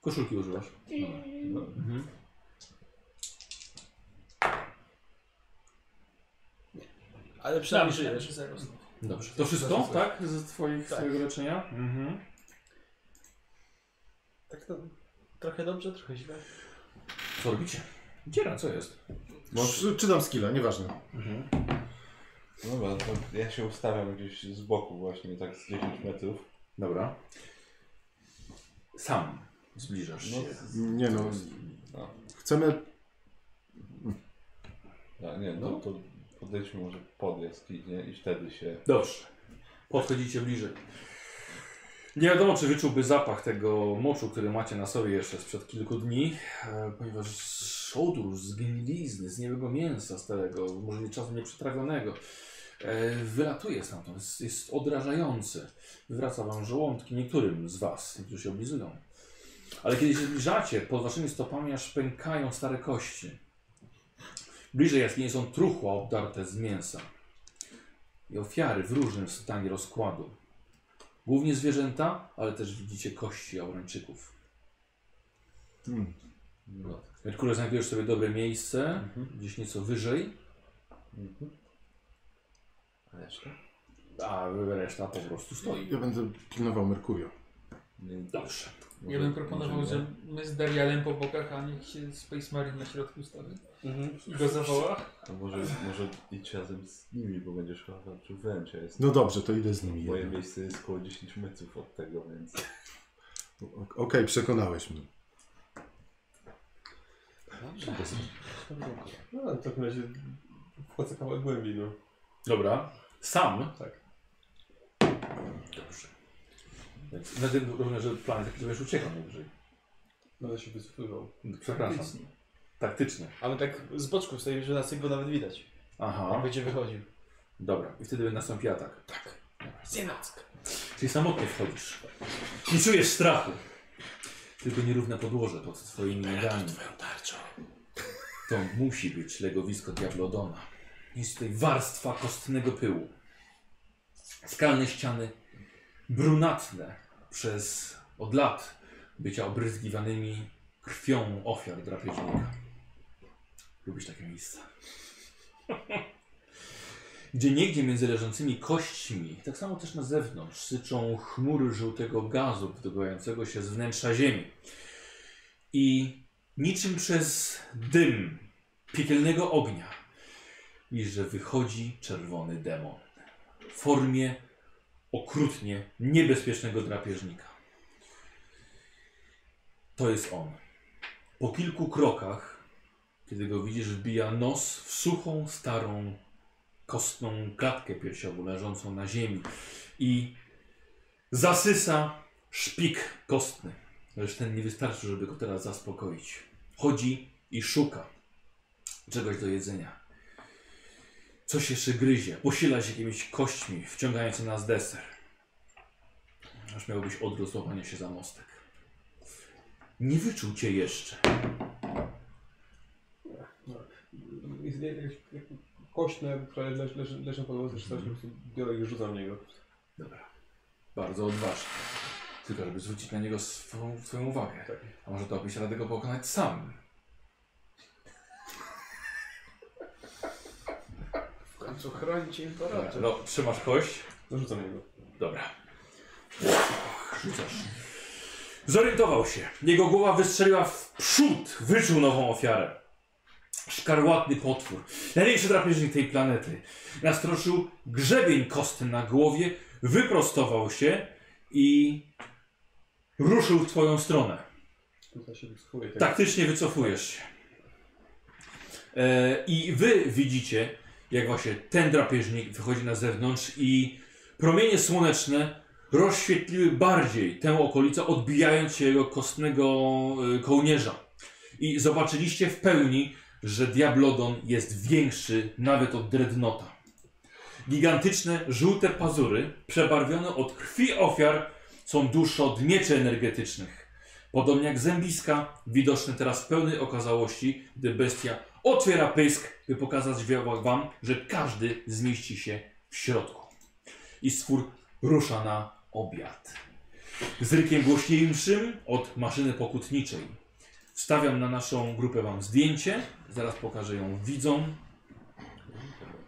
S1: Koszulki używasz. Dobra. Mhm.
S4: Przynajmniej
S12: Ale przynajmniej
S4: żyjesz.
S12: żyjesz.
S4: Że zero znowu.
S1: Dobrze. To wszystko, tak? Ze twoich,
S12: Tak.
S1: twojego leczenia? Mhm.
S12: Tak to trochę dobrze, trochę źle.
S1: Co robicie? Dziera, co jest?
S3: Czy- Czytam skilla, nieważne.
S2: No Dobra, to ja się ustawiam gdzieś z boku właśnie, tak z 10 metrów.
S1: Dobra. Sam zbliżasz się.
S2: No,
S3: Nie no,
S2: no.
S3: chcemy...
S2: A, nie, no. to, to podejdźmy może pod jaskinię i wtedy się...
S1: Dobrze. Podchodzicie bliżej. Nie wiadomo, czy wyczułby zapach tego moczu, który macie na sobie jeszcze sprzed kilku dni, e, ponieważ z odór z gnilizny, z niewego mięsa starego, może nie czasem nieprzetrawionego, e, wylatuje stamtąd, jest, jest odrażający. Wywraca wam żołądki niektórym z was, którzy się oblizują. Ale kiedy się zbliżacie, pod waszymi stopami aż pękają stare kości. Bliżej jaskini są truchła obdarte z mięsa i ofiary w różnym stanie rozkładu. Głównie zwierzęta, ale też widzicie kości Aurańczyków.
S3: Hmm.
S2: No.
S1: Merkury znajdujesz sobie dobre miejsce, gdzieś nieco wyżej,
S2: Reszta?
S1: a reszta po prostu stoi.
S3: Ja będę pilnował Merkurio.
S11: Nie,
S1: Dobrze.
S4: Ja bym
S11: może-
S4: proponował,
S11: może nie.
S4: że my z Darialem po bokach, a niech się Space Marine na środku stawi.
S12: Mhm.
S4: I go zawoła.
S11: To no może, może idź razem z nimi, bo będziesz chyba walczył wręcz. Ja jestem,
S3: No dobrze, to idę z nimi.
S11: moje
S3: jednak.
S11: miejsce jest około 10 metrów od tego, więc...
S3: O- Okej, przekonałeś mnie.
S5: No ale w takim razie wchodzę kawałek głębiej, no.
S1: Dobra. Sam?
S5: Tak.
S1: Dobrze. Więc na tym równie, że plan jest taki, że będziesz uciekał najwyżej.
S5: Będę się wycofywał.
S1: Przepraszam. Taktycznie.
S12: A my tak z boczku stoimy, że nas nie było nawet widać. Jak
S1: Aha.
S12: będzie wychodził.
S1: Dobra. I wtedy nastąpi atak.
S12: Tak. Zjednocka.
S1: Czyli samotnie wchodzisz. Nie czujesz strachu. Tylko nierówne podłoże pod twoimi nogami.
S12: tarczą.
S1: To musi być legowisko Diablodona. Jest tutaj warstwa kostnego pyłu. Skalne ściany, brunatne przez od lat bycia obryzgiwanymi krwią ofiar drapieżnika. Lubisz takie miejsca. Gdzie niegdzie między leżącymi kośćmi, tak samo też na zewnątrz, syczą chmury żółtego gazu wydobywającego się z wnętrza ziemi. I niczym przez dym piekielnego ognia, i że wychodzi czerwony demon w formie okrutnie niebezpiecznego drapieżnika. To jest on. Po kilku krokach, kiedy go widzisz, wbija nos w suchą, starą, kostną klatkę piersiową leżącą na ziemi i zasysa szpik kostny. Lecz ten nie wystarczy, żeby go teraz zaspokoić. Chodzi i szuka czegoś do jedzenia. Coś jeszcze gryzie, posila się jakimiś kośćmi, wciągając nas w deser. Aż miałbyś odgłos łapania się za mostek. Nie wyczuł cię jeszcze.
S5: Jest jakieś kośne, które leż, leż, leżą pod nosem, czy coś, po prostu biorę i rzucam w niego.
S1: Dobra. Bardzo odważny. Tylko, żeby zwrócić na niego swą, swoją uwagę.
S5: Tak.
S1: A może dałbyś radę go pokonać sam?
S12: W końcu chronić
S1: Dobra,
S12: imperator.
S1: no, trzymasz kość.
S5: No rzucam jego.
S1: Dobra. Rzucasz. Zorientował się. Jego głowa wystrzeliła w przód. Wyczuł nową ofiarę. Szkarłatny potwór. Największy drapieżnik tej planety. Nastroszył grzebień kostny na głowie. Wyprostował się i ruszył w twoją stronę.
S5: Tutaj się wycofuję. Tak.
S1: Taktycznie wycofujesz się. E, I wy widzicie, jak właśnie ten drapieżnik wychodzi na zewnątrz i promienie słoneczne rozświetliły bardziej tę okolicę, odbijając się jego kostnego y, kołnierza. I zobaczyliście w pełni, że Diablodon jest większy nawet od Dreadnota. Gigantyczne, żółte pazury, przebarwione od krwi ofiar, są dłuższe od mieczy energetycznych. Podobnie jak zębiska, widoczne teraz w pełnej okazałości, gdy bestia otwiera pysk, by pokazać wi- wam, że każdy zmieści się w środku. I stwór rusza na obiad. Z rykiem głośniejszym od maszyny pokutniczej. Wstawiam na naszą grupę wam zdjęcie, zaraz pokażę ją widzom.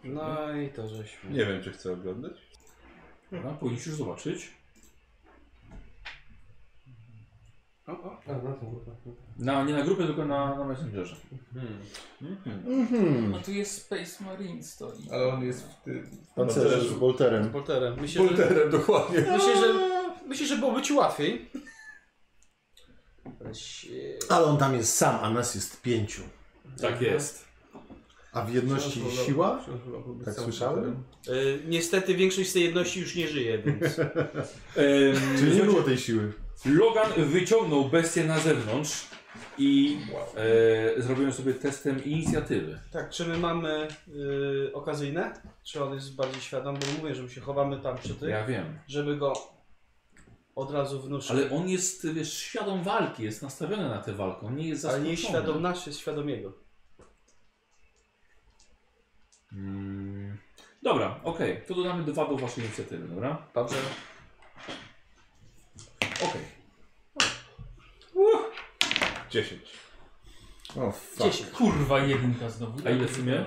S12: No i to żeśmy.
S11: Nie wiem, czy chcę oglądać.
S1: Dobra, powinniście już zobaczyć.
S5: A, na tą grupę.
S1: Na, nie na grupę, tylko na, na Messengerze.
S5: Hmm.
S4: No tu jest Space Marine stoi.
S5: Ale on jest w tym...
S3: Pancerze No, z Bolterem.
S12: Polterem. Myślę, że,
S5: Polterem, dokładnie.
S12: myślę, że, myślę, że byłoby ci łatwiej. Ale się...
S3: Ale on tam jest sam, a nas jest pięciu.
S1: Tak jest.
S3: A w jedności siła?
S5: Książ wolał byłby
S3: Tak
S5: sam
S3: słyszałem?
S5: Polterem.
S12: Y, niestety większość z tej jedności już nie żyje, więc...
S1: Ehm,
S3: Czyli nie było tej siły.
S1: Logan wyciągnął bestię na zewnątrz i e, zrobiłem sobie testem inicjatywy.
S12: Tak, czy my mamy y, okazyjne? Czy on jest bardziej świadom? Bo mówię, że my się chowamy tam przy tym,
S1: Ja wiem.
S12: żeby go od razu wnuszyć.
S1: Ale on jest wiesz, świadom walki, jest nastawiony na tę walkę. On nie jest
S12: Ale
S1: zaskoczony.
S12: nie jest świadom nasz, jest świadom jego.
S1: Mm, dobra, okej. To dodamy dwa do waszej inicjatywy, dobra?
S12: Dobrze.
S1: Okej.
S11: 10.
S3: O, fuck.
S12: 10.
S4: Kurwa, jedynka znowu.
S1: A ile w sumie?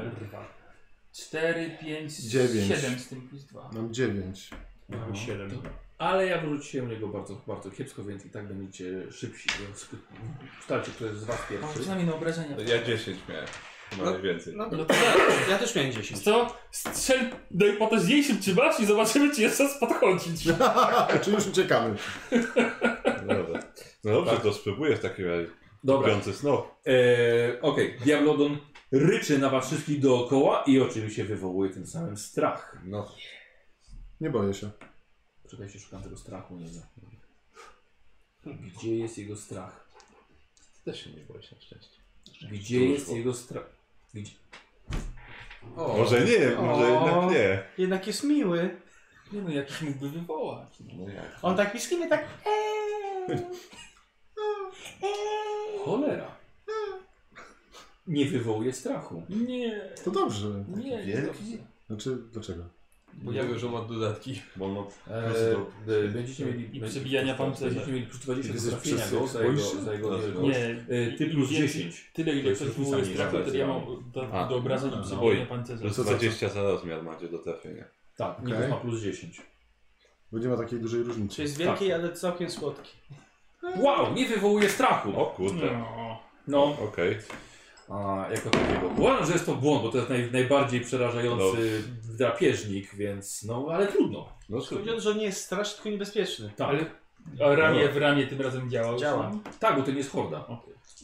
S4: 4, 5,
S3: Dziewięć.
S4: 7 z tym plus 2.
S3: Mam dziewięć.
S1: Aha.
S16: 7.
S1: No, Ale ja wróciłem do niego bardzo, bardzo kiepsko, więc i tak będziecie szybsi. więc Ustalcie, kto jest z was
S4: Może
S1: pierwszy.
S4: przynajmniej na obrażenia.
S11: No, Ja 10 miałem. Chyba najwięcej.
S12: No, to ja też miałem 10.
S16: Co? Strzel do najpotężniejszym czy masz i zobaczymy, czy jest czas podchodzić.
S3: Czy już uciekamy?
S2: Dobra. No dobrze, to spróbuję w takim razie.
S1: Dobra,
S2: Piący snop.
S1: Eee, Okej, Diablodon ryczy na was wszystkich dookoła i oczywiście wywołuje tym samym strach.
S2: No.
S3: Nie boję się.
S1: Czekajcie, szukam tego strachu, nie wiem. Gdzie jest jego strach?
S2: Też się nie boisz na szczęście.
S1: Gdzie
S2: Dużo.
S1: jest jego strach?
S5: O,
S2: Może nie, może
S12: O.
S2: jednak nie.
S12: Jednak jest miły.
S4: Nie no, jakiś mógłby wywołać. No.
S12: On tak pisknie, tak.
S1: Cholera. Nie wywołuje strachu.
S4: Nie,
S3: To dobrze.
S4: nie, nie.
S2: wielki?
S4: dobrze.
S3: Znaczy, dlaczego? E,
S5: bo ja wiem, że ma dodatki.
S2: Bo no,
S1: Eee, b- będziecie mieli...
S4: I przebijania pancerza.
S1: Będziecie mieli plus 20 do
S3: Jesteś
S1: trafienia
S3: przesył-
S1: go za jego...
S3: boisz się?
S1: Za jego
S2: Dobrze.
S4: Nie,
S1: Eee, ty plus
S4: Im
S1: 10.
S4: Tyle
S1: To
S4: ile
S1: jest
S4: ktoś
S1: różnica
S4: wywołuje
S1: między
S4: strach, to
S2: razem.
S4: tyle ja mam do,
S2: A.
S4: do obrażeń i
S2: Oj.
S4: przebijania pancerza.
S2: plus
S3: co, co?
S2: 20 za rozmiar macie do trafienia.
S1: Tak, Nikos
S3: Okej.
S1: ma plus 10.
S3: Bo nie ma takiej dużej
S12: Czy
S3: różnicy.
S12: jest wielki, ale całkiem słodki.
S1: Wow, nie wywołuje strachu.
S2: O kurde.
S4: No.
S1: No,
S2: Okej.
S1: a, jako takiego. Uważam, że jest to błąd, bo to jest naj, najbardziej przerażający drapieżnik, więc no, ale trudno.
S2: No
S12: Chodzi o
S2: super.
S12: to, że on nie jest straszny, tylko niebezpieczny.
S1: Tak,
S4: Ale a ramię w ramię tym razem działa. już
S12: Działa.
S4: mam?
S1: tak bo to nie jest horda.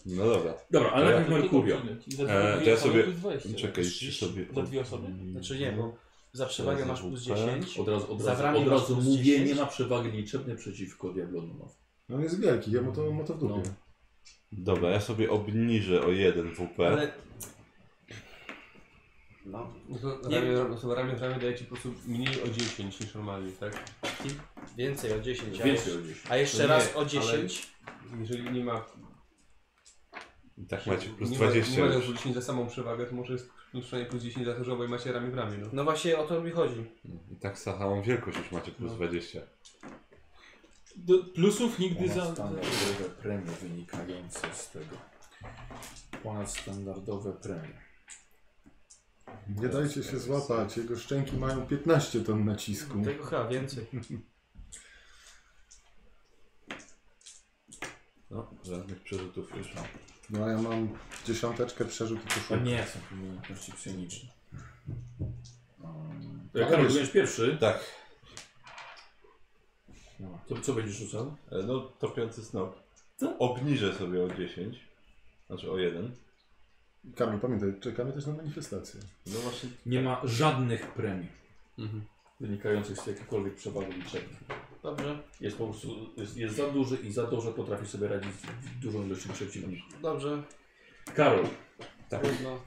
S2: No dobra.
S1: Dobra, ale
S2: To ja
S1: najpierw Merkurio.
S4: Za dwie
S2: Eee, to
S4: dwie
S2: ja
S4: osoby
S2: sobie-
S4: plus 20.
S2: Czekaj, czy sobie...
S4: Za dwie osoby?
S12: Znaczy nie, bo za przewagę masz plus 10.
S1: Od razu, od
S12: Za
S1: razu,
S12: wramię
S1: od
S12: masz
S1: razu
S12: plus
S1: mówię,
S12: 10.
S1: nie ma przewagi liczebnej przeciwko Diablonowi.
S3: No on jest wielki, ja mu to, mu to w dupie.
S2: Dobra, ja sobie obniżę o 1 WP.
S12: Ale
S5: No. to
S12: Nie.
S5: ramię, no to ramię, ramię daje ci po prostu mniej o 10 niż normalnie, tak?
S12: więcej o 10. A,
S1: Więcej
S12: jeszcze,
S1: o 10.
S12: a jeszcze
S5: No nie,
S12: raz o
S5: ale-
S12: 10.
S5: Jeżeli nie ma...
S2: I Tak macie plus
S5: nie ma- Nie
S2: 20.
S5: ma już 10 za samą przewagę, to może jest przynajmniej plus 10 za to, że obaj macie ramię w ramię, no.
S12: No właśnie o to mi chodzi.
S2: I tak za samą wielkość już macie plus
S12: No.
S2: 20.
S4: Do, plusów nigdy za...
S1: Ponadstandardowe premie wynikające z tego. Ponadstandardowe premie.
S2: No.
S3: Nie dajcie się złapać, jego szczęki mają 15 ton nacisku.
S12: Tego chyba więcej.
S2: No, żadnych przerzutów już mam.
S3: No a ja mam dziesiąteczkę przerzut i
S1: To
S3: koszulę.
S1: nie są to umiejętności psioniczne. Um,
S3: Ale
S1: Karol,
S3: wiesz-
S1: byłeś pierwszy.
S2: Tak,
S1: No. To co będziesz rzucał?
S2: e, no to piąty snop. Obniżę sobie o 10. Znaczy o 1.
S3: Karol, pamiętaj, czekamy też na manifestację.
S2: No właśnie.
S1: Nie ma żadnych premii
S5: Mhm.
S1: wynikających z jakiejkolwiek przewagi liczebnej.
S12: Dobrze,
S1: Jest po prostu jest, jest za duży i za to, że potrafi sobie radzić z dużą ilością przeciwników.
S12: dobrze.
S1: Karol,
S12: Trudno.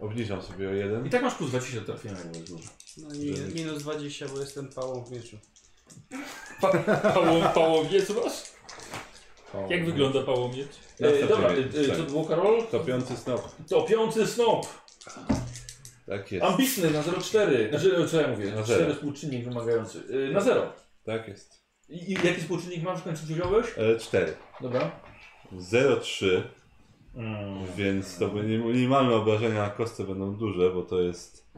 S2: Obniżam sobie o
S1: i
S2: 1.
S1: tak masz plus 20 do trafienia, bo jest dużo.
S12: No i minus 20, bo jestem pałą w mieczu.
S4: Pałą, pałowiec masz? Jak wygląda pałowiec?
S1: E, dobra, e,
S2: Następny,
S1: e,
S2: tak.
S1: co było Karol?
S2: To piąty snop.
S1: To piąty snop!
S2: Tak jest. Tak.
S1: Ambitny na 0,4. Znaczy, co ja mówię?
S2: Na
S1: Na
S2: zero.
S1: 4 współczynnik wymagający. E, na 0.
S2: Tak jest. E,
S1: I, I jaki współczynnik masz w końcu wziąłeś?
S2: 4.
S1: Dobra.
S2: 0,3, więc to będzie minimalne obrażenia na kostce będą duże, bo to jest.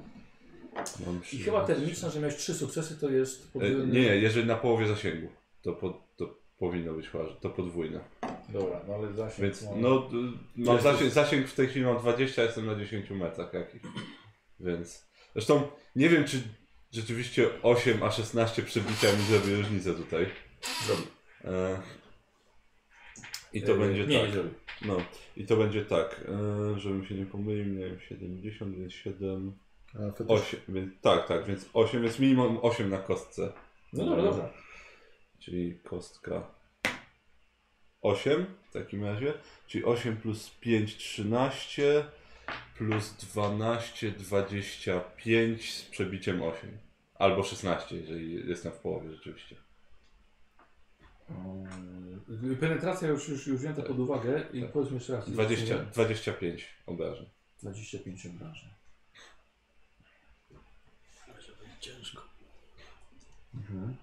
S2: Mam
S1: I
S2: przy-
S1: chyba ten liczna, że miałeś 3 sukcesy, to jest
S2: E,
S1: podwójny.
S2: Nie, jeżeli na połowie zasięgu, to, po, to powinno być chyba, że to podwójne.
S1: Dobra, no ale zasięg.
S2: Więc no, d- mam
S1: Jest to-
S2: zasięg, zasięg w tej chwili mam 20, jestem na 10 metrach jakich. Więc. Zresztą nie wiem, czy rzeczywiście 8 a 16 przebicia mi zrobi różnicę tutaj.
S1: Zrobi.
S2: E... I to będzie
S1: E, nie,
S2: tak.
S1: Nie, zrobi.
S2: No, i to będzie tak, e, żebym się nie pomylił, miałem 70, więc 7,
S3: A fetysz,
S2: 8, więc tak, tak, więc 8 jest minimum 8 na kostce.
S1: No dobra, dobra.
S2: Czyli kostka 8 w takim razie, czyli 8 plus 5, 13, plus 12, 25 z przebiciem 8. Albo 16, jeżeli jestem w połowie rzeczywiście.
S1: Mm, Penetracja już, już, już wzięta pod uwagę i
S2: Tak.
S1: powiedzmy jeszcze raz.
S2: 20, 25 obrażeń.
S1: 25 obrażeń. Mhm.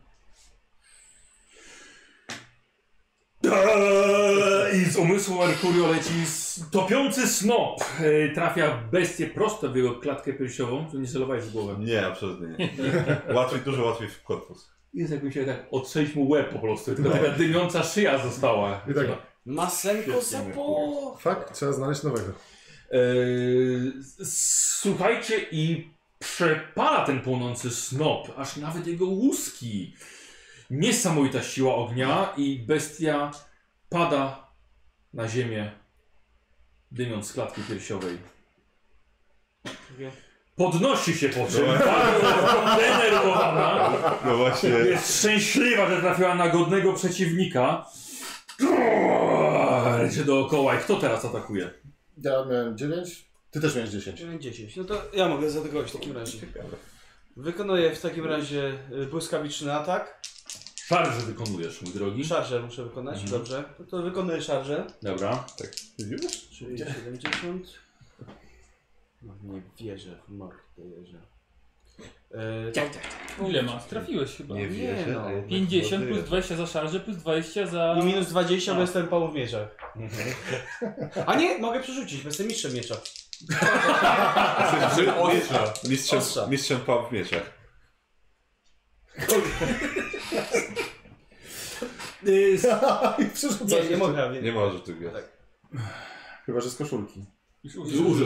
S1: Eee, I z umysłu Merkurio leci s- topiący snop. Eee, Trafia bestię prosto w jego klatkę piersiową. Tu nie celowałeś w głowę.
S2: Nie, absolutnie nie. łatwiej, dużo łatwiej w korpus.
S1: Jest jakby się tak odstrzelić mu łeb po prostu. Tylko taka dymiąca szyja została.
S3: I tak,
S12: Masenko
S1: Świetnie,
S12: sapo!
S3: fakt, trzeba znaleźć nowego.
S1: Eee, s- słuchajcie i przepala ten płonący snop, aż nawet jego łuski. Niesamowita siła ognia i bestia pada na ziemię, dymiąc z klatki piersiowej. Podnosi się po czym, bardzo zdenerwowana.
S2: No właśnie.
S1: Jest szczęśliwa, że trafiła na godnego przeciwnika. Lecie dookoła i kto teraz atakuje?
S3: Ja miałem 9, ty też miałeś 10.
S12: 10. No to ja mogę zaatakować w takim razie. Wykonuję w takim razie y, błyskawiczny atak.
S1: Szarży wykonujesz, mój drogi.
S12: Szarżę muszę wykonać,
S1: Mhm.
S12: dobrze. No to wykonuję szarżę.
S1: Dobra.
S2: Widzisz?
S12: Czyli 70. No nie wierzę, w mordę jeżę. E,
S4: Ile masz? Trafiłeś chyba.
S2: Nie wierzę,
S12: no.
S2: a jednak
S4: 50 plus
S2: woduje.
S4: 20 za szarże, plus 20 za...
S12: I No, minus 20, bo jestem po mieczach. A nie, mogę przerzucić, bo jestem mistrzem miecza.
S2: Ostrza. Mistrzem,
S12: Ostrza.
S2: mistrzem pał w mieczach.
S12: Y, s-
S3: I przerzucasz
S12: nie, nie
S3: jeszcze.
S12: mogę, więc...
S2: Nie ma rzutu gwiazd.
S1: Tak.
S3: Chyba, że z koszulki.
S4: Już
S1: Dużo.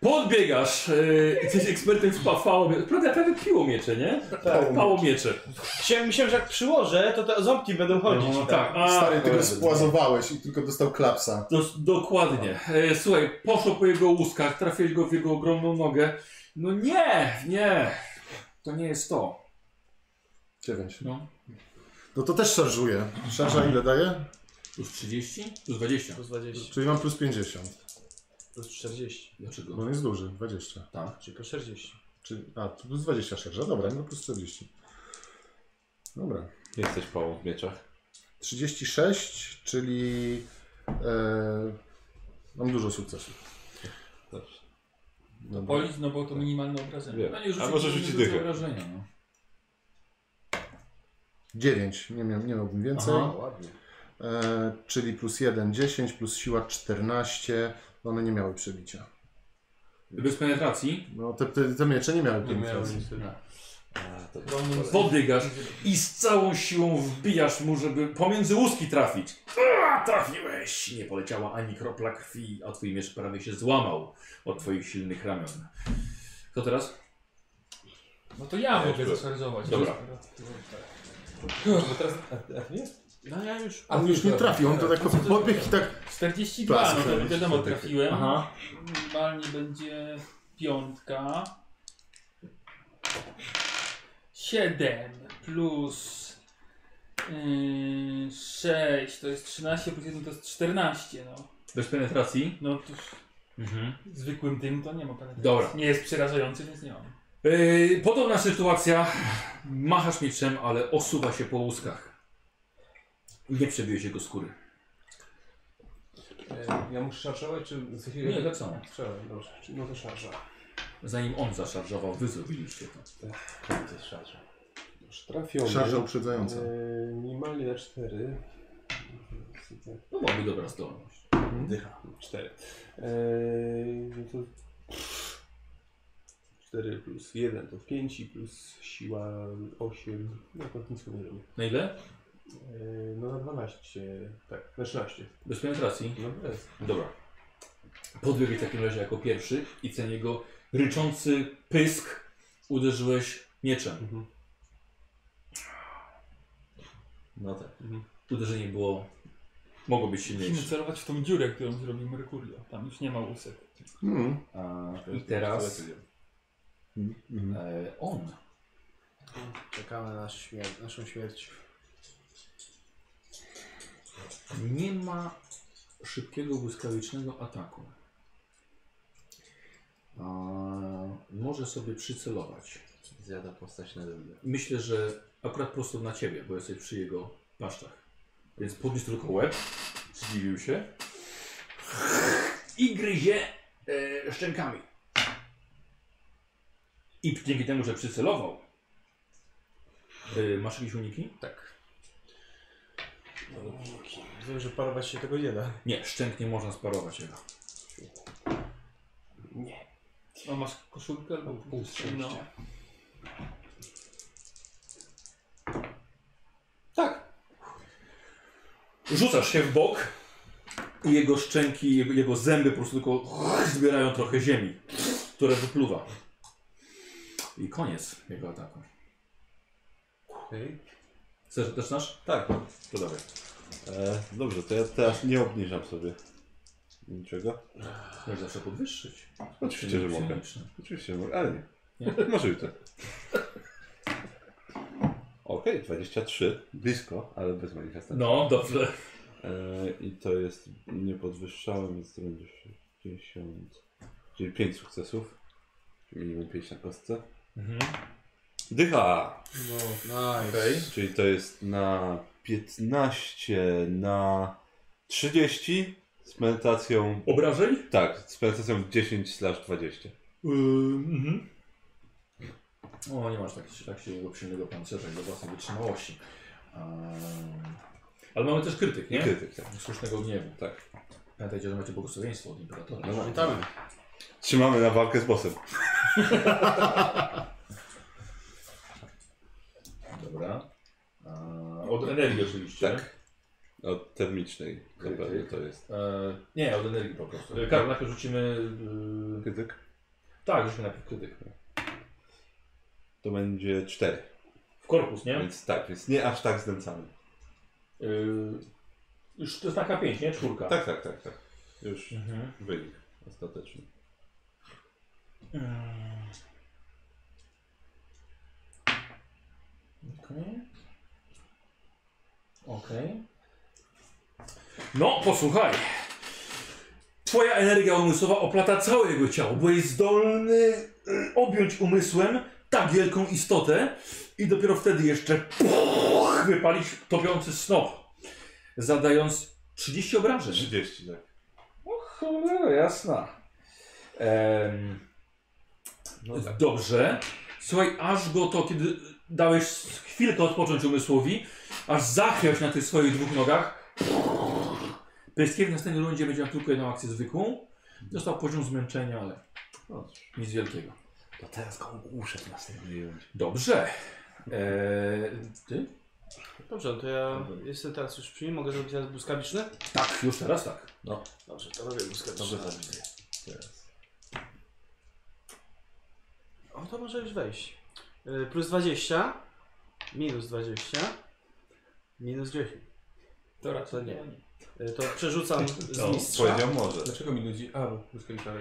S1: Podbiegasz, yy, jesteś ekspertem w pa- fało miecze. Prawda, ja prawie piło miecze, nie?
S3: Pało
S1: Pało miecze.
S12: Chciałem, myślałem, że jak przyłożę, to te ząbki będą chodzić. i tak.
S1: A,
S3: Stary, ty go spłazowałeś i tylko dostał klapsa.
S1: do, dokładnie. E, słuchaj, poszło po jego łuskach, trafiłeś go w jego ogromną nogę. No nie, nie. To nie jest to.
S3: 9.
S1: No.
S3: No to też szarżuję. Szarża ile daje?
S1: Plus 30? Plus 20.
S12: Plus 20,
S3: Czyli mam plus 50.
S12: plus 40,
S1: Dlaczego?
S3: Bo on jest duży, 20.
S12: czyli po 40.
S3: Czyli, a, to plus 20 szarża, dobra, no plus 40. Dobra.
S2: Nie jesteś pałą w mieczach.
S3: 36, czyli e, mam dużo sukcesów.
S2: Dobrze.
S3: Dobra.
S4: Polić, no bo to minimalne obrażenie.
S2: Wiem.
S1: No nie rzuci-
S2: A może
S1: nie
S2: rzuci
S1: rzuca
S2: dychę.
S1: Obrażenia, no.
S3: 9, nie, miał, nie miałbym więcej.
S1: Aha.
S12: Ładnie.
S3: E, czyli plus 1, 10, plus siła 14. One nie miały przebicia.
S1: Bez penetracji Tak.
S3: No te, te, te miecze nie miały
S5: Nie miałem
S3: penetracji.
S5: niestety.
S2: A, to
S1: podbiegasz i z całą siłą wbijasz mu, żeby pomiędzy łuski trafić. A, trafiłeś! Nie poleciała ani kropla krwi, a twój miecz prawie się złamał od twoich silnych ramion. Kto teraz?
S4: No to ja mogę zaszarżować.
S1: Dobra.
S5: Bo teraz, a, a nie?
S12: No ja już...
S3: On już nie trafił, on to tak podbiegł i tak.
S4: 42, no to
S3: Plasy.
S4: wiadomo trafiłem.
S1: Aha.
S4: Minimalnie będzie piątka. 7 plus 6 to jest 13, plus 1 to jest 14. No,
S1: Bez penetracji.
S4: no to już
S1: Mhm.
S4: zwykłym tym to nie ma penetracji.
S1: Dobra.
S4: Nie jest przerażający, więc nie mam.
S1: Yy, podobna sytuacja. Machasz mieczem, ale osuwa się po łuskach. Nie przebiłeś jego skóry.
S5: E, Ja muszę szarżować, czy... W sensie,
S1: Nie, tak samo.
S5: Strzelam, dobrze. Czy- No to szarża.
S1: Zanim on zaszarżował, wy zrobiliście to.
S11: To jest szarża.
S5: Już trafiony.
S3: Szarża uprzedzająca.
S5: E, minimalnie na 4.
S1: To byłaby No, dobra zdolność.
S5: Dycha. 4. E, no to 4 plus 1 to 5 i plus siła 8. No akurat nic nie robię.
S1: Na ile?
S5: Eee, no na 12, tak, na 13.
S1: Bez penetracji.
S5: No to jest.
S1: Dobra. Podbiegłeś w takim razie jako pierwszy i ten jego ryczący pysk uderzyłeś mieczem.
S5: Mhm.
S11: No tak.
S1: Uderzenie było... mogło być
S4: Musimy
S1: silniejsze.
S4: celować w tą dziurę, którą zrobił Mercurio. Tam już nie ma łusek.
S3: Hmm.
S1: A, I teraz
S3: Mhm.
S1: e, on.
S12: Czekamy na śmier- naszą śmierć.
S1: Nie ma szybkiego, błyskawicznego ataku. A, może sobie przycelować.
S11: Zjada postać na dębę.
S1: Myślę, że akurat prosto na ciebie, bo jesteś przy jego paszczach. Więc podniósł tylko łeb, zdziwił się i gryzie e, szczękami. I dzięki temu, że przycelował, e, masz jakieś uniki?
S12: Tak. Wiem, że parować się tego nie da.
S1: Nie, szczęk nie można sparować jego.
S4: no. A masz koszulkę albo pół No.
S1: Rzucasz się w bok i jego szczęki, jego, jego zęby po prostu tylko zbierają trochę ziemi, które wypluwa. I koniec jego ataku.
S5: Okej.
S1: Chcesz, zaczynasz?
S2: Tak,
S1: To dawaj.
S2: e, dobrze, to ja teraz nie obniżam sobie niczego.
S1: Możesz zawsze podwyższyć.
S2: Oczywiście, że mogę.
S1: Psioniczne.
S2: Oczywiście, że mogę, ale nie.
S1: Nie.
S2: Może jutro. Okej, 23, blisko, ale bez manifestacji.
S1: No, dobrze.
S2: E, I to jest, nie podwyższałem, więc to będzie 60, czyli 5 sukcesów, czyli minimum 5 na kostce.
S1: Mhm.
S2: Dycha!
S13: Nice.
S2: Czyli to jest na 15, na 30 z medytacją.
S1: Obrażeń?
S2: Tak, z medytacją 10 slash 20.
S1: mhm. O, nie masz tak, tak silnego, silnego pancerza i do własnej wytrzymałości. Ehm, Ale mamy też krytyk, nie?
S2: Krytyk, tak.
S1: Słusznego gniewu.
S2: Tak.
S1: Pamiętajcie, że macie błogosławieństwo od imperatora.
S13: Pamiętamy.
S2: Trzymamy na walkę z bossem.
S1: tak. Dobra. Eee, od energii oczywiście.
S2: Tak. Od termicznej na
S1: Krytyk.
S2: pewno to jest.
S1: Eee, nie, od energii po prostu. Eee, Karol, najpierw rzucimy... eee,
S2: Krytyk.
S1: tak, rzucimy najpierw krytyk.
S2: To będzie 4.
S1: W korpus, nie?
S2: Więc tak, więc nie aż tak znęcamy.
S1: Eee, już to jest taka 5, nie? Czwórka.
S2: Tak, tak, tak, tak. Już
S1: Mhm.
S2: wynik ostateczny.
S1: Eee. Okej. Okej. No, posłuchaj. Twoja energia umysłowa oplata całe jego ciało. Byłeś zdolny y, objąć umysłem tak wielką istotę i dopiero wtedy jeszcze puch, wypalić topiący snop, zadając 30 obrażeń.
S2: 30, tak.
S1: Cholera, jasna. Em, Dobrze. Słuchaj, aż go to, kiedy dałeś chwilkę odpocząć umysłowi, aż zachwiałeś na tych swoich dwóch nogach. Pyskier w następnym rundzie będzie miał tylko jedną akcję zwykłą. Dostał poziom zmęczenia, ale
S2: No,
S1: nic wielkiego.
S2: to teraz go ogłuszę w następnym rundzie.
S1: Dobrze. Eee, ty?
S12: Dobrze, to ja jestem teraz już przy nim, mogę zrobić teraz błyskawiczny?
S1: Tak, już teraz tak.
S12: Dobrze, to robię błyskawiczny.
S2: Teraz.
S12: O, to może już wejść. Y, Plus 20, minus 20, minus 10.
S5: To raczej nie.
S12: Y, To przerzucam z
S1: No,
S12: mistrza.
S2: Powiedział może.
S5: Dlaczego mi tak nudzi? A, bo błyskawiczny.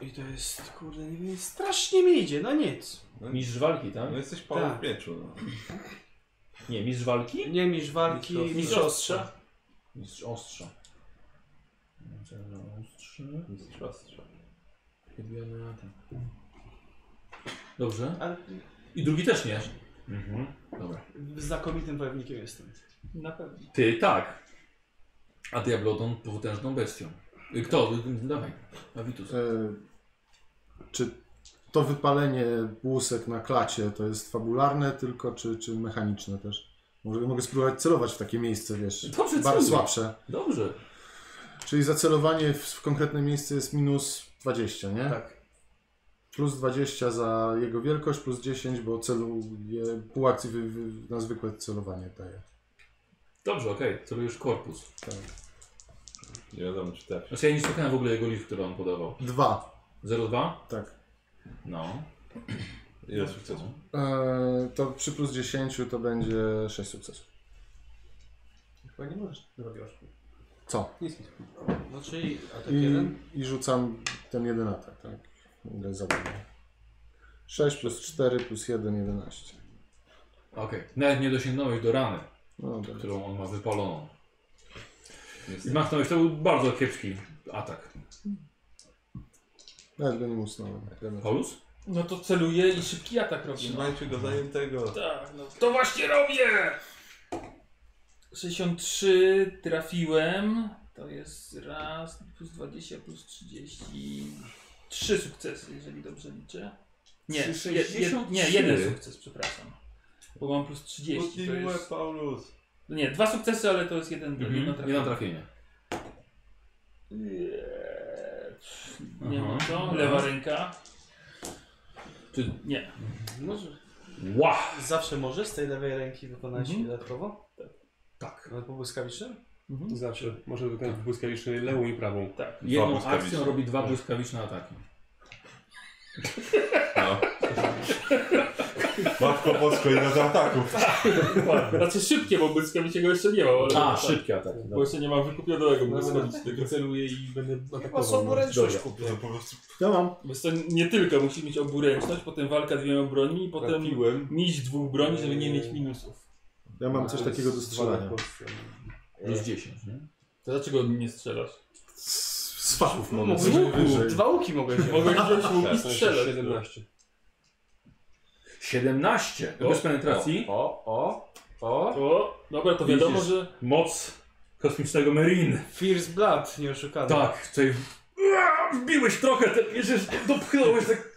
S12: I to jest, kurde, nie wiem, strasznie mi idzie, no nic.
S1: Mistrz walki, tak?
S2: No jesteś pałem
S12: Tak.
S2: w mieczu, no.
S1: Nie, mistrz walki?
S12: Nie mistrz walki,
S5: Mistrz ostrza.
S12: mistrz ostrza.
S1: Mistrz ostrza. Mistrz ostrza.
S2: Mistrz ostrza.
S1: Odbijamy atak. Dobrze.
S12: Ale
S1: I drugi też nie. Dobra.
S12: znakomitym wojownikiem jestem.
S4: Na pewno.
S1: Ty tak. A Diablodon potężną bestią. Y, Kto? Y, Dawaj. Avitus.
S3: E, czy to wypalenie błusek na klacie to jest fabularne tylko, czy, czy mechaniczne też? Może mogę spróbować celować w takie miejsce, wiesz,
S1: Dobrze,
S3: bardzo
S1: celuj.
S3: słabsze.
S1: Dobrze.
S3: Czyli zacelowanie w, w konkretne miejsce jest minus 20, nie?
S12: Tak.
S3: Plus 20 za jego wielkość, plus 10, bo celuje, pół akcji wy, wy, na zwykłe celowanie daje.
S1: Dobrze, okej. Celujesz korpus.
S2: Nie wiadomo czy tak.
S1: Znaczy ja nie słuchałem w ogóle jego liczb, które on podawał.
S3: Dwa,
S1: 02?
S3: tak.
S1: No.
S2: Ile sukcesów?
S3: E, to przy plus 10 to będzie 6 sukcesów.
S5: Chyba nie możesz zrobić oszku.
S3: Co?
S5: Nic, nic.
S12: No czyli atak
S3: I,
S12: jeden.
S3: I rzucam ten jeden atak, tak? Ile zadania? 6 plus 4 plus 1, 11.
S1: Okej. Nawet nie dosięgnąłeś do rany,
S3: No dobra.
S1: którą on ma wypaloną. I machnąłeś, to był bardzo kiepski atak.
S3: Nawet go nie musnąłem. Jeden.
S1: Paulus?
S4: No to celuję i szybki atak robię. No.
S2: Trzymajcie go zajętego.
S4: Tak, no. To właśnie robię! 63 trafiłem. To jest raz, plus 20, plus 30. Trzy sukcesy, jeżeli dobrze liczę. Nie,
S1: Trzy
S4: je, je,
S1: 63.
S4: nie jeden sukces, przepraszam. Bo mam plus 30. To jest... No
S2: Paulus.
S4: Nie, dwa sukcesy, ale to jest jeden,
S1: Mhm.
S4: jedno
S1: Nie na
S4: trafienie.
S1: trafienie.
S4: Eee, Nie
S1: Aha.
S4: ma co.
S1: Dobra.
S4: Lewa ręka.
S1: Czy-
S4: Nie.
S12: Może.
S1: Ła!
S12: Zawsze możesz z tej lewej ręki wykonać
S5: Mhm.
S12: dodatkowo?
S5: Tak.
S12: Ale po błyskawicznym?
S5: Zawsze. Może wykonać błyskawiczny lewą i prawą.
S4: Tak.
S1: Jedną
S11: błyskawiczne.
S1: akcją robi dwa błyskawiczne ataki.
S11: No. Matko Polsko, ile z ataków.
S4: Dokładnie. Znaczy szybkie, bo błyskawicznego jeszcze nie ma. Ale
S1: A,
S4: tak.
S1: szybkie ataki.
S4: Bo jeszcze nie mam wykupionego błyskawicznego.
S5: Błyskawicznego celuję i będę
S12: Chyba
S5: atakował.
S12: są
S5: no.
S12: ręczność
S5: Dobra.
S12: kupię.
S3: Ja mam.
S4: Więc to nie tylko musi mieć oburęczność, potem walka dwiema broni i potem
S5: Trafiłem.
S4: mieć dwóch broni, żeby nie mieć minusów.
S3: Ja mam coś takiego do strzelania.
S1: Plus 10, nie?
S4: To dlaczego nie strzelasz?
S3: Z z fachów mogę
S12: Z
S3: coś
S12: No, łuku,
S3: wyżej.
S12: dwa łuki mogę wziąć.
S4: Mogę wziąć łuk i
S5: Tak, to jest
S4: strzelać.
S5: 17.
S1: 17! Bez penetracji.
S12: O, o, o.
S4: O, dobra, to wiadomo,
S1: Widzisz.
S4: że
S1: Moc kosmicznego Marine.
S12: Fierce Blood, nie oszukany.
S1: Tak, tutaj Ua, wbiłeś trochę, te bierzesz, dopchnąłeś tak.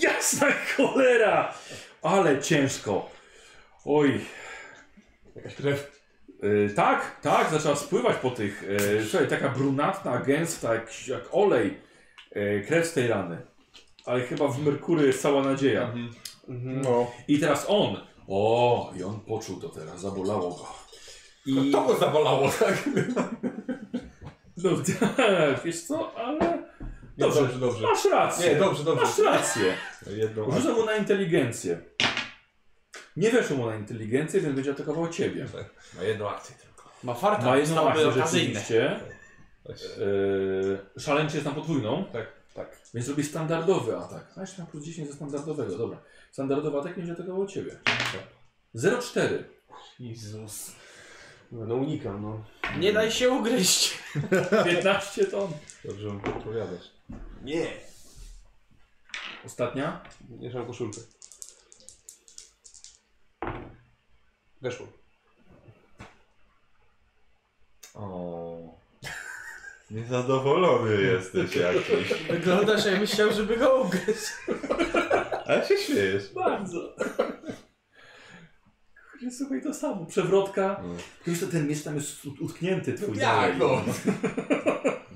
S1: Jasna cholera! Ale ciężko. Oj.
S5: Jakaś krew.
S1: Y, tak, tak, zaczęła spływać po tych. Yy, słuchaj, taka brunatna, gęsta, jak, jak olej. Yy, krew z tej rany. Ale chyba w Merkury jest cała nadzieja.
S12: Mhm.
S3: No.
S1: I teraz on. O, i on poczuł to teraz, zabolało go. I...
S11: To go zabolało, tak?
S1: No tak, wiesz co, ale Dobrze.
S11: Dobrze, dobrze, dobrze.
S1: masz rację.
S11: Nie, dobrze, dobrze.
S1: Masz rację.
S11: Jedną
S1: Rzucę mu na inteligencję. Nie weszło mu na inteligencję, więc będzie atakował ciebie.
S11: Na jedną akcję tylko.
S12: Ma farta,
S1: Ma jedną akcję
S12: okazyjne.
S1: rzeczywiście. Yy, szaleńczy jest na podwójną.
S5: Tak.
S1: tak. Więc robi standardowy atak. A jeszcze na plus 10 ze standardowego, dobra. Standardowy atak będzie atakował ciebie.
S11: Tak.
S1: 0,4.
S5: Jezus. No, no unikam, no.
S12: Nie daj się ugryźć.
S1: 15 ton.
S11: Dobrze mu podpowiadasz.
S1: Ostatnia.
S5: Nie mam koszulkę. Weszło.
S11: O. Niezadowolony jesteś jakiś.
S12: Wyglądasz jakbyś chciał, żeby go ugryźć.
S11: Ale się śmiejesz.
S1: Bardzo. Kurde, słuchaj, to samo. Przewrotka. no?
S11: No.
S1: Wiesz, Mm. to ten miecz tam jest ut- utknięty twój. dalej.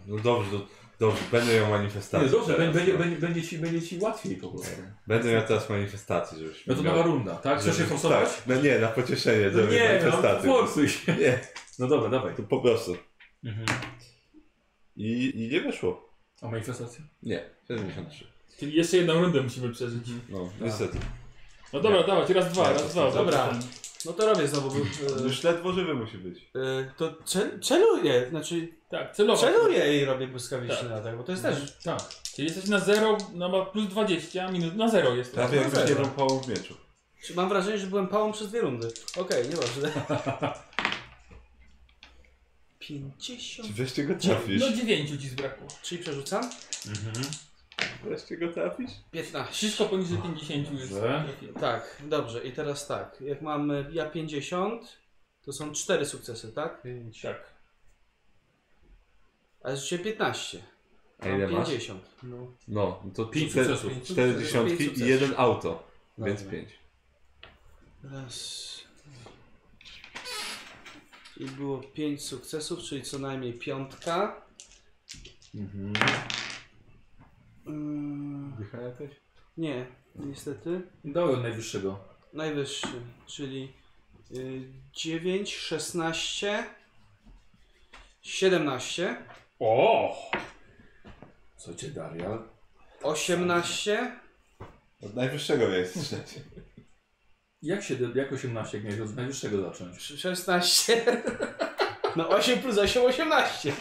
S2: No dobrze, do, dobrze, będę miał manifestację.
S1: Nie, dobrze,
S2: teraz,
S1: będzie, będzie,
S2: no.
S1: będzie, będzie, ci, będzie ci łatwiej po prostu.
S2: Będę miał teraz manifestację, żebyś
S1: No to
S2: miał-
S1: nowa runda, tak? Chcesz się
S2: żeby-
S1: forsować?
S2: Tak, no nie, na pocieszenie,
S1: No
S2: żeby
S1: nie, no,
S2: manifestację.
S1: forsuj się.
S2: nie,
S1: No dobra, dawaj.
S2: to po prostu.
S1: Mhm.
S2: I, I nie wyszło.
S1: A manifestacja?
S2: Nie, 73.
S4: Czyli jeszcze jedną rundę musimy przeżyć.
S2: No, niestety.
S4: No dobra, dawaj, raz, dwa, raz, dwa.
S12: Dobra. No to robię znowu. Bo, e,
S2: Już ledwo żywy musi być.
S12: e, to cel, celuję, znaczy
S4: Tak, celowo.
S12: celuję i robię błyskawiczny atak, bo to jest też...
S4: Tak. Czyli jesteś na 0, no ma plus 20 minut, na 0 jest.
S2: Prawie
S12: no
S2: jakbyś
S12: zero.
S2: nie rąpał w mieczu.
S12: Czy mam wrażenie, że byłem pałą przez dwie rundy. Okej, nieważne. 50.
S2: Czy wreszcie go trafisz?
S4: No 9 ci zbrakło.
S12: Czyli przerzucam?
S1: Mhm.
S2: Wreszcie go trafisz?
S12: 15.
S4: Wszystko poniżej 50 jest.
S1: Dobrze.
S12: Tak, dobrze. I teraz tak. Jak mam y, ja 50, to są 4 sukcesy, tak?
S4: Tak.
S12: A jeszcze 15.
S2: A ile
S12: Mam
S2: masz?
S12: 50.
S2: No, to
S1: Pięć
S2: cztery-
S1: sukcesów.
S2: Cztery
S12: Pięć
S2: dziesiątki
S12: sukcesów.
S2: i jeden auto. Więc
S12: Dobra.
S2: pięć.
S12: Raz. I było 5 sukcesów, czyli co najmniej piątka. Mm,
S11: Dycha jakaś?
S12: nie, niestety.
S1: Dałem najwyższego.
S12: Najwyższy, czyli y, 9, 16, 17,
S1: O! Co cię, Darial?
S12: 18,
S11: Od najwyższego miejsca trzecie.
S1: Jak, 7, jak 18 jak miałeś od najwyższego zacząć?
S12: 16. No 8 plus 8, 18.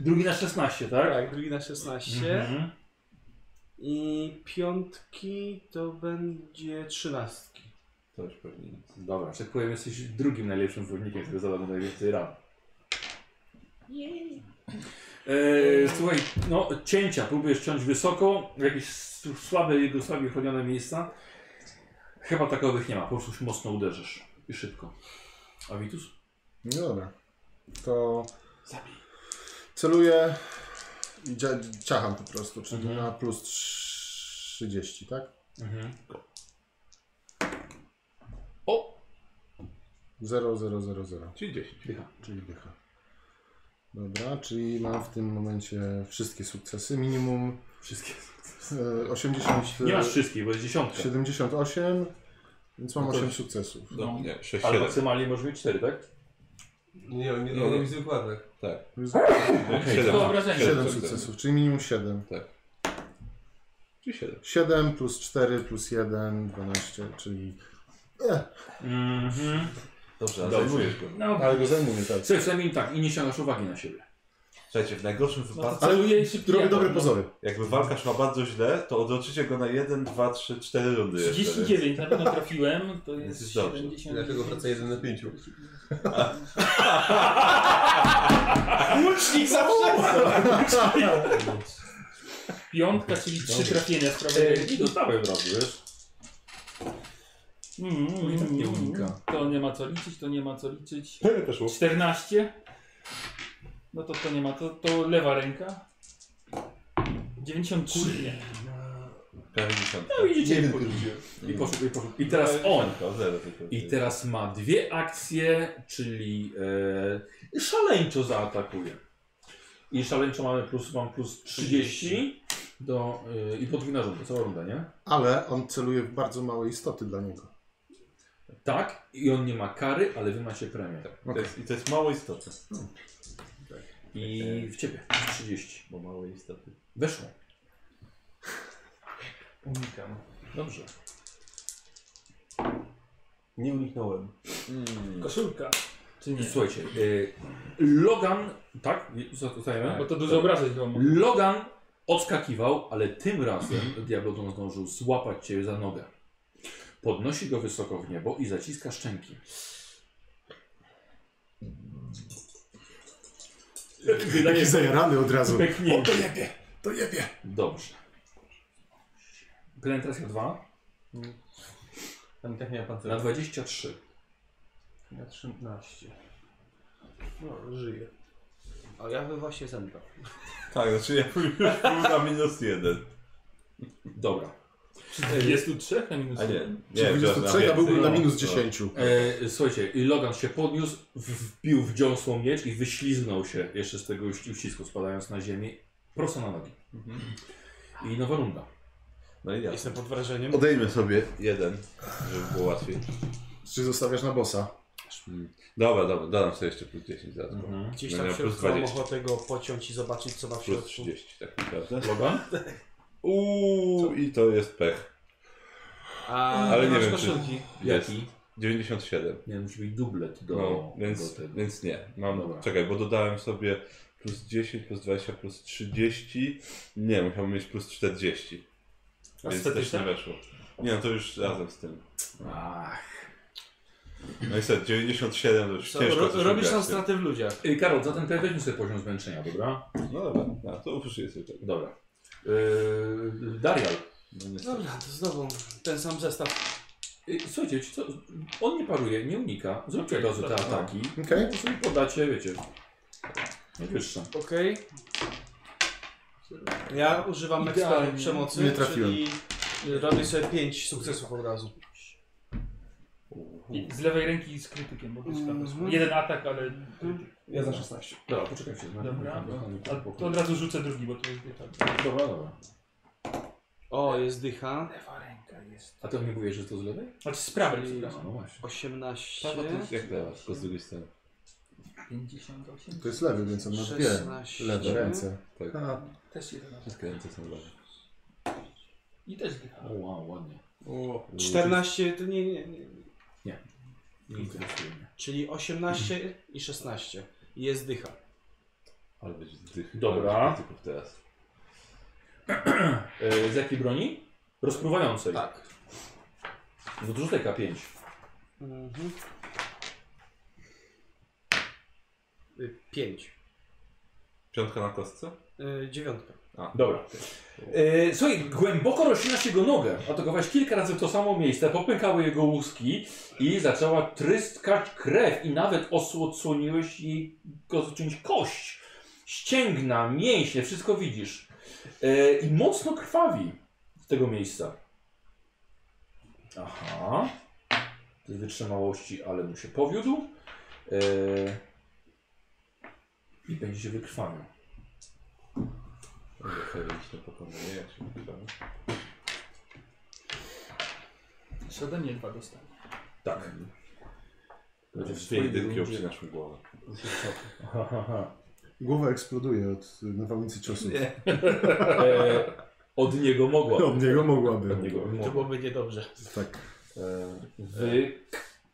S1: Drugi na 16, tak?
S12: Tak, drugi na 16.
S1: Mhm.
S12: I piątki to będzie trzynastki.
S11: To już pewnie nic.
S1: Dobra, że tak powiem, jesteś drugim najlepszym wojownikiem, który zadał najwięcej ran. Eee, słuchaj, no cięcia, próbujesz ciąć wysoko, w jakieś s- słabe, jego słabiej chronione miejsca. Chyba takowych nie ma, po prostu mocno uderzysz i szybko. A Witus?
S3: No dobra. To. Celuję i dzia- ciacham po prostu, czyli
S1: Mhm.
S3: na plus 30, tak?
S1: Mhm.
S3: 0, 0, 0, 0,
S2: Czyli dziesięć.
S3: czyli dycha. Dobra, czyli mam w tym momencie wszystkie sukcesy. Minimum
S1: Wszystkie.
S3: E, 80,
S1: Nie masz wszystkich, bo jest dziesiątka.
S3: 78, więc mam
S11: No to
S3: 8
S11: już-
S3: sukcesów.
S11: No, nie, 6,
S1: Ale
S11: 7.
S1: maksymalnie możesz mieć cztery, tak?
S5: Nie, on nie
S11: Nie,
S5: on
S11: nie.
S5: jest wykładek.
S4: To obrażenie.
S3: 7 sukcesów, czyli minimum 7.
S2: Czy 7?
S3: 7 plus 4 plus 1, 12, czyli...
S1: Mhm.
S11: Dobrze, ale
S1: Dobrze.
S11: zajmujesz go.
S4: No,
S3: Ale go zajmuje, tak.
S1: Słuchaj, przynajmniej tak, i nie ściągasz uwagi na siebie.
S11: Słuchajcie, w najgorszym
S4: no to
S11: wypadku,
S4: celuje się
S3: Robię
S4: pijakiem,
S3: dobre
S4: no.
S3: pozory.
S11: jakby walka szła bardzo źle, to odroczycie go na 1, 2, 3, 4 rundy jeszcze. więc-
S4: 39, na pewno trafiłem, to
S11: Więc
S4: jest
S11: jest dobrze.
S4: 70.
S5: Dlatego wraca 1 na 5.
S12: Łucznik zawsze!
S4: Piątka, czyli trzy trafienia
S1: Ej,
S4: sprawiedliwie.
S1: I dostałem razu, wiesz?
S4: Mm, mm,
S1: i tak nie
S4: mm,
S1: unika.
S4: mm. To nie ma co liczyć, to nie ma co liczyć.
S2: Weszło.
S4: 14. No to to nie ma, to, to lewa ręka. 93.
S11: Prawie dziesiątka.
S1: No i idzie
S3: Jeden
S1: po- i poszedł, i poszedł. I teraz
S5: No,
S11: Prawie
S1: on.
S11: dziesiątka, o zero tylko.
S1: I teraz ma dwie akcje, czyli e, szaleńczo zaatakuje. I szaleńczo mamy plus, mam plus 30 do, e, i podwójna runda, cała runda, nie?
S3: Ale on celuje w bardzo małe istoty dla niego.
S1: Tak, i on nie ma kary, ale wy macie premię.
S11: To jest, I to jest mało istotne.
S1: I w ciebie 30.
S11: Bo mało istotne.
S1: Weszło.
S4: Unikam.
S1: Dobrze.
S11: Nie uniknąłem.
S4: Koszulka. Czy nie?
S1: Słuchajcie, y, Logan, tak? Zostajemy? Tak.
S4: Bo to dużo obrażeń chyba ma.
S1: Logan odskakiwał, ale tym razem Diablodon zdążył złapać cię za nogę. Podnosi go wysoko w niebo i zaciska szczęki.
S3: Taki zajarany od razu.
S1: Pęknięcie.
S3: To jebie, to jebie.
S1: Dobrze. Penetracja 2
S5: Tam i tak miała
S1: na
S5: pancerz.
S1: 23.
S5: Na 13. No, żyje.
S12: A ja bym właśnie zemdlał.
S11: Tak, znaczy ja już był na minus jeden.
S1: Dobra.
S4: Tak, Jest tu trzech na minus.
S11: A nie,
S3: Czy
S11: nie, przepraszam,
S3: 23, ja
S11: więcej.
S3: byłbym na
S11: No,
S3: minus
S11: no.
S3: 10.
S1: E, słuchajcie, i Logan się podniósł, w- wbił w dziąsło miecz i wyśliznął się jeszcze z tego uś- uścisku, spadając na ziemię prosto na nogi. I nowa runda.
S11: No i ja.
S12: Jestem pod wrażeniem.
S2: Odejmę sobie jeden, żeby było łatwiej.
S3: Czy zostawiasz na bossa?
S2: Dobra, dobra, dodam sobie jeszcze plus 10 za to.
S1: Mhm.
S4: Mhm.
S12: Gdzieś
S2: No,
S12: tam
S2: ja
S12: w
S2: plus
S12: środku mam
S2: 20.
S12: ochotę go pociąć i zobaczyć co ma w
S2: Plus
S12: środku.
S2: 30 tak naprawdę.
S1: Logan?
S2: Uuu, i to jest pech.
S12: A,
S2: Ale nie
S12: masz
S2: wiem, czy-
S12: koszulki.
S2: Jest.
S1: Jaki?
S2: 97.
S1: Nie, musi być dublet do,
S2: no,
S1: do
S2: więc,
S1: tego.
S2: więc nie. Mam,
S1: Dobra.
S2: Czekaj, bo dodałem sobie plus 10, plus 20, plus 30. Nie, musiałbym mieć plus 40.
S4: A
S2: więc też nie
S4: statystyka?
S2: weszło. Nie, no to już razem z tym.
S1: Ach.
S2: No i set, 97 to już
S12: Co,
S2: ciężko
S12: ro,
S2: coś
S12: robisz nam
S2: wygrać, nie?
S12: straty w ludziach.
S1: Ej, Y, Karol, zatem teraz weźmy sobie poziom zmęczenia, dobra?
S2: No dobra, no, to uszyję sobie tego.
S1: Dobra. Yy, Darial.
S2: No, niestety.
S12: Dobra, to znowu ten sam zestaw.
S1: Yy, słuchajcie, ci co? on nie paruje, nie unika. Zróbcie od razu te
S4: no.
S1: ataki.
S3: Okej.
S1: To sobie podacie, wiecie. Najwyższe.
S12: Okej. Ja używam ekspertu
S4: Idealnie.
S12: przemocy,
S3: Nie trafiłem.
S12: czyli robię sobie 5 sukcesów od razu.
S4: I Z lewej ręki z krytykiem, bo to jest
S12: Mhm.
S4: kawał. Jeden atak, ale.
S17: Mhm.
S5: Ja za 16.
S1: Dobra, poczekajcie. na-
S4: Dobra.
S1: na-
S4: A to od razu rzucę drugi, bo to jest nie tak.
S1: Dobra, dobra.
S12: O, jest dycha.
S4: Lewa ręka jest.
S1: A to nie mówiłeś, że to z lewej?
S4: Znaczy z prawej, przepraszam.
S1: no właśnie.
S12: 18.
S2: No, bo to jest jak lewa, tylko z drugiej strony.
S4: 58.
S3: To jest lewy, więc on ma No dwie
S12: 16.
S3: lewe ręce.
S2: Tak.
S3: A,
S4: Też 11.
S2: Wszystkie ręce są lewe.
S4: I też dycha.
S1: O, wow, ładnie.
S5: O,
S12: 14, to nie, nie, nie.
S1: Nie interesuje mnie.
S12: Czyli 18 i 16. I Jest dycha.
S2: Ale będzie zdych.
S1: Dobra.
S2: Ale będzie Tylko teraz.
S1: Yy, z jakiej broni? Rozpruwającej.
S12: Tak.
S1: No to rzucaj K5.
S12: Mhm. Y, 5.
S2: Piątka na kostce?
S12: Y, Dziewiątka.
S1: Dobra. E, słuchaj, głęboko roślinasz jego nogę. Atakowałeś kilka razy w to samo miejsce, popękały jego łuski i zaczęła tryskać krew i nawet osł- odsłoniłeś jej go zacząć kość. Ścięgna, mięśnie, wszystko widzisz. E, I mocno krwawi z tego miejsca. Aha. To jest wytrzymałości, ale mu się powiódł. E, I będzie się wykrwawiał.
S11: Heroiczne pokonanie, jak się nazywało.
S17: Jeszcze ode mnie dwa dostał.
S11: Tak.
S2: No,
S11: Będzie
S7: w
S11: dwie
S7: swojej
S11: jedynki
S7: rundzie.
S11: obcinasz mi głowę.
S3: Głowa eksploduje od nawałnicy ciosów.
S1: E, od niego mogła.
S3: Od niego mogłaby.
S1: Od niego
S12: To
S1: mogła.
S12: byłoby niedobrze.
S3: Tak.
S11: E,
S1: Wy...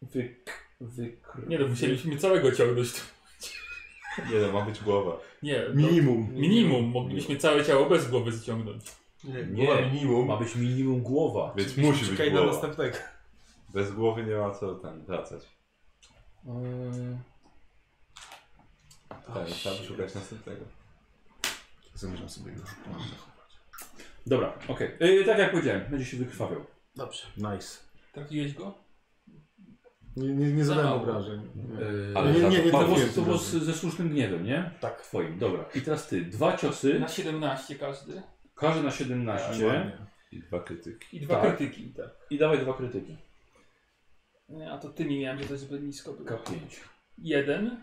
S1: Wy... Wy...
S4: Nie no, musieliśmy całego ciągnąć.
S2: Nie no, ma być głowa.
S4: Nie, no,
S3: Minimum.
S4: minimum. Mogliśmy całe ciało bez głowy zciągnąć.
S1: Nie, minimum. ma być minimum głowa.
S2: Więc musi być
S12: Czekaj na
S2: głowa.
S12: następnego.
S2: Bez głowy nie ma co tam wracać.
S11: tak, trzeba szukać następnego.
S3: Zamierzam sobie go szukać.
S1: Dobra, okej. E, Tak jak powiedziałem, będzie się wykrwawiał. E,
S12: Dobrze.
S3: Nice.
S4: Trafiłeś go?
S3: Nie, nie, nie zadałem
S4: mało.
S3: obrażeń. Nie.
S1: E,
S3: Ale nie, nie, nie
S1: to było,
S3: trafiłem
S1: to było
S3: tym
S1: z, ze słusznym gniewem, nie? Tak. Twoim, dobra. I teraz ty. Dwa ciosy,
S4: Na 17 każdy.
S1: każdy na 17
S3: Ładnie.
S2: I dwa krytyki.
S17: I dwa
S1: Tak.
S17: krytyki. Tak.
S1: i dawaj dwa krytyki.
S17: Nie, A to ty mi miałem, że to jest zbyt nisko było.
S1: K5.
S17: Jeden.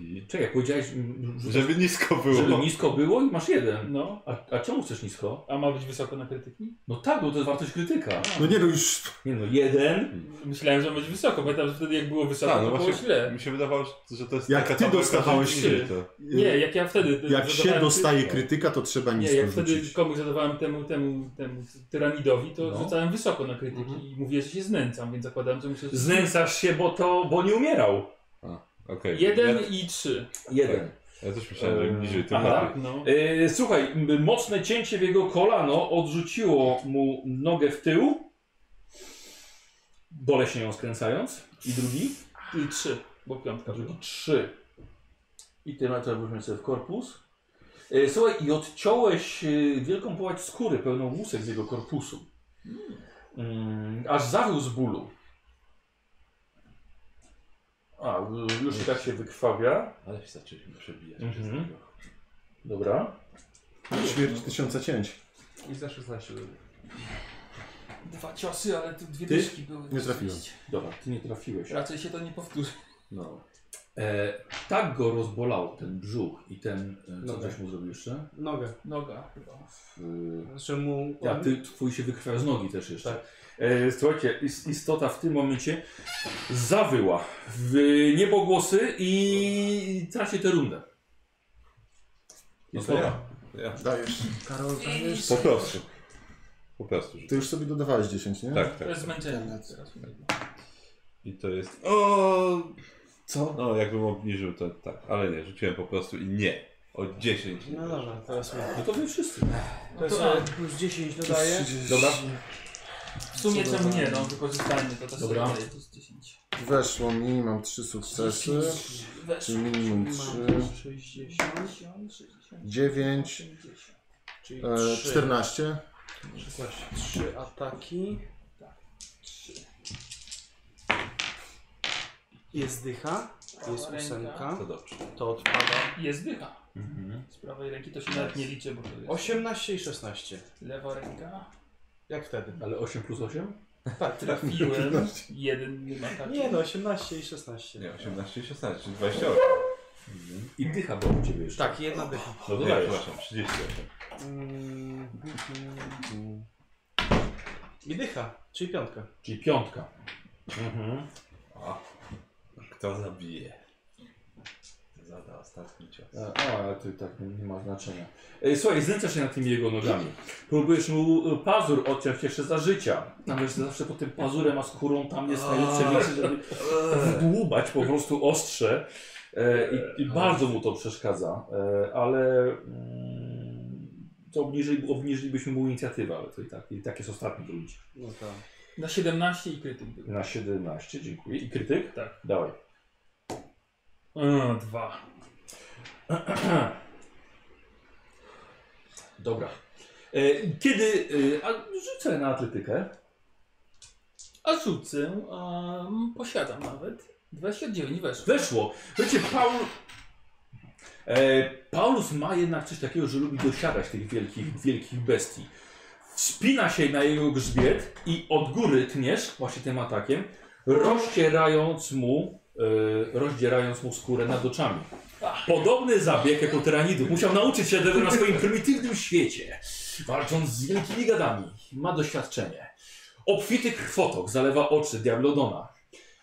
S1: I czekaj, powiedziałeś, m, że-
S2: Żeby nisko było.
S1: żeby nisko było i masz jeden.
S17: No.
S1: A, a czemu chcesz nisko?
S17: A ma być wysoko na krytyki?
S1: No tak, bo to jest wartość krytyka.
S3: No nie no już.
S1: Nie no, jeden.
S4: Myślałem, że będzie wysoko. Pamiętam, że wtedy jak było wysoko,
S2: Tak, no
S4: to było
S2: właśnie.
S4: źle.
S2: Mi się wydawało, że to jest
S3: Jak
S2: taka
S3: ty
S2: tabelka,
S3: dostawałeś
S2: że
S4: się.
S2: nie, to-
S4: Nie, jak ja wtedy.
S3: Jak się
S4: zadawałem-
S3: dostaje krytyka, to trzeba
S4: Nie,
S3: nisko
S4: jak wtedy
S3: rzucić.
S4: komuś zadawałem temu, temu, temu tyranidowi, to
S1: No.
S4: rzucałem wysoko na krytyki i mówię, że się znęcam, więc zakładałem, że muszę...
S1: Znęcasz się, bo to, bo nie umierał.
S2: Okej.
S4: Jeden
S2: Ja,
S4: i trzy.
S1: Jeden.
S2: ja też myślałem, że
S1: Eee,
S2: bliżej tym
S1: aha.
S2: lepiej.
S4: No.
S1: E, słuchaj, m- mocne cięcie w jego kolano odrzuciło mu nogę w tył. Boleśnie ją skręcając. I drugi.
S4: I trzy, bo piątka była.
S1: Drugi trzy. I ty na to weźmiemy sobie w korpus. E, słuchaj, i odciąłeś e, wielką połać skóry pełną łusek z jego korpusu. Mm, aż zawył z bólu. A, y, już i tak się wykrwawia.
S11: Ale się zaczęliśmy przebijać
S1: Mhm.
S11: wszystkiego.
S1: Dobra.
S3: Śmierć tysiąca cięć.
S5: I za 16 do
S4: Dwa ciosy, ale tu dwie
S1: Ty?
S4: dyszki były.
S3: Nie trafiłem.
S1: Dobra, ty nie trafiłeś.
S4: Raczej się to nie powtórzy.
S1: No. E, tak go rozbolał ten brzuch i ten. E, co
S12: Nogę.
S1: żeś mu zrobił jeszcze?
S12: Nogę.
S4: Noga chyba.
S1: W,
S4: E,
S12: Znaczy mu...
S1: a ty, twój się wykrwawia z nogi też jeszcze.
S4: Tak.
S1: E, słuchajcie, is- istota w tym momencie zawyła w niebogłosy i traci tę rundę.
S11: No to ja.
S3: Dajesz. Karol, dajesz.
S2: Po prostu. Po prostu. że-
S3: Ty już sobie dodawałeś 10, nie?
S2: Tak,
S4: To
S2: tak.
S4: jest zmęczenie.
S3: Internet.
S4: Teraz.
S2: I to jest. O!
S3: Co?
S2: No, jakbym obniżył to tak, ale nie, rzuciłem po prostu i nie. O 10.
S12: No dobra, teraz mu...
S1: No to wy wszyscy.
S12: To jest e,
S4: a,
S12: plus 10 dodaję.
S1: Dobra.
S4: W sumie czemu nie, no wykorzystajmy to, to sobie
S1: Dobra.
S4: daje plus 10.
S3: Weszło mi, mam 3 sukcesy.
S4: Weszło.
S3: Czyli minimum 3.
S12: 60,
S3: 9.
S12: czyli
S3: E,
S12: 3.
S3: 14.
S12: 16. 3 ataki. Tak. Jest dycha, jest
S4: Ręka.
S12: ósemka, Mhm.
S11: To dobrze.
S12: to odpada.
S4: Jest dycha. Z prawej ręki to się nawet nie liczy, bo to jest
S12: 18 i 16.
S4: lewa ręka.
S12: Jak wtedy?
S1: Ale 8 plus 8?
S12: Tak,
S4: Trafiłem. Jeden atak.
S12: Nie no, 18 i 16.
S11: Nie, 18 i 16, czyli 28.
S1: I dycha była u ciebie jeszcze.
S12: Tak, jedna dycha.
S11: No
S2: Nie,
S11: to dajesz.
S2: przepraszam, 38.
S12: Mm, I dycha, czyli piątka.
S1: Czyli piątka. Mhm.
S11: Kto zabije? Zada ostatni cios.
S1: A, ale to i tak nie ma znaczenia. Ej, słuchaj, znęcasz się nad tymi jego nogami. Próbujesz mu y, pazur odciąć jeszcze za życia. A wiesz, zawsze pod tym pazurem, a skórą tam jest najlepsze miejsce, żeby wdłubać po prostu ostrze. E, i, I bardzo mu to przeszkadza. E, ale mm, to obniży, obniżylibyśmy mu inicjatywę, ale to i tak, i tak jest ostatni w rundzie.
S12: No tak.
S4: Na 17 i krytyk był.
S1: Na 17, dziękuję. I krytyk?
S4: Tak.
S1: Dawaj.
S4: Mm, dwa.
S1: Dobra. E, kiedy... E, a rzucę na atletykę.
S4: A rzucę, um, posiadam nawet. 29 weszło.
S1: Weszło. Wiecie, Paul... E, Paulus ma jednak coś takiego, że lubi dosiadać tych wielkich, wielkich bestii. Wspina się na jego grzbiet i od góry tniesz właśnie tym atakiem, rozcierając mu, e, rozdzierając mu skórę nad oczami. Podobny zabieg jak u tyranidów. Musiał nauczyć się tego na swoim prymitywnym świecie, walcząc z wielkimi gadami. Ma doświadczenie. Obfity krwotok zalewa oczy Diablodona.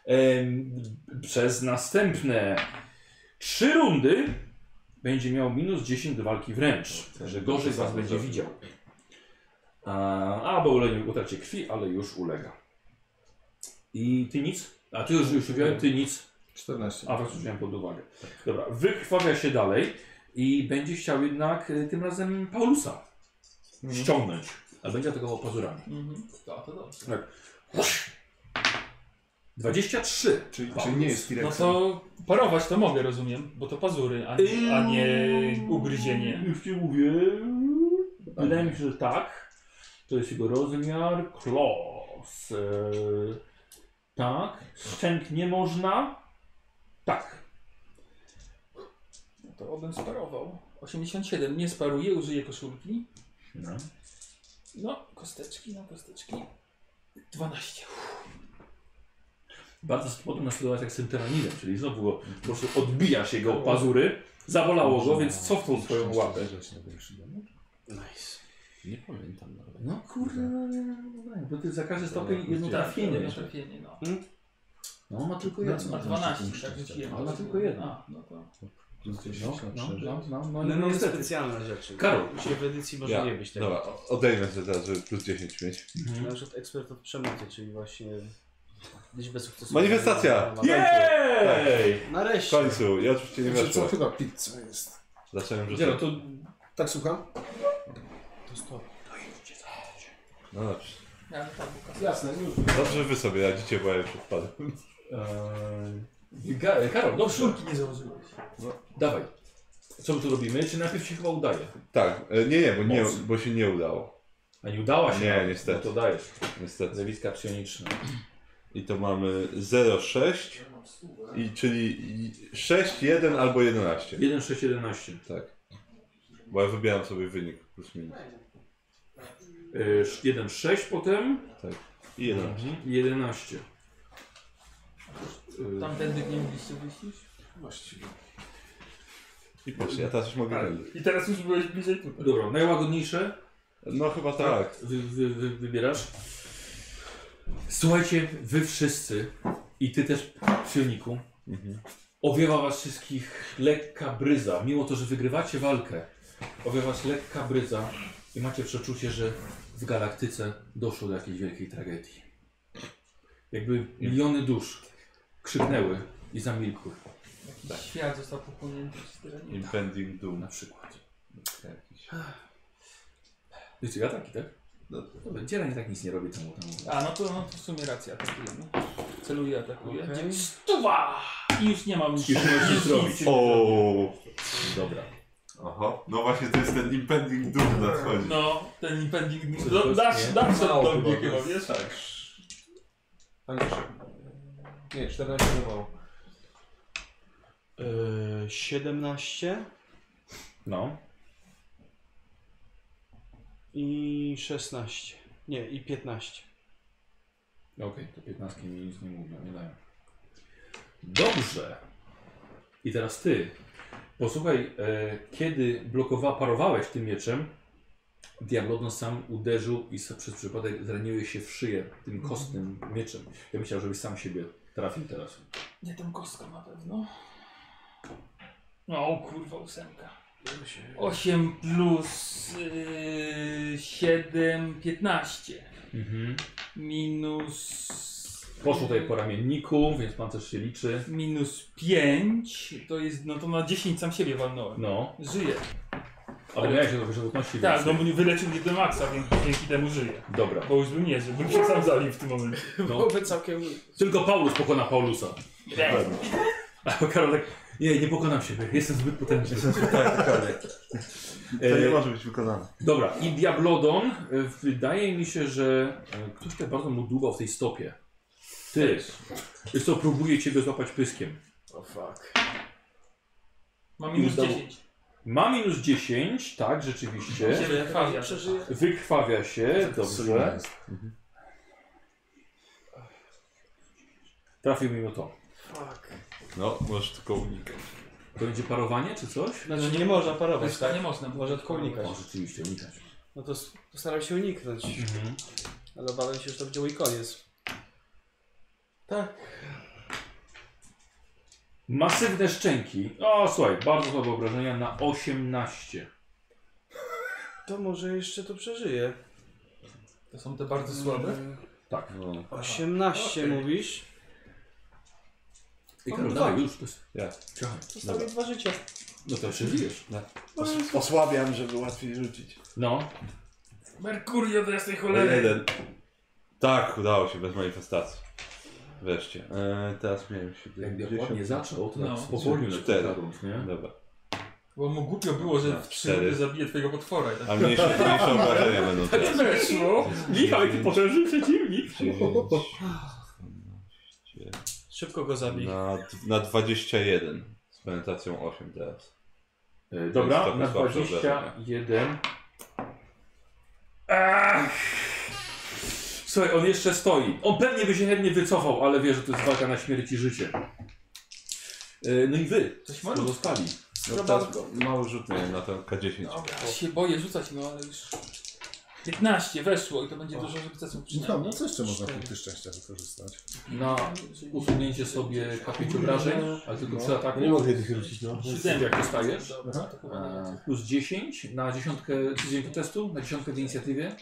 S1: Em, Przez następne trzy rundy będzie miał minus 10 do walki wręcz,
S3: No,
S1: że gorzej was będzie widział. A, a bo uległ utracie krwi, ale już ulega. I ty nic? A ty już, już wziąłem, ty nic.
S3: 14.
S1: A was wziąłem pod uwagę.
S3: Tak.
S1: Dobra, wykrwawia się dalej i będzie chciał jednak e, tym razem Paulusa
S3: Mhm.
S1: ściągnąć. Ale będzie atakował pazurami.
S4: Mhm.
S5: To, to dobrze.
S1: 23.
S3: Czyli,
S1: Paulus.
S3: czyli nie jest
S4: No
S3: T-Rexem.
S4: to parować to mogę, rozumiem, bo to pazury, a nie, a nie ugryzienie.
S1: Już ci mówię. Wydaje mi się, że tak. To jest jego rozmiar. Klos. Eee, tak. Szczęk nie można. Tak.
S17: To obym sparował. 87 nie sparuję, użyję koszulki.
S1: No.
S17: No, kosteczki, no kosteczki. 12.
S1: Bardzo potem następować jak z tym tyraninem, czyli znowu go, po prostu odbijasz jego pazury. Zabolało go, więc cofnął swoją łapę.
S12: Nice.
S2: Nie pamiętam nawet.
S1: No kurde, no, nie, no, no, no, bo ty za każdy stopień jedno trafienie.
S17: Jedno trafienie, no.
S1: No on ma tylko
S17: No,
S1: jedno.
S17: a 12, tak rzuciłem.
S1: Ale ma tylko jedno.
S17: A, no to...
S1: No, no, no, no, no,
S12: No,
S1: no,
S12: mamy
S1: niestety.
S12: specjalne rzeczy.
S1: Karol.
S12: Dzisiaj w edycji może
S2: Ja.
S12: nie być tego.
S2: Dobra, o- odejmę się teraz, żeby plus 10 mieć.
S12: Na przykład ekspert od przemocy, czyli właśnie liczbę sukcesów.
S2: Manifestacja!
S1: Jej!
S2: Tak. W
S12: Nareszcie!
S2: końcu, ja oczywiście nie
S3: Wiecie Znaczy, co,
S2: weszło.
S3: chyba pizza jest.
S2: Zacząłem,
S1: Dzielo,
S2: że...
S1: to
S3: Tak słucham?
S2: No dobrze.
S17: Ja, no tak, bo
S3: Jasne, już.
S2: Dobrze, że wy sobie radzicie, bo ja już odpadłem.
S1: Eee, Ga- Karol, no szurki nie założyłeś. Dawaj. Co my tu robimy? Czy najpierw się chyba udaje?
S2: Tak, e, nie, nie, bo, nie,
S1: Moc.
S2: bo się nie udało.
S1: A nie udała się?
S2: Nie,
S1: nam,
S2: niestety.
S1: No to dajesz.
S2: Niestety.
S1: Zjawiska psioniczne.
S2: I to mamy 0,6, i, czyli 6, 1 albo 11.
S1: 1, 6, 11.
S2: Tak. Bo ja wybieram sobie wynik plus minus.
S1: Yy, 1, 6 potem.
S2: I 11.
S1: Mhm. 11.
S17: Tamtędy nie mogliście wyjść już?
S2: I patrzcie, ja teraz już mogę
S1: Ale-
S2: wygrać.
S4: I teraz już byłeś bliżej tutaj.
S1: Dobra, najłagodniejsze.
S2: No chyba tak.
S1: Wy, wy, wy, wybierasz. Słuchajcie, wy wszyscy i ty też silniku. Owiewa was wszystkich lekka bryza. Mimo to, że wygrywacie walkę, owiewa was lekka bryza i macie przeczucie, że w galaktyce doszło do jakiejś wielkiej tragedii. Jakby miliony dusz krzyknęły i zamilkły
S17: Jakiś Tak. świat został pochłonięty przez tyranię.
S2: Impending Doom.
S1: na przykład. Wiecie, ataki, tak?
S2: No.
S1: Dobra, dzielan i tak nic nie robi temu temu.
S17: A, no to, no to w sumie racja, atakujemy. Celuję, atakuję.
S1: Okej.
S17: Okay. Stuwa! I już nie mam nic.
S1: Już nie możesz nic zrobić.
S2: O.
S1: Dobra.
S2: Aha. No właśnie, to jest ten Impending Doom nadchodzi.
S4: No, ten impending...
S1: Czy to
S4: Do,
S1: jest
S4: dasz,
S1: nie?
S4: dasz przed
S5: Mało
S4: tą
S5: chyba to
S4: chyba,
S5: jest.
S4: wiesz?
S5: Tak. A nie, nie 14 to mało.
S12: Yy, 17
S1: No.
S12: i 16. Nie, i 15.
S1: Okej, to 15 mi nic nie mówią, nie dają. Dobrze. I teraz ty. Posłuchaj, e, kiedy blokowa, parowałeś tym mieczem, Diablodon sam uderzył i sa- przez przypadek zraniłeś się w szyję tym kostnym mieczem. Ja myślałem, żebyś sam siebie trafił teraz.
S17: Nie tą kostką na pewno. No, kurwa, ósemka. 8 plus yy, 7, 15.
S1: Mhm.
S17: Minus.
S1: Poszło tutaj po ramienniku, więc pan też się liczy.
S17: Minus 5 to jest. No to na 10 sam siebie walnąłem.
S1: No,
S17: Żyję.
S1: ale miałeś do wyżywotności
S4: Tak, no bo nie wyleczył mnie do maksa, więc dzięki temu żyję.
S1: Dobra.
S4: Bo już bym nie żył, bym się sam zalił w tym momencie.
S1: No.
S12: Byłoby całkiem...
S1: Tylko Paulus pokona Paulusa.
S16: Tak.
S1: A Karol tak, nie, nie pokonam siebie, jestem zbyt potężny.
S2: To nie może być wykonane.
S1: Dobra, i Diablodon, y, wydaje mi się, że y, ktoś tak bardzo mu dłubał w tej stopie. Ty, wiesz co, próbuje ciebie złapać pyskiem.
S12: O fuck.
S17: Mam minus
S1: Udało.
S17: 10.
S1: Ma minus 10, tak, rzeczywiście.
S17: Siebie krwawia.
S12: Przeżyję.
S1: Wykrwawia się,
S3: Solidna
S1: dobrze.
S3: jest.
S1: Trafił mimo to.
S12: Fuck.
S2: No, możesz tylko unikać.
S1: To będzie parowanie czy coś?
S12: Znaczy nie można parować, tak?
S4: Nie można.
S12: Może tylko unikać.
S1: O, rzeczywiście, unikać.
S12: No to s- postaram się uniknąć,
S1: Mhm.
S12: ale obawiam się, że to będzie mój koniec.
S1: Masywne szczęki. O, słuchaj, bardzo słabe obrażenia na 18.
S12: To może jeszcze to przeżyję.
S4: To są te bardzo
S3: Mm.
S4: słabe.
S1: Tak.
S12: 18 mówisz?
S1: I
S12: O,
S1: Karol,
S12: tak.
S1: dawaj, już. To jest...
S2: Ja.
S1: Ciao.
S12: Zostały dwa życia.
S1: No to jeszcze żyjesz.
S2: Os- Osłabiam, żeby łatwiej rzucić.
S1: No.
S16: Merkurio do jasnej
S2: O
S16: cholery.
S2: jeden. Tak, udało się bez manifestacji. Wreszcie. E, teraz miałem się
S1: Jakby ładnie zaczął, to no.
S4: No.
S1: spowolnił lekko
S2: Cztery.
S1: ta rund, nie?
S2: Dobra.
S4: Bo mu głupio było, że w trzy
S2: Cztery.
S4: rundy zabije twojego potwora. i Tak?
S2: A mniejsze, mniejsze obrażenia będą teraz.
S16: Weszło. Michał, jaki potężny przeciwnik.
S2: 9,
S12: Szybko go zabij.
S2: na, na 21 z penetracją 8 teraz.
S1: E, Dobra,
S2: Jest
S1: na
S2: trochę słabsze obrażenia.
S1: 21. Ach! Słuchaj, on jeszcze stoi. On pewnie by się chętnie wycofał, ale wie, że to jest walka na śmierć i życie. E, No i wy.
S4: Coś malutko.
S1: Pozostali.
S2: No teraz mały rzut miałem na ten K10.
S4: Ja się boję rzucać, no ale już... 15 weszło i to będzie dużo sukcesów
S3: No,
S4: przynajmniej.
S3: no co jeszcze można punkty szczęścia wykorzystać?
S1: Na usunięcie sobie K5 obrażeń, ale tylko przy ataku.
S13: Ja nie mogę tych rzucić, no.
S1: Siedem, jak dostajesz.
S4: Dobra, to chyba nie.
S1: E, Plus 10 na dziesiątkę tydzień testu, na dziesiątkę w inicjatywie.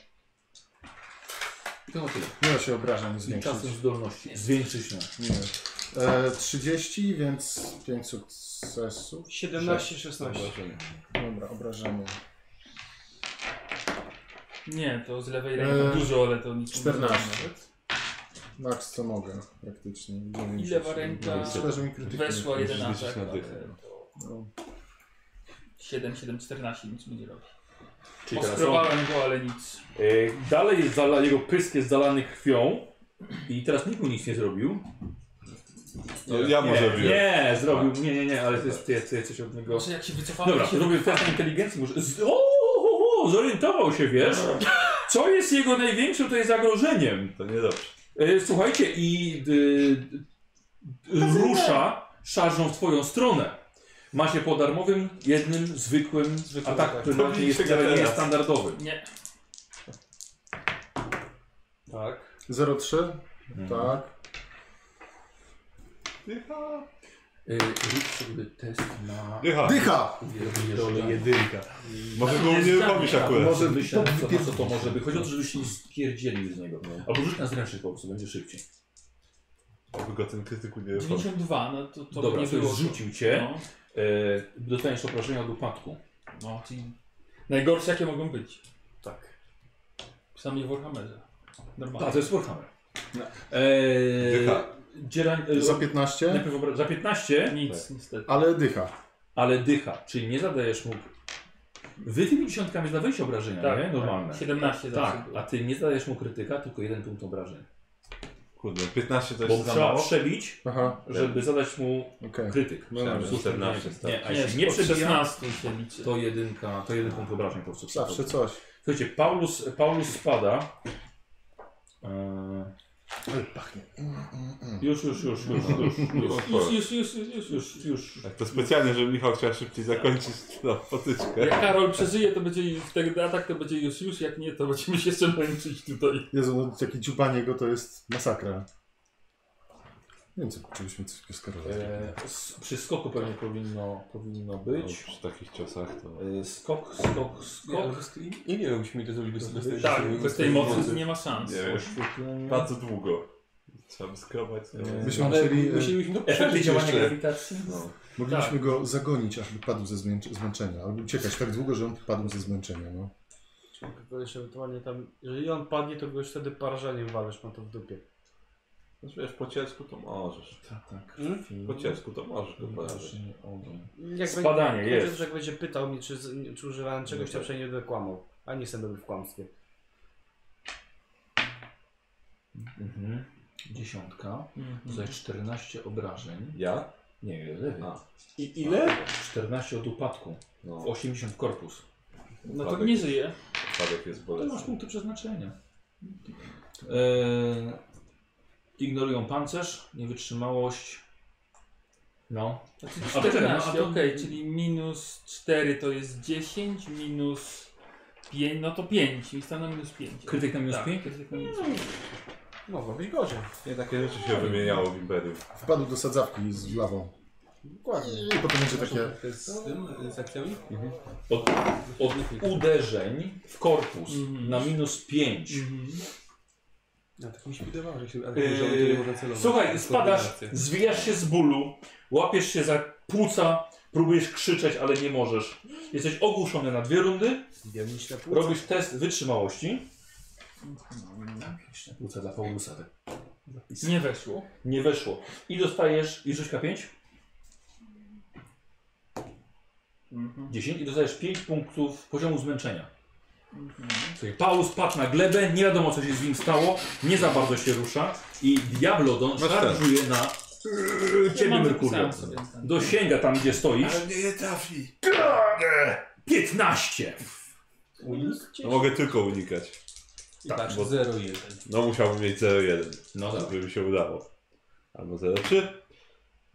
S1: I to na tyle.
S3: Nie da się obrażeń
S1: I
S3: zwiększyć.
S1: czasem zdolności. Zwiększy się.
S3: Nie. E, 30, więc 5 sukcesów.
S12: 17-16.
S3: Dobra, obrażenie.
S4: Nie, to z lewej ręki to
S3: Eee,
S4: dużo, ale to nic
S3: 14.
S4: nie
S3: Max co mogę, praktycznie.
S4: I lewa ręka
S3: Myślę, że mi krytyki
S4: weszła
S3: nie-
S4: jeden
S2: Musisz
S4: atak.
S2: liczyć na
S4: ale
S2: dychę.
S4: to
S3: No.
S4: 7, 7, 14, nic mi nie robi.
S1: Czyli teraz on-
S4: Oskrobałem go, ale nic.
S1: E, Dalej jest zala, jego pysk jest zalany krwią. I teraz nikt mu nic nie zrobił.
S2: No, ja może
S1: nie,
S2: wiem.
S1: nie, zrobił. Nie, nie, nie, ale to jest, ty, ty jesteś od niego.
S4: Tak. Może jak się wycofałem,
S1: Dobra,
S4: się...
S1: zrobił test inteligencji. Może... Z... O, o, o, zorientował się, wiesz? Co jest jego największym tutaj zagrożeniem?
S2: To niedobrze.
S1: E, Słuchajcie, i y, y, rusza szarżą w twoją stronę. Ma się po darmowym, jednym, zwykłym,
S12: Zwykłym
S1: ataku,
S4: tak.
S12: ataku.
S1: który macie, jest, wcale nie jest standardowy.
S4: Nie,
S12: Tak.
S3: 0,3? Tak.
S1: Y, Rzuć sobie test na...
S2: Dycha.
S3: Dycha!
S2: jedynka. Może go nie robisz akurat.
S1: Może myślę, co, na co to może być. Chodzi o to, żebyście nie spierdzieli z niego. no. Albo rzuć na zręczny po prostu, będzie szybciej.
S2: Oby go ten krytyku nie robił.
S4: 92, no to, to by
S1: Dobra,
S4: nie
S1: coś
S4: było.
S1: zrzucił cię.
S4: No,
S1: E, dostaniesz obrażenia od upadku.
S4: no, czyli najgorsze jakie mogą być.
S1: Tak.
S4: Przynajmniej w Warhammerze.
S1: A,
S4: Normalnie.
S1: to jest Warhammer.
S3: No.
S1: E,
S2: Dycha.
S1: dzieran, e,
S3: Za 15?
S1: najpierw obra- za 15,
S4: Nic, niestety.
S3: Ale dycha.
S1: ale dycha, czyli nie zadajesz mu... Wy tymi dziesiątkami zadawałeś obrażenia, nie? Normalne.
S4: Tak, 17 zawsze
S1: Tak,
S4: było.
S1: a ty nie zadajesz mu krytyka, tylko jeden punkt obrażeń.
S2: Kurde, 15 to
S1: Bo
S2: jest za
S1: trzeba
S2: mało.
S1: przebić,
S3: Aha,
S1: żeby zadać mu
S3: okej.
S1: krytyk.
S3: No dobrze.
S2: Przynajmniej 14 stać.
S1: Nie, a
S4: Nie,
S1: jeśli nie
S4: od
S1: przebija,
S4: 16 się liczy.
S1: To jedynka, to jeden punkt obrażeń po prostu.
S3: Zawsze coś.
S1: Słuchajcie, Paulus, Paulus spada. Eee,
S3: Ale pachnie.
S1: już, już, już, już, już, już,
S4: Już, już, już, już, już, już.
S1: już, już.
S2: Tak to specjalnie, żeby Michał chciał szybciej zakończyć no, potyczkę.
S4: Jak Karol przeżyje, to będzie wtedy atak, to będzie już, już, jak nie, to będziemy się jeszcze męczyć tutaj.
S3: Jezu, no takie dziubanie go to jest masakra. Nie wiem, co czegośmy coś skierować.
S1: Eee, s- przy skoku pewnie powinno, powinno
S2: No,
S1: być.
S2: przy takich ciosach to...
S1: Eee, skok, skok, skok.
S5: I nie wiem, musimy to zrobić bez, bez, tej,
S4: Tak, bez tej mocy nie ma szans.
S2: Nie wiem,
S1: Oświetlenie.
S2: bardzo długo. Trzeba by skrobać.
S3: Myśmy
S5: Ale
S3: musieli, e,
S5: musielibyśmy to
S1: Efekty
S5: przeżyć
S1: działania
S5: jeszcze.
S1: grawitacji.
S2: No.
S3: mogliśmy go zagonić, aż by padł ze zmęcz- zmęczenia. Albo uciekać tak długo, że on padł ze zmęczenia. No.
S12: Tylko jeszcze ewentualnie tam, jeżeli on padnie, to go już wtedy porażeniem walisz, ma to w dupie.
S2: Znaczy wiesz, po cielsku to możesz.
S1: Tak, tak.
S12: Hmm?
S2: Po cielsku to możesz go porażać.
S1: Obrażenie ogon.
S12: Jak
S1: Spadanie,
S12: będzie,
S1: jest. No tak.
S12: Chociaż jak będzie pytał mnie, czy, z- czy używałem czegoś, to przynajmniej będę kłamał. A nie jestem dobry w kłamstwie.
S1: Mhm. Dziesiątka.
S4: Mhm.
S1: Tutaj 14 obrażeń.
S2: Ja?
S1: Nie, lewy.
S2: A.
S1: I ile? 14 od upadku.
S2: No,
S1: W 80 korpus.
S4: No to nie żyje.
S2: upadek jest
S1: To masz
S2: bolesny.
S1: punkty przeznaczenia. E, Eee, ignorują pancerz, niewytrzymałość. No.
S4: Znaczy
S1: A to
S4: 14,
S1: tyle, no, a
S4: okej,
S1: to-
S4: czyli minus 4 to jest 10, minus 5, no to 5, i stan na minus 5.
S1: Krytyk na minus
S4: tak,
S1: 5?
S4: krytyk na minus
S12: Mogło być gorzej.
S11: Nie takie rzeczy się wymieniało w Imperium.
S2: No
S3: Wpadł do sadzawki z lawą.
S12: Dokładnie.
S3: I potem będzie takie...
S5: To jest z tym, e, z
S1: E,
S5: akcjami?
S1: Od, od uderzeń w korpus na minus 5.
S5: Ja tak mi się wydawało, że się ale
S1: Eee,
S5: że on tyle można celować.
S1: Słuchaj,
S5: Jest
S1: spadasz,
S5: koordynacja.
S1: zwijasz się z bólu, łapiesz się za płuca, próbujesz krzyczeć, ale nie możesz. Jesteś ogłuszony na dwie rundy, robisz test wytrzymałości. Płuca dla Paulusa. tak.
S4: Nie weszło.
S1: Nie weszło. I dostajesz, i rzuć K5. 10 i dostajesz 5 punktów poziomu zmęczenia. Czyli Paulus patrz na glebę, nie wiadomo co się z nim stało, nie za bardzo się rusza i Diablodon
S2: Masz ten.
S1: szarżuje na yy, ciebie
S17: mam
S1: Merkurio.
S17: zapisałem sobie ten.
S1: Dosięga tam gdzie stoisz.
S2: mnie nie trafi.
S1: 15!
S2: No mogę tylko unikać. Tak,
S5: I patrz,
S2: bo-
S5: 0,1.
S2: No musiałbym mieć 0,1,
S1: No tak.
S2: żeby mi się udało. Albo 0,3.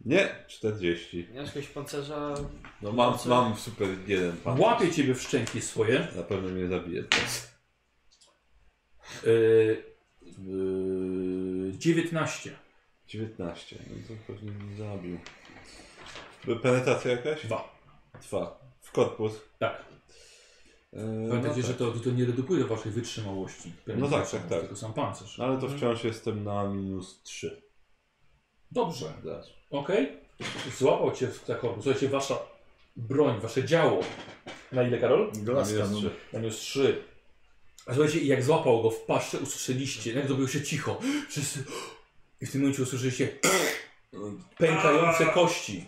S2: Nie, 40.
S12: Miałeś jakiegoś pancerza?
S2: No mam, mam super jeden pan.
S1: Łapie ciebie w szczęki swoje. E,
S2: Na pewno mnie zabije.
S1: Yy, yy, 19.
S2: 19, no to pewnie mnie zabił. By- Penetracja jakaś?
S1: Dwa.
S2: Dwa. W korpus.
S1: Tak.
S2: E,
S1: Pamiętajcie,
S2: no
S1: że to, to nie redukuje waszej wytrzymałości.
S2: No tak, tak, tak.
S1: Tylko sam pancerz.
S2: Ale to wciąż jestem na minus 3.
S1: Dobrze. Okej. Złapał cię w taką. Słuchajcie, wasza broń, wasze działo. Na ile, Karol?
S3: Glaska, no.
S1: Na minus 3. A słuchajcie, i jak złapał go w paszczy, usłyszeliście, jak zrobiło się cicho. Wszyscy... I w tym momencie usłyszeliście pękające kości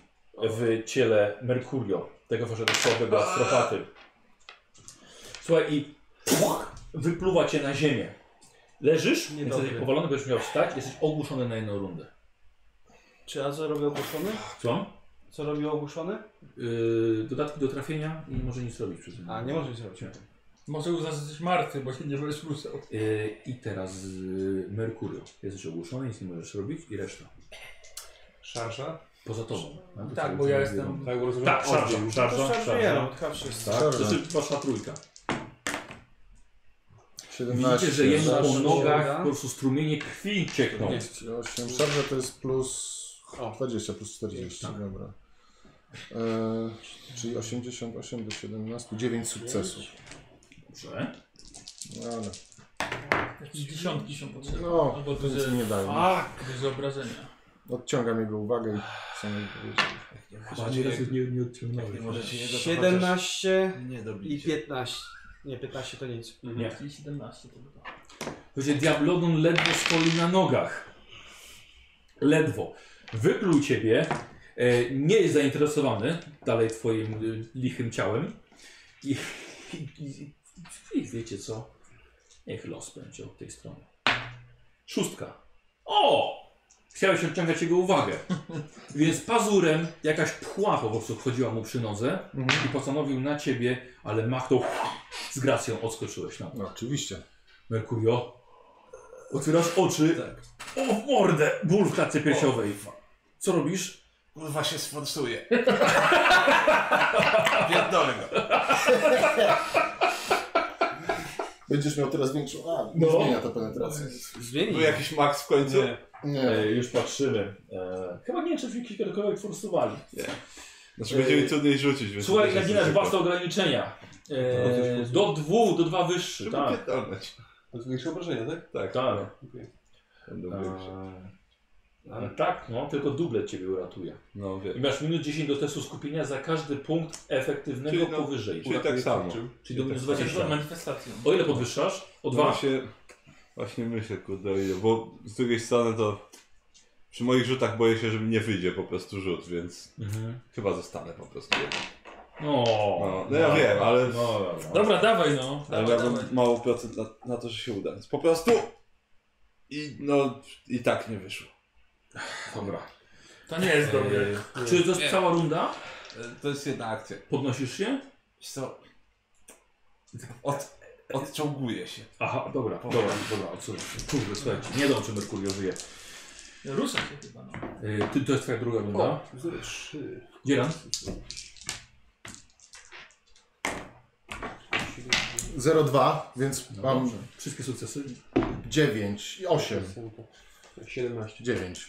S1: w ciele Merkurio, tego waszego słabego astropaty. Słuchaj, i puch, wypluwa cię na ziemię. Leżysz,
S12: Niedobrze.
S1: jesteś powalony, będziesz miał wstać, jesteś ogłuszony na jedną rundę.
S12: Czy a co robił ogłuszony?
S1: Co?
S12: Co robił ogłuszony?
S1: Yy, dodatki do trafienia i może nic robić przez
S12: A, nie może nic robić.
S4: Może uznać, że jesteś martwy, bo się nie będziesz ruszał.
S1: Yy, I teraz yy, Merkurio. Jesteś ogłuszony, nic nie możesz robić i reszta.
S5: Szarsza.
S1: Poza tobą. No, to
S4: Tak,
S1: co
S4: bo ja
S1: mówię.
S4: jestem...
S5: Tak, bo rozumiem.
S1: Tak, szarża,
S12: To no,
S1: szarża,
S12: szarżujemy,
S4: no.
S1: szarża.
S12: chyba wszyscy.
S1: Tak, to jest wasza trójka.
S3: 17,
S1: Widzicie, że jemu po
S3: szarża,
S1: nogach po prostu strumienie krwi ciekną.
S3: 48. Szarża to jest plus 20, plus 40,
S1: Tak.
S3: dobra. E, czyli 88 do 17, 9 sukcesów.
S1: Dobrze.
S3: No ale,
S4: Jakieś dziesiątki są potrzebne.
S3: no,
S4: Albo
S3: nic
S4: duże...
S3: mi nie daje.
S4: Fuck! Duże obrażenia.
S3: Odciągam jego uwagę i co mi powiedzieć.
S1: Chyba nie, nie, nie odciągnąłeś.
S12: 17
S11: Nie
S12: i 15. Nie, 15 to nic.
S1: Nie.
S4: Czyli 17 to było.
S1: Słuchajcie, Diablodon ledwo stoi na nogach. Ledwo. Wypluł ciebie. E, nie jest zainteresowany dalej twoim y, lichym ciałem. I, i, i, i wiecie co? Niech los będzie od tej strony. Szóstka. O! Chciałeś odciągać jego uwagę. Więc pazurem jakaś pchła po prostu wchodziła mu przy nodze i postanowił na ciebie, ale machnął z gracją odskoczyłeś na
S3: No, oczywiście.
S1: Merkurio, otwierasz oczy. O, w mordę! Ból w klatce piersiowej. Co robisz?
S11: Kurwa się sforsuje. Pierdolę go.
S3: Będziesz miał teraz większą... A,
S1: No.
S3: nie zmienia ta penetracja.
S2: Był
S12: Zmieni.
S2: jakiś max w końcu?
S3: Nie.
S1: już patrzymy. E, chyba nie wiem, czy kilkakolwiek forsowali.
S2: Znaczy będzie mi trudniej rzucić, więc...
S1: Słuchaj,
S2: będzie
S1: naginasz
S2: szybko.
S1: własne ograniczenia.
S2: No, to już
S1: E, do dwóch, do dwa wyższy,
S2: Żeby
S1: tak.
S2: pierdolnąć.
S5: To są większe obrażenia, tak?
S2: Tak.
S1: Tak.
S2: Będą większe.
S1: E, Ale tak, no, tylko dublet ciebie uratuje.
S2: No
S1: I
S2: wiem.
S1: masz minus 10 do testu skupienia za każdy punkt efektywnego
S2: Czyli no-
S1: powyżej.
S2: Czyli tak samo.
S1: Czyli tak do minus
S4: Chociaż za
S1: 20.
S4: manifestacją.
S1: O ile podwyższasz? O
S2: Dwa.
S1: dwa.
S2: No, Właśnie, właśnie myślę, kurde, o ile, bo z drugiej strony to przy moich rzutach boję się, że mi nie wyjdzie po prostu rzut, więc
S1: Mhm.
S2: chyba zostanę po prostu.
S1: No,
S2: No, no ja wiem, ale-
S1: No, dobra.
S4: Dobra, dawaj no.
S2: Ale
S4: Dawaj, dawaj.
S2: miałbym mało procent na, na to, że się uda, więc po prostu i no i tak nie wyszło.
S1: dobra.
S4: To nie jest dobre.
S1: Eee, Czy to jest
S11: Nie.
S1: cała runda?
S11: To jest jedna akcja.
S1: Podnosisz się?
S11: Wiesz co? Od, odciąguje się.
S1: Aha, dobra, dobra, dobra, odsuwam się. Kurde, słuchajcie, nie dam, czy Merkurio żyje.
S17: Rusza się chyba, no.
S1: E, Ty, to jest twoja druga runda.
S5: 0,3.
S1: Dzielam.
S3: 0,2, więc
S1: No
S3: mam
S1: dobrze. Wszystkie sukcesy.
S3: 9 i 8.
S5: 17.
S3: 9.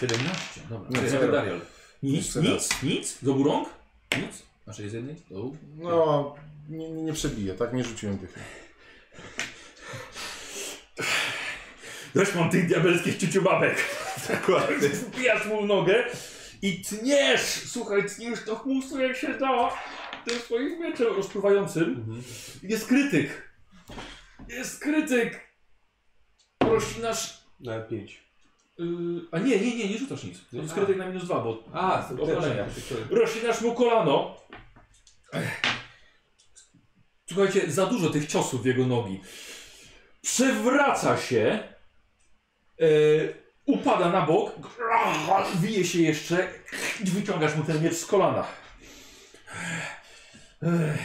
S1: 17. Dobra.
S3: No,
S1: No,
S3: zero.
S1: Darial. Nic,
S3: Jeszcze
S1: nic, nic. Z obu rąk? Nic. Naszej z jednej? Do.
S3: No, nie, nie przebiję, tak? Nie rzuciłem tych.
S1: Zresztą mam tych diabelskich ciuciubabek.
S2: Dokładnie.
S1: Wbijasz mu w nogę i tniesz, słuchaj, tniesz to chmustu jak się da tym swoim mieczem rozpływającym.
S5: Mhm.
S1: Jest krytyk. Jest krytyk. Prosinasz...
S5: Na 5.
S1: Yy, a nie, nie, nie, nie rzucasz nic. To Jest
S5: A.
S1: krytyk na minus dwa, bo
S5: A, z
S1: obrażenia. Roślinasz mu kolano. Słuchajcie, za dużo tych ciosów w jego nogi. Przewraca się. E, upada na bok. Wije się jeszcze. I wyciągasz mu ten miecz z kolana. E,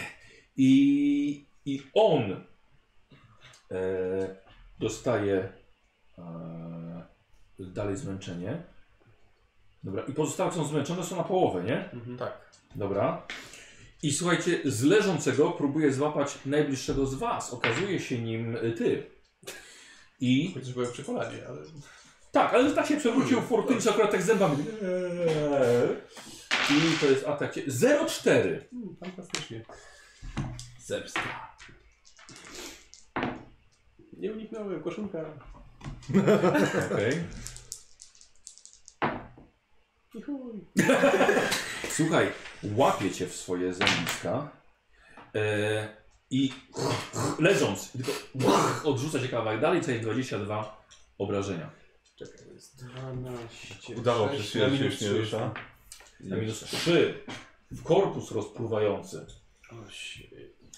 S1: I, i on e, dostaje e, dalej zmęczenie. Dobra, i pozostałe są zmęczone, są na połowę, nie?
S5: Tak.
S1: Dobra. I słuchajcie, z leżącego próbuje złapać najbliższego z was. Okazuje się nim y, ty. I
S5: Chociaż byłem w czekoladzie, ale...
S1: tak, ale tak się przewrócił furtynczy akurat tak zębami. Eee. I to jest atak. cie- 0,4.
S5: Mm, fantastycznie.
S1: Hmm, Zemsta.
S5: Nie uniknąłem, koszulka.
S1: Okej.
S5: I chuj.
S1: Słuchaj, łapie cię w swoje zębiska e, i leżąc, tylko odrzuca się kawałek dalej, to jest 22 obrażenia.
S5: Czekaj, to jest 12.
S2: Udało
S5: Sześć
S2: się, ja
S5: na
S2: się już
S5: minus
S2: nie
S5: trzy.
S2: rusza.
S1: Na minus 3. W korpus rozpruwający.
S5: O, shit.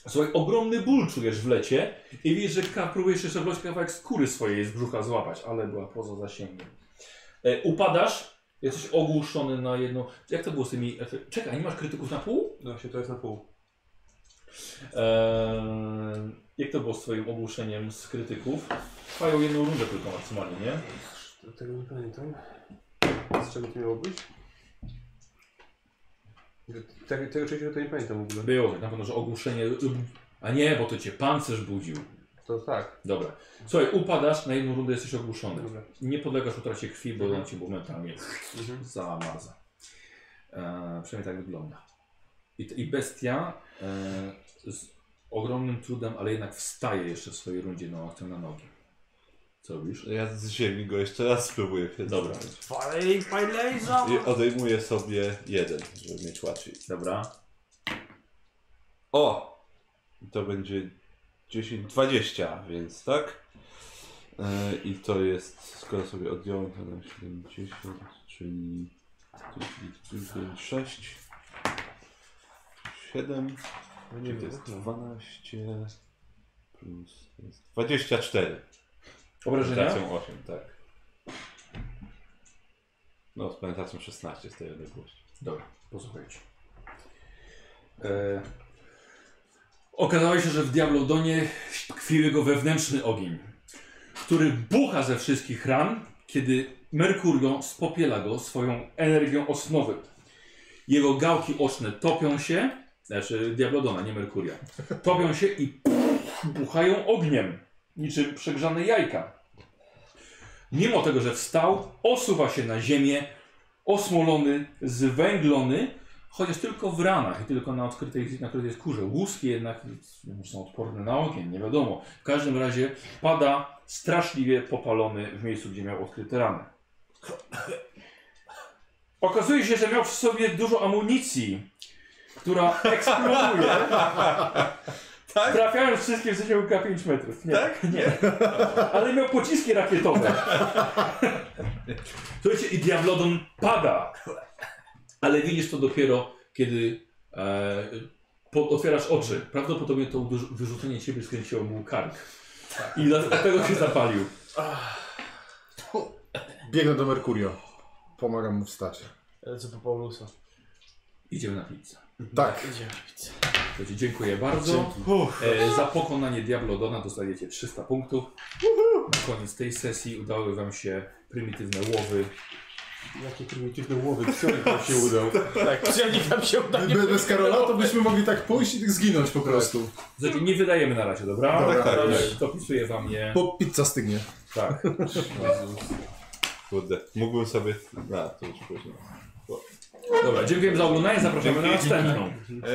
S1: Słuchaj, ogromny ból czujesz w lecie i widzisz, że ka- próbujesz jeszcze wlać kawałek skóry swojej z brzucha złapać, ale była poza zasięgiem. E, upadasz, jesteś ogłuszony na jedno... Jak to było z tymi... jak to- Czekaj, nie masz krytyków na pół?
S5: No się to jest na pół.
S1: Eee, jak to było z twoim ogłuszeniem z krytyków? Trwają jedną rundę tylko maksymalnie, nie?
S5: To- Tego nie pamiętam. Z czego to miało być? Tego, tego trzeciego to nie pamiętam w ogóle.
S1: Było, tak na pewno, że ogłuszenie... A nie, bo to cię pancerz budził.
S5: To tak.
S1: Dobra. Słuchaj, upadasz, na jedną rundę jesteś ogłuszony.
S5: Dobra.
S1: Nie podlegasz utracie krwi, bo on cię momentalnie
S5: Mhm.
S1: zamarza. E, przynajmniej tak wygląda. I, I bestia e, z ogromnym trudem, ale jednak wstaje jeszcze w swojej rundzie na łokcie na nogi. Co robisz?
S2: Ja z ziemi go jeszcze raz spróbuję. więc-
S1: Dobra.
S17: Falej, falej, za...
S2: I odejmuję sobie jeden, żeby mieć łatwiej.
S1: Dobra.
S2: O! To będzie 10, 20, więc tak. E, I to jest, skoro sobie odjąłem, to dam 70, czyli 5, 6, 7, czyli to jest 12, plus to jest 24.
S1: Obrażenia?
S2: Prezentacją 8, tak. No, z prezentacją 16 z tej odległości.
S1: Dobra, posłuchajcie. E, okazało się, że w Diablodonie tkwił jego wewnętrzny ogień, który bucha ze wszystkich ran, kiedy Merkurio spopiela go swoją energią osnowy. Jego gałki oczne topią się, znaczy Diablodona, nie Merkuria, topią się i pff, buchają ogniem, niczym przegrzane jajka. Mimo tego, że wstał, osuwa się na ziemię, osmolony, zwęglony, chociaż tylko w ranach i tylko na odkrytej, na odkrytej skórze. Łuski jednak są odporne na ogień, nie wiadomo. W każdym razie pada straszliwie popalony w miejscu, gdzie miał odkryte rany. Okazuje się, że miał przy sobie dużo amunicji, która eksploduje,
S2: Tak?
S1: trafiając wszystkie w zasięgu 5 metrów. Nie,
S2: Tak?
S1: Nie. Ale miał pociski rakietowe. Słuchajcie, i Diablodon pada. Ale widzisz to dopiero, kiedy e, po, otwierasz oczy. Prawdopodobnie to uderz- wyrzucenie ciebie skręciło mu kark. I dlatego się zapalił.
S3: Biegnę do Merkurio. Pomagam mu wstać.
S12: Lecę E, po Paulusa.
S1: Idziemy na pizzę.
S3: Tak.
S12: Idzie.
S1: Słuchajcie, dziękuję bardzo. E, za pokonanie Diablodona dostajecie 300 punktów. Na koniec tej sesji udały wam się prymitywne łowy.
S5: Jakie prymitywne łowy, psionik nam się udał.
S12: Tak, przynajmniej nam się uda.
S3: Be, bez Karola to byśmy mogli tak pójść i zginąć po prostu.
S1: Znaczy, nie wydajemy na razie, dobra?
S3: Dobra.
S1: tak, tak. Dopisuję wam je.
S3: Po pizza stygnie.
S1: Tak.
S2: Kurde, mógłbym sobie... A, to już później.
S1: Dobra, dziękujemy za oglądanie, zapraszamy na następną.
S2: Ej,